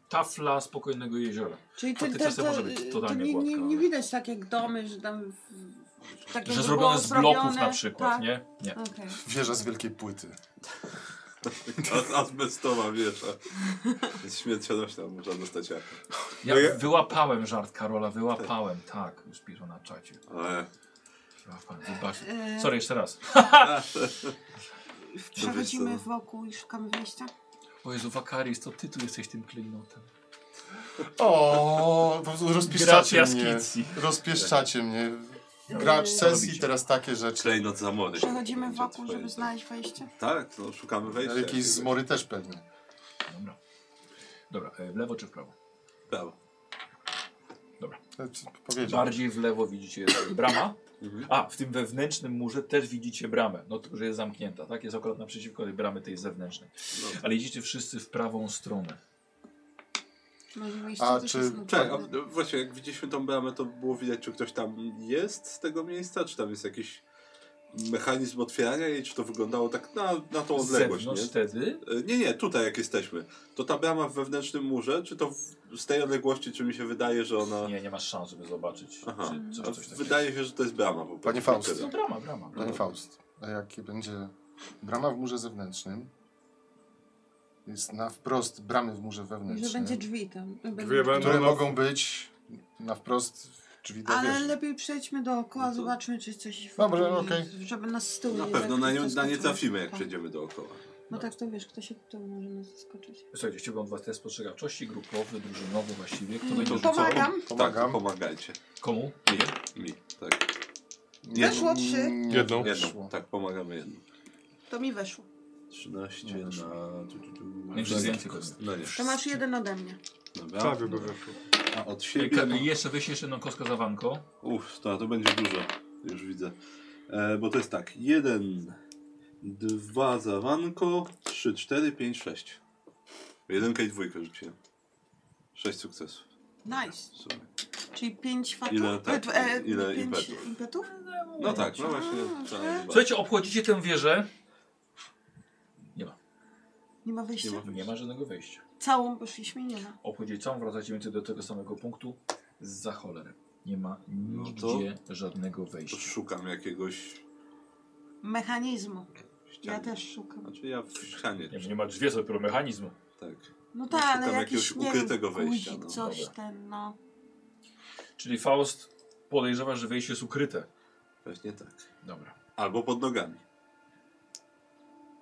Speaker 1: tafla spokojnego jeziora.
Speaker 4: Czyli
Speaker 1: To ty czasem może być totalnie
Speaker 4: nie, nie,
Speaker 1: gładka,
Speaker 4: nie
Speaker 1: ale-
Speaker 4: widać tak jak domy, że tam... w- w- Tak
Speaker 1: Że
Speaker 4: jakby
Speaker 1: zrobione
Speaker 4: było
Speaker 1: z bloków
Speaker 4: zrobione,
Speaker 1: na przykład,
Speaker 4: tak.
Speaker 1: nie? Nie. [laughs]
Speaker 4: Okej.
Speaker 2: Wieża z wielkiej płyty.
Speaker 5: A- [laughs] Azbestowa wieża. Jest śmiercionośna, można dostać jaka.
Speaker 1: Ja
Speaker 5: No ja-
Speaker 1: wyłapałem żart Karola, wyłapałem, tak. Już piszą na czacie.
Speaker 5: Ale
Speaker 1: Wyłapałem, Zobaczcie.
Speaker 4: E,
Speaker 1: Sorry, jeszcze raz. no.
Speaker 4: Przechodzimy
Speaker 5: Dowiesz, co?
Speaker 4: wokół i szukamy wyjścia.
Speaker 1: O Jezu, Wakaris, to ty tu jesteś tym klejnotem.
Speaker 2: O, po prostu rozpieszczacie
Speaker 1: Gracias,
Speaker 2: mnie.
Speaker 1: Kitsi.
Speaker 2: Rozpieszczacie mnie. Gracz
Speaker 4: Co
Speaker 2: sesji,
Speaker 1: robicie?
Speaker 2: teraz takie rzeczy.
Speaker 5: klejnot za mody.
Speaker 4: Przechodzimy
Speaker 5: Będzie
Speaker 4: wokół,
Speaker 5: twoje-
Speaker 4: żeby znaleźć wejście.
Speaker 5: Tak, no szukamy wejścia.
Speaker 2: Jakieś zmory też pewnie.
Speaker 1: Dobra. Dobra, e, w lewo czy w prawo?
Speaker 5: Prawo.
Speaker 2: E, Powiedział.
Speaker 1: Bardziej w lewo widzicie brama.
Speaker 5: Mhm.
Speaker 1: A, w tym wewnętrznym murze też widzicie bramę. No to, że jest zamknięta, tak? Jest akurat naprzeciwko tej bramy tej zewnętrznej.
Speaker 5: No.
Speaker 1: Ale idziecie wszyscy w prawą stronę.
Speaker 4: Może wyjście
Speaker 2: A
Speaker 4: też
Speaker 2: czy-
Speaker 4: jest na
Speaker 5: Czekaj,
Speaker 4: dole.
Speaker 5: a właśnie jak widzieliśmy tą bramę, to było widać, czy ktoś tam jest z tego miejsca, czy tam jest jakiś mechanizm otwierania jej, czy to wyglądało tak na, na tą
Speaker 1: Z
Speaker 5: odległość, nie?
Speaker 1: zewnątrz wtedy
Speaker 5: E, Nie, nie, tutaj jak jesteśmy. To ta brama w wewnętrznym murze, czy to w, z tej odległości, czy mi się wydaje, że ona...
Speaker 1: nie, nie masz szans, żeby zobaczyć,
Speaker 5: Aha.
Speaker 1: czy
Speaker 5: A
Speaker 1: coś, coś takiego.
Speaker 5: Wydaje się, że to jest brama. Po
Speaker 2: Panie
Speaker 5: prostu.
Speaker 2: Faust.
Speaker 1: No brama, brama.
Speaker 2: Panie E, Faust, a jakie będzie brama w murze zewnętrznym? Jest na wprost bramy w murze
Speaker 4: Może
Speaker 18: Znaczy,
Speaker 2: wewnętrznym,
Speaker 4: będzie drzwi tam. Będzie
Speaker 6: Drzwi będą-
Speaker 2: które
Speaker 6: No, no.
Speaker 2: mogą być na wprost drzwi do
Speaker 4: Ale
Speaker 2: wieży.
Speaker 4: lepiej przejdźmy dookoła, zobaczmy czy coś
Speaker 2: Dobrze,
Speaker 4: wokół
Speaker 2: okej.
Speaker 4: jest, Żeby nas z tyłu
Speaker 5: Na
Speaker 4: nie
Speaker 5: pewno na, nią, na nie
Speaker 4: zaskoczyło.
Speaker 5: trafimy, jak
Speaker 4: Tak.
Speaker 5: przejdziemy dookoła.
Speaker 4: Bo tak to wiesz, kto się tu może nas zaskoczyć.
Speaker 1: Słuchajcie, chciałbym od was test spostrzegawczości, grupowy, drużynowy właściwie. Kto będzie
Speaker 5: To
Speaker 4: Mm,
Speaker 1: rzucał?
Speaker 17: Pomagam.
Speaker 5: Tak,
Speaker 2: Pomagam.
Speaker 5: pomagajcie.
Speaker 1: Komu?
Speaker 5: Mi, mi. Tak,
Speaker 2: Nie,
Speaker 17: Weszło
Speaker 2: nie,
Speaker 17: trzy.
Speaker 2: nie
Speaker 6: Jedną.
Speaker 5: jedną.
Speaker 2: weszło.
Speaker 5: Tak, pomagamy jedną.
Speaker 17: To mi weszło.
Speaker 5: 13
Speaker 2: Nie
Speaker 1: No,
Speaker 5: na...
Speaker 2: weszło.
Speaker 5: tu, tu, tu.
Speaker 1: Inteligencji kostki.
Speaker 5: No nie,
Speaker 4: To masz jeden ode mnie.
Speaker 5: dobra.
Speaker 6: Tak, by wyszło.
Speaker 5: A od
Speaker 1: Ej,
Speaker 5: siebie...
Speaker 1: Kamil, Jeszcze weź jeszcze jedną kostkę za wanko.
Speaker 5: Uff, to, to będzie dużo. Już widzę. E, bo to jest tak. Jeden, dwa za Wanko, trzy, cztery, pięć, sześć. Jedynkę i dwójkę rzuciłem. Sześć sukcesów.
Speaker 4: Nice.
Speaker 5: w sumie.
Speaker 4: Czyli pięć fatów?
Speaker 5: Ile tak,
Speaker 4: e, e,
Speaker 5: ile
Speaker 4: pięć
Speaker 5: impetów.
Speaker 4: impetów?
Speaker 5: No tak, no właśnie.
Speaker 4: A,
Speaker 5: trzeba
Speaker 4: że?
Speaker 5: dbać.
Speaker 1: Słuchajcie, obchodzicie tę wieżę.
Speaker 4: Nie ma wyjścia?
Speaker 5: Nie ma-
Speaker 1: Nie ma żadnego wejścia.
Speaker 4: Całą poszliśmy i nie ma.
Speaker 1: Obchodzicie całą, wracacie więcej do tego samego punktu za cholerę. Nie ma
Speaker 5: No
Speaker 1: nigdzie żadnego wejścia.
Speaker 5: To szukam jakiegoś.
Speaker 4: Mechanizmu. Ja
Speaker 5: ściany.
Speaker 4: też szukam.
Speaker 5: Znaczy ja w ścianie.
Speaker 1: Nie, nie ma drzwi, jest dopiero mechanizm.
Speaker 5: Tak.
Speaker 4: No
Speaker 5: No,
Speaker 4: tak, ale
Speaker 5: szukam
Speaker 4: jakiś,
Speaker 5: jakiegoś
Speaker 4: nie
Speaker 5: ukrytego
Speaker 4: wiem,
Speaker 5: wejścia,
Speaker 4: guzik,
Speaker 5: no,
Speaker 4: coś
Speaker 1: dobra.
Speaker 4: ten, no.
Speaker 1: Czyli Faust podejrzewa, że wejście jest ukryte.
Speaker 5: Pewnie tak.
Speaker 1: Dobra.
Speaker 5: Albo pod nogami.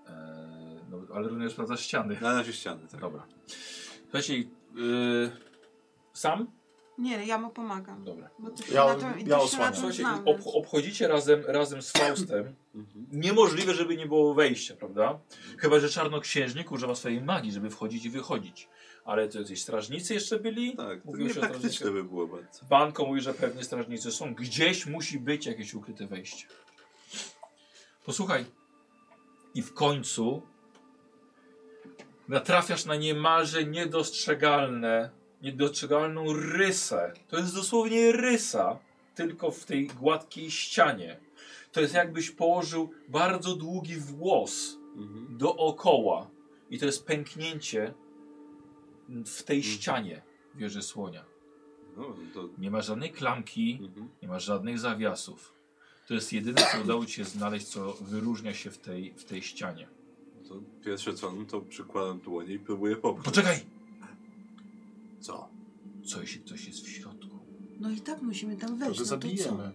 Speaker 1: Eee, no, ale również sprawdza ściany.
Speaker 5: Na razie ściany, tak.
Speaker 1: Dobra. Słuchajcie, yy, sam?
Speaker 4: Nie, ja mu pomagam.
Speaker 1: Dobra.
Speaker 4: Bo ty się
Speaker 18: Ja-
Speaker 4: na tym,
Speaker 18: ja
Speaker 4: ty się na
Speaker 18: osłaniam.
Speaker 4: tym
Speaker 1: Słuchajcie,
Speaker 4: znam,
Speaker 1: ob, obchodzicie razem, razem z Faustem.
Speaker 5: Mhm.
Speaker 1: Niemożliwe, żeby nie było wejścia, prawda? Chyba, że czarnoksiężnik używa swojej magii, żeby wchodzić i wychodzić. Ale to jacyś strażnicy jeszcze byli?
Speaker 5: Tak, to
Speaker 1: Mówiło się o
Speaker 5: niepraktyczne
Speaker 1: strażnikach.
Speaker 5: by było bardzo.
Speaker 1: Banko mówi, że pewnie strażnicy są. Gdzieś musi być jakieś ukryte wejście. Posłuchaj. I w końcu natrafiasz na niemalże niedostrzegalne, niedostrzegalną rysę. To jest dosłownie rysa, tylko w tej gładkiej ścianie. To jest jakbyś położył bardzo długi włos
Speaker 5: Mhm.
Speaker 1: dookoła. I to jest pęknięcie w tej
Speaker 5: Mhm.
Speaker 1: ścianie wieży słonia.
Speaker 5: No, to...
Speaker 1: Nie ma żadnej klamki,
Speaker 5: Mhm.
Speaker 1: nie ma żadnych zawiasów. To jest jedyne, co udało ci się znaleźć, co wyróżnia się w tej, w tej ścianie.
Speaker 5: to pierwsze co, no to przykładam dłonie i próbuję popchnąć.
Speaker 1: Poczekaj!
Speaker 5: Co?
Speaker 1: Co jeśli ktoś jest w środku?
Speaker 4: No i tak musimy tam
Speaker 2: To
Speaker 4: wejść.
Speaker 2: go
Speaker 4: No to co?
Speaker 2: zabijemy.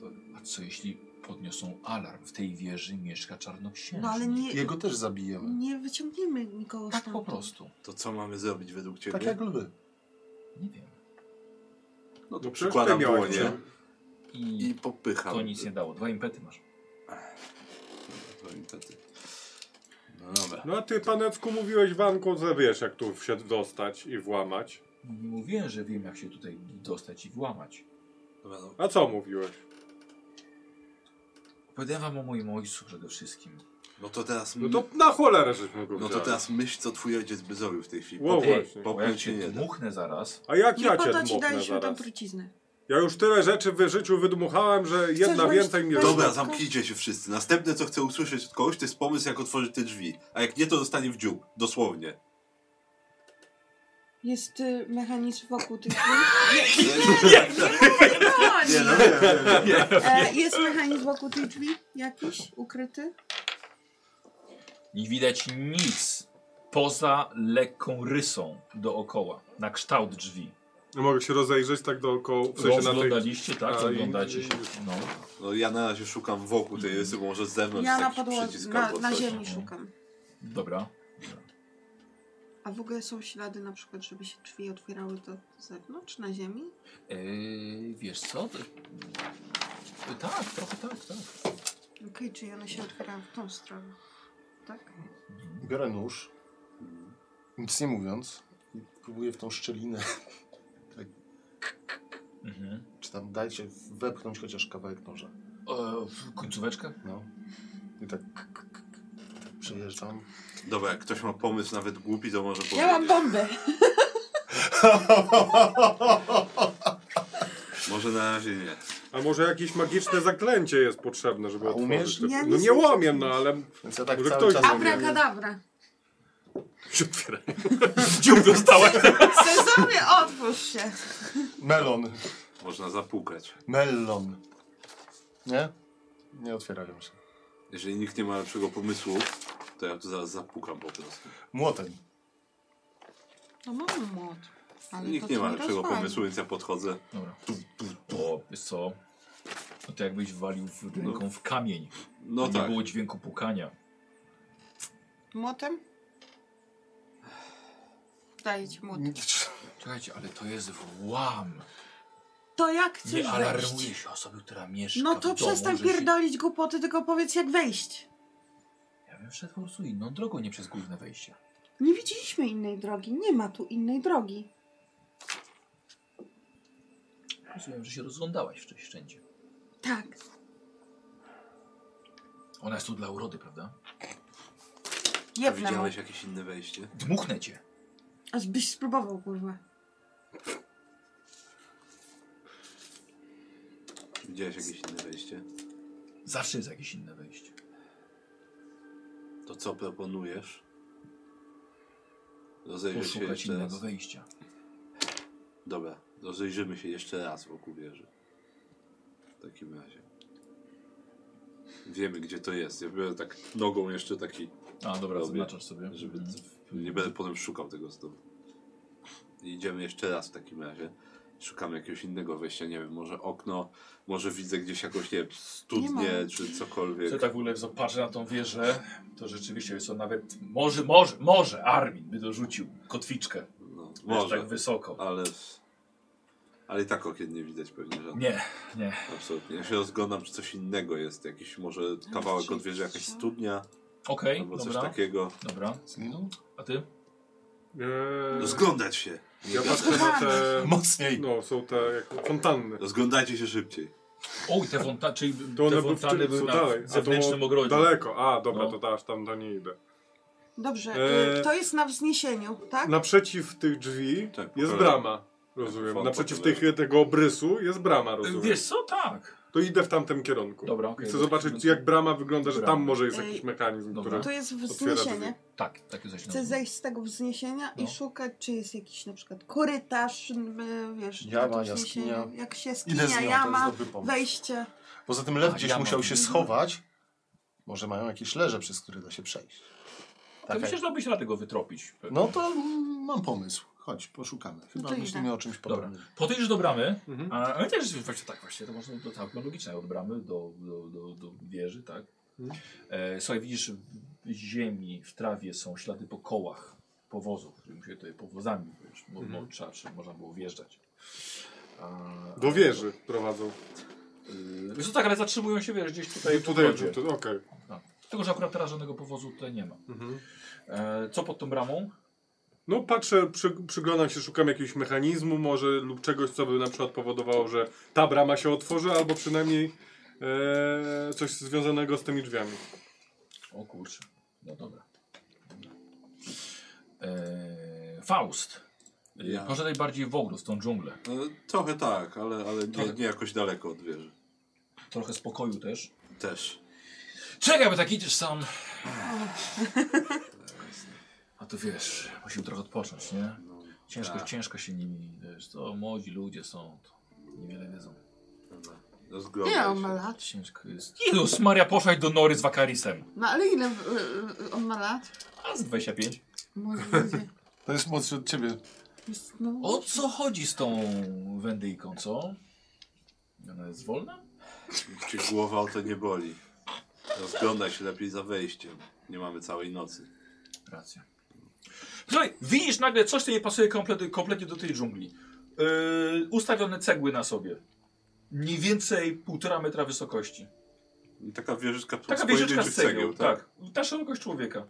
Speaker 1: To, a co jeśli podniosą alarm? W tej wieży mieszka czarnoksiężnik.
Speaker 4: No ale nie,
Speaker 2: Jego też zabijemy.
Speaker 4: nie wyciągniemy nikogo
Speaker 1: Tak po
Speaker 4: stamtąd.
Speaker 1: prostu.
Speaker 5: To co mamy zrobić według ciebie?
Speaker 2: Tak jak lwy.
Speaker 1: Nie wiem.
Speaker 5: No to
Speaker 6: przecież ty
Speaker 5: przykładam
Speaker 6: miałeś
Speaker 5: dłonie
Speaker 1: I
Speaker 5: i popycham.
Speaker 1: to nic nie dało. Dwa impety masz.
Speaker 5: To niestety. No dobra.
Speaker 6: No a ty, panecku, mówiłeś Wanko, że wiesz jak tu się dostać i włamać.
Speaker 1: No Nie mówiłem, że wiem, jak się tutaj dostać i włamać.
Speaker 5: dobra no.
Speaker 6: A co mówiłeś?
Speaker 1: Opowiadałem wam o moim ojcu przede wszystkim.
Speaker 5: no to teraz...
Speaker 6: No to na cholerę żeśmy go
Speaker 5: no to
Speaker 6: wzięli.
Speaker 5: teraz myśl co twój ojciec by zrobił w tej chwili.
Speaker 6: Wow. No
Speaker 1: Ej,
Speaker 6: właśnie.
Speaker 1: bo jak
Speaker 5: Popchnąć się
Speaker 1: cię
Speaker 5: nie da.
Speaker 1: dmuchnę zaraz,
Speaker 6: A jak
Speaker 4: Nie
Speaker 6: ja
Speaker 4: po
Speaker 6: cię
Speaker 4: to ci
Speaker 6: dmuchnę
Speaker 4: daliśmy tam
Speaker 6: zaraz?
Speaker 4: truciznę.
Speaker 6: Ja już tyle rzeczy w życiu wydmuchałem, że jedna
Speaker 4: wejść-
Speaker 6: więcej mi
Speaker 4: wejść-
Speaker 6: robi.
Speaker 5: Dobra, zamknijcie się wszyscy. Następne co chcę usłyszeć od kogoś to jest pomysł jak otworzyć te drzwi. A jak nie to zostanie w dziób. [laughs] Dosłownie.
Speaker 4: Jest y, mechanizm wokół
Speaker 5: [laughs]
Speaker 4: tych drzwi.
Speaker 5: Nie, no, nie, nie, nie.
Speaker 4: E, jest mechanizm wokół tych drzwi jakiś ukryty?
Speaker 1: Nie widać nic poza lekką rysą dookoła, na kształt drzwi.
Speaker 6: No Mogę się rozejrzeć tak dookoła, w sensie na tej...
Speaker 1: Rozglądaliście, tak?
Speaker 6: A,
Speaker 1: Zaglądacie
Speaker 6: i-
Speaker 1: się. No.
Speaker 5: No ja na razie szukam wokół tej rysy, bo może z zewnątrz
Speaker 4: Ja
Speaker 5: jest
Speaker 4: na
Speaker 5: No, jakiś
Speaker 4: podłodze,
Speaker 5: przycisk
Speaker 4: na,
Speaker 5: albo
Speaker 4: na
Speaker 5: coś.
Speaker 4: ziemi szukam.
Speaker 1: Dobra.
Speaker 4: A w ogóle są ślady na przykład, żeby się drzwi otwierały do zewnątrz, na ziemi?
Speaker 1: Yy, wiesz co? To... Yy, Tak, trochę tak, tak.
Speaker 4: Okej, czyli one się otwierają w tą stronę. Tak?
Speaker 2: Biorę nóż, nic nie mówiąc, i próbuję w tą szczelinę, [laughs] tak
Speaker 1: Mhm.
Speaker 2: czy tam dajcie wepchnąć chociaż kawałek noża.
Speaker 1: E, w- końcóweczkę?
Speaker 2: No. I tak, tak przejeżdżam.
Speaker 5: Dobra, jak ktoś ma pomysł nawet głupi, to może
Speaker 4: Ja mam
Speaker 5: powiedzieć.
Speaker 4: bombę!
Speaker 5: Może na razie nie.
Speaker 6: A może jakieś magiczne zaklęcie jest potrzebne, żeby
Speaker 2: A
Speaker 6: otworzyć
Speaker 2: umiesz?
Speaker 6: te-
Speaker 4: Ja
Speaker 6: No
Speaker 4: nic
Speaker 6: nie
Speaker 4: nie
Speaker 6: łamię,
Speaker 4: umiem.
Speaker 6: no ale...
Speaker 2: Więc ja tak
Speaker 6: Może
Speaker 2: cały
Speaker 6: ktoś-
Speaker 2: czas mówię.
Speaker 4: Abrakadabra!
Speaker 6: Się otwiera. Dziób dostałem.
Speaker 4: Sezamie, otwórz się!
Speaker 2: Melon.
Speaker 5: Można zapukać.
Speaker 2: Melon. Nie? Nie otwierają się.
Speaker 5: Jeżeli nikt nie ma lepszego pomysłu, to ja tu zaraz zapukam po prostu.
Speaker 2: Młotem.
Speaker 4: No mam młot. Ale
Speaker 5: nikt
Speaker 4: to
Speaker 5: nie
Speaker 4: co
Speaker 5: ma
Speaker 4: mi
Speaker 5: lepszego
Speaker 4: rozwali?
Speaker 5: pomysłu, więc ja podchodzę.
Speaker 1: Dobra. O, wiesz co? No to jakbyś walił w ręką w kamień.
Speaker 5: No
Speaker 1: nie
Speaker 5: tak.
Speaker 1: było dźwięku pukania.
Speaker 4: Młotem? Daję ci młot.
Speaker 1: Czekajcie, ale to jest włam.
Speaker 4: To jak chcesz
Speaker 1: Nie alarmuje
Speaker 4: wejść?
Speaker 1: się osoby, która mieszka
Speaker 4: No
Speaker 1: w
Speaker 4: to
Speaker 1: domu,
Speaker 4: przestań
Speaker 1: że się-
Speaker 4: pierdolić głupoty, tylko powiedz jak wejść.
Speaker 1: Ja bym wszedł po prostu inną drogą, nie przez główne wejście.
Speaker 4: Nie widzieliśmy innej drogi, nie ma tu innej drogi.
Speaker 1: Rozumiem, że się rozglądałaś wcześniej wszędzie.
Speaker 4: Tak.
Speaker 1: Ona jest tu dla urody, prawda?
Speaker 5: A
Speaker 4: Jebnę mu.
Speaker 5: widziałeś jakieś inne wejście?
Speaker 1: Dmuchnę cię.
Speaker 19: Aż byś spróbował, kurwa.
Speaker 5: Czy widziałeś jakieś inne wejście?
Speaker 1: Zawsze jest jakieś inne wejście.
Speaker 5: To co proponujesz? Rozejrzyj się
Speaker 1: Poszukać
Speaker 5: jeszcze
Speaker 1: innego
Speaker 5: raz.
Speaker 1: wejścia.
Speaker 5: Dobra, rozejrzymy się jeszcze raz wokół wieży. W takim razie. Wiemy, gdzie to jest. Ja biorę tak nogą jeszcze taki,
Speaker 1: A, dobra,
Speaker 5: Robię,
Speaker 1: zaznaczasz sobie.
Speaker 5: żeby
Speaker 1: Mhm.
Speaker 5: nie będę potem szukał tego znowu. I Idziemy jeszcze raz w takim razie. Szukamy jakiegoś innego wejścia, nie wiem, może okno, może widzę gdzieś jakąś, nie wiem, studnię, czy cokolwiek.
Speaker 1: Co tak w ogóle zobaczy na tą wieżę, to rzeczywiście jest to nawet. Może, może, może Armin by dorzucił kotwiczkę.
Speaker 5: No,
Speaker 1: Może.
Speaker 5: może,
Speaker 1: Tak wysoko.
Speaker 5: ale... Ale i tak okien nie widać pewnie żadnych.
Speaker 1: Nie, nie.
Speaker 5: Absolutnie. Ja się rozglądam, czy coś innego jest. Jakiś może kawałek od wieży, jakaś studnia
Speaker 1: Okej,
Speaker 5: albo coś
Speaker 1: dobra.
Speaker 5: takiego.
Speaker 1: Dobra.
Speaker 2: Zginął?
Speaker 1: A ty?
Speaker 6: Eee,
Speaker 5: Rozglądać się!
Speaker 6: ja patrzę na te...
Speaker 2: Mocniej!
Speaker 6: No, są te jak, fontanny.
Speaker 5: Rozglądajcie się szybciej.
Speaker 1: Oj, te fontany, czyli
Speaker 6: To one
Speaker 1: te
Speaker 6: były w
Speaker 1: fontany
Speaker 6: tym,
Speaker 1: były
Speaker 6: co
Speaker 1: na
Speaker 6: dalej. A
Speaker 1: zewnętrznym
Speaker 6: to
Speaker 1: ogrodzie.
Speaker 6: Daleko, a dobra,
Speaker 1: No.
Speaker 6: to aż tam do niej idę.
Speaker 4: Dobrze,
Speaker 6: Eee.
Speaker 5: E,
Speaker 4: y, to jest na wzniesieniu,
Speaker 5: no.
Speaker 4: tak?
Speaker 6: Naprzeciw tych drzwi
Speaker 5: Tak,
Speaker 6: jest
Speaker 5: pokażę.
Speaker 6: brama. Rozumiem.
Speaker 5: Font
Speaker 6: Naprzeciw
Speaker 5: pokazuje.
Speaker 6: tych, tego obrysu jest brama, rozumiem.
Speaker 1: Wiesz co, tak.
Speaker 6: To idę w tamtym kierunku.
Speaker 1: Dobra, okej.
Speaker 6: Chcę zobaczyć, jak brama wygląda, że
Speaker 1: Brama.
Speaker 6: tam może jest
Speaker 4: Ej,
Speaker 6: jakiś mechanizm,
Speaker 1: dobra.
Speaker 6: który...
Speaker 4: To jest
Speaker 6: Otwiera
Speaker 4: wzniesienie.
Speaker 6: drzwi.
Speaker 1: Tak, takie coś.
Speaker 4: Chcę zejść z tego wzniesienia
Speaker 1: No.
Speaker 4: i szukać, czy jest jakiś na przykład korytarz, y, wiesz,
Speaker 2: Jama,
Speaker 4: na tym wzniesieniu,
Speaker 2: jaskinia.
Speaker 4: jak się
Speaker 2: Idę z
Speaker 4: skinia,
Speaker 2: nią, to jest
Speaker 4: jama,
Speaker 2: dobry pomysł.
Speaker 4: wejście.
Speaker 2: Poza tym lew
Speaker 1: A,
Speaker 2: gdzieś
Speaker 1: ja mam.
Speaker 2: musiał się schować. Może mają jakieś leże, przez które da się przejść.
Speaker 1: To
Speaker 2: Taka...
Speaker 1: Tak, myślę, że dałbyś radę go wytropić.
Speaker 2: No to mm, mam pomysł. Chodź, poszukamy. Chyba
Speaker 20: No
Speaker 4: to idę.
Speaker 2: myślimy o czymś
Speaker 1: Dobra.
Speaker 2: podobnym.
Speaker 1: Podejdziesz do bramy,
Speaker 6: Mhm.
Speaker 1: a ale też właśnie tak właśnie, to można do tak logiczne od bramy do, do, do, do wieży, tak?
Speaker 6: Mhm.
Speaker 1: E, słuchaj, widzisz w ziemi, w trawie są ślady po kołach powozów, którymi się tutaj powozami, wiesz, mo,
Speaker 6: Mhm.
Speaker 1: mo, trzeba, czy można było wjeżdżać. A,
Speaker 6: Do wieży prowadzą.
Speaker 1: Y, Wiesz co, tak, ale zatrzymują się, wiesz, gdzieś tutaj.
Speaker 6: Tutaj,
Speaker 1: w
Speaker 6: tutaj,
Speaker 1: ogrodzie.
Speaker 6: tu- okej.
Speaker 1: Tylko, że akurat teraz żadnego powozu tutaj nie ma.
Speaker 6: Mhm.
Speaker 1: E, co pod tą bramą?
Speaker 6: No patrzę, przy, przyglądam się, szukam jakiegoś mechanizmu może lub czegoś, co by na przykład powodowało, że ta brama się otworzy, albo przynajmniej e, coś związanego z tymi drzwiami.
Speaker 1: O kurczę. No dobra. Dobra. E, Faust. E,
Speaker 5: Ja.
Speaker 1: Może najbardziej w ogóle, w tą dżunglę.
Speaker 5: No, trochę tak, ale, ale nie,
Speaker 1: Trochę.
Speaker 5: nie jakoś daleko od wieży.
Speaker 1: Trochę spokoju też.
Speaker 5: Też.
Speaker 1: Czekaj, bo tak idziesz sam. A tu wiesz, musimy trochę odpocząć, nie?
Speaker 5: No,
Speaker 1: Ciężko,
Speaker 5: tak,
Speaker 1: ciężko się nimi, wiesz, to młodzi ludzie są, to niewiele wiedzą.
Speaker 5: dobra.
Speaker 19: Nie,
Speaker 5: Rozglądaj
Speaker 19: on ma
Speaker 5: się.
Speaker 19: lat.
Speaker 1: Ciężko jest. Jezus Maria, poszłaś do Nory z Wakarisem.
Speaker 19: No ale ile y, y, on ma lat?
Speaker 1: A z 25.
Speaker 19: Może będzie.
Speaker 2: To jest mocny od ciebie.
Speaker 19: Jest, no,
Speaker 1: O co chodzi z tą Wendyjką, co? Ona jest wolna?
Speaker 5: Czy głowa o to nie boli? Rozglądaj się lepiej za wejściem. Nie mamy całej nocy.
Speaker 1: Racja. Słuchaj, widzisz nagle coś, co nie pasuje kompletnie, kompletnie do tej dżungli. Yy, ustawione cegły na sobie. Mniej więcej półtora metra wysokości.
Speaker 5: I taka wieżyczka po-
Speaker 1: Taka
Speaker 5: z
Speaker 1: wieżyczka z
Speaker 5: pojedynczych
Speaker 1: cegieł, tak. Ta szerokość człowieka.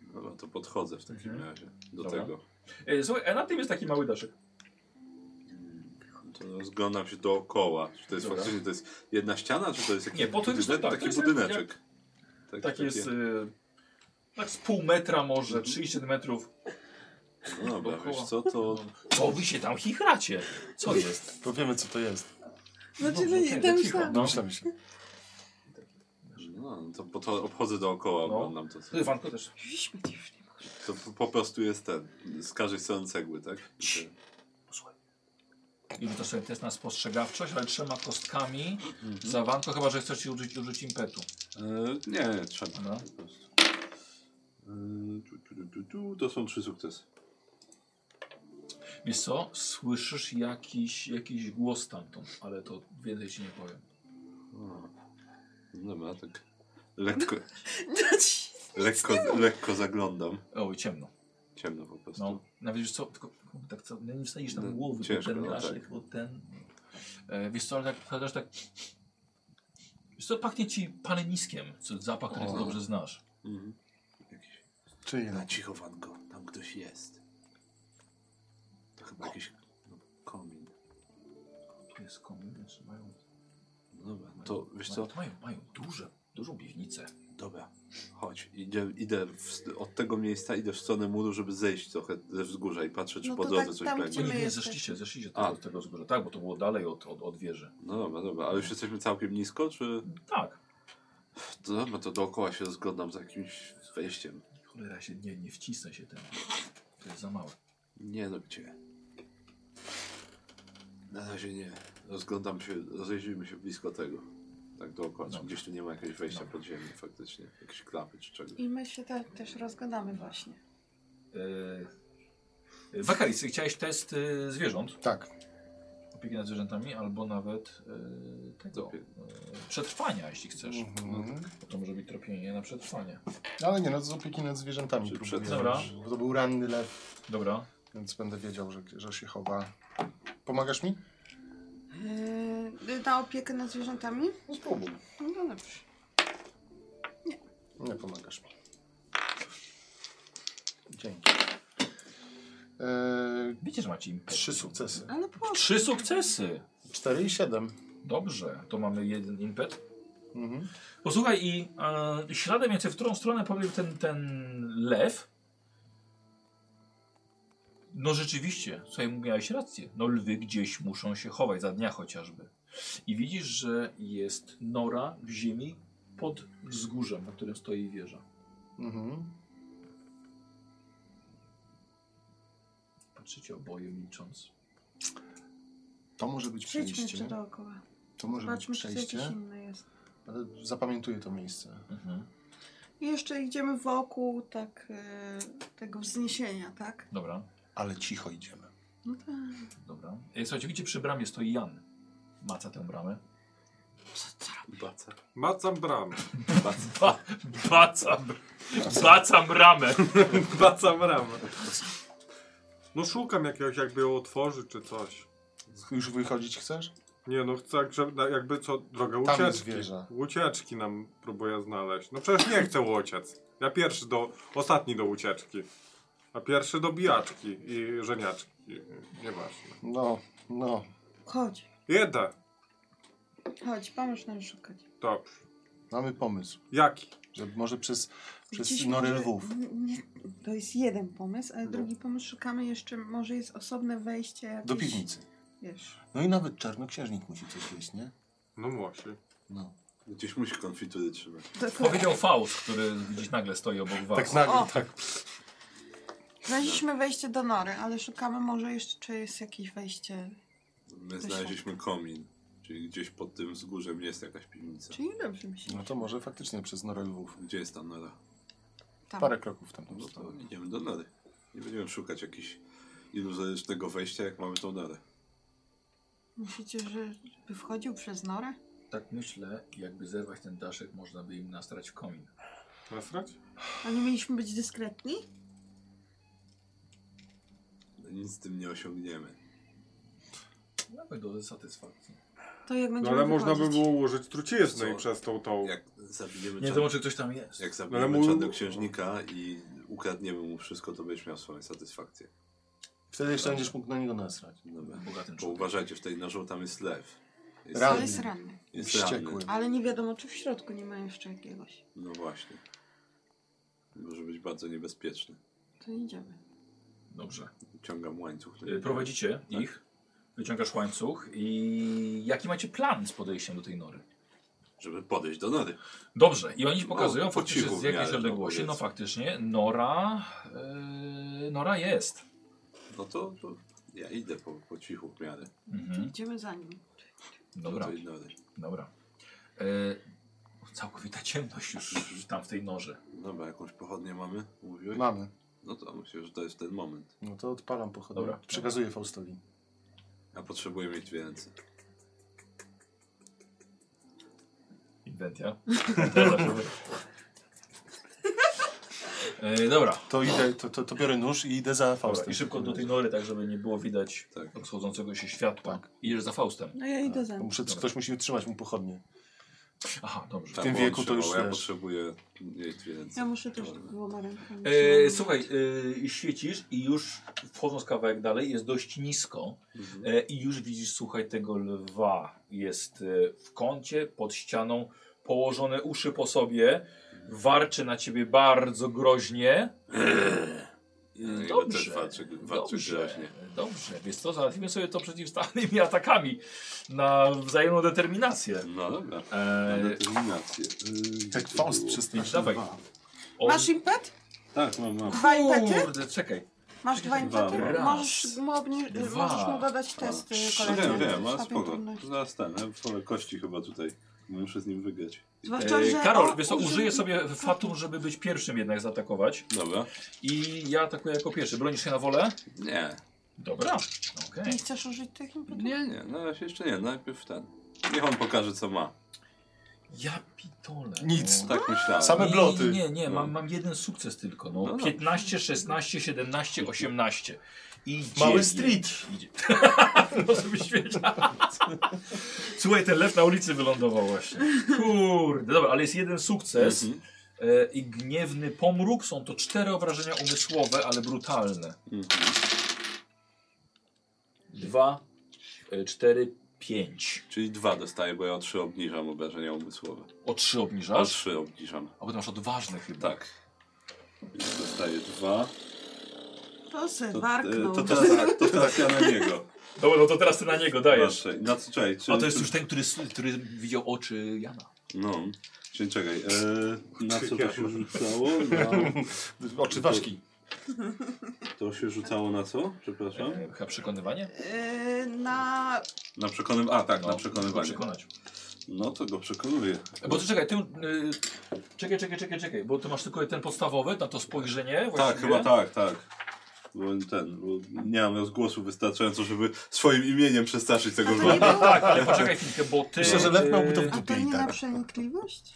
Speaker 5: Dobra, No to podchodzę w takim
Speaker 1: Mhm.
Speaker 5: razie do
Speaker 1: Dobra.
Speaker 5: tego.
Speaker 1: Yy, słuchaj, a na tym jest taki mały daszek.
Speaker 5: To rozglądam się dookoła. Czy to jest
Speaker 1: Dobra.
Speaker 5: faktycznie to jest jedna ściana, czy to jest jakiś
Speaker 1: Nie, po to jest-
Speaker 5: budynek,
Speaker 1: tak, to
Speaker 5: taki
Speaker 1: jest jak-
Speaker 5: budyneczek? Tak,
Speaker 1: Taki jest yy, tak z pół metra może, 37 metrów.
Speaker 5: No dobra,
Speaker 1: e, dookoła.
Speaker 5: wiesz co, to
Speaker 1: Co wy się tam chichracie? Co jest?
Speaker 2: Powiemy, co to jest.
Speaker 19: znaczy,
Speaker 1: Dobrze,
Speaker 19: no,
Speaker 1: okej,
Speaker 19: to
Speaker 1: to
Speaker 19: już
Speaker 1: cicho.
Speaker 19: tam.
Speaker 1: No.
Speaker 2: Myślałem się.
Speaker 5: No, to po to obchodzę dookoła,
Speaker 1: No.
Speaker 5: oglądam to.
Speaker 1: Ty, Wanko też.
Speaker 19: Wiśmy, ty już nie ma.
Speaker 5: To po- po prostu jest ten, z każdej strony cegły, tak?
Speaker 1: Cii. I rzucasz sobie test na spostrzegawczość, ale trzema kostkami. Za Wanko, chyba że chcesz ci użyć, użyć impetu.
Speaker 5: E, nie, nie, trzeba
Speaker 1: No.
Speaker 5: po prostu. E, tu, tu, tu, tu, tu, to są trzy sukcesy.
Speaker 1: Wiesz co, słyszysz jakiś, jakiś głos stamtąd, ale to więcej ci nie powiem.
Speaker 5: No. Dobra, tak
Speaker 4: [laughs]
Speaker 5: lekko,
Speaker 4: No
Speaker 5: lekko, lekko zaglądam.
Speaker 1: Oj, ciemno.
Speaker 5: Ciemno po prostu.
Speaker 1: No. Nawet wiesz co, tylko kurwa, tak co, no nie wstajesz
Speaker 5: No,
Speaker 1: tam głowy, bo
Speaker 5: ciężko,
Speaker 1: ten
Speaker 5: no
Speaker 1: daszek,
Speaker 5: tak.
Speaker 1: bo ten... E, wiesz co, ale tak, chociaż tak... Wiesz co, pachnie ci paleniskiem, co, zapach, który ty
Speaker 5: O.
Speaker 1: dobrze znasz.
Speaker 5: Mhm.
Speaker 2: Czy
Speaker 5: Na
Speaker 2: jednak?
Speaker 5: cicho, Wanko, tam ktoś jest. To chyba jakiś no, komin.
Speaker 1: Tu jest komin, więc mają...
Speaker 5: No Dobra, to wiesz
Speaker 1: mają,
Speaker 5: co,
Speaker 1: Mają, mają duże Dużą piwnicę.
Speaker 5: Dobra, chodź. Idę, idę w, st- od tego miejsca idę w stronę muru, żeby zejść trochę ze wzgórza i patrzę, czy
Speaker 4: No
Speaker 5: po
Speaker 4: to
Speaker 5: drodze
Speaker 4: tak
Speaker 5: coś
Speaker 4: tam,
Speaker 5: będzie.
Speaker 4: gdzie my-
Speaker 1: Nie, nie,
Speaker 4: jesteśmy?
Speaker 1: zeszliście, zeszliście
Speaker 5: A.
Speaker 1: tego, z tego wzgórza. Tak, bo to było dalej od, od, od wieży.
Speaker 5: No dobra, dobra, ale już jesteśmy całkiem nisko, czy...
Speaker 1: Tak.
Speaker 5: To dobra, to dookoła się rozglądam za jakimś wejściem.
Speaker 1: Cholera się, nie, nie wcisnę się ten. To jest za małe.
Speaker 5: Nie no, gdzie? Na razie nie. Rozglądam się, rozejrzyjmy się blisko tego. Tak dookoła, czy
Speaker 1: Dobra.
Speaker 5: gdzieś tu nie ma jakiegoś wejścia
Speaker 1: Dobra.
Speaker 5: pod ziemię faktycznie. Jakieś klapy czy czegoś.
Speaker 20: I my się te, też rozgadamy właśnie.
Speaker 1: Yy, Wakaris, chciałeś test y, zwierząt,
Speaker 2: Tak.
Speaker 1: opieki nad zwierzętami, albo nawet y, tego,
Speaker 5: Opie-
Speaker 1: y, przetrwania, jeśli chcesz.
Speaker 2: Mhm.
Speaker 1: Bo to może być tropienie na przetrwanie.
Speaker 2: Ale nie, no to z opieki nad zwierzętami
Speaker 5: Czy
Speaker 2: próbuję.
Speaker 1: przed- Dobra.
Speaker 2: Bo to był ranny lew,
Speaker 1: Dobra.
Speaker 2: więc będę wiedział, że, że się chowa. Pomagasz mi?
Speaker 4: Yy, na opiekę nad zwierzętami?
Speaker 2: No spróbuj.
Speaker 4: No dobrze.
Speaker 2: Nie pomagasz mi. Dzięki. Eee,
Speaker 1: Wiecie, że macie im.
Speaker 2: trzy sukcesy.
Speaker 4: Ale po
Speaker 1: Trzy sukcesy!
Speaker 2: Cztery i siedem.
Speaker 1: Dobrze, to mamy jeden impet.
Speaker 2: Mhm.
Speaker 1: Posłuchaj i e, śladem więcej, w którą stronę pobiegł ten, ten lew. No rzeczywiście, słuchaj, miałeś rację. No lwy gdzieś muszą się chować, za dnia chociażby. I widzisz, że jest nora w ziemi pod wzgórzem, na którym stoi wieża.
Speaker 2: Mhm.
Speaker 1: Patrzycie oboje milcząc.
Speaker 2: To może być
Speaker 20: Przejdźmy jeszcze
Speaker 2: przejście.
Speaker 20: dookoła.
Speaker 2: To może być
Speaker 20: Zobaczmy, czy coś
Speaker 2: przejście.
Speaker 20: inne jest.
Speaker 2: Ale zapamiętuję to miejsce.
Speaker 4: I jeszcze idziemy wokół tak yy, tego wzniesienia, tak?
Speaker 1: Dobra,
Speaker 2: Ale cicho idziemy.
Speaker 4: No tak.
Speaker 1: dobra. E, Słuchajcie, widzicie przy bramie stoi Jan. Maca tę bramę.
Speaker 5: Baca.
Speaker 6: Macam bramę.
Speaker 1: Ba, baca, br- baca bramę.
Speaker 6: [laughs] Macam bramę. No szukam jakiegoś, jakby ją otworzyć czy coś.
Speaker 2: Już wychodzić chcesz?
Speaker 6: Nie no, chcę grze- na- jakby co, drogę
Speaker 2: Tam jest
Speaker 6: ucieczki.
Speaker 2: wieża.
Speaker 6: Ucieczki nam próbuję znaleźć. No przecież nie chcę uciec. Ja pierwszy do, ostatni do ucieczki. A pierwszy do bijaczki i żeniaczki. Nieważne.
Speaker 2: No, no.
Speaker 20: Chodź,
Speaker 6: Jedę.
Speaker 20: chodź, pomóż nam szukać.
Speaker 6: Dobrze.
Speaker 2: Mamy pomysł,
Speaker 6: Jaki?
Speaker 2: że może przez, przez
Speaker 20: Gdzieś
Speaker 2: norę
Speaker 20: może-
Speaker 2: lwów. No.
Speaker 20: n- nie- To jest jeden pomysł, ale drugi pomysł szukamy jeszcze, może jest osobne wejście jakieś,
Speaker 2: Do piwnicy.
Speaker 20: Wiesz.
Speaker 2: No i nawet czarnoksiężnik musi coś jeść, nie?
Speaker 6: No musi.
Speaker 2: No.
Speaker 5: Gdzieś musi konfitury trzymać.
Speaker 1: Powiedział Faust, który gdzieś nagle stoi obok was.
Speaker 4: [laughs] O!
Speaker 2: nagle, tak.
Speaker 4: Znaleźliśmy wejście do nory, ale szukamy może jeszcze, czy jest jakieś wejście.
Speaker 5: My znaleźliśmy komin, czyli gdzieś pod tym wzgórzem jest jakaś piwnica.
Speaker 4: Czyli dobrze mi się.
Speaker 2: No to może faktycznie przez norę lwów.
Speaker 5: Gdzie jest ta nora?
Speaker 4: Tam.
Speaker 2: Parę kroków tam
Speaker 5: No to
Speaker 2: zostało.
Speaker 5: idziemy do nory. Nie będziemy szukać jakiegoś iluzorycznego wejścia, jak mamy tą norę.
Speaker 4: Myślicie, że by wchodził przez norę?
Speaker 1: Tak myślę, jakby zerwać ten daszek, można by im nastrać w komin.
Speaker 6: Nasrać? No,
Speaker 4: A nie mieliśmy być dyskretni?
Speaker 5: Nic z tym nie osiągniemy.
Speaker 1: Nawet do satysfakcji.
Speaker 4: To jak
Speaker 6: No
Speaker 4: będziemy
Speaker 6: ale można by
Speaker 4: wychodzić?
Speaker 6: było ułożyć truciznę i
Speaker 5: Co?
Speaker 6: przez tą tą.
Speaker 5: Jak zabijemy
Speaker 1: Nie
Speaker 5: czar-
Speaker 1: wiadomo, czy ktoś tam jest.
Speaker 5: jak
Speaker 6: Ale
Speaker 5: zabijemy
Speaker 6: mu-
Speaker 5: czarnoksiężnika i ukradniemy mu wszystko, to będziesz miał swoją satysfakcję.
Speaker 2: Wtedy jeszcze będziesz mógł na niego nasrać.
Speaker 5: Dobra.
Speaker 1: Bogatym
Speaker 5: Bo
Speaker 1: człowiekiem.
Speaker 5: uważajcie, w tej nożą tam jest lew. Jest,
Speaker 2: Ranny.
Speaker 4: Ale jest ranny.
Speaker 5: jest
Speaker 2: Wściekły.
Speaker 5: ranny.
Speaker 4: Ale nie wiadomo, czy w środku nie ma jeszcze jakiegoś.
Speaker 5: No właśnie. Może być bardzo niebezpieczny.
Speaker 4: To idziemy.
Speaker 1: Dobrze.
Speaker 5: Ciągam łańcuch.
Speaker 1: Y, Prowadzicie
Speaker 5: Tak.
Speaker 1: ich, wyciągasz łańcuch i jaki macie plan z podejściem do tej nory?
Speaker 5: Żeby podejść do nory.
Speaker 1: Dobrze, i oni ci pokazują
Speaker 5: No, po
Speaker 1: faktycznie
Speaker 5: cichu
Speaker 1: z
Speaker 5: w
Speaker 1: jakiejś
Speaker 5: miarę, no,
Speaker 1: odległości. No
Speaker 5: powiedzmy.
Speaker 1: faktycznie, Nora, yy, Nora jest.
Speaker 5: No to, to ja idę po, po cichu w miarę.
Speaker 1: Mhm.
Speaker 4: Idziemy za nim.
Speaker 1: Dobra,
Speaker 5: Do tej nory.
Speaker 1: dobra. Yy, całkowita ciemność już już tam w tej norze.
Speaker 5: Dobra, jakąś pochodnię mamy? Mówiłeś?
Speaker 2: Mamy.
Speaker 5: No to myślę, że to jest ten moment.
Speaker 2: No to odpalam pochodnie.
Speaker 1: Dobra.
Speaker 2: Przekazuję Faustowi.
Speaker 5: Ja potrzebuję mieć dwie ręce.
Speaker 1: Inwentia. Yy, dobra.
Speaker 2: To idę, to, to, to biorę nóż i idę za
Speaker 1: Dobra,
Speaker 2: Faustem.
Speaker 1: I szybko do tej nory, tak żeby nie było widać
Speaker 5: Tak.
Speaker 1: rozchodzącego się światła. I Idziesz za Faustem.
Speaker 20: No ja idę za
Speaker 2: Muszę,
Speaker 1: Dobra.
Speaker 2: ktoś musi utrzymać mu pochodnie.
Speaker 1: Aha, dobrze.
Speaker 5: Tak,
Speaker 2: tym
Speaker 5: bo on
Speaker 2: wieku to
Speaker 5: trzymał,
Speaker 2: już,
Speaker 5: Ja
Speaker 2: wiesz.
Speaker 5: potrzebuję mieć dwie ręce.
Speaker 20: Ja muszę też
Speaker 4: tak
Speaker 5: Dobra.
Speaker 20: dwoma rękami.
Speaker 1: E, słuchaj, e, świecisz i już wchodząc kawałek dalej jest dość nisko e, i już widzisz, słuchaj, tego lwa. Jest e, w kącie, pod ścianą, położone uszy po sobie, warczy na ciebie bardzo groźnie.
Speaker 5: No
Speaker 21: Eee,
Speaker 1: Mm, Dobrze.
Speaker 21: Też walczy, walczy
Speaker 1: Dobrze,
Speaker 21: groźnie.
Speaker 1: dobrze. Więc to załatwimy sobie to przeciwstawnymi atakami na wzajemną determinację.
Speaker 21: No dobra. Na
Speaker 1: Eee,
Speaker 21: determinację. Eee,
Speaker 2: e, Jak Faust przestraszył.
Speaker 1: Dawaj.
Speaker 2: dwa.
Speaker 1: on...
Speaker 4: Masz impet?
Speaker 5: Tak, mam, mam.
Speaker 4: Dwa impety?
Speaker 1: Kurde, czekaj. E,
Speaker 4: Masz dwa impety?
Speaker 1: Raz,
Speaker 4: Możesz mu, obni-
Speaker 1: dwa, E,
Speaker 4: możesz mu dodać testy
Speaker 5: Wiem,
Speaker 4: kolejne.
Speaker 5: wiem, ale
Speaker 4: Stopień
Speaker 5: spoko.
Speaker 4: trudności.
Speaker 5: Zaraz ten,
Speaker 21: e,
Speaker 5: ja wolę kości chyba tutaj. Muszę z nim wygrać.
Speaker 4: Zwłaszcza,
Speaker 1: Eee,
Speaker 4: że
Speaker 1: Karol,
Speaker 4: on
Speaker 1: wiesz co,
Speaker 4: użył-
Speaker 1: użyję sobie fatum, żeby być pierwszym jednak zaatakować.
Speaker 5: Dobra.
Speaker 1: I ja atakuję jako pierwszy. Bronisz się na wolę?
Speaker 21: Nie,
Speaker 1: Dobra. Okej.
Speaker 4: Nie chcesz użyć tych impetów?
Speaker 21: nie, nie, na razie jeszcze nie, najpierw ten. Niech on pokaże co ma.
Speaker 1: Ja pitole.
Speaker 2: Nic.
Speaker 1: No.
Speaker 21: Tak myślałem.
Speaker 2: Same
Speaker 1: Nie,
Speaker 2: bloty.
Speaker 1: Nie, nie, mam,
Speaker 21: No.
Speaker 1: mam jeden sukces tylko. No.
Speaker 21: No dobrze.
Speaker 1: 15, 16, 17, 18. I
Speaker 2: Mały
Speaker 1: dziewięć.
Speaker 2: street.
Speaker 1: Idzie. [laughs] no, żeby świeżac. Słuchaj, ten lew na ulicy wylądował właśnie. Kurde, dobra, ale jest jeden sukces
Speaker 21: Mhm.
Speaker 1: e, i gniewny pomruk. Są to cztery obrażenia umysłowe, ale brutalne.
Speaker 21: Mhm.
Speaker 1: Dwa, e, cztery, pięć.
Speaker 21: Czyli dwa dostaję, bo ja o trzy obniżam obrażenia umysłowe.
Speaker 1: O trzy
Speaker 21: O
Speaker 1: obniżasz?
Speaker 21: trzy obniżam.
Speaker 1: A bo ty masz odważny chyba.
Speaker 21: Tak. Więc dostaję dwa. e,
Speaker 4: To se
Speaker 5: To,
Speaker 4: warknął.
Speaker 5: e, to, teraz, tak, to teraz ja na niego.
Speaker 1: Dobra, no to teraz ty na niego dajesz.
Speaker 5: Proszę. Na co czekaj? Czy,
Speaker 1: A to jest już ten, który, s- który widział oczy Jana.
Speaker 5: No. Czyli czekaj. E, na co to
Speaker 6: Ja
Speaker 5: się
Speaker 6: mam.
Speaker 5: rzucało? Na,
Speaker 1: [laughs]
Speaker 2: Oczy ważki.
Speaker 5: to się rzucało na co? Przepraszam.
Speaker 1: E, chyba przekonywanie?
Speaker 4: Yy, na...
Speaker 5: Na przekonywanie. A tak,
Speaker 1: No,
Speaker 5: na przekonywanie.
Speaker 1: Przekonać.
Speaker 5: No to go przekonuję.
Speaker 1: Bo ty czekaj, ty... y, czekaj, czekaj, czekaj, czekaj, bo ty masz tylko ten podstawowy, na to spojrzenie właściwie.
Speaker 5: Tak, chyba tak, tak. Bo ten, bo nie mam rozgłosu wystarczająco, żeby swoim imieniem przestraszyć tego
Speaker 4: A to nie
Speaker 5: wroga.
Speaker 4: było...
Speaker 1: Tak, ale poczekaj chwilkę, bo ty...
Speaker 2: Myślę, że lew miałby to w
Speaker 1: y,
Speaker 4: A to
Speaker 2: dupie i
Speaker 4: nie na
Speaker 2: tak.
Speaker 4: przenikliwość?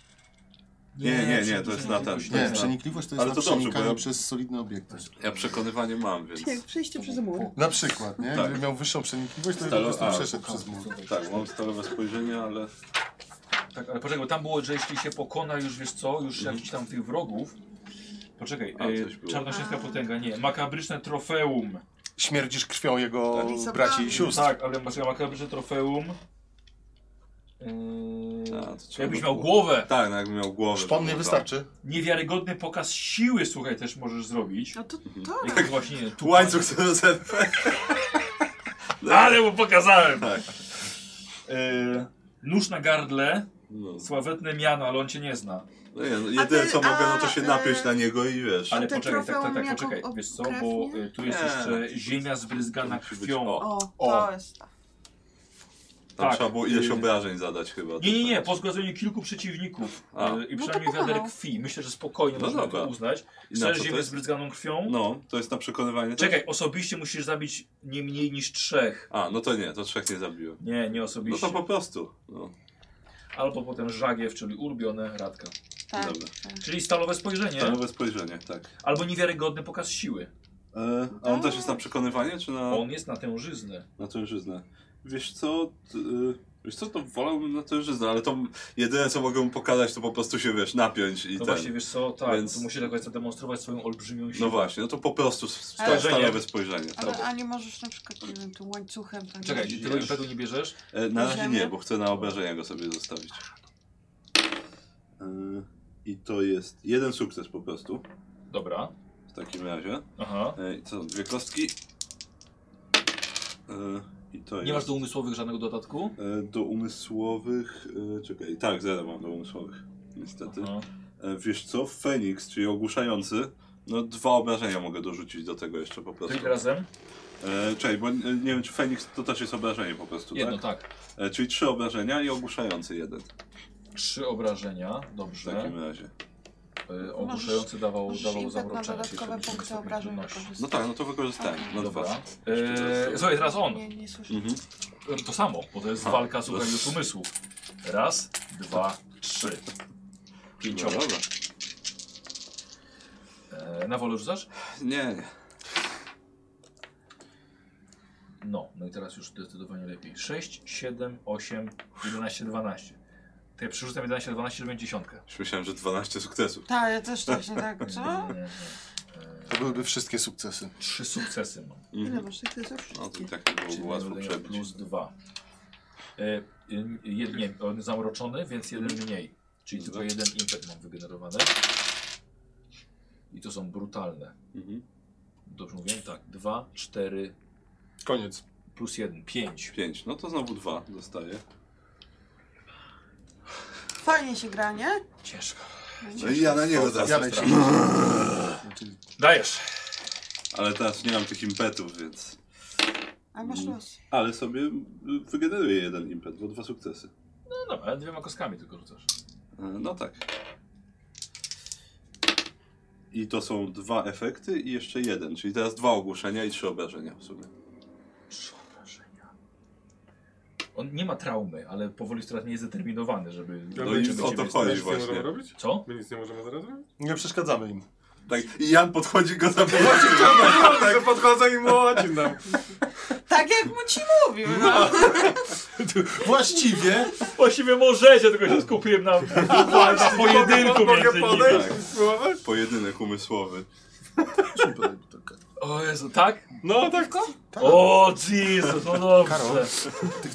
Speaker 5: Nie, nie, nie, to jest na ten.
Speaker 1: przenikliwość,
Speaker 2: Nie,
Speaker 5: Tak.
Speaker 2: przenikliwość to jest
Speaker 5: Ale
Speaker 2: na
Speaker 5: to dobrze, bo
Speaker 2: przenikanie
Speaker 5: ja- Tak.
Speaker 2: przez solidne obiekty.
Speaker 21: Ja przekonywanie mam, więc.
Speaker 22: Jak przejście przez mur.
Speaker 2: Na przykład, nie?
Speaker 5: Tak.
Speaker 2: Gdyby miał wyższą przenikliwość, to by po
Speaker 5: Stalo-
Speaker 2: prostu
Speaker 5: a,
Speaker 2: przeszedł przez mur.
Speaker 5: Tak, mam stalowe spojrzenie, ale
Speaker 1: Tak, ale poczekaj, bo tam było, że jeśli się pokona już, wiesz co, już jakichś tam tych wrogów... Poczekaj,
Speaker 5: Mhm. A,
Speaker 1: y,
Speaker 5: coś było.
Speaker 1: czarnoksięska potęga, nie, makabryczne trofeum.
Speaker 2: Śmierdzisz krwią jego
Speaker 4: Lizobami.
Speaker 2: braci i sióstr.
Speaker 1: Tak, ale masz makabryczne trofeum.
Speaker 5: A,
Speaker 1: Yy,
Speaker 5: to Tak. trzeba
Speaker 1: jakbyś
Speaker 5: by
Speaker 1: miał
Speaker 5: było.
Speaker 1: głowę.
Speaker 5: tak, no jakbym miał głowę.
Speaker 2: Szpon nie
Speaker 5: to-
Speaker 2: wystarczy.
Speaker 1: Niewiarygodny pokaz siły, słuchaj, też możesz zrobić.
Speaker 4: No to to.
Speaker 1: Jak właśnie tu. [laughs]
Speaker 5: Łańcuch sobie rozerwę.
Speaker 1: Ale mu pokazałem!
Speaker 5: Tak.
Speaker 1: Yy, nóż na gardle,
Speaker 5: No.
Speaker 1: sławetne miano, ale on cię nie zna.
Speaker 5: No nie, no, jedyne
Speaker 4: ty-
Speaker 5: co mogę, no to
Speaker 4: a,
Speaker 5: się
Speaker 4: e,
Speaker 5: napiąć na niego i wiesz.
Speaker 1: Ale
Speaker 4: te
Speaker 1: poczekaj, tak, tak,
Speaker 4: trofeum
Speaker 1: tak,
Speaker 4: jako
Speaker 1: poczekaj.
Speaker 4: ob-
Speaker 1: Wiesz co,
Speaker 4: krew,
Speaker 1: bo
Speaker 4: nie?
Speaker 1: y, tu jest
Speaker 5: Nie. no,
Speaker 1: jeszcze ziemia zbryzgana
Speaker 5: To musi być
Speaker 1: krwią.
Speaker 5: o.
Speaker 4: O,
Speaker 2: O.
Speaker 4: to jest tak, to.
Speaker 5: Tam
Speaker 1: tak,
Speaker 5: trzeba było ileś
Speaker 1: y-
Speaker 5: obrażeń zadać chyba.
Speaker 1: Nie, nie, nie, po zgładzeniu kilku przeciwników
Speaker 5: tak.
Speaker 1: y,
Speaker 5: A.
Speaker 1: i
Speaker 4: No to
Speaker 1: przynajmniej wiader
Speaker 4: pokonał.
Speaker 1: krwi. Myślę, że spokojnie
Speaker 5: No
Speaker 1: można
Speaker 5: dobra.
Speaker 1: to uznać.
Speaker 5: I na
Speaker 1: Chcesz
Speaker 5: co to
Speaker 1: ziemię
Speaker 5: jest?
Speaker 1: zbryzganą krwią?
Speaker 5: No, to jest na przekonywanie. też?
Speaker 1: Czekaj, osobiście musisz zabić nie mniej niż trzech.
Speaker 5: A, no to nie, to trzech nie zabiłem.
Speaker 1: Nie, nie
Speaker 5: No
Speaker 1: osobiście.
Speaker 5: to po prostu. No,
Speaker 1: Albo potem żagiew, czyli ulubione radka.
Speaker 4: Tak.
Speaker 5: dobra.
Speaker 1: Czyli stalowe spojrzenie,
Speaker 5: Stalowe spojrzenie, tak.
Speaker 1: albo niewiarygodny pokaz siły.
Speaker 5: E, a on też jest na przekonywanie, czy na,
Speaker 1: On jest na tężyznę.
Speaker 5: na tężyznę? Wiesz co, t, y, wiesz co, to wolałbym na tężyznę, ale to m- jedyne co mogę mu pokazać, to po prostu się, wiesz, napiąć i
Speaker 1: No
Speaker 5: ten.
Speaker 1: właśnie, wiesz co, tak,
Speaker 5: Więc-
Speaker 1: Więc... to musisz jakoś zademonstrować swoją olbrzymią siłę.
Speaker 5: No właśnie, no to po prostu s- sta-
Speaker 1: Ale-
Speaker 5: stalowe spojrzenie.
Speaker 4: Ale,
Speaker 5: tak.
Speaker 4: a nie możesz na przykład, nie wiem, tu łańcuchem tak.
Speaker 1: Czekaj, ty tego impetu nie bierzesz?
Speaker 5: E, na razie
Speaker 4: Możemy?
Speaker 5: nie, bo chcę na obrażenia go sobie zostawić. E, I to jest jeden sukces po prostu,
Speaker 1: Dobra,
Speaker 5: w takim razie.
Speaker 1: aha.
Speaker 5: E, i co, dwie kostki. E, I to
Speaker 1: Nie
Speaker 5: jest...
Speaker 1: masz do um- umysłowych żadnego dodatku?
Speaker 5: E, Do umysłowych. e, Czekaj, tak, zero mam do umysłowych. Niestety.
Speaker 1: Aha.
Speaker 5: E, Wiesz co? Feniks, czyli ogłuszający. No, dwa obrażenia mogę dorzucić do tego jeszcze po prostu.
Speaker 1: Czyli razem?
Speaker 5: E, czekaj, bo nie, nie wiem, czy Feniks to też jest obrażenie po prostu,
Speaker 1: Jedno,
Speaker 5: tak?
Speaker 1: tak.
Speaker 5: E, czyli trzy obrażenia i ogłuszający jeden
Speaker 1: Trzy obrażenia,
Speaker 5: w
Speaker 1: dobrze.
Speaker 5: takim razie.
Speaker 1: Y, Ogłuszający dawał,
Speaker 4: No, możesz
Speaker 1: dawał
Speaker 4: impet na
Speaker 1: zamroczenie.
Speaker 4: dodatkowe
Speaker 1: czyli
Speaker 4: punkty
Speaker 1: stopień
Speaker 4: obrażeń
Speaker 1: trudności.
Speaker 4: wykorzystać.
Speaker 5: No tak, no to wykorzystałem. Na dwa.
Speaker 1: Dobra. Eee, słuchaj, teraz on.
Speaker 4: Nie, nie słyszę.
Speaker 5: Mhm.
Speaker 1: To samo, bo to jest
Speaker 5: Ha,
Speaker 1: walka,
Speaker 5: to
Speaker 1: słuchaj,
Speaker 5: jest-
Speaker 1: już umysłów. Raz, dwa, trzy.
Speaker 5: No,
Speaker 1: Pięcioma.
Speaker 5: dobra.
Speaker 1: Eee, na wolę rzucasz?
Speaker 5: Nie, nie.
Speaker 1: No, no i teraz już zdecydowanie lepiej. 6, 7, 8, 11, 12. To ja przerzucam 11, 12, żeby mieć dziesiątkę.
Speaker 5: Już myślałem, że 12 sukcesów.
Speaker 4: Tak, ja też właśnie tak, co?
Speaker 1: Nie, nie, nie.
Speaker 2: To byłyby wszystkie sukcesy.
Speaker 1: Trzy sukcesy mam.
Speaker 22: Ile
Speaker 5: Mhm.
Speaker 22: masz sukcesów?
Speaker 5: No to i tak nie
Speaker 1: Czyli
Speaker 5: byłoby łatwo
Speaker 1: będę miał
Speaker 5: przebić. Mhm.
Speaker 1: Plus dwa. E, y, y, jed- nie, on jest zamroczony, więc jeden mniej. Czyli tylko jeden impet mam wygenerowany. I to są brutalne.
Speaker 5: Mhm.
Speaker 1: Dobrze mówiłem? Tak. Dwa, cztery
Speaker 6: Koniec.
Speaker 1: plus jeden. Pięć.
Speaker 5: Pięć. No to znowu dwa dostaję.
Speaker 23: Fajnie się gra, nie?
Speaker 1: Ciężko.
Speaker 5: No i ja na niego teraz.
Speaker 2: Janek się... znaczy,
Speaker 1: Dajesz.
Speaker 5: Ale teraz nie mam tych impetów, więc...
Speaker 23: A masz los.
Speaker 5: Ale sobie y, wygeneruję jeden impet, bo dwa sukcesy.
Speaker 1: No dobra, ale dwiema kostkami tylko rzucasz.
Speaker 5: Y, No tak. I to są dwa efekty i jeszcze jeden, czyli teraz dwa ogłoszenia i trzy obrażenia w sumie.
Speaker 1: Trzy obrażenia. On nie ma traumy, ale powoli jest teraz nie jest zdeterminowany, żeby...
Speaker 6: Ja
Speaker 5: No i
Speaker 1: żeby
Speaker 5: o
Speaker 1: ciebie
Speaker 5: to chodzi
Speaker 6: Nic nie
Speaker 5: właśnie.
Speaker 6: możemy robić?
Speaker 1: Co?
Speaker 6: My nic nie możemy teraz robić? [laughs]
Speaker 2: nie przeszkadzamy im.
Speaker 5: Tak, i Jan podchodzi go za tak,
Speaker 6: Że podchodzę i młodzi [laughs] tam.
Speaker 23: Tak jak mu ci mówił, no.
Speaker 2: Właściwie
Speaker 1: Właściwie możecie, tylko się skupiłem na, na pojedynku między nimi.
Speaker 5: tak, pojedynek umysłowy.
Speaker 1: O Jezu, tak?
Speaker 6: No tak.
Speaker 1: O Jezus, no dobrze.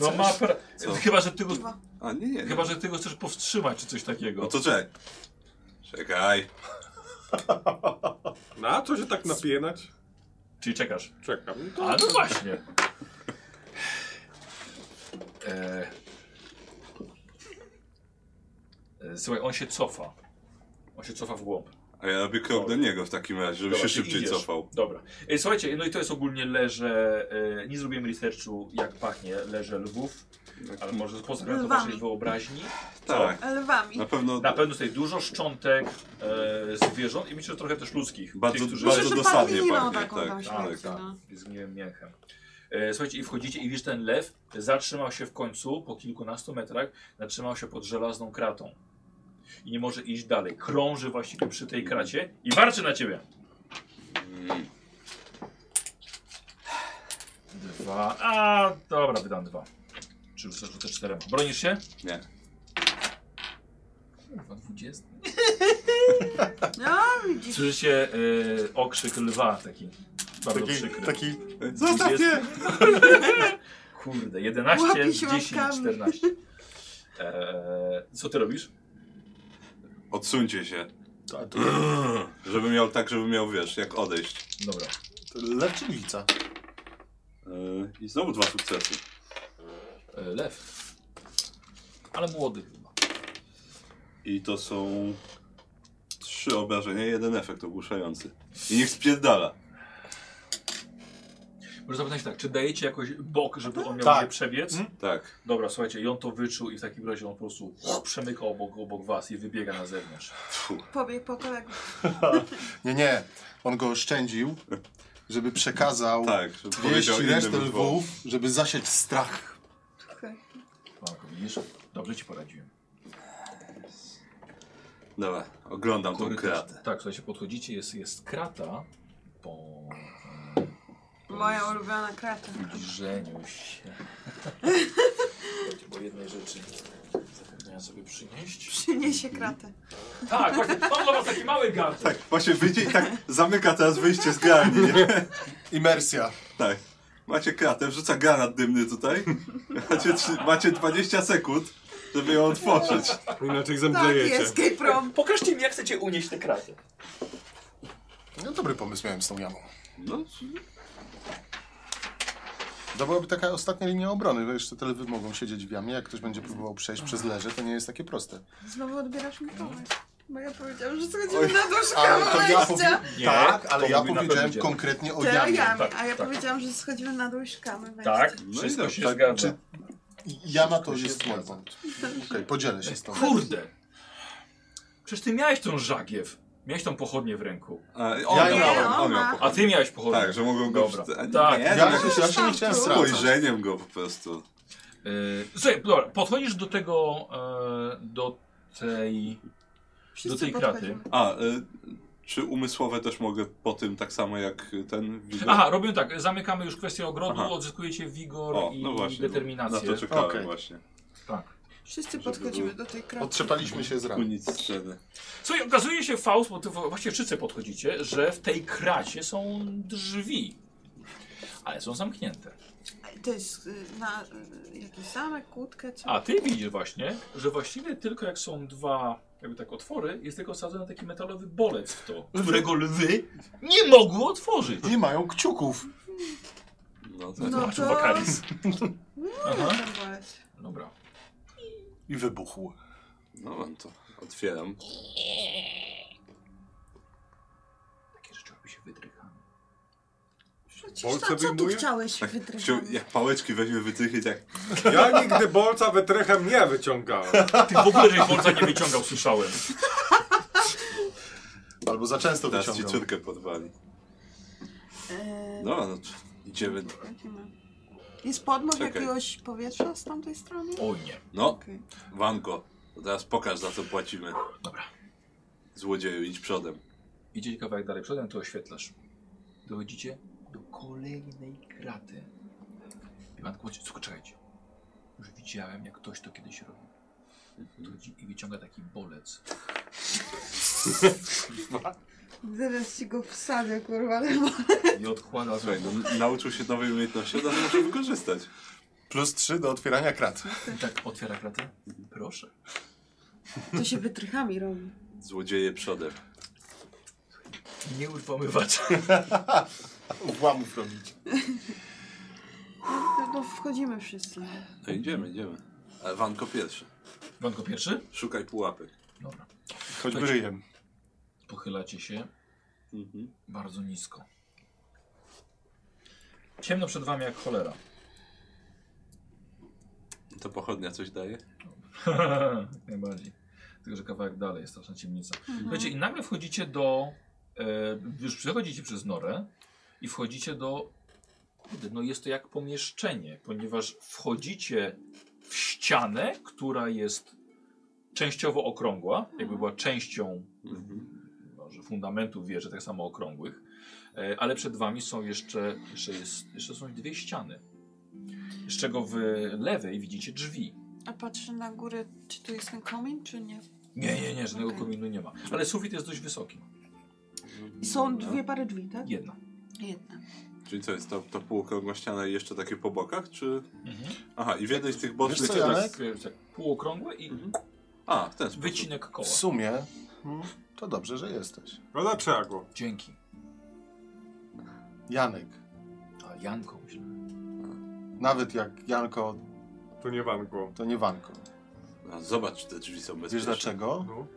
Speaker 1: No ma pra...
Speaker 5: Co?
Speaker 1: Chyba, że ty go,
Speaker 5: A nie, nie.
Speaker 1: chyba, że ty go chcesz powstrzymać, czy coś takiego.
Speaker 5: No to czek. Czekaj.
Speaker 6: Na co się tak napienać?
Speaker 1: Czyli czekasz.
Speaker 6: Czekam.
Speaker 1: A no właśnie. E... E, Słuchaj, on się cofa. On się cofa w głąb.
Speaker 5: A ja robię krok do niego w takim razie, żeby
Speaker 1: Dobra,
Speaker 5: się
Speaker 1: ty
Speaker 5: szybciej
Speaker 1: idziesz.
Speaker 5: cofał.
Speaker 1: Dobra. E, Słuchajcie, no i to jest ogólnie leże. e, Nie zrobiłem researchu, jak pachnie leże lwów, ale może poza to
Speaker 4: Lwami.
Speaker 1: waszej wyobraźni.
Speaker 5: Tak.
Speaker 4: Lwami.
Speaker 5: Na pewno
Speaker 1: Na pewno tutaj dużo szczątek e, zwierząt i myślę, że trochę też ludzkich.
Speaker 5: Bardzo-
Speaker 1: tych, którzy
Speaker 5: bardzo
Speaker 1: Myślę, że
Speaker 5: dosadnie
Speaker 4: padliną
Speaker 5: pachnie,
Speaker 4: taką
Speaker 5: tak,
Speaker 4: tam
Speaker 5: tak,
Speaker 4: śmierci,
Speaker 5: tak.
Speaker 4: no.
Speaker 1: z gniłem mięchem. E, słuchajcie, i wchodzicie i widzisz ten lew zatrzymał się w końcu, po kilkunastu metrach, zatrzymał się pod żelazną kratą. I nie może iść dalej. Krąży właściwie przy tej kracie i warczy na ciebie. Dwa. A, dobra, wydam dwa. Czy rzucasz rzucę czterema. Bronisz się?
Speaker 5: nie.
Speaker 1: Kurwa, dwudziesty.
Speaker 4: No, widzisz.
Speaker 1: Słyszycie e, okrzyk lwa taki. Bardzo
Speaker 2: taki,
Speaker 1: przykry.
Speaker 2: taki
Speaker 1: Tak.
Speaker 5: Zostaw mnie!
Speaker 1: Kurde, 11,
Speaker 4: Łapie
Speaker 1: 10,
Speaker 4: się
Speaker 1: 14.
Speaker 4: łapkami.
Speaker 1: Eee, co ty robisz?
Speaker 5: Odsuńcie się. [clears throat] Tak, Żeby miał tak, żeby miał, wiesz, jak odejść.
Speaker 1: Dobra.
Speaker 2: lew czy lwica?
Speaker 5: Yy, I znowu dwa sukcesy.
Speaker 1: Eee, lew. Ale młody chyba.
Speaker 5: I to są trzy obrażenia, jeden efekt ogłuszający. I niech spierdala.
Speaker 1: Może zapytać tak, czy dajecie jakoś bok, żeby on miał
Speaker 2: Tak.
Speaker 1: gdzie przebiec?
Speaker 5: Tak.
Speaker 1: Dobra, słuchajcie, i on to wyczuł i w takim razie on po prostu przemyka obok, obok was i wybiega na zewnątrz.
Speaker 4: Pobieg po kolegów.
Speaker 2: Nie, nie. On go oszczędził, żeby przekazał
Speaker 5: Tak, żeby
Speaker 2: wieść
Speaker 5: powiedział
Speaker 2: resztę
Speaker 5: innym
Speaker 2: lwów, żeby zasiać strach.
Speaker 4: Okej.
Speaker 1: Marko, widzisz? Dobrze ci poradziłem.
Speaker 5: Dobra, oglądam tą
Speaker 1: Korytarz-
Speaker 5: kratę.
Speaker 1: Tak, słuchajcie, podchodzicie, jest, jest krata po...
Speaker 4: Moja ulubiona krata.
Speaker 1: Żenił się. Bo jednej rzeczy zapomniałem sobie przynieść.
Speaker 4: Przyniesie kratę.
Speaker 1: Tak, właśnie, mam dla was taki mały gadżet.
Speaker 5: Tak, właśnie wyjdzie i tak zamyka teraz wyjście z garni. nie?
Speaker 2: Imersja.
Speaker 5: Tak. Macie kratę, wrzuca granat dymny tutaj. Macie, trzy- macie 20 sekund, żeby ją otworzyć.
Speaker 6: Inaczej
Speaker 4: Tak,
Speaker 6: zemdlejecie.
Speaker 4: jest escape room.
Speaker 1: Pokażcie mi, jak chcecie unieść te kraty.
Speaker 2: No dobry pomysł miałem z tą jamą.
Speaker 5: No,
Speaker 2: To byłaby taka ostatnia linia obrony, bo jeszcze te lwy mogą siedzieć w jamie. Jak ktoś będzie próbował przejść przez leże, to nie jest takie proste.
Speaker 4: Znowu odbierasz mi pomysł. Bo ja powiedziałam, że schodzimy na dół, szukamy
Speaker 2: to ja
Speaker 4: wejścia.
Speaker 2: powie-
Speaker 1: Nie,
Speaker 2: tak,
Speaker 1: to
Speaker 2: ale ja
Speaker 1: mówi na
Speaker 2: powiedziałem
Speaker 1: pewno
Speaker 2: konkretnie o
Speaker 4: Ty o
Speaker 2: jamie.
Speaker 4: jamie,
Speaker 1: Tak,
Speaker 4: a ja
Speaker 1: tak.
Speaker 4: powiedziałam, że schodzimy na dół i szukamy wejścia.
Speaker 1: Tak,
Speaker 5: No i
Speaker 1: wszystko
Speaker 5: dobrze,
Speaker 1: się
Speaker 2: tak,
Speaker 1: zgadza.
Speaker 2: czy- Jama to jest mój punkt. Okej, podzielę się z tobą.
Speaker 1: Kurde! Przecież ty miałeś tą żagiew. Miałeś tą pochodnię w ręku.
Speaker 5: a, on
Speaker 2: Ja
Speaker 5: miał,
Speaker 2: nie,
Speaker 5: on,
Speaker 4: on
Speaker 5: miał
Speaker 4: ma.
Speaker 1: A
Speaker 5: pochodnie.
Speaker 1: ty miałeś pochodnię.
Speaker 5: Tak, że mogą go...
Speaker 1: Dobra.
Speaker 5: wst- a nie,
Speaker 1: Tak.
Speaker 5: nie,
Speaker 2: Ja,
Speaker 5: no,
Speaker 2: się, ja się nie chciałem stracać.
Speaker 5: Spojrzeniem go po prostu.
Speaker 1: Yy, słuchaj, dobra, podchodzisz do tego, e, do tej...
Speaker 4: Wszyscy
Speaker 1: Do tej
Speaker 4: podchodzimy.
Speaker 5: A, y, czy umysłowe też mogę po tym tak samo jak ten? Widok?
Speaker 1: Aha, robimy tak, zamykamy już kwestię ogrodu,
Speaker 5: Aha.
Speaker 1: odzyskujecie wigor
Speaker 5: O,
Speaker 1: i
Speaker 5: no właśnie. Na
Speaker 1: determinację.
Speaker 5: to czekałem
Speaker 2: Okej.
Speaker 5: właśnie.
Speaker 1: tak.
Speaker 4: Wszyscy
Speaker 5: Żeby
Speaker 4: podchodzimy
Speaker 5: był-
Speaker 4: do tej kraty.
Speaker 2: Otrzepaliśmy się z ramy.
Speaker 5: Unic sceny.
Speaker 1: Słuchaj, okazuje się, Faust, bo ty właściwie wszyscy podchodzicie, że w tej kracie są drzwi, ale są zamknięte.
Speaker 4: To jest y, na y, jakiś zamek, kłódkę, co?
Speaker 1: A ty widzisz właśnie, że właściwie tylko jak są dwa jakby tak otwory, jest tylko osadzony taki metalowy bolec w to, którego lwy nie mogły otworzyć.
Speaker 2: Nie mają kciuków.
Speaker 8: No tak.
Speaker 4: No
Speaker 1: Zobaczył
Speaker 4: to... no
Speaker 1: Wakaris. Aha.
Speaker 4: Tam byłeś.
Speaker 1: Dobra.
Speaker 2: I wybuchł.
Speaker 8: No mam to. Otwieram.
Speaker 1: Tak. Takie rzeczy robi się wydrychami.
Speaker 4: Przecież
Speaker 6: Polce
Speaker 4: to, co tu
Speaker 6: wyjmuje?
Speaker 4: chciałeś
Speaker 8: Tak,
Speaker 4: wydrywać?
Speaker 8: Wziął, jak pałeczki weźmie wytrychy, tak.
Speaker 6: [laughs] Ja nigdy bolca wytrychem nie wyciągałem.
Speaker 1: Ty w ogóle żeś nie wyciągał, słyszałem.
Speaker 2: Albo za często
Speaker 8: Teraz ci
Speaker 2: wyciągał.
Speaker 8: córkę podwali.
Speaker 4: Eee,
Speaker 8: No, no idziemy.
Speaker 4: jakie ma? Jest podmuch
Speaker 8: Czekaj.
Speaker 4: jakiegoś powietrza z tamtej strony?
Speaker 1: Oj nie.
Speaker 8: No,
Speaker 4: Okej.
Speaker 8: Wanko, to teraz pokaż za co płacimy.
Speaker 1: Dobra.
Speaker 8: Złodzieju, idź przodem.
Speaker 1: Idziecie kawałek dalej przodem, to oświetlasz. Dochodzicie do kolejnej kraty. Iwan Kłodzie, słuchaj, czekajcie. Już widziałem, jak ktoś to kiedyś robił. Dochodzi i wyciąga taki bolec.
Speaker 7: Zaraz ci go wsadzę, kurwa.
Speaker 1: I odkłada
Speaker 8: Słuchaj, no, nauczył się nowej umiejętności, to może wykorzystać.
Speaker 2: Plus trzy do otwierania krat.
Speaker 1: I tak otwiera kratę. Proszę.
Speaker 7: To się wytrychami robi.
Speaker 8: Złodzieje przodem.
Speaker 1: Nie uwamywacz.
Speaker 2: Włamów robić.
Speaker 7: No to wchodzimy wszyscy.
Speaker 8: No idziemy, idziemy. Ale Wanko pierwszy.
Speaker 1: Wanko pierwszy?
Speaker 8: Szukaj pułapek.
Speaker 1: Dobra.
Speaker 2: Choćby ryjem.
Speaker 1: Pochylacie się bardzo nisko. Ciemno przed wami jak cholera.
Speaker 8: To pochodnia coś daje?
Speaker 1: Jak [laughs] najbardziej. Tylko, że kawałek dalej jest straszna ciemnica. Słuchajcie, i nagle wchodzicie do. E, już przechodzicie przez norę i wchodzicie do. kurde, No jest to jak pomieszczenie, ponieważ wchodzicie w ścianę, która jest częściowo okrągła, jakby była częścią może fundamentów wieży, tak samo okrągłych, e, ale przed wami są jeszcze, jeszcze, jest, jeszcze są dwie ściany, z czego w lewej widzicie drzwi.
Speaker 4: A patrzę na górę, czy tu jest ten komin, czy nie?
Speaker 1: Nie, nie, nie, żadnego
Speaker 4: Okej.
Speaker 1: kominu nie ma. Ale sufit jest dość wysoki.
Speaker 7: I
Speaker 8: No.
Speaker 7: są dwie pary drzwi, tak?
Speaker 1: Jedna.
Speaker 4: Jedna.
Speaker 8: Czyli co jest, to, to półokrągła ściana i jeszcze takie po bokach, czy...
Speaker 1: Mhm.
Speaker 8: Aha, i w jednej z tych
Speaker 2: Wiesz
Speaker 8: bocznych...
Speaker 2: co, Janek?
Speaker 1: Tak, tak półokrągłe i
Speaker 8: A, w ten sposób.
Speaker 1: wycinek koła.
Speaker 2: W sumie mm, to dobrze, że jesteś.
Speaker 6: No dlaczego?
Speaker 1: Dzięki.
Speaker 2: Janek.
Speaker 1: A Janko myślę.
Speaker 2: Nawet jak Janko,
Speaker 6: To nie wanko.
Speaker 2: to nie Wanko.
Speaker 8: A, zobacz, czy te drzwi są bezpieczne.
Speaker 2: Wiesz dlaczego?
Speaker 6: No.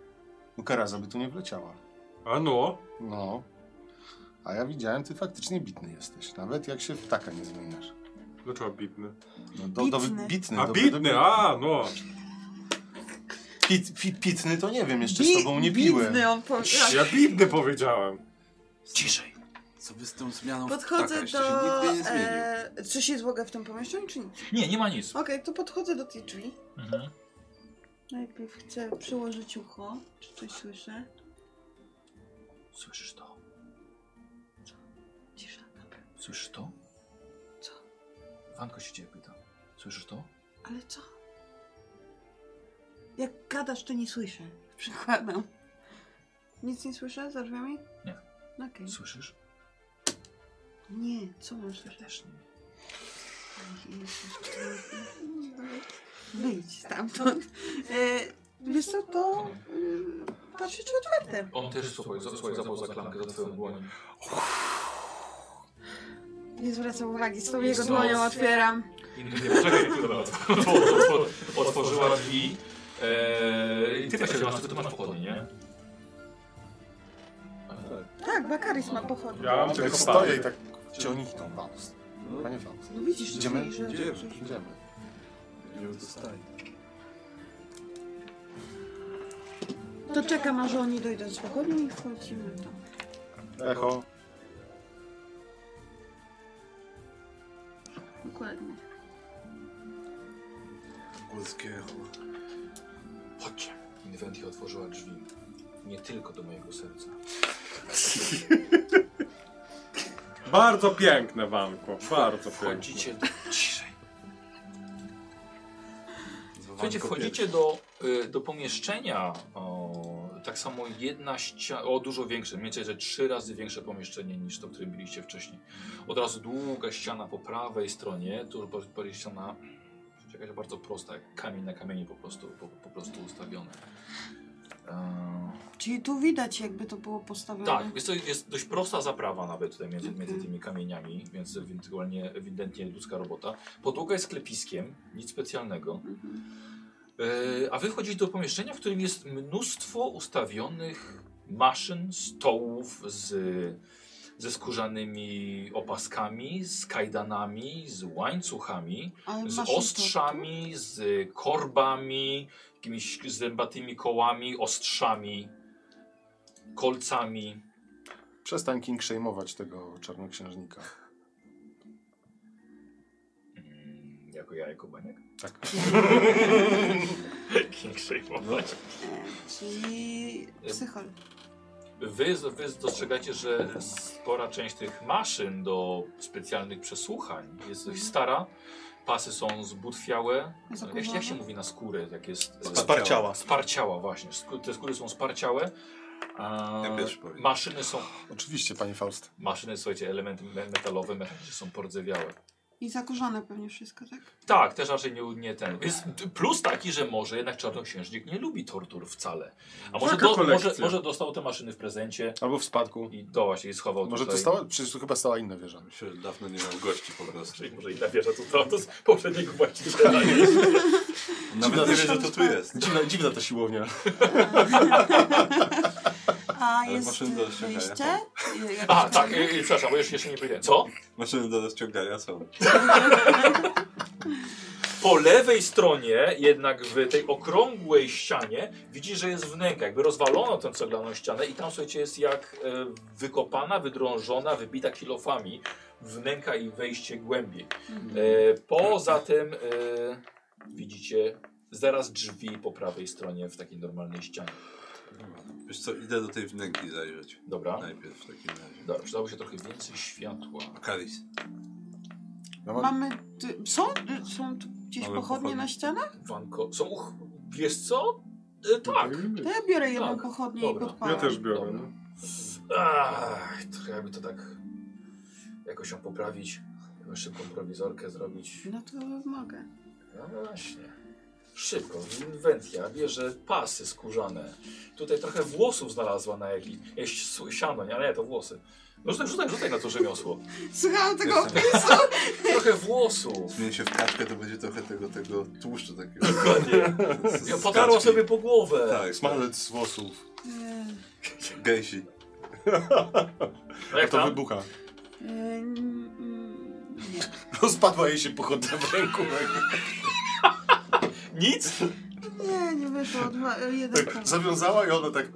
Speaker 2: Bo Karaza by tu nie wleciała.
Speaker 6: A no.
Speaker 2: No. A ja widziałem, ty faktycznie bitny jesteś. Nawet jak się w taka nie zmieniasz.
Speaker 6: Dlaczego bitny?
Speaker 2: No, do, do,
Speaker 4: Bitny.
Speaker 2: bitny.
Speaker 6: A
Speaker 2: do-
Speaker 6: bitny,
Speaker 2: do-
Speaker 6: a no.
Speaker 2: Pit, pit, pitny to nie wiem, jeszcze
Speaker 4: Bi-
Speaker 2: z tobą nie piłem.
Speaker 4: Bitny on powiedział.
Speaker 6: Ja bitny powiedziałem.
Speaker 1: Ciszej.
Speaker 8: Co wy z tą zmianą
Speaker 4: Podchodzę
Speaker 8: ptaka? No, tak, Jeszcze
Speaker 4: do...
Speaker 8: Się nigdy nie zmienił.
Speaker 4: E, czy się złoga w tym pomieszczeniu, czy nie?
Speaker 1: Nie, nie ma nic.
Speaker 4: Okej, to podchodzę do tej drzwi.
Speaker 1: Mhm.
Speaker 4: Najpierw chcę przyłożyć ucho, czy coś słyszę.
Speaker 1: Słyszysz to?
Speaker 4: Cisza, dobra.
Speaker 1: Słyszysz to?
Speaker 4: Co?
Speaker 1: Wanko się ciebie pyta. Słyszysz to?
Speaker 4: Ale co? Jak gadasz, to nie słyszę. [laughs] Przykładam. Nic nie słyszę za drzwiami?
Speaker 1: Nie.
Speaker 4: Okej.
Speaker 1: Słyszysz?
Speaker 4: Nie, co mam słyszeć?
Speaker 1: Też nie.
Speaker 4: Wyjdź stamtąd. E, wiesz co, to e, patrzę, czy otwarte.
Speaker 1: On też słuchaj, za- słuchaj zapał za klamkę za twoją dłonią. [laughs]
Speaker 4: Nie zwracam uwagi, z tą jego
Speaker 1: No.
Speaker 4: dłonią otwieram.
Speaker 1: I nie, czekaj, dobra, otw- otw- otw- otworzyła drzwi. Eee, i ty właśnie masz, tylko ty masz pochodnie, nie?
Speaker 4: Tak, Bakaris ma pochodnie.
Speaker 6: Ja mam
Speaker 2: Jak
Speaker 6: tylko
Speaker 2: stoję
Speaker 6: parę.
Speaker 2: i tak ciągnikną Faust. Panie Faust.
Speaker 4: No widzisz, że-
Speaker 2: Idziemy?
Speaker 4: że...
Speaker 8: Idziemy.
Speaker 2: Idziemy.
Speaker 4: To czekam, aż oni dojdą z pochodni i wchodzimy tam.
Speaker 2: Echo.
Speaker 4: Dokładnie.
Speaker 1: Chodźcie. Inwentia otworzyła drzwi. Nie tylko do mojego serca.
Speaker 2: tak-
Speaker 6: Bardzo piękne wanko. Bardzo piękne.
Speaker 1: Wchodzicie do... Ciszej. Słuchajcie, wchodzicie do, y, do pomieszczenia o, Tak samo jedna ściana, o dużo większe, mniej więcej, że trzy razy większe pomieszczenie niż to, w którym byliście wcześniej. Od razu długa ściana po prawej stronie, tu po- po- ściana jakaś bardzo prosta, jak kamień na kamieniu po prostu, po, po prostu ustawione. Eee,
Speaker 4: Czyli tu widać, jakby to było postawione.
Speaker 1: tak, jest, to, jest dość prosta zaprawa nawet tutaj między, między tymi kamieniami, więc ewentualnie, ewidentnie ludzka robota. Podłoga jest klepiskiem, nic specjalnego. E, a wy wchodzicie do pomieszczenia, w którym jest mnóstwo ustawionych maszyn, stołów z, ze skórzanymi opaskami, z kajdanami, z łańcuchami
Speaker 4: Ale
Speaker 1: z
Speaker 4: maszyn to
Speaker 1: ostrzami, z korbami, jakimiś zębatymi kołami, ostrzami, kolcami.
Speaker 2: Przestań King szejmować tego czarnoksiężnika.
Speaker 1: Mm, Jako ja, jako baniak?
Speaker 2: Tak.
Speaker 1: King szejmować.
Speaker 4: tu? Czyli psychol.
Speaker 1: Wy, wy dostrzegacie, że spora część tych maszyn do specjalnych przesłuchań jest dość stara. Pasy są zbutwiałe. Jak, się- jak się mówi na skórę, jak jest...
Speaker 2: Sparciała.
Speaker 1: Sparciała właśnie. Skó- Te skóry są sparciałe. A
Speaker 5: Ja pierwszy powiem.
Speaker 1: maszyny są
Speaker 2: Oczywiście, panie Faust.
Speaker 1: Maszyny, słuchajcie, elementy me- metalowe, mechanizmy są pordzewiałe.
Speaker 4: I zakurzone pewnie wszystko, tak?
Speaker 1: Tak, też raczej nie, nie ten. Jest plus taki, że może jednak Czarnoksiężnik nie lubi tortur wcale. A może,
Speaker 6: Taka
Speaker 1: do,
Speaker 6: kolekcja.
Speaker 1: może, może dostał te maszyny w prezencie
Speaker 2: Albo w spadku.
Speaker 1: i to właśnie i schował
Speaker 2: Może to
Speaker 1: tutaj.
Speaker 2: stała? Przecież to chyba stała inna wieża.
Speaker 5: Myślę, że dawno nie miał gości po prostu.
Speaker 1: Czyli może i wieża tu to, to z poprzedniego właściciela.
Speaker 5: Nawet nie wie, że to tu jest.
Speaker 2: Dziwna, dziwna ta siłownia.
Speaker 1: Tak,
Speaker 4: A
Speaker 5: Ale
Speaker 4: jest e,
Speaker 5: maszyny do ściągania
Speaker 1: [laughs]
Speaker 4: wyjście?
Speaker 1: [laughs]
Speaker 4: Jak-
Speaker 1: A, tak, y, y, przepraszam, bo jeszcze, jeszcze nie powiedziałem. Co?
Speaker 5: Maszyny do rozciągania są.
Speaker 1: Po lewej stronie, jednak w tej okrągłej ścianie, widzisz, że jest wnęka. Jakby rozwalono tę ceglaną ścianę i tam, słuchajcie, jest jak e, wykopana, wydrążona, wybita kilofami wnęka i wejście głębiej. E, poza tym e, widzicie zaraz drzwi po prawej stronie w takiej normalnej ścianie.
Speaker 5: Wiesz co, idę do tej wnęki zajrzeć.
Speaker 1: Dobra?
Speaker 5: Najpierw w takim razie.
Speaker 1: Dobra, przydało się trochę więcej światła.
Speaker 5: Akaris.
Speaker 2: Ja
Speaker 1: e,
Speaker 2: mam,
Speaker 4: Mamy. Ty, są, są tu gdzieś
Speaker 5: Mamy
Speaker 4: pochodnie,
Speaker 5: pochodnie.
Speaker 4: na ścianach?
Speaker 1: Wanko, są uch... Wiesz co? E, tak.
Speaker 4: To ja biorę jedną
Speaker 1: Tak,
Speaker 4: pochodnię
Speaker 1: dobra.
Speaker 4: i
Speaker 6: Ja
Speaker 4: podpalam.
Speaker 6: też biorę.
Speaker 1: Dobra.
Speaker 6: No.
Speaker 1: Ach, trochę by to tak jakoś ją poprawić. Jakąś szybką prowizorkę zrobić.
Speaker 4: No to mogę.
Speaker 1: No właśnie. Szybko, inwentia, bierze pasy skórzane. Tutaj trochę włosów znalazła na jakiś jakieś su- siano, nie, ale nie, to włosy. No rzucaj, rzucaj, rzucaj na to rzemiosło.
Speaker 4: Słuchałam tego
Speaker 5: Jestem.
Speaker 4: opisu.
Speaker 1: Trochę włosów.
Speaker 5: Zmieni się w kaczkę, to będzie trochę tego, tego tłuszczu takiego. [laughs]
Speaker 1: Dokładnie.
Speaker 5: Z- z-
Speaker 1: Ja
Speaker 5: z
Speaker 1: potarła
Speaker 5: kaczki.
Speaker 1: sobie po głowę.
Speaker 5: Tak,
Speaker 2: smalec z włosów.
Speaker 4: Nie.
Speaker 5: gęsi.
Speaker 1: A jak
Speaker 2: To
Speaker 1: tam?
Speaker 2: wybucha.
Speaker 4: Yy, mm, nie.
Speaker 2: Rozpadła jej się pochodna w ręku.
Speaker 1: Nic?
Speaker 4: Nie, nie wyszło. Dwa, jeden
Speaker 2: Tak,
Speaker 4: punkt.
Speaker 2: zawiązała i ona tak...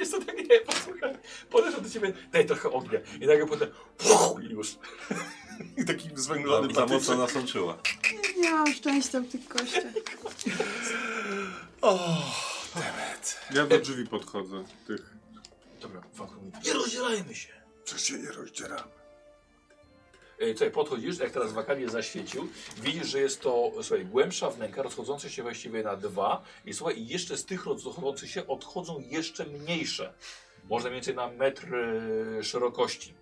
Speaker 1: Jest to tak, nie, posłuchaj. Podeszła do ciebie, daj trochę ognia. I nagle potem, puch, i już.
Speaker 2: I taki zwęglony
Speaker 5: Za mocno
Speaker 2: patyczek.
Speaker 5: nasączyła.
Speaker 4: Nie miałam szczęścia w tych kościach.
Speaker 6: Ja do drzwi podchodzę. Tych.
Speaker 1: Dobra, Wanko mówi, nie rozdzielajmy się.
Speaker 2: Przecież się nie rozdziera.
Speaker 1: E, Tutaj podchodzisz, jak teraz wakalię zaświecił, widzisz, że jest to, słuchaj, głębsza wnęka, rozchodząca się właściwie na dwa i słuchaj, i jeszcze z tych rozchodzących się odchodzą jeszcze mniejsze. Można mniej więcej na metr e, szerokości.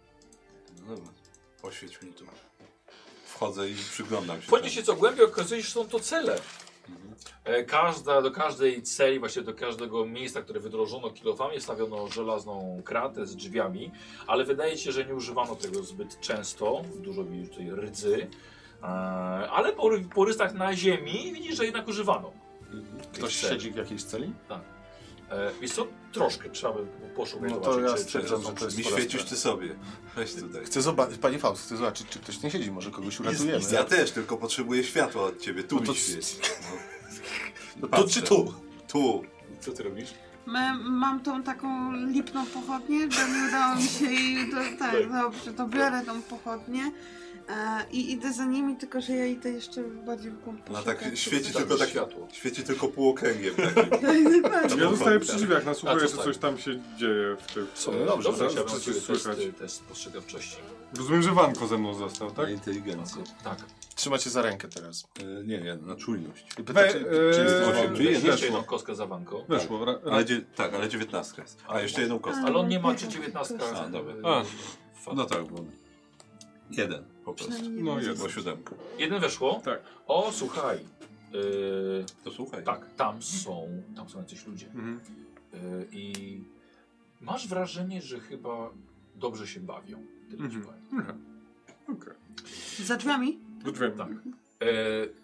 Speaker 5: No dobra, poświeć mi tu. Wchodzę i przyglądam się.
Speaker 1: Wchodzisz się co głębiej, okazuje się, że są to cele. E, Każda, do każej celi, właściwie do każdego miejsca, które wydrożono kilofami, stawiono żelazną kratę z drzwiami, ale wydaje się, że nie używano tego zbyt często. Dużo widzisz tutaj rdzy, e, ale po, ry- po rysach na ziemi widzisz, że jednak używano.
Speaker 2: Ktoś
Speaker 1: Cel.
Speaker 2: siedzi w jakiejś celi?
Speaker 1: E, Wiesz co, troszkę trzeba by poszukać.
Speaker 2: No to
Speaker 1: zobaczyć,
Speaker 2: ja
Speaker 1: czy- czy
Speaker 2: stwierdzam,
Speaker 1: są
Speaker 2: że to jest
Speaker 5: Mi
Speaker 1: przy-
Speaker 5: świecisz ty sobie. Weź tutaj.
Speaker 2: Chcę zobaczyć, panie Faust, chcę zobaczyć, czy ktoś nie siedzi, może kogoś uratujemy.
Speaker 5: Ja też, tylko potrzebuję światła od ciebie. Tu
Speaker 2: No to-
Speaker 5: mi świeć.
Speaker 2: [laughs]
Speaker 5: No.
Speaker 2: Tu czy tu?
Speaker 5: Tu. No
Speaker 1: Co ty robisz?
Speaker 4: Ma- Mam tą taką
Speaker 5: Tak.
Speaker 4: lipną pochodnię, że nie udało mi się jej do, tak, dobrze, to biorę tą pochodnię. E, E, I idę za nimi, tylko że ja idę jeszcze bardziej w głąb
Speaker 5: Ona
Speaker 4: poszukać,
Speaker 5: tak
Speaker 4: czy
Speaker 5: świeci
Speaker 4: coś-
Speaker 5: tylko tak
Speaker 1: światło.
Speaker 5: Świeci tylko
Speaker 2: [laughs]
Speaker 5: półokręgiem takim.
Speaker 2: Tak?
Speaker 4: Tak,
Speaker 6: Ja zostaję przy
Speaker 5: Tak.
Speaker 6: drzwiach, nasłuchuję,
Speaker 1: A,
Speaker 6: że
Speaker 1: co
Speaker 6: coś tam się dzieje w tych...
Speaker 1: Co, no dobrze, dobrze,
Speaker 6: Zaraz
Speaker 1: chciałbym
Speaker 6: coś
Speaker 1: sobie
Speaker 6: słychać.
Speaker 1: test, test spostrzegawczości.
Speaker 6: Rozumiem, że Wanko ze mną został, tak?
Speaker 5: Na inteligencję.
Speaker 1: Tak.
Speaker 2: Trzyma cię za rękę teraz.
Speaker 5: E, Nie, nie, na czujność.
Speaker 2: I pyta,
Speaker 6: We,
Speaker 2: czy,
Speaker 6: e,
Speaker 2: czy jest
Speaker 5: Osiem,
Speaker 2: wolny.
Speaker 5: czyli jest no.
Speaker 1: Jeszcze
Speaker 5: weszło.
Speaker 1: jedną kostkę za Wanko.
Speaker 6: Weszło. ra- ra-
Speaker 5: Ale dzie- tak, ale dziewiętnastka jest. A, jeszcze jedną kostkę.
Speaker 1: Ale on nie ma Y, czy 19.
Speaker 5: A, dobra.
Speaker 6: A.
Speaker 5: No tak, bo... Jeden po prostu.
Speaker 6: No jest.
Speaker 5: Bo siódemka.
Speaker 1: Jeden weszło.
Speaker 6: Tak.
Speaker 1: O, słuchaj. Yy,
Speaker 5: To słuchaj.
Speaker 1: tak, tam są, tam są jacyś ludzie.
Speaker 6: Mhm.
Speaker 1: Yy, I masz wrażenie, że chyba dobrze się bawią. Tyle ci
Speaker 6: Mhm.
Speaker 1: powiem.
Speaker 6: Okej.
Speaker 4: Za drzwiami?
Speaker 6: Good wiem.
Speaker 1: Tak.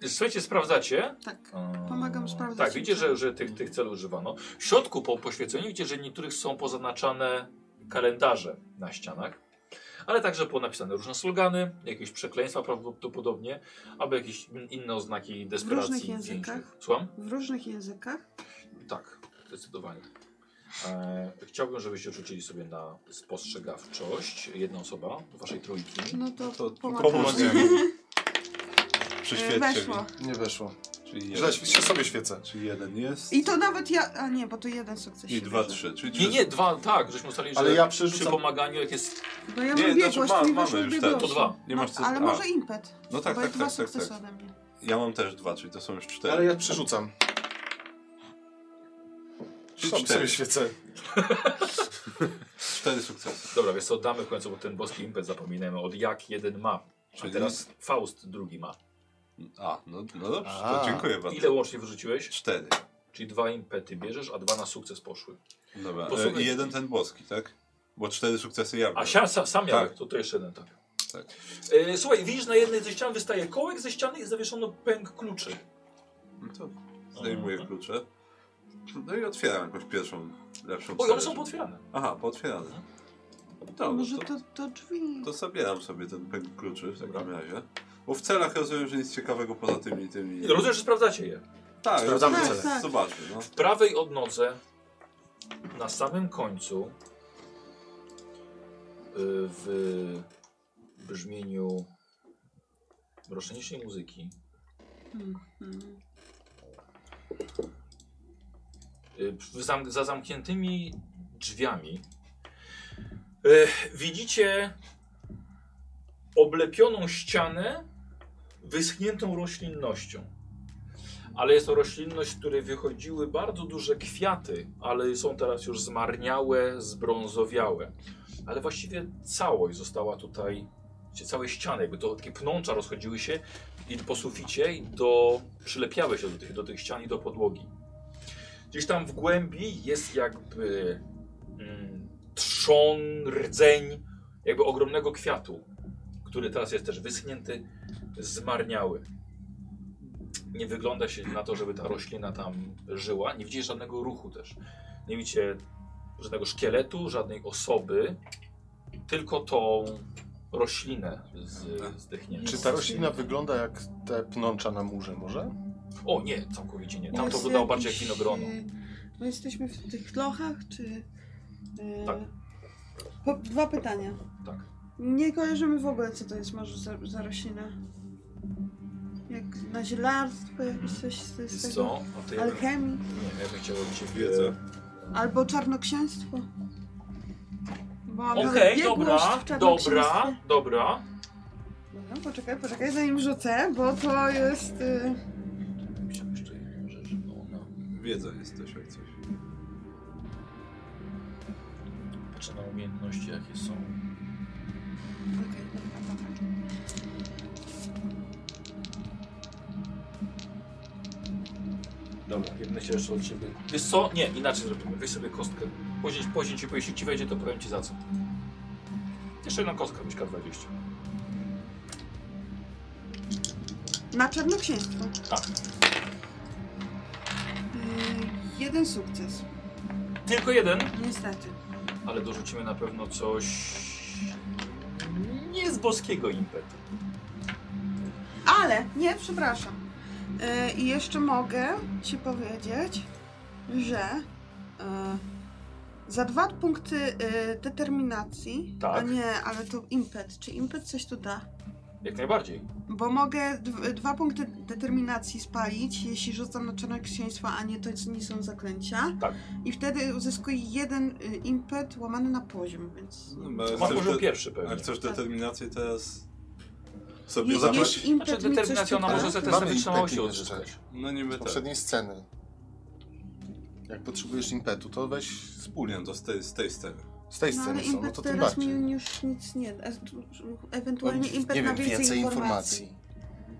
Speaker 1: Yy, słuchajcie, sprawdzacie.
Speaker 4: Tak.
Speaker 1: Eee,
Speaker 4: Pomagam sprawdzać.
Speaker 1: Tak, widzicie, że, że tych, tych cel używano. W środku po poświeceniu widzicie, że niektórych są pozaznaczane kalendarze na ścianach, ale także ponapisane różne slogany, jakieś przekleństwa prawdopodobnie, albo jakieś in- inne oznaki desperacji.
Speaker 4: różnych
Speaker 1: więźniów.
Speaker 4: językach?
Speaker 1: Słucham?
Speaker 4: W różnych językach.
Speaker 1: Tak, zdecydowanie. Eee, chciałbym, żebyście rzucili sobie na spostrzegawczość. Jedna osoba, waszej trójki.
Speaker 4: No to,
Speaker 5: To
Speaker 4: pomagam.
Speaker 5: pomóż mi.
Speaker 2: [laughs]
Speaker 5: Przyświetlcie mi.
Speaker 4: Weszło.
Speaker 2: Nie weszło.
Speaker 5: Czyli
Speaker 2: Źle,
Speaker 5: jeden,
Speaker 2: się sobie świecę.
Speaker 5: czyli jeden jest.
Speaker 4: I to nawet ja... A nie, bo to jeden sukces
Speaker 5: I
Speaker 4: się
Speaker 5: dwa,
Speaker 4: bierze.
Speaker 5: trzy. Czyli
Speaker 1: Nie,
Speaker 5: trzy.
Speaker 1: nie, dwa, tak, żeśmy ustalili, że
Speaker 2: Ale ja
Speaker 1: przy
Speaker 2: przerzucam.
Speaker 1: pomaganiu, jak jest
Speaker 4: Bo ja
Speaker 5: Nie, znaczy
Speaker 4: mam biegłość,
Speaker 5: ma-
Speaker 4: mi
Speaker 5: mamy
Speaker 4: weszło
Speaker 5: już te-
Speaker 1: to
Speaker 4: biegłość.
Speaker 1: dwa.
Speaker 5: Nie masz co...
Speaker 4: No, Ale
Speaker 5: a,
Speaker 4: może impet.
Speaker 5: No tak,
Speaker 4: bo
Speaker 5: tak,
Speaker 4: dwa
Speaker 5: tak, tak,
Speaker 4: sukcesy
Speaker 5: tak.
Speaker 4: ode mnie.
Speaker 5: Ja mam też dwa, czyli to są już cztery.
Speaker 2: Ale ja przerzucam.
Speaker 5: Czyli
Speaker 2: Sam
Speaker 5: cztery.
Speaker 2: sobie świecę.
Speaker 5: Cztery sukcesy.
Speaker 1: Dobra, więc to damy w końcu, bo ten boski impet zapominamy, od jak jeden ma. A
Speaker 5: Czyli
Speaker 1: teraz Faust drugi ma.
Speaker 5: A, no, no dobrze,
Speaker 2: A.
Speaker 5: to dziękuję bardzo.
Speaker 1: Ile łącznie wyrzuciłeś?
Speaker 5: Cztery.
Speaker 1: Czyli dwa impety bierzesz, a dwa na sukces poszły.
Speaker 5: Dobra. e,
Speaker 1: Posłuchaj.
Speaker 5: I jeden ten boski, tak? Bo cztery sukcesy ja
Speaker 1: A
Speaker 5: miałem.
Speaker 1: sam, sam, sam
Speaker 5: Tak.
Speaker 1: miałeś, to, to jeszcze jeden tak.
Speaker 5: Tak.
Speaker 1: E, słuchaj, widzisz na jednej ze ścian wystaje kołek ze ściany i zawieszono pęk kluczy.
Speaker 5: No to zdejmuję klucze. No i otwieram jakąś pierwszą, lepszą
Speaker 1: Oj, one
Speaker 5: cenę,
Speaker 1: są
Speaker 5: żeby-
Speaker 1: pootwierane.
Speaker 5: Aha, pootwierane. Dobrze,
Speaker 4: Może
Speaker 5: No, to,
Speaker 4: to, to drzwi.
Speaker 5: to zabieram sobie ten pęk kluczy w takim razie. Bo w celach rozumiem, że nic ciekawego poza tymi... tymi...
Speaker 1: Rozumiem, że sprawdzacie je.
Speaker 5: Tak,
Speaker 2: Sprawdzamy
Speaker 5: tak,
Speaker 2: cele.
Speaker 5: tak. Zobaczmy, no.
Speaker 1: W prawej odnodze, na samym końcu, y, w brzmieniu mroczniejszej muzyki,
Speaker 4: Mhm.
Speaker 1: y, w zam za zamkniętymi drzwiami y, widzicie oblepioną ścianę wyschniętą roślinnością. Ale jest to roślinność, z której wychodziły bardzo duże kwiaty, ale są teraz już zmarniałe, zbrązowiałe. Ale właściwie całość została tutaj, gdzie całe ściany, jakby to takie pnącza rozchodziły się i po suficie i do, przylepiały się do tych, do tych ścian i do podłogi. Gdzieś tam w głębi jest jakby mm, trzon, rdzeń, jakby ogromnego kwiatu, który teraz jest też wyschnięty, zmarniały. Nie wygląda się na to, żeby ta roślina tam żyła. Nie widzicie żadnego ruchu też. Nie widzicie żadnego szkieletu, żadnej osoby, tylko tą roślinę z, zdechniętą.
Speaker 2: Czy ta roślina wygląda jak te pnącza na murze może?
Speaker 1: O nie, całkowicie nie. Tam to
Speaker 4: Jest
Speaker 1: wyglądało bardziej jak
Speaker 4: jakiś,
Speaker 1: winogrono.
Speaker 4: y, My jesteśmy w tych lochach, czy... y,
Speaker 1: Tak.
Speaker 4: Po, dwa pytania.
Speaker 1: Tak.
Speaker 4: Nie kojarzymy w ogóle, co to jest może za, za roślina. Jak na zielarstwo, jakieś coś z,
Speaker 1: Wiesz
Speaker 4: z tego.
Speaker 1: co? A to ja bym,
Speaker 4: Alchemii,
Speaker 1: nie, ja bym chciał robić
Speaker 5: Wiedzę.
Speaker 4: albo czarnoksięstwo. Bo mam
Speaker 1: Okej,
Speaker 4: biegłość
Speaker 1: dobra,
Speaker 4: w czarnoksięstwie.
Speaker 1: dobra, dobra.
Speaker 4: Dobra, poczekaj, poczekaj, zanim rzucę, bo to jest... Y...
Speaker 1: Myślałem jeszcze jedną rzecz, no ona...
Speaker 5: Wiedza jest też jak coś.
Speaker 1: Patrzę na umiejętności jakie są.
Speaker 4: Okej, dobra, dobra.
Speaker 1: Dobra, jedno się jeszcze od ciebie. Wiesz co? Nie, inaczej zrobimy. Weź sobie kostkę. Później, później ci, jeśli ci wejdzie, to powiem ci za co. Jeszcze jedną kostkę, byś K20.
Speaker 4: Na czarnoksięstwo.
Speaker 1: Tak.
Speaker 4: Y, jeden sukces,
Speaker 1: Tylko jeden,
Speaker 4: niestety.
Speaker 1: ale dorzucimy na pewno coś... Nie z boskiego impetu.
Speaker 4: Ale, nie, przepraszam. Y, I jeszcze mogę Ci powiedzieć, że y, za dwa punkty y, determinacji,
Speaker 1: Tak.
Speaker 4: a nie, ale to impet, czy impet coś tu da?
Speaker 1: Jak najbardziej.
Speaker 4: Bo mogę dw- dwa punkty determinacji spalić, jeśli rzucam na czarne księstwa, a nie to nie są zaklęcia.
Speaker 1: Tak.
Speaker 4: I wtedy uzyskuję jeden y, impet łamany na poziom, więc...
Speaker 5: No,
Speaker 1: Masz poziom pierwszy
Speaker 5: A
Speaker 1: pewnie.
Speaker 5: chcesz
Speaker 4: Tak.
Speaker 5: determinację teraz
Speaker 4: Je,
Speaker 5: sobie zacząć?
Speaker 4: jeśli impet
Speaker 1: Znaczy
Speaker 4: mi coś
Speaker 1: determinacją na
Speaker 4: tu da-
Speaker 1: może
Speaker 2: Mamy
Speaker 1: testem
Speaker 2: impety
Speaker 1: wytrzymałości
Speaker 2: i
Speaker 1: odzyskać.
Speaker 2: rzeczy.
Speaker 5: No niby
Speaker 2: Z
Speaker 5: tak.
Speaker 2: poprzedniej sceny. Jak potrzebujesz impetu, to weź
Speaker 5: Wspólnie to z tej, z tej sceny.
Speaker 2: z tej
Speaker 4: No ale
Speaker 2: sceny są, no
Speaker 4: impet
Speaker 2: to tym
Speaker 4: teraz
Speaker 2: bardziej.
Speaker 4: mi już nic nie da. Z- Ewentualnie impet
Speaker 2: nie
Speaker 4: na
Speaker 2: wiem,
Speaker 4: więcej, informacji.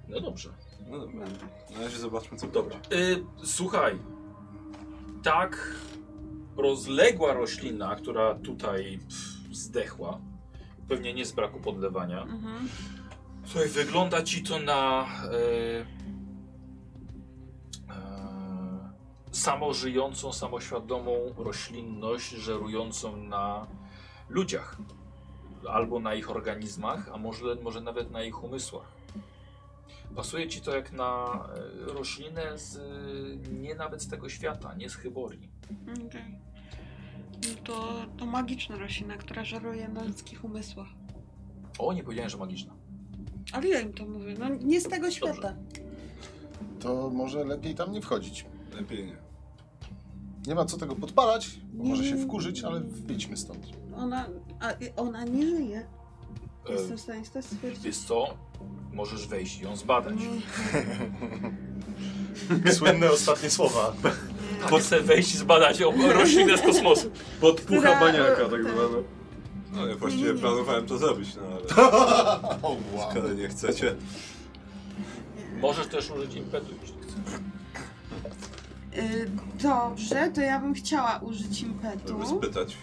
Speaker 1: No dobrze.
Speaker 5: No dobra. Na razie zobaczmy co
Speaker 1: Dobra.
Speaker 5: będzie.
Speaker 1: Y, słuchaj. Tak rozległa roślina, która tutaj pff, zdechła, pewnie nie z braku podlewania.
Speaker 4: Mhm.
Speaker 1: Słuchaj, wygląda ci to na e, e, samożyjącą, samoświadomą roślinność żerującą na ludziach. Albo na ich organizmach, a może, może nawet na ich umysłach. Pasuje ci to jak na e, roślinę z, e, nie nawet z tego świata, nie z Chyborii.
Speaker 4: Okej. No to, to magiczna roślina, która żaruje na ludzkich umysłach.
Speaker 1: O, nie powiedziałem, że magiczna.
Speaker 4: Ale ja im to mówię, no nie z tego świata.
Speaker 2: To może lepiej tam nie wchodzić.
Speaker 5: Lepiej nie.
Speaker 2: Nie ma co tego podpalać, bo
Speaker 4: Nie,
Speaker 2: może się
Speaker 4: nie,
Speaker 2: wkurzyć,
Speaker 4: nie,
Speaker 2: ale
Speaker 4: nie.
Speaker 2: wyjdźmy stąd.
Speaker 4: Ona, a, y, ona nie żyje.
Speaker 1: E,
Speaker 4: Jestem w stanie to stwierdzić.
Speaker 1: wiesz co? Możesz wejść i ją zbadać.
Speaker 2: Słynne ostatnie słowa.
Speaker 1: Po chcę wejść i zbadać ją, roślinę z kosmosu.
Speaker 6: Podpucha
Speaker 4: Która-
Speaker 6: baniaka tak
Speaker 4: tak.
Speaker 6: zwana.
Speaker 5: No ja
Speaker 4: Nie,
Speaker 5: właściwie
Speaker 4: nie.
Speaker 5: planowałem to zrobić, no ale
Speaker 2: O, wow.
Speaker 5: skoro nie chcecie.
Speaker 1: Możesz też użyć impetu, jeśli chcesz.
Speaker 4: Y, dobrze, to ja bym chciała użyć
Speaker 5: Żeby
Speaker 4: impetu.
Speaker 5: spytać.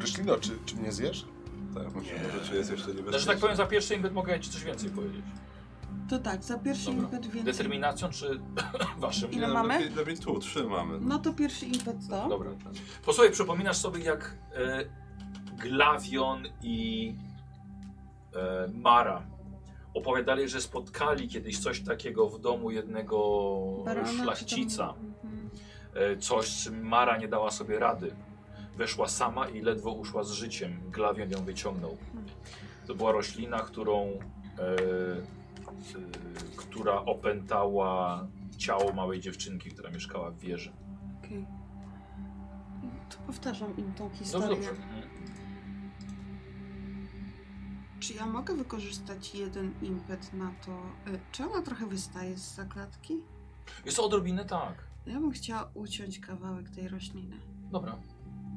Speaker 2: Roślino, czy, czy mnie zjesz?
Speaker 5: Tak, może, może czy jest jeszcze
Speaker 1: No, że
Speaker 5: niebezpieczne.
Speaker 1: tak powiem, za pierwszy impet mogę ci coś więcej powiedzieć.
Speaker 4: Mhm. To tak, za pierwszy
Speaker 1: Dobra.
Speaker 4: impet więcej.
Speaker 1: Determinacją czy [clears throat] waszym?
Speaker 4: Ile
Speaker 5: no,
Speaker 4: mamy?
Speaker 5: Lepiej, lepiej tu, trzy mamy.
Speaker 4: No to pierwszy impet to.
Speaker 1: Dobra. Posłuchaj, przypominasz sobie jak e, Glavion i e, Mara opowiadali, że spotkali kiedyś coś takiego w domu jednego
Speaker 4: Barona, czy tam-
Speaker 1: szlachcica.
Speaker 4: Mhm.
Speaker 1: E, Coś, z czym Mara nie dała sobie rady. Weszła sama i ledwo uszła z życiem. Glawion ją wyciągnął. To była roślina, którą, e, e, która opętała ciało małej dziewczynki, która mieszkała w wieży.
Speaker 4: Okej. To powtarzam im tą
Speaker 1: Dobrze,
Speaker 4: historię.
Speaker 1: No dobrze.
Speaker 4: Czy ja mogę wykorzystać jeden impet na to? Y, Czy ona trochę wystaje z zakładki?
Speaker 1: Jest to odrobinę tak.
Speaker 4: Ja bym chciała uciąć kawałek tej rośliny.
Speaker 1: Dobra.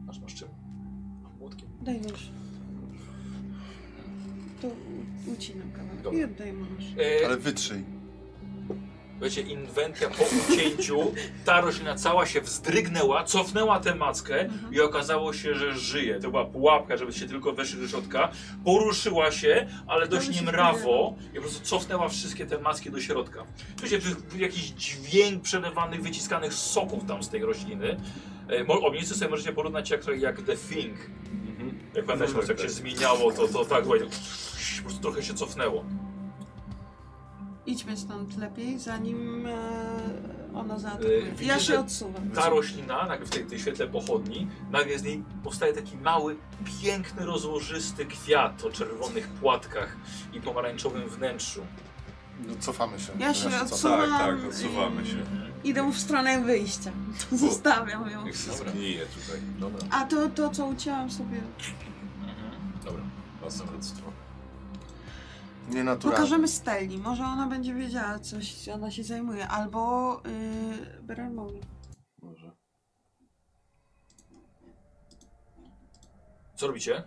Speaker 1: Masz masz czym? A, Młotkiem.
Speaker 4: Daj nóż. To u- ucinam kawałek
Speaker 1: Dobra.
Speaker 4: i oddaję mu nóż.
Speaker 1: E,
Speaker 2: Ale wytrzyj.
Speaker 1: Wiecie, inwencja po ucięciu, ta roślina cała się wzdrygnęła, cofnęła tę mackę
Speaker 4: Mhm.
Speaker 1: i okazało się, że żyje. To była pułapka, żeby się tylko weszli do środka. Poruszyła się, ale dość
Speaker 4: mi się
Speaker 1: niemrawo i po prostu cofnęła wszystkie te macki do środka. Słyszycie wy- jakiś dźwięk przelewanych, wyciskanych soków tam z tej rośliny. E, mo- Obnicy sobie możecie porównać jak, jak The Thing.
Speaker 2: Mhm.
Speaker 1: Jak
Speaker 2: No
Speaker 1: pamiętacie,
Speaker 2: tak,
Speaker 1: jak się zmieniało, to, to tak właśnie po prostu trochę się cofnęło.
Speaker 4: Idźmy stąd lepiej, zanim e, ona
Speaker 1: Y,
Speaker 4: zaatakuje.
Speaker 1: widzicie,
Speaker 4: ja się
Speaker 1: że-
Speaker 4: odsuwam.
Speaker 1: ta roślina, nagle w tej, tej świetle pochodni, nagle z niej powstaje taki mały, piękny, rozłożysty kwiat o czerwonych płatkach i pomarańczowym wnętrzu.
Speaker 2: No, cofamy się. Znaczy,
Speaker 4: Ja się
Speaker 2: Teraz
Speaker 4: odsuwam.
Speaker 5: Tak, tak, odsuwamy się.
Speaker 4: I, idę w stronę wyjścia. [laughs] Zostawiam ją.
Speaker 5: Niech się
Speaker 1: Dobra.
Speaker 5: zgnije tutaj.
Speaker 1: Dobra.
Speaker 4: A to, to co ucięłam sobie.
Speaker 1: Dobra.
Speaker 5: Pasorectwo.
Speaker 2: Nienaturalnie.
Speaker 4: Pokażemy Steli. Może ona będzie wiedziała, coś ona się zajmuje. Albo yy, Beremowi.
Speaker 5: Może.
Speaker 1: Co robicie?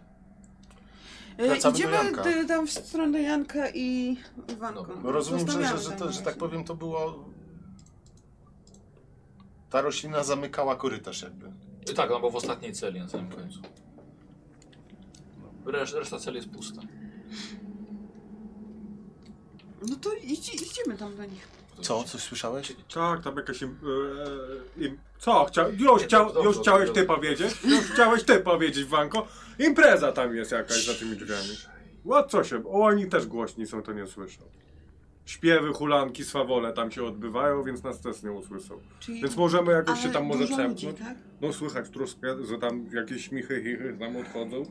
Speaker 4: E,
Speaker 2: Wracamy do
Speaker 4: Idziemy
Speaker 2: Janka.
Speaker 4: d- tam w stronę Janka i Iwanko.
Speaker 1: Dobra.
Speaker 2: No rozumiem, że, że,
Speaker 4: Zostawiamy
Speaker 2: że,
Speaker 4: ten
Speaker 2: to, że tak
Speaker 4: razie.
Speaker 2: powiem, to było... Ta roślina zamykała korytarz jakby.
Speaker 1: E, Tak, no bo w ostatniej celi na samym końcu. Resz, reszta celi jest pusta.
Speaker 4: No to idź, idźmy tam do nich.
Speaker 2: Co? Coś słyszałeś?
Speaker 6: Tak, tam jakaś... Im, e, im, co? Chcia, już, chcia, już chciałeś ty powiedzieć? Już chciałeś ty powiedzieć, Wanko? Impreza tam jest jakaś za tymi drzwiami. O, co się... O, oni też głośni są, to nie słyszą. Śpiewy, hulanki, swawole tam się odbywają, więc nas też nie usłyszą.
Speaker 4: Czyli...
Speaker 6: Więc możemy jakoś się
Speaker 4: Ale
Speaker 6: tam może
Speaker 4: dużo ludzi,
Speaker 6: przemknąć.
Speaker 4: tak? Mhm.
Speaker 6: No słychać troszkę, że tam jakieś michy, chichy tam odchodzą.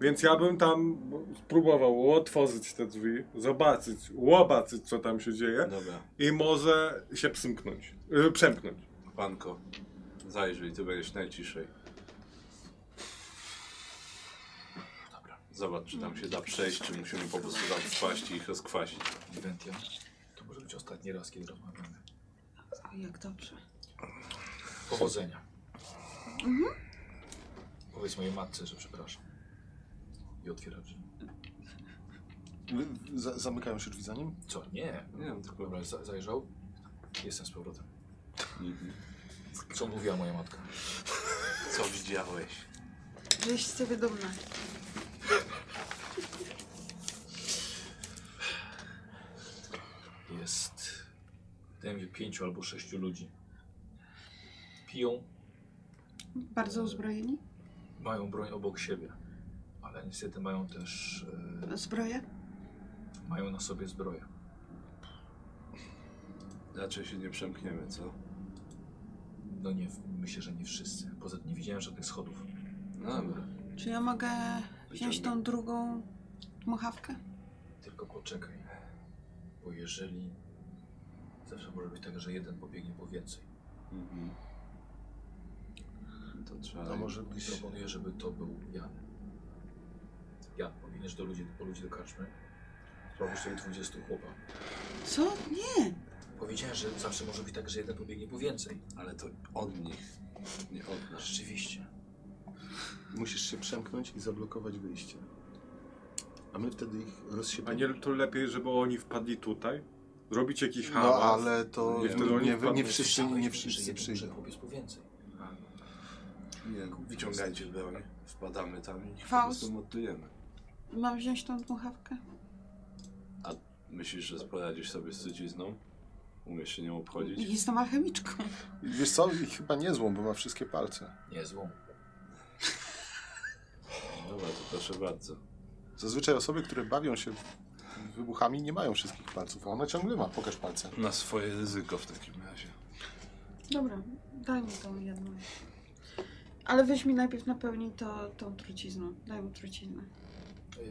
Speaker 6: Więc ja bym tam spróbował otworzyć te drzwi, zobaczyć, łobaczyć co tam się dzieje
Speaker 5: Dobra,
Speaker 6: i może się przymknąć, y, przemknąć.
Speaker 5: panko, zajrzyj, ty będziesz najciszej. Dobra, zobacz, czy tam się da przejść, czy musimy po prostu tam wpaść i ich rozkwasić.
Speaker 1: Eventia. To może być ostatni raz, kiedy rozmawiamy.
Speaker 4: Jak dobrze.
Speaker 1: Powodzenia. Powiedz mojej matce, że przepraszam. I otwiera drzwi.
Speaker 2: Wy- za- Zamykają się drzwi za nim?
Speaker 1: Co? Nie.
Speaker 5: Nie wiem, tylko
Speaker 1: Dobra, za- zajrzał. Jestem z powrotem. Co mówiła moja matka?
Speaker 5: co widziałeś?
Speaker 4: Żeś z ciebie dumna.
Speaker 1: Jest, wydaje mi się, pięciu albo sześciu ludzi. Piją,
Speaker 4: Bardzo uzbrojeni?
Speaker 1: mają broń obok siebie, ale niestety mają też,
Speaker 4: Zbroje?
Speaker 1: e, mają na sobie zbroję.
Speaker 5: Raczej się nie przemkniemy, co?
Speaker 1: No nie, myślę, że nie wszyscy. Poza tym nie widziałem żadnych schodów.
Speaker 5: No dobra,
Speaker 4: Czy ja mogę wziąć tą drugą dmuchawkę?
Speaker 1: Tylko poczekaj, bo jeżeli... Zawsze może być tak, że jeden pobiegnie po więcej.
Speaker 5: Mhm. To trzeba...
Speaker 2: To może
Speaker 1: I
Speaker 2: być...
Speaker 1: proponuję, żeby to był Jan. Jan, pobiegniesz do ludzi, po ludzi do karczmy. Zrobisz sobie 20 chłopa.
Speaker 4: Co? Nie!
Speaker 1: Powiedziałem, że zawsze może być tak, że jeden pobiegnie po więcej.
Speaker 5: Ale to od nich, nie od nas.
Speaker 1: Rzeczywiście.
Speaker 2: Musisz się przemknąć i zablokować wyjście. A my wtedy ich
Speaker 6: A
Speaker 2: rozsiepiemy.
Speaker 6: nie to lepiej, żeby oni wpadli tutaj? Robić jakiś
Speaker 2: No
Speaker 6: hałas?
Speaker 2: ale to
Speaker 6: Nie,
Speaker 2: nie,
Speaker 6: no,
Speaker 2: nie,
Speaker 6: nie
Speaker 2: nie wszyscy,
Speaker 1: Słyszałeś, że
Speaker 2: nie wszyscy
Speaker 1: jeden
Speaker 2: przyjdą.
Speaker 1: może pobiec po więcej.
Speaker 5: Nie, no, wyciągajcie broń, wpadamy tam i ich po
Speaker 4: Faust.
Speaker 5: prostu mordujemy.
Speaker 4: Mam wziąć tą dmuchawkę?
Speaker 5: Myślisz, że poradzisz sobie z trucizną? Umiesz się nią obchodzić?
Speaker 4: Jestem alchemiczką.
Speaker 2: Wiesz co, I chyba nie złą, bo ma wszystkie palce.
Speaker 1: Nie, złą.
Speaker 5: Dobra, to proszę bardzo.
Speaker 2: Zazwyczaj osoby, które bawią się w- wybuchami, nie mają wszystkich palców, a ona ciągle ma. Pokaż palce.
Speaker 5: Na swoje ryzyko w takim razie.
Speaker 4: Dobra, daj mi tą jedną. Ale weź mi najpierw napełnij to, tą trucizną. Daj mu truciznę.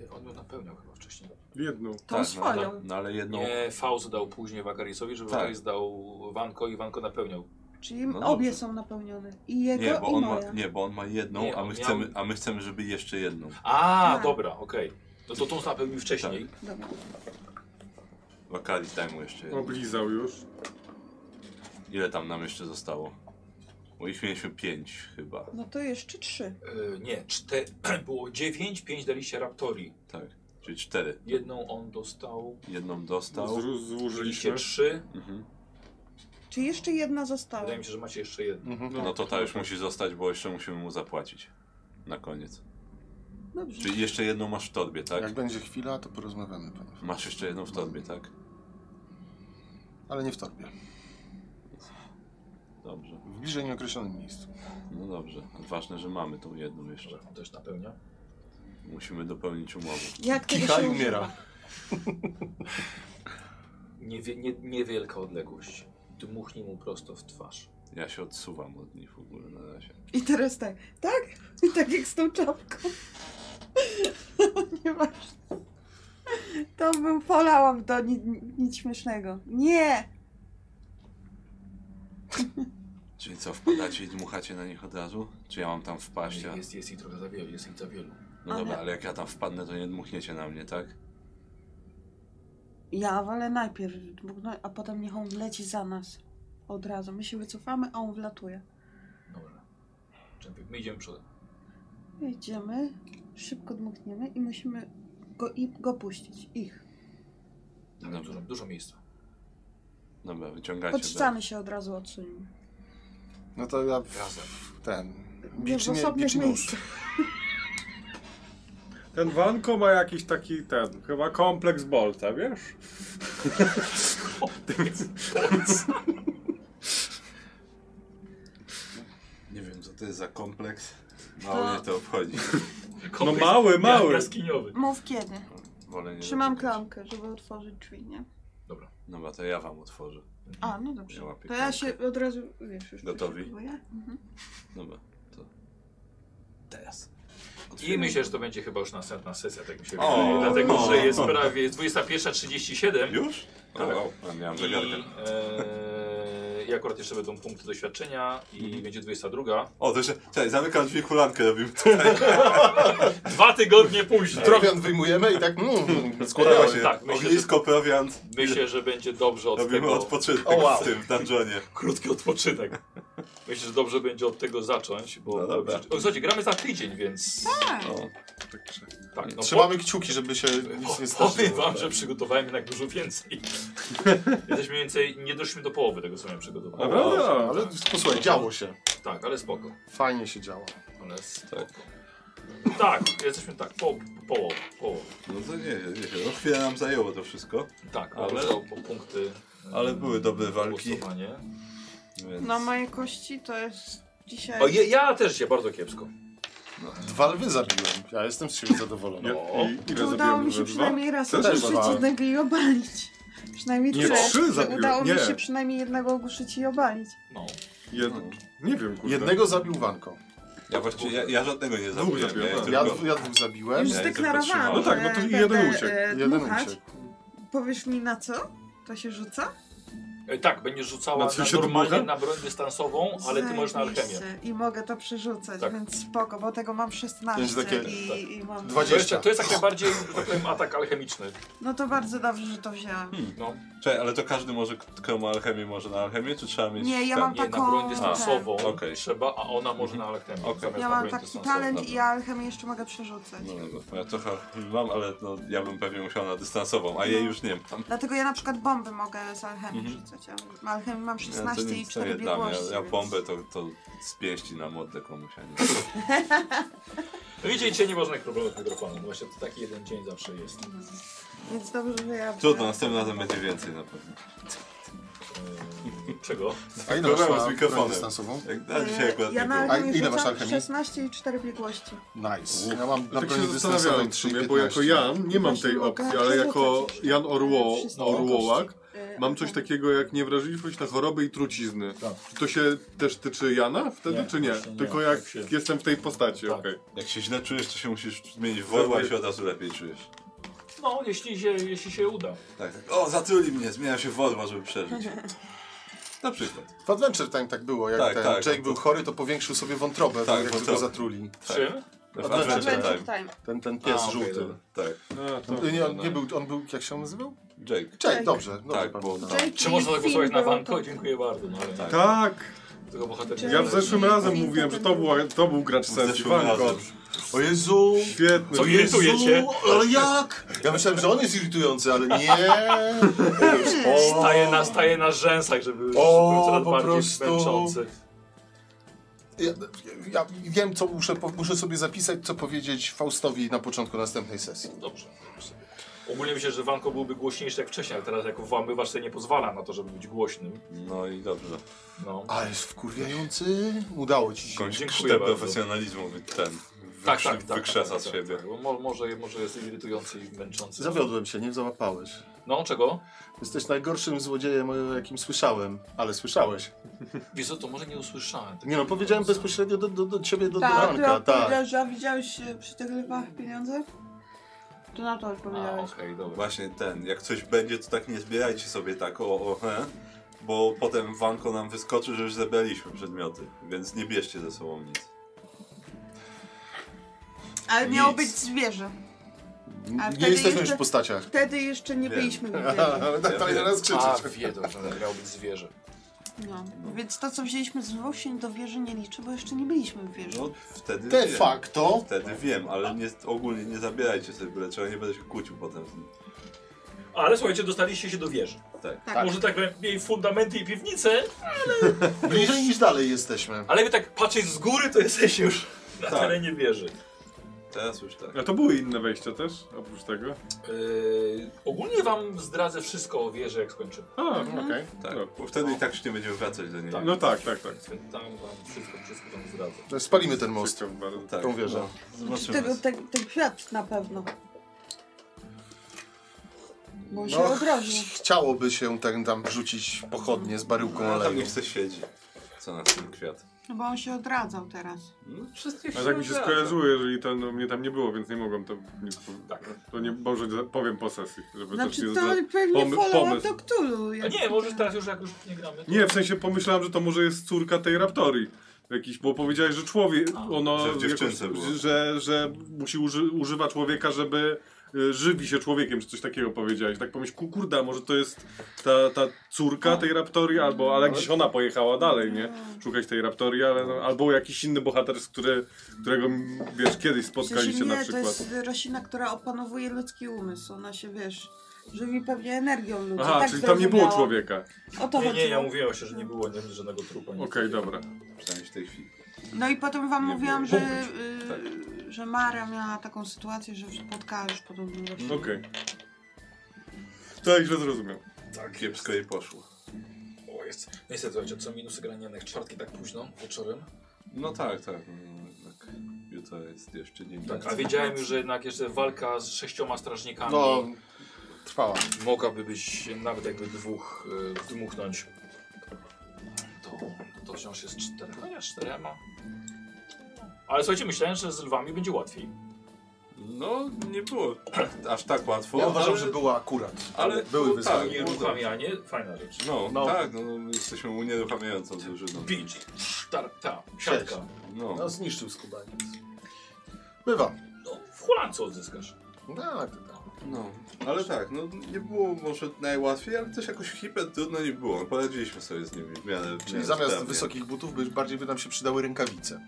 Speaker 1: Y, On ją napełniał chyba wcześniej.
Speaker 6: Jedną.
Speaker 4: Tą swoją.
Speaker 5: No, no ale jedną.
Speaker 1: Nie, Faust dał później Wakarisowi, żeby
Speaker 5: Tak.
Speaker 1: Wakaris dał Wanko i Wanko napełniał.
Speaker 4: Czyli
Speaker 5: No
Speaker 4: obie
Speaker 5: dobrze.
Speaker 4: są napełnione. I jego,
Speaker 5: nie, bo
Speaker 4: i
Speaker 5: on
Speaker 4: moja.
Speaker 5: ma, nie, bo on ma jedną,
Speaker 1: Nie,
Speaker 5: a,
Speaker 1: on
Speaker 5: my
Speaker 1: miał-
Speaker 5: chcemy, a my chcemy, żeby jeszcze jedną.
Speaker 1: A,
Speaker 4: Tak.
Speaker 1: dobra, okej. Tak. No to tą napełnił wcześniej.
Speaker 4: Dobra.
Speaker 5: Wakali, daj mu jeszcze jedną.
Speaker 6: Oblizał już.
Speaker 5: Ile tam nam jeszcze zostało? Bo ich mieliśmy pięć chyba.
Speaker 4: No to jeszcze trzy.
Speaker 1: Y, nie, czte... [clears throat] było dziewięć, pięć daliście Raptori.
Speaker 5: Tak, czyli cztery.
Speaker 1: Jedną on dostał,
Speaker 5: Jedną dostał.
Speaker 6: Zru-
Speaker 1: mieliście
Speaker 6: Złożyliśmy.
Speaker 1: trzy.
Speaker 5: Mhm.
Speaker 4: Czy jeszcze jedna została?
Speaker 1: Wydaje mi się, że macie jeszcze jedną.
Speaker 5: No to ta już musi zostać, bo jeszcze musimy mu zapłacić. Na koniec.
Speaker 4: Dobrze.
Speaker 5: Czyli jeszcze jedną masz w torbie, tak?
Speaker 2: Jak będzie chwila, to porozmawiamy, panowie.
Speaker 5: Masz jeszcze jedną w torbie, tak?
Speaker 2: Ale nie w torbie.
Speaker 5: Dobrze.
Speaker 2: W bliżej nieokreślonym miejscu.
Speaker 5: No dobrze. Ważne, że mamy tą jedną jeszcze.
Speaker 1: Dobra, on też napełnia.
Speaker 5: Musimy dopełnić umowę.
Speaker 4: Jak tego
Speaker 2: Kicha
Speaker 4: się
Speaker 2: i umiera.
Speaker 4: używa?
Speaker 1: Niewie, nie, niewielka odległość. Dmuchnij mu prosto w twarz.
Speaker 5: Ja się odsuwam od nich w ogóle na razie.
Speaker 4: I teraz tak, tak? tak jak z tą czapką. [laughs] Nieważne. To był, polałam to, ni, ni- nic śmiesznego. Nie!
Speaker 5: Czyli co, wpadacie i dmuchacie na nich od razu? Czy ja mam tam wpaść? a-
Speaker 1: Jest, jest ich trochę za wielu, jest ich za wielu.
Speaker 5: No dobra,
Speaker 4: Ale-
Speaker 5: ale jak ja tam wpadnę, to nie dmuchniecie na mnie, tak?
Speaker 4: Ja walę najpierw, dmuchnę, a potem niech on leci za nas. Od razu. My się wycofamy, a on wlatuje.
Speaker 1: Dobra. Czempik, my idziemy przodem.
Speaker 4: Idziemy, szybko dmuchniemy i musimy go, i, go puścić. Ich.
Speaker 1: Tam jest dużo, dużo miejsca.
Speaker 5: Dobra, wyciągacie.
Speaker 4: Od ściany się od razu odsuńmy.
Speaker 2: No to ja
Speaker 1: Razem.
Speaker 2: ten...
Speaker 4: Nie w
Speaker 2: Biczy, nie,
Speaker 4: osobnych
Speaker 2: biczy nóż.
Speaker 4: miejscach.
Speaker 6: Ten Wanko ma jakiś taki, ten, chyba kompleks Bolta, wiesz? No
Speaker 5: Nie wiem, co to jest za kompleks. Mało mnie to obchodzi.
Speaker 6: No mały, mały.
Speaker 1: Ja- Jaskiniowy.
Speaker 4: Mów kiedy.
Speaker 5: Wolę nie
Speaker 4: Trzymam
Speaker 5: dotykać.
Speaker 4: klamkę, żeby otworzyć drzwi, nie?
Speaker 1: Dobra.
Speaker 5: Dobra, to ja wam otworzę.
Speaker 4: A, no
Speaker 5: Ja
Speaker 4: dobrze.
Speaker 5: łapię
Speaker 4: To ja
Speaker 5: klamkę.
Speaker 4: się od razu, wiesz, już
Speaker 5: Gotowi?
Speaker 4: przyszykuję. Mhm.
Speaker 5: Dobra, to... Teraz.
Speaker 1: I myślę, że to będzie chyba już następna sesja, tak mi się
Speaker 5: O,
Speaker 1: wydaje. Dlatego,
Speaker 5: no.
Speaker 1: że jest prawie jest 21.37
Speaker 5: Już? O,
Speaker 1: Tak.
Speaker 5: wow. Ja miałem
Speaker 1: i,
Speaker 5: zegarkę.
Speaker 1: e, i akurat jeszcze będą punkty doświadczenia i
Speaker 5: Mhm.
Speaker 1: będzie 22.
Speaker 5: O, to jeszcze, czekaj, zamykam drzwi, hulankę robimy tutaj.
Speaker 1: Dwa tygodnie później.
Speaker 2: Prowiant wyjmujemy i
Speaker 1: [laughs]
Speaker 2: tak mm,
Speaker 5: Podoba
Speaker 2: składała
Speaker 5: się,
Speaker 2: się.
Speaker 1: tak, myślę,
Speaker 5: ognisko, prowiant,
Speaker 1: Myślę, że będzie dobrze od
Speaker 5: robimy
Speaker 1: tego.
Speaker 5: odpoczynek
Speaker 1: O, wow.
Speaker 5: w tym dungeonie.
Speaker 1: Krótki odpoczynek. Myślę, że dobrze będzie od tego zacząć, bo...
Speaker 5: No dobra.
Speaker 1: o, słuchajcie, gramy za tydzień, więc... Tak, tak no
Speaker 2: Trzymamy kciuki,
Speaker 1: [laughs]
Speaker 2: żeby się nic nie
Speaker 1: po, powiem
Speaker 2: stało.
Speaker 1: wam, że przygotowałem jednak dużo więcej. Jesteśmy mniej więcej... Nie doszliśmy do połowy tego, co miałem przygotowane.
Speaker 6: Dobra.
Speaker 2: Ale posłuchaj, No
Speaker 1: [laughs]
Speaker 2: działo się.
Speaker 1: Tak, ale spoko.
Speaker 2: Fajnie się działo.
Speaker 1: Ale spoko. Tak, jesteśmy tak, po, połowa, połowa.
Speaker 5: No to nie, nie, nie, no chwilę nam zajęło to wszystko,
Speaker 1: Tak,
Speaker 5: Ale-
Speaker 1: ale to po punkty. e,
Speaker 5: ale były dobre walki,
Speaker 1: Głosowanie.
Speaker 5: więc...
Speaker 4: No moje kości to jest dzisiaj...
Speaker 1: O, ja, ja też się bardzo kiepsko.
Speaker 2: Dwa lwy zabiłem. Ja jestem z siebie zadowolony.
Speaker 6: I, i, ile
Speaker 4: To udało
Speaker 6: zabiłem?
Speaker 4: mi się
Speaker 6: Że dwa?
Speaker 4: przynajmniej raz
Speaker 2: Też
Speaker 4: ogłuszyć
Speaker 2: dwa.
Speaker 4: jednego i obalić. Przynajmniej
Speaker 6: Nie,
Speaker 4: trzech.
Speaker 6: trzy
Speaker 4: Że
Speaker 6: zabiłem.
Speaker 4: Udało
Speaker 6: Nie.
Speaker 4: mi się przynajmniej jednego ogłuszyć i obalić.
Speaker 1: No.
Speaker 6: Jed... Nie wiem, kurde.
Speaker 2: Jednego zabił Wanko.
Speaker 5: Ja właściwie, ja, ja żadnego nie zabiłem,
Speaker 6: zabiłem,
Speaker 5: ja
Speaker 6: tak.
Speaker 2: Ja,
Speaker 5: tylko...
Speaker 2: dwu- ja dwóch zabiłem.
Speaker 4: Już
Speaker 5: ja jestem
Speaker 4: zdeklarowałam,
Speaker 5: powstrzymany.
Speaker 6: No tak, no to
Speaker 4: że
Speaker 6: i
Speaker 4: będę,
Speaker 6: jeden uciekł.
Speaker 4: e,
Speaker 2: Jeden
Speaker 4: dmuchać.
Speaker 2: uciekł.
Speaker 4: Powiesz mi na co? To się rzuca?
Speaker 1: E, tak, będziesz rzucała
Speaker 6: Na co
Speaker 1: na
Speaker 6: się
Speaker 1: normalnie
Speaker 6: dmucha?
Speaker 1: na broń dystansową, ale ty możesz na alchemię.
Speaker 4: Zajebiście. I mogę to przerzucać,
Speaker 1: Tak.
Speaker 4: więc spoko, bo tego mam 16
Speaker 2: To jest takie-
Speaker 4: i,
Speaker 1: tak.
Speaker 4: i mam...
Speaker 1: To
Speaker 2: Dwa-
Speaker 1: jest,
Speaker 2: 20.
Speaker 1: to jest jak najbardziej, że tak powiem, atak alchemiczny.
Speaker 4: No to bardzo dobrze, że to wzięłam.
Speaker 1: No,
Speaker 5: Czekaj, ale to każdy może, kto ma alchemię, może na alchemię, czy trzeba mieć...
Speaker 4: Nie, ja
Speaker 5: ten-
Speaker 4: mam
Speaker 1: nie, na
Speaker 4: taką-
Speaker 1: broń dystansową
Speaker 5: A, okej.
Speaker 1: trzeba, a ona może na alchemię.
Speaker 5: Okej.
Speaker 1: zamiast
Speaker 4: Ja
Speaker 1: na
Speaker 4: mam
Speaker 1: broń
Speaker 4: taki
Speaker 1: dystansową.
Speaker 4: talent i
Speaker 5: tak, dobra.
Speaker 4: ja alchemię jeszcze mogę przerzucać.
Speaker 5: No, dobra, ja trochę mam, ale no, ja bym pewnie musiał na dystansową, a
Speaker 4: No,
Speaker 5: jej już nie mam.
Speaker 4: Dlatego ja na przykład bomby mogę z alchemii rzucać. Ja alchemii mam
Speaker 5: Mhm. Ja to
Speaker 4: 16 i
Speaker 5: nic to nie
Speaker 4: 4
Speaker 5: dla mnie,
Speaker 4: biegłości.
Speaker 5: ja
Speaker 4: więc-
Speaker 5: bombę to, to z pięści na modlę komuś, a nie... [laughs]
Speaker 1: No widzicie, nie można problemów z mikrofonem. Właśnie to taki jeden dzień zawsze jest.
Speaker 4: Więc dobrze, że ja...
Speaker 5: Trudno, następnym razem będzie więcej na pewno.
Speaker 1: E, czego?
Speaker 2: A ile
Speaker 5: Dobra,
Speaker 2: masz
Speaker 5: z
Speaker 2: na
Speaker 5: mikrofonem.
Speaker 2: broń dystansową?
Speaker 5: Jak
Speaker 4: E,
Speaker 5: na dzisiaj akurat
Speaker 4: ja
Speaker 5: nie
Speaker 4: na
Speaker 5: było.
Speaker 2: A
Speaker 4: alchemię
Speaker 2: ile masz
Speaker 4: rzucam
Speaker 2: alchemii?
Speaker 4: 16 i 4 biegłości.
Speaker 2: Nice. Ja mam na
Speaker 6: Tak się
Speaker 2: broń dystansowej
Speaker 6: zastanawiałem w
Speaker 2: 3
Speaker 6: sumie, bo jako Jan nie mam tej
Speaker 4: Właśnie
Speaker 6: opcji,
Speaker 4: mogę
Speaker 6: ale jako
Speaker 4: rzucać.
Speaker 6: Jan Orło,
Speaker 4: Wszystkie
Speaker 6: Orłołak
Speaker 4: kości. E,
Speaker 6: mam coś
Speaker 4: alchemii.
Speaker 6: takiego jak niewrażliwość na choroby i trucizny.
Speaker 2: Tak.
Speaker 6: Czy to się też tyczy Jana wtedy,
Speaker 1: Nie,
Speaker 6: czy nie?
Speaker 1: właśnie nie.
Speaker 6: Tylko jak
Speaker 1: Tak się-
Speaker 6: jestem w tej postaci,
Speaker 1: Tak.
Speaker 6: okej.
Speaker 5: Jak się źle czujesz, to się musisz zmienić w orła i się od razu lepiej czujesz.
Speaker 1: No, jeśli się, jeśli się uda.
Speaker 5: Tak, tak. O, zatruli mnie, zmieniam się w orła, żeby
Speaker 4: [laughs]
Speaker 5: przeżyć. Na przykład.
Speaker 2: W Adventure Time tak było. Jak
Speaker 5: Tak,
Speaker 2: ten
Speaker 5: tak.
Speaker 2: Jake był chory, to powiększył sobie wątrobę,
Speaker 5: Tak,
Speaker 2: tak, jak go
Speaker 5: wątrobę.
Speaker 2: zatruli.
Speaker 1: Czym?
Speaker 5: W Adventure
Speaker 4: Adventure
Speaker 5: Time.
Speaker 4: time.
Speaker 2: Ten, ten pies
Speaker 1: A, okej,
Speaker 2: żółty.
Speaker 1: dobra.
Speaker 5: Tak,
Speaker 6: A, to-
Speaker 2: nie, on, nie był, on był, jak się on nazywał?
Speaker 5: Jake.
Speaker 2: Jake, dobrze. dobrze
Speaker 5: Tak,
Speaker 2: pamiętam.
Speaker 5: bo no,
Speaker 4: Jake
Speaker 1: Czy można
Speaker 4: i
Speaker 1: zagłosować
Speaker 4: Finn
Speaker 1: na
Speaker 4: był
Speaker 1: Wanko?
Speaker 4: to-
Speaker 1: Dziękuję bardzo. No, ale tak.
Speaker 6: Tak!
Speaker 1: Tego bohatera
Speaker 6: Ja w zeszłym
Speaker 4: Ale-
Speaker 6: razem mówiłem, że to, była, to był gracz sesji.
Speaker 5: zeszłym
Speaker 6: Wanko.
Speaker 5: razem.
Speaker 2: O Jezu!
Speaker 6: Świetny.
Speaker 1: Co irytuje cię?
Speaker 2: Ale jak? Ja myślałem, że on jest irytujący, ale nie.
Speaker 5: [laughs]
Speaker 2: O,
Speaker 1: Staje na, staje na rzęsach, żeby żeby
Speaker 2: O,
Speaker 1: był coraz
Speaker 2: po
Speaker 1: bardziej
Speaker 2: prostu.
Speaker 1: męczący.
Speaker 2: Ja, ja wiem, co muszę, po- muszę sobie zapisać, co powiedzieć Faustowi na początku następnej sesji.
Speaker 1: Dobrze. Ogólnie myślę, że Wanko byłby głośniejszy jak wcześniej, ale teraz jako włamywacz sobie nie pozwala na to, żeby być głośnym.
Speaker 5: no i dobrze.
Speaker 1: No.
Speaker 2: Ale jest wkurwiający. Udało ci się.
Speaker 5: Jakąś
Speaker 1: Dziękuję
Speaker 5: krztę
Speaker 1: bardzo.
Speaker 5: profesjonalizmu wy- ten wykrzy,
Speaker 1: Tak, tak, tak.
Speaker 5: wykrzesa
Speaker 1: tak,
Speaker 5: z
Speaker 1: tak,
Speaker 5: siebie.
Speaker 1: tak. Bo mo- może, może jest irytujący i męczący.
Speaker 2: Zawiodłem się, nie załapałeś.
Speaker 1: No, czego?
Speaker 2: Jesteś najgorszym złodziejem, o jakim słyszałem, ale słyszałeś.
Speaker 1: Wiesz co, to może nie usłyszałem. tego.
Speaker 2: Nie no, powiedziałem bezpośrednio do, do, do ciebie, do, do
Speaker 4: Tak, ty
Speaker 2: Ranka, tak.
Speaker 4: odpowiedziałeś, że a widziałeś e, przy tych rybach pieniądze? To na to
Speaker 1: A, okej,
Speaker 4: odpowiedziałeś.
Speaker 1: dobra.
Speaker 5: Właśnie ten, jak coś będzie, to tak nie zbierajcie sobie tak o, o he, bo potem wanko nam wyskoczy, że już zebraliśmy przedmioty, więc nie bierzcie ze sobą nic.
Speaker 4: Ale miało
Speaker 5: Nic.
Speaker 4: być zwierzę. A
Speaker 2: Nie
Speaker 4: wtedy
Speaker 2: jesteśmy już
Speaker 4: jeszcze-
Speaker 2: w postaciach.
Speaker 4: Wtedy jeszcze nie
Speaker 5: Wiem. [laughs]
Speaker 4: byliśmy w zwierzę.
Speaker 2: Ale tak dalej
Speaker 5: wiem.
Speaker 2: teraz
Speaker 1: A,
Speaker 2: krzyczeć.
Speaker 1: wiedział, że miał być zwierzę.
Speaker 4: No. Więc to, co wzięliśmy z lwów się do wieży nie liczy, bo jeszcze nie byliśmy w wieży.
Speaker 5: No wtedy
Speaker 2: De
Speaker 5: wiem.
Speaker 2: facto.
Speaker 5: Wtedy wiem, ale nie, ogólnie nie zabierajcie sobie byle czego, nie będę się kłócił potem. z nim.
Speaker 1: Ale słuchajcie, dostaliście się do wieży.
Speaker 5: Tak.
Speaker 4: Tak.
Speaker 1: Może tak powiem, jej fundamenty i piwnice,
Speaker 2: Bliżej niż dalej jesteśmy.
Speaker 1: ale wy tak patrzeć z góry, to jesteście już na
Speaker 5: Tak.
Speaker 1: terenie wieży.
Speaker 5: Teraz już tak.
Speaker 6: A to były inne wejścia też, oprócz tego?
Speaker 1: Yy, ogólnie wam zdradzę wszystko o wieży, jak skończymy.
Speaker 6: A, okej.
Speaker 5: tak.
Speaker 6: No.
Speaker 5: Bo wtedy i tak już nie będziemy wracać do niej.
Speaker 6: No tak, tak, tak.
Speaker 1: Więc Tam wam wszystko, wszystko wam zdradzę.
Speaker 2: Spalimy ten most.
Speaker 6: Ciekawe bardzo.
Speaker 5: tak.
Speaker 2: Tą wieżę.
Speaker 5: No, zobaczymy.
Speaker 4: Tego, ten, ten kwiat na pewno. Bo on się
Speaker 2: No,
Speaker 4: obraził.
Speaker 2: Chciałoby się ten tam rzucić pochodnie z baryłką
Speaker 5: Ale tam nie
Speaker 2: oleju.
Speaker 5: chce siedzi. Co na ten kwiat.
Speaker 4: No bo on się odradzał teraz.
Speaker 1: No, wszystkie
Speaker 6: Ale tak mi się
Speaker 1: wsiądza.
Speaker 6: skojarzyło, jeżeli to, no, mnie tam nie było, więc nie mogłem to... Nie,
Speaker 1: Tak.
Speaker 6: to nie, może za- powiem po sesji, żeby też nie...
Speaker 4: Znaczy to
Speaker 6: zda-
Speaker 4: pewnie
Speaker 6: pomy-
Speaker 4: follow-up
Speaker 6: pomysł.
Speaker 4: do Cthulhu.
Speaker 1: A
Speaker 4: jest.
Speaker 1: nie, możesz teraz już, jak już nie gramy. to-
Speaker 6: Nie, w sensie pomyślałem, że to może jest córka tej raptorii. Jakiś, bo powiedziałeś, że człowiek, ono,
Speaker 5: Że w dziewczynce
Speaker 6: jakoś-
Speaker 5: było.
Speaker 6: że, że musi uży, używa człowieka, żeby y, żywi się człowiekiem, czy coś takiego powiedziałeś. Tak pomyśl, ku- kurda, może to jest ta, ta córka tej raptorii, albo, ale gdzieś ona pojechała dalej, nie? Szukać tej raptorii, ale, no, albo jakiś inny bohater, z który, którego, m, wiesz, kiedyś
Speaker 4: Przecież
Speaker 6: spotkaliście
Speaker 4: nie,
Speaker 6: na
Speaker 4: to
Speaker 6: przykład.
Speaker 4: jest roślina, która opanowuje ludzki umysł. Ona się, wiesz, żywi pewnie energią ludzi.
Speaker 6: Aha,
Speaker 4: tak
Speaker 6: czyli tam nie było
Speaker 4: zrozumiałam.
Speaker 6: człowieka.
Speaker 4: O to
Speaker 1: Nie, nie, ja
Speaker 4: chodziło.
Speaker 1: mówiłem się, że nie było nie, żadnego trupa. nic.
Speaker 6: Okej, dobra.
Speaker 24: Przynajmniej w tej chwili.
Speaker 4: No i potem wam
Speaker 5: Nie
Speaker 4: mówiłam,
Speaker 5: było.
Speaker 4: że, y, że Mara miała taką sytuację, że spotkała już podobną roślinę.
Speaker 6: Okej. Tak, źle zrozumiał.
Speaker 5: Tak, kiepsko jej poszło.
Speaker 1: O, jest. No Niestety, słuchajcie, co minusy grania na czwartki tak późno, wieczorem.
Speaker 5: No tak, tak. no, tak. Jutro jest jeszcze nie
Speaker 1: Tak, a wiedziałem już, że jednak jeszcze walka z sześcioma strażnikami
Speaker 2: No, trwała.
Speaker 1: mogłaby być nawet jakby dwóch y, wdmuchnąć. To, to, to wciąż jest cztery, chociaż czterema. Ale słuchajcie, myślałem, że z lwami będzie łatwiej.
Speaker 5: No, nie było [clears throat] aż tak łatwo.
Speaker 2: Ja uważam,
Speaker 5: ale-
Speaker 2: że było akurat.
Speaker 5: ale-
Speaker 2: były
Speaker 5: no
Speaker 2: wyzwania.
Speaker 5: tak.
Speaker 1: I uruchamianie, fajna rzecz.
Speaker 5: No,
Speaker 2: No.
Speaker 5: tak, no, my jesteśmy unieruchamiającą drużyną.
Speaker 1: Pięć, cztar, ta, siatka.
Speaker 5: No,
Speaker 2: No, zniszczył skubaniec. Bywa.
Speaker 1: No, w Holandii odzyskasz.
Speaker 2: No, tak, tak.
Speaker 5: no, ale tak, no nie było może najłatwiej, ale też jakoś hiper trudno nie było. No, Poradziliśmy sobie z nimi w miarę. w
Speaker 2: Czyli
Speaker 5: miarę
Speaker 2: zamiast
Speaker 5: sprawnie.
Speaker 2: wysokich butów by- bardziej by nam się przydały rękawice.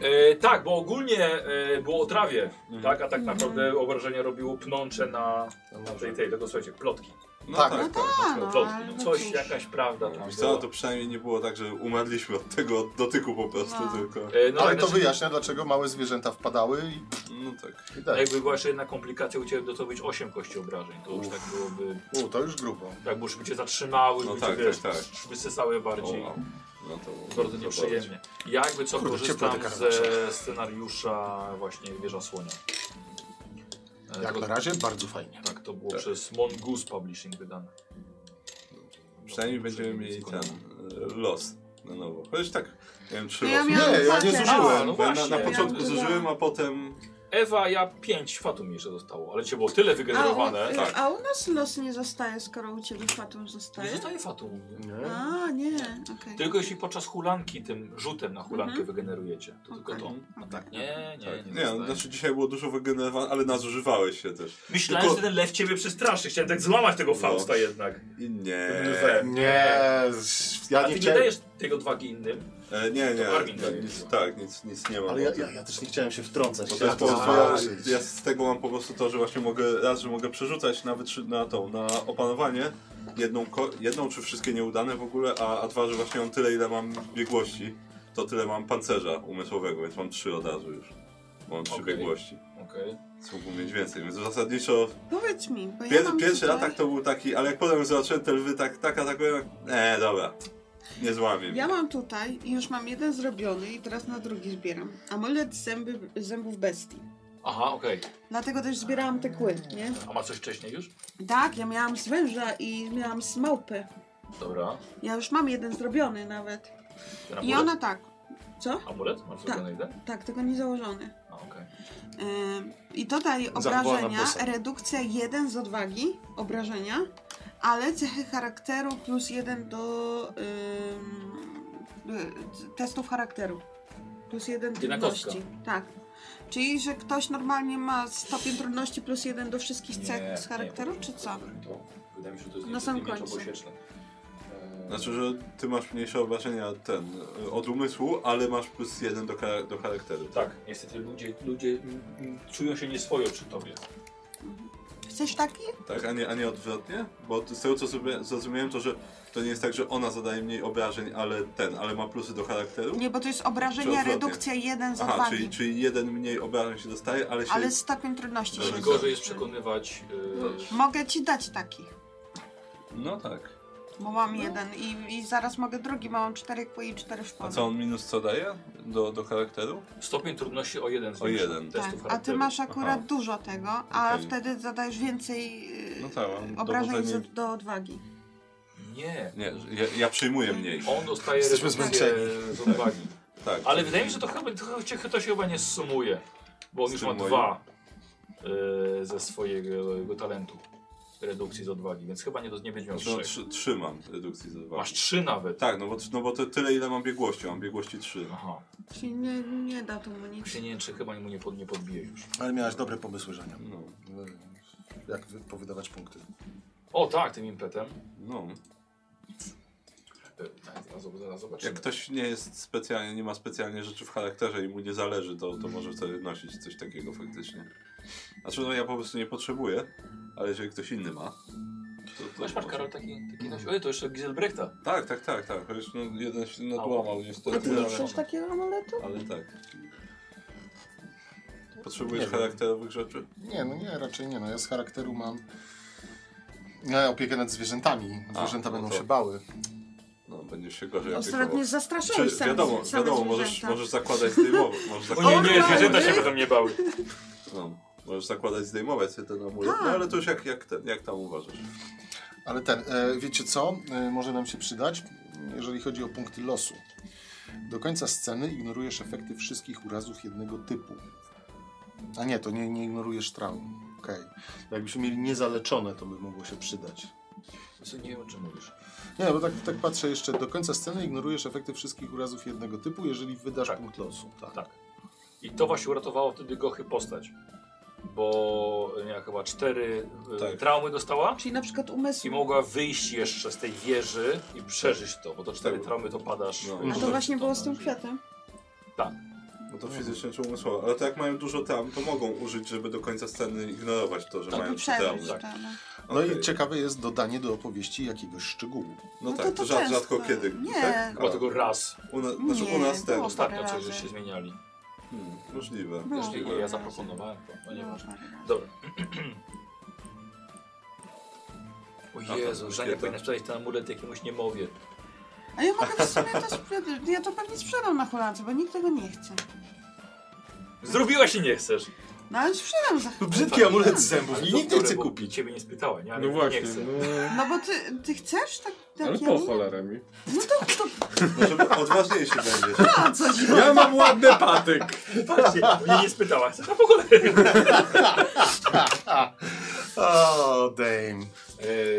Speaker 1: E, tak, bo ogólnie e, było o trawie, tak? A tak
Speaker 4: Mhm.
Speaker 1: naprawdę obrażenia robiło pnącze na, na tej, tej, tego słuchajcie, plotki.
Speaker 5: No
Speaker 2: Tak.
Speaker 5: tak, tak.
Speaker 4: A, no,
Speaker 1: plotki.
Speaker 4: ale
Speaker 1: No,
Speaker 4: no
Speaker 1: coś,
Speaker 4: cóż.
Speaker 1: jakaś prawda tam
Speaker 5: Wiesz
Speaker 1: była.
Speaker 5: Co, to przynajmniej nie było tak, że umarliśmy od tego dotyku po prostu,
Speaker 4: No.
Speaker 5: tylko.
Speaker 1: E, no,
Speaker 2: Ale
Speaker 1: tak,
Speaker 2: to
Speaker 1: znaczy,
Speaker 2: wyjaśnia, dlaczego małe zwierzęta wpadały i,
Speaker 5: No tak.
Speaker 2: i tak.
Speaker 1: Jakby była jeszcze jedna komplikacja u Ciebie, to być 8 kości obrażeń. To już tak byłoby,
Speaker 2: U, to już grubo.
Speaker 1: tak by cię zatrzymały,
Speaker 5: No
Speaker 1: by cię,
Speaker 5: tak,
Speaker 1: wiesz,
Speaker 5: tak,
Speaker 1: wysysały bardziej.
Speaker 5: O, no to było
Speaker 1: Bardzo nieprzyjemnie. Ja jakby co
Speaker 2: Kurde,
Speaker 1: korzystam
Speaker 2: ciepło te
Speaker 1: ze
Speaker 2: karmasze.
Speaker 1: scenariusza właśnie Wieża Słonia. E,
Speaker 2: Jak
Speaker 1: to-
Speaker 2: na razie bardzo fajnie.
Speaker 1: Tak, to było przez Mongoose Publishing wydane.
Speaker 5: Przynajmniej będziemy
Speaker 1: Dobrze,
Speaker 5: mieli ten
Speaker 1: skoro-
Speaker 5: e, los na nowo. Chociaż tak, nie wiem, trzy
Speaker 4: No ja
Speaker 5: losy.
Speaker 4: miałam
Speaker 2: Nie, ja nie
Speaker 4: papier.
Speaker 2: zużyłem.
Speaker 1: A, no
Speaker 5: Bo ja na,
Speaker 1: właśnie,
Speaker 5: na
Speaker 1: ja
Speaker 5: początku
Speaker 4: byłam.
Speaker 5: zużyłem, a potem
Speaker 1: Ewa, ja 5 fatum jeszcze zostało, ale cię było tyle wygenerowane.
Speaker 4: A, u, y,
Speaker 1: Tak.
Speaker 4: a u nas los nie zostaje, skoro u ciebie fatum
Speaker 1: Nie
Speaker 4: zostaje?
Speaker 1: zostaje fatum.
Speaker 4: A, nie, okej.
Speaker 1: Tylko jeśli podczas hulanki tym rzutem na hulankę
Speaker 4: Mhm.
Speaker 1: wygenerujecie, to tylko to.
Speaker 4: Okej.
Speaker 1: A tak, nie, nie, nie.
Speaker 5: Nie, no,
Speaker 1: zostaje.
Speaker 5: znaczy dzisiaj było dużo wygenerowane, ale nazużywałeś się też.
Speaker 1: Myślałem,
Speaker 5: tylko-
Speaker 1: że ten lew ciebie przestraszy. Chciałem tak złamać tego Fausta jednak.
Speaker 5: I nie.
Speaker 1: Lwem.
Speaker 2: Nie, z- ja
Speaker 1: A
Speaker 2: nie
Speaker 1: ty nie
Speaker 2: chciałem.
Speaker 1: dajesz tej odwagi innym.
Speaker 5: E, nie, nie.
Speaker 1: To Armin
Speaker 5: nie,
Speaker 1: daje.
Speaker 5: nic, tak, nic, nic nie mam.
Speaker 2: Ale ja, ja, ja też nie chciałem się wtrącać.
Speaker 5: Bo to jest
Speaker 2: Chciałem
Speaker 5: po prostu, ja,
Speaker 2: zauważyć.
Speaker 5: ja z tego mam po prostu to, że właśnie mogę, raz, że mogę przerzucać na, wytrzy- na tą, na opanowanie jedną, ko- jedną czy wszystkie nieudane w ogóle, a, a dwa, że właśnie mam tyle, ile mam biegłości, to tyle mam pancerza umysłowego, więc mam trzy od razu już. Mam trzy
Speaker 1: Okej.
Speaker 5: biegłości.
Speaker 1: Okej.
Speaker 5: Więc Mógłbym mieć więcej, więc zasadniczo
Speaker 4: Powiedz mi, bo ja
Speaker 5: Pier
Speaker 4: mam
Speaker 5: pierwszy
Speaker 4: tutaj...
Speaker 5: atak to był taki, ale jak potem zobaczyłem te lwy tak, tak atakują, eee, dobra, nie złamię.
Speaker 4: Ja mam tutaj i już mam jeden zrobiony i teraz na drugi zbieram. Amulet zęby, zębów bestii.
Speaker 1: Aha, okej.
Speaker 4: Dlatego też zbierałam te kły, nie?
Speaker 1: A ma coś wcześniej już?
Speaker 4: Tak, ja miałam z węża i miałam z małpy.
Speaker 1: Dobra.
Speaker 4: Ja już mam jeden zrobiony nawet.
Speaker 1: Ten
Speaker 4: I
Speaker 1: amulet?
Speaker 4: ona tak. Co?
Speaker 1: Amulet? Masz
Speaker 4: Tak.
Speaker 1: tak. jeden?
Speaker 4: Tak, tego nie założony.
Speaker 1: A, okej.
Speaker 4: Ym, Yy, I to daje
Speaker 2: Zachowana
Speaker 4: obrażenia,
Speaker 2: bossa.
Speaker 4: redukcja 1 z odwagi, obrażenia, ale cechy charakteru plus 1 do ym, y, testów charakteru. Plus 1
Speaker 1: Jedna
Speaker 4: trudności. Tak. Czyli, że ktoś normalnie ma stopień trudności plus 1 do wszystkich cech
Speaker 1: Nie,
Speaker 4: z charakteru,
Speaker 1: nie,
Speaker 4: czy
Speaker 1: to-
Speaker 4: co?
Speaker 1: to- Wydaje mi się, że to jest
Speaker 4: Na
Speaker 1: nie-
Speaker 4: samym
Speaker 1: nie miecz
Speaker 4: końcu.
Speaker 1: obosieczny. Eee,
Speaker 5: Znaczy, że ty masz mniejsze obrażenia ten, y, od umysłu, ale masz plus jeden do, chara- do charakteru.
Speaker 1: Tak, niestety ludzie, ludzie mm, mm, czują się nieswojo przy tobie.
Speaker 4: Chcesz taki?
Speaker 5: Tak, a nie, a nie odwrotnie? Bo z tego co sobie zrozumiałem, to że to nie jest tak, że ona zadaje mniej obrażeń, ale ten, ale ma plusy do charakteru.
Speaker 4: Nie, bo to jest
Speaker 5: Czy
Speaker 4: obrażenia,
Speaker 5: odwrotnie?
Speaker 4: redukcja 1 z
Speaker 5: Aha,
Speaker 4: odwagi,
Speaker 5: czyli, czyli jeden mniej obrażeń się dostaje, ale się.
Speaker 4: ale stopień trudności
Speaker 5: Dobrze,
Speaker 4: się
Speaker 1: Gorzej jest przekonywać. eee,
Speaker 4: Mogę ci dać taki.
Speaker 5: No tak.
Speaker 4: Bo mam jeden i, i zaraz mogę drugi, bo mam cztery kły i cztery
Speaker 5: A
Speaker 4: szpony.
Speaker 5: co on minus co daje do, do charakteru?
Speaker 1: stopień trudności o jeden z
Speaker 5: O jeden.
Speaker 4: tak.
Speaker 1: testów
Speaker 4: A ty
Speaker 1: charakteru.
Speaker 4: masz akurat
Speaker 5: Aha.
Speaker 4: dużo tego, a
Speaker 5: Okej.
Speaker 4: wtedy zadajesz więcej yy,
Speaker 5: No tak, mam
Speaker 4: obrażeń
Speaker 5: dowodzenie-
Speaker 4: z, do odwagi.
Speaker 1: Nie.
Speaker 5: Nie, ja, ja przyjmuję
Speaker 4: Mm.
Speaker 5: mniej.
Speaker 1: On dostaje
Speaker 2: Jesteśmy
Speaker 1: redukcję z odwagi.
Speaker 5: Tak,
Speaker 1: Ale
Speaker 5: czyli-
Speaker 1: wydaje mi się, że to chyba, to, chyba- to się chyba nie sumuje. Bo on
Speaker 5: Z
Speaker 1: już
Speaker 5: tym
Speaker 1: ma
Speaker 5: moim?
Speaker 1: dwa e, ze swojego jego talentu redukcji z odwagi, więc chyba nie, do- nie będzie miał
Speaker 5: No,
Speaker 1: trzech.
Speaker 5: trzy, trzy mam redukcji za dwa.
Speaker 1: Masz trzy nawet.
Speaker 5: Tak, no bo, no bo to tyle ile mam biegłości, mam biegłości trzy.
Speaker 1: Aha.
Speaker 4: Czyli nie, nie da to mu nic.
Speaker 1: Się nie, czy chyba mu nie, pod, nie podbije już.
Speaker 2: Ale miałaś dobre pomysły, Żenia.
Speaker 5: No,
Speaker 2: Jak wy- powydawać punkty.
Speaker 1: O tak, tym impetem.
Speaker 5: no.
Speaker 1: E, Zaraz, zaraz
Speaker 5: Jak
Speaker 1: zobaczymy.
Speaker 5: ktoś nie jest specjalnie, nie ma specjalnie rzeczy w charakterze i mu nie zależy, to, to może wtedy wnosić coś takiego faktycznie. Znaczy no ja po prostu nie potrzebuję, ale jeżeli ktoś inny ma, to, to
Speaker 1: Masz, masz
Speaker 5: może.
Speaker 1: Karol taki, taki nosi. Ojej, to jeszcze Giselbrechta.
Speaker 5: Tak, tak, tak, tak. Chociaż no, jeden się
Speaker 1: Au.
Speaker 5: nadłamał
Speaker 4: A ty
Speaker 5: niestety,
Speaker 4: nie
Speaker 5: ale,
Speaker 4: chcesz takiego amuletu?
Speaker 5: ale tak. Potrzebujesz
Speaker 2: Nie wiem.
Speaker 5: charakterowych rzeczy?
Speaker 2: Nie, no nie, raczej nie. No ja z charakteru mam... Ja opiekę nad zwierzętami.
Speaker 5: A,
Speaker 2: Zwierzęta
Speaker 5: no
Speaker 2: będą
Speaker 5: to-
Speaker 2: się bały.
Speaker 5: No, będziesz się gorzej opiekował.
Speaker 4: Ostatnio zastraszyłeś
Speaker 5: Czy,
Speaker 4: same,
Speaker 5: wiadomo,
Speaker 4: same
Speaker 5: wiadomo, możesz,
Speaker 4: zwierzęta.
Speaker 5: możesz zakładać zdejmować. Możesz
Speaker 1: O nie,
Speaker 5: zakładać,
Speaker 1: nie, zwierzęta się będą mnie bały.
Speaker 5: no, możesz zakładać zdejmować sobie ten amulet, no ale to już jak, jak, ten, jak tam uważasz.
Speaker 2: Ale ten, e, wiecie co, e, może nam się przydać, jeżeli chodzi o punkty losu. Do końca sceny ignorujesz efekty wszystkich urazów jednego typu. A nie, to nie, nie ignorujesz traum. Okej. Jakbyśmy mieli niezaleczone, to by mogło się przydać.
Speaker 1: Co, Nie wiem, o czym mówisz.
Speaker 2: Nie, bo tak, tak patrzę jeszcze. Do końca sceny ignorujesz efekty wszystkich urazów jednego typu, jeżeli wydasz
Speaker 1: Tak.
Speaker 2: punkt losu. Tak.
Speaker 1: Tak. I to właśnie uratowało wtedy Gochy postać. Bo ja chyba cztery e,
Speaker 5: Tak.
Speaker 1: traumy dostała
Speaker 4: Czyli na przykład umysł.
Speaker 1: i mogła wyjść jeszcze z tej wieży i przeżyć to, bo to cztery
Speaker 5: Tak.
Speaker 1: traumy to padasz.
Speaker 5: No.
Speaker 1: e,
Speaker 5: A to
Speaker 4: A
Speaker 1: to-
Speaker 4: to właśnie
Speaker 1: to-
Speaker 4: było z tym kwiatem.
Speaker 5: No to fizycznie czy umysłowo, ale to jak mają dużo tam, to mogą użyć, żeby do końca sceny ignorować to, że
Speaker 4: To
Speaker 5: mają
Speaker 4: by
Speaker 5: trzy traumy.
Speaker 4: przeżyć.
Speaker 5: Tak.
Speaker 4: to, no.
Speaker 2: No
Speaker 5: Okej.
Speaker 2: i ciekawe jest dodanie do opowieści jakiegoś szczegółu.
Speaker 5: No,
Speaker 4: No
Speaker 5: tak,
Speaker 4: to-
Speaker 5: to,
Speaker 4: to
Speaker 5: rzad,
Speaker 4: często.
Speaker 5: rzadko kiedy.
Speaker 4: Nie.
Speaker 5: Tak?
Speaker 1: Chyba tylko raz.
Speaker 5: u, na, znaczy, u
Speaker 4: Nie,
Speaker 5: nas ten.
Speaker 4: było.
Speaker 1: Ostatnio
Speaker 4: Parę
Speaker 1: coś
Speaker 4: razy.
Speaker 1: żeście zmieniali.
Speaker 5: Hmm, możliwe.
Speaker 4: No.
Speaker 1: Też nie,
Speaker 5: możliwe.
Speaker 1: nie, ja zaproponowałem to, no nie
Speaker 4: Było
Speaker 1: ważne.
Speaker 4: parę razy.
Speaker 1: Dobra.
Speaker 5: to
Speaker 1: O Jezu,
Speaker 5: jest
Speaker 1: Żania
Speaker 5: kieta.
Speaker 1: powinna sprzedać ten amulet jakiemuś niemowie.
Speaker 4: A ja mogę w sumie to sprzedać. Ja to pewnie sprzedam na Holandii, bo nikt tego nie chce.
Speaker 1: Zrobiłaś i nie chcesz.
Speaker 4: No ale sprzedam za chwilę.
Speaker 2: Brzydki amulet z
Speaker 1: [laughs]
Speaker 2: zębów
Speaker 1: Ale
Speaker 2: i nikt nie
Speaker 1: doktore,
Speaker 2: chce
Speaker 1: bo
Speaker 2: kupić.
Speaker 1: Ciebie nie spytała, nie? Ale
Speaker 6: No właśnie,
Speaker 1: nie chcę.
Speaker 6: no,
Speaker 4: No bo ty, ty chcesz tak, tak
Speaker 6: ale
Speaker 4: ja
Speaker 6: po
Speaker 4: nie?
Speaker 6: cholerę mi.
Speaker 4: No to, to
Speaker 5: Może odważniejszy Znaczy, no, będzie. [laughs]
Speaker 4: a co ci
Speaker 6: Ja mam ładny patyk!
Speaker 1: Patrzcie, mnie nie spytała. A po cholerę.
Speaker 2: O, dame.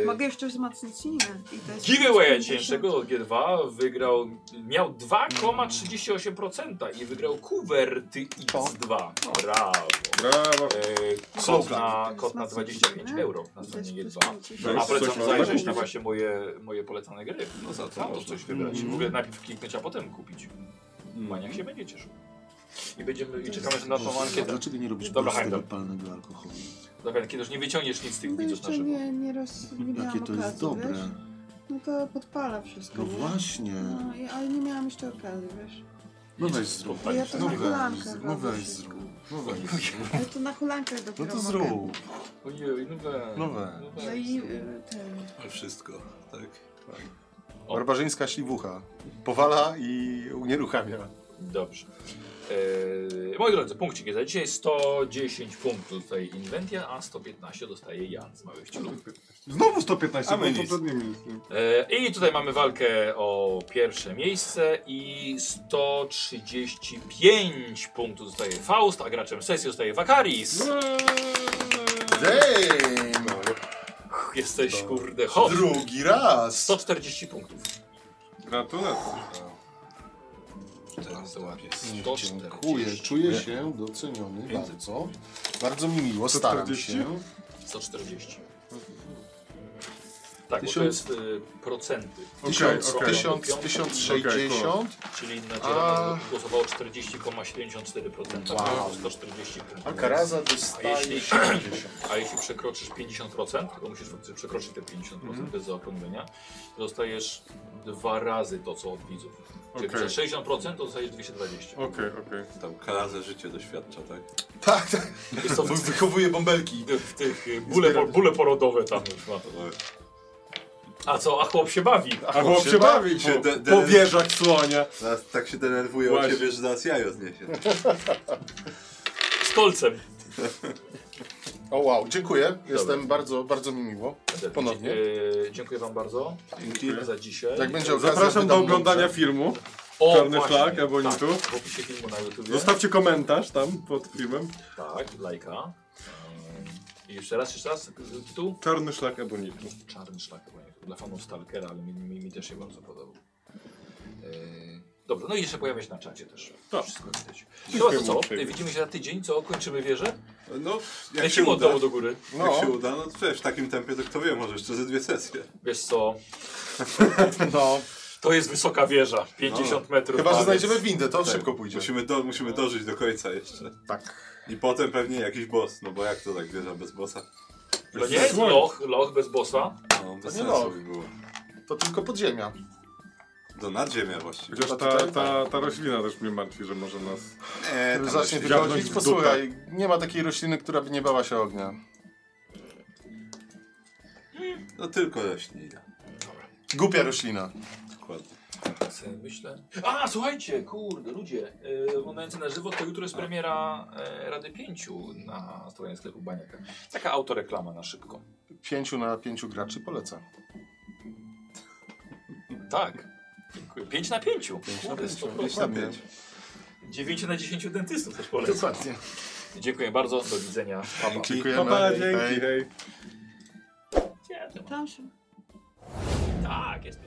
Speaker 4: Mogę jeszcze wzmocnić inne. I to jest
Speaker 1: Giveaway dzisiejszego od G2 wygrał, miał 2,38% i wygrał kuwerty X2.
Speaker 5: No.
Speaker 1: Brawo. E,
Speaker 6: Brawo!
Speaker 1: Kot na, kot na 25 euro na stronie G2. A
Speaker 6: Coś
Speaker 1: polecam
Speaker 6: można
Speaker 1: zajrzeć na
Speaker 6: kupić.
Speaker 1: właśnie moje, moje polecane gry.
Speaker 5: No za
Speaker 1: Tam
Speaker 5: to
Speaker 1: to
Speaker 5: można. Mhm.
Speaker 1: coś wybrać. W
Speaker 4: Mhm.
Speaker 1: ogóle najpierw kliknąć, a potem kupić. Maniak się będzie cieszył. I będziemy, i czekamy na naszą ankietę.
Speaker 2: Dlaczego nie robisz
Speaker 1: Dobra,
Speaker 2: prostego
Speaker 1: Heimdall.
Speaker 2: palnego alkoholu?
Speaker 1: Dobra, kiedy już nie wyciągniesz nic z tych
Speaker 4: To
Speaker 1: widzów
Speaker 4: No jeszcze
Speaker 1: naszego.
Speaker 4: nie, nie, roz, nie miałam
Speaker 2: Jakie to
Speaker 4: okazji,
Speaker 2: jest dobre.
Speaker 4: Wiesz? No to podpala wszystko.
Speaker 2: No
Speaker 4: nie?
Speaker 2: właśnie.
Speaker 4: No, i- ale nie miałam jeszcze okazji, wiesz.
Speaker 2: No weź zrób.
Speaker 4: Ja to
Speaker 2: No
Speaker 4: na
Speaker 2: weź,
Speaker 4: hulankach.
Speaker 2: zrób. no
Speaker 4: robię
Speaker 2: weź
Speaker 4: wszystko.
Speaker 2: zrób. No weź.
Speaker 4: Ja to na hulankach dopiero
Speaker 2: No to
Speaker 4: mogę.
Speaker 2: zrób.
Speaker 1: Ojej, no weź.
Speaker 2: No weź.
Speaker 4: No i y, ten.
Speaker 5: Wszystko, tak.
Speaker 1: O.
Speaker 2: Barbarzyńska śliwucha. Powala i unieruchamia.
Speaker 1: Dobrze. Eee, moi drodzy, punkcik jest za dzisiaj 110 punktów dostaje Inventia, a 115 dostaje ja z małych ciulów.
Speaker 6: Znowu
Speaker 5: A
Speaker 6: 115,
Speaker 5: my
Speaker 6: bo
Speaker 5: nic.
Speaker 6: poprzednimi nic nie
Speaker 1: Eee, I tutaj mamy walkę o pierwsze miejsce i 135 punktów dostaje Faust, a graczem sesji dostaje Vakaris.
Speaker 6: No.
Speaker 2: Dame!
Speaker 1: Uch, Jesteś kurde hot.
Speaker 2: Drugi raz!
Speaker 1: 140 punktów.
Speaker 6: Gratulacje.
Speaker 1: Teraz to ładnie.
Speaker 2: Dziękuję,
Speaker 1: 140.
Speaker 2: czuję się doceniony bardzo. Bardzo mi miło, staram
Speaker 6: 140?
Speaker 2: się.
Speaker 1: 140. Tak, bo to
Speaker 2: Tysiąc-
Speaker 1: jest y, procenty.
Speaker 2: Tysiąc-
Speaker 6: okej.
Speaker 2: tysiąc-
Speaker 1: Okej,
Speaker 2: 1060.
Speaker 1: Czyli na
Speaker 2: A.
Speaker 1: dzielę głosowało 40,74%,
Speaker 2: Wow.
Speaker 1: wow. 140 punktów.
Speaker 2: A Karaza
Speaker 1: A jeśli-
Speaker 2: dostaje 70.
Speaker 1: A jeśli przekroczysz 50%, bo musisz faktycznie przekroczyć te 50%
Speaker 2: Mhm.
Speaker 1: bez zaokrąglenia, to dostajesz dwa razy to, co od widzów. Czyli
Speaker 6: Okej.
Speaker 1: przez 60% to dostajesz 220.
Speaker 6: Okej, okej.
Speaker 5: Tam karazę życie doświadcza, tak?
Speaker 2: Tak, tak.
Speaker 1: Jest to w,
Speaker 2: Wychowuje bąbelki.
Speaker 1: w, w tych y, bóle, po- bóle porodowe tam już ma. A co, a chłop się bawi.
Speaker 6: A chłop się bawi
Speaker 5: się
Speaker 6: po,
Speaker 5: de- de-
Speaker 6: po wieżach słonia.
Speaker 5: Zaraz tak się denerwuję
Speaker 6: Właśnie.
Speaker 5: o ciebie, że zaraz jajo zniesie.
Speaker 1: Z kolcem.
Speaker 2: O wow, dziękuję. Jestem bardzo, bardzo mi miło. Ponownie.
Speaker 1: Eee, dziękuję wam bardzo. Dziękuję za dzisiaj.
Speaker 2: Jak będzie okazja,
Speaker 6: Zapraszam do
Speaker 2: wydam
Speaker 6: oglądania
Speaker 2: mądrze.
Speaker 6: filmu.
Speaker 1: O,
Speaker 6: Czarny
Speaker 1: właśnie,
Speaker 6: Szlak, Ebonitu.
Speaker 1: Tak, w opisie filmu na YouTube.
Speaker 6: Zostawcie komentarz tam pod filmem.
Speaker 1: Tak, lajka. Eee, I jeszcze raz, jeszcze raz tytuł.
Speaker 6: Czarny Szlak Ebonitu.
Speaker 1: Czarny szlak chyba nie, dla fanów Stalkera, ale mi, mi, mi też się bardzo podobał. Yy, dobrze, no i jeszcze pojawia się na czacie też. To wszystko widać. No to co?
Speaker 6: uprzejmie.
Speaker 1: Widzimy się za tydzień, co? Kończymy wieżę?
Speaker 5: No, jak się
Speaker 1: Lecimy od
Speaker 5: uda,
Speaker 1: dołu do góry.
Speaker 5: jak się uda, no to wiesz, w takim tempie to kto wie, może jeszcze ze dwie sesje.
Speaker 1: Wiesz co?
Speaker 2: No,
Speaker 1: To jest wysoka wieża, 50 metrów.
Speaker 2: chyba,
Speaker 1: a
Speaker 2: że
Speaker 1: więc-
Speaker 2: znajdziemy windę, to szybko pójdzie.
Speaker 5: Musimy, do, musimy dożyć do końca jeszcze.
Speaker 2: Tak.
Speaker 5: I potem pewnie jakiś boss, no bo jak to tak wieża bez bossa?
Speaker 1: No nie jest loch, loch bez bossa.
Speaker 5: No, bez
Speaker 2: nie
Speaker 5: sensu
Speaker 2: loch.
Speaker 5: by było.
Speaker 2: To tylko podziemia.
Speaker 5: Do nadziemia właściwie.
Speaker 6: Chociaż ta, ta, ta roślina też mnie martwi, że może nas...
Speaker 5: E,
Speaker 2: Który zacznie
Speaker 6: roślina.
Speaker 2: wychodzić.
Speaker 6: Dziabnąć w dupę.
Speaker 2: Posłuchaj, nie ma takiej rośliny, która by nie bała się ognia.
Speaker 5: No tylko roślina.
Speaker 2: Głupia roślina.
Speaker 5: Dokładnie.
Speaker 1: Sobie Myślę. A, słuchajcie, kurde, ludzie. Yy, oglądający na żywo, to jutro jest premiera e, Rady 5 na stronie sklepu Baniaka. Taka autoreklama na szybko.
Speaker 2: Pięciu na pięciu graczy polecam.
Speaker 1: Tak. Dziękuję. 5 na 5. 5
Speaker 2: na pięciu.
Speaker 5: Pięć na
Speaker 2: Dokładnie.
Speaker 5: pięć.
Speaker 1: 9 na 10 dentystów też polecam.
Speaker 2: Dokładnie.
Speaker 1: Dziękuję bardzo, do widzenia. Pa, pa.
Speaker 6: No Pa,
Speaker 2: Dziękujemy.
Speaker 6: pa,
Speaker 2: Hej.
Speaker 6: dzięki, hej.
Speaker 1: Gdzie to ma?
Speaker 4: Tam się
Speaker 1: Tak, jest.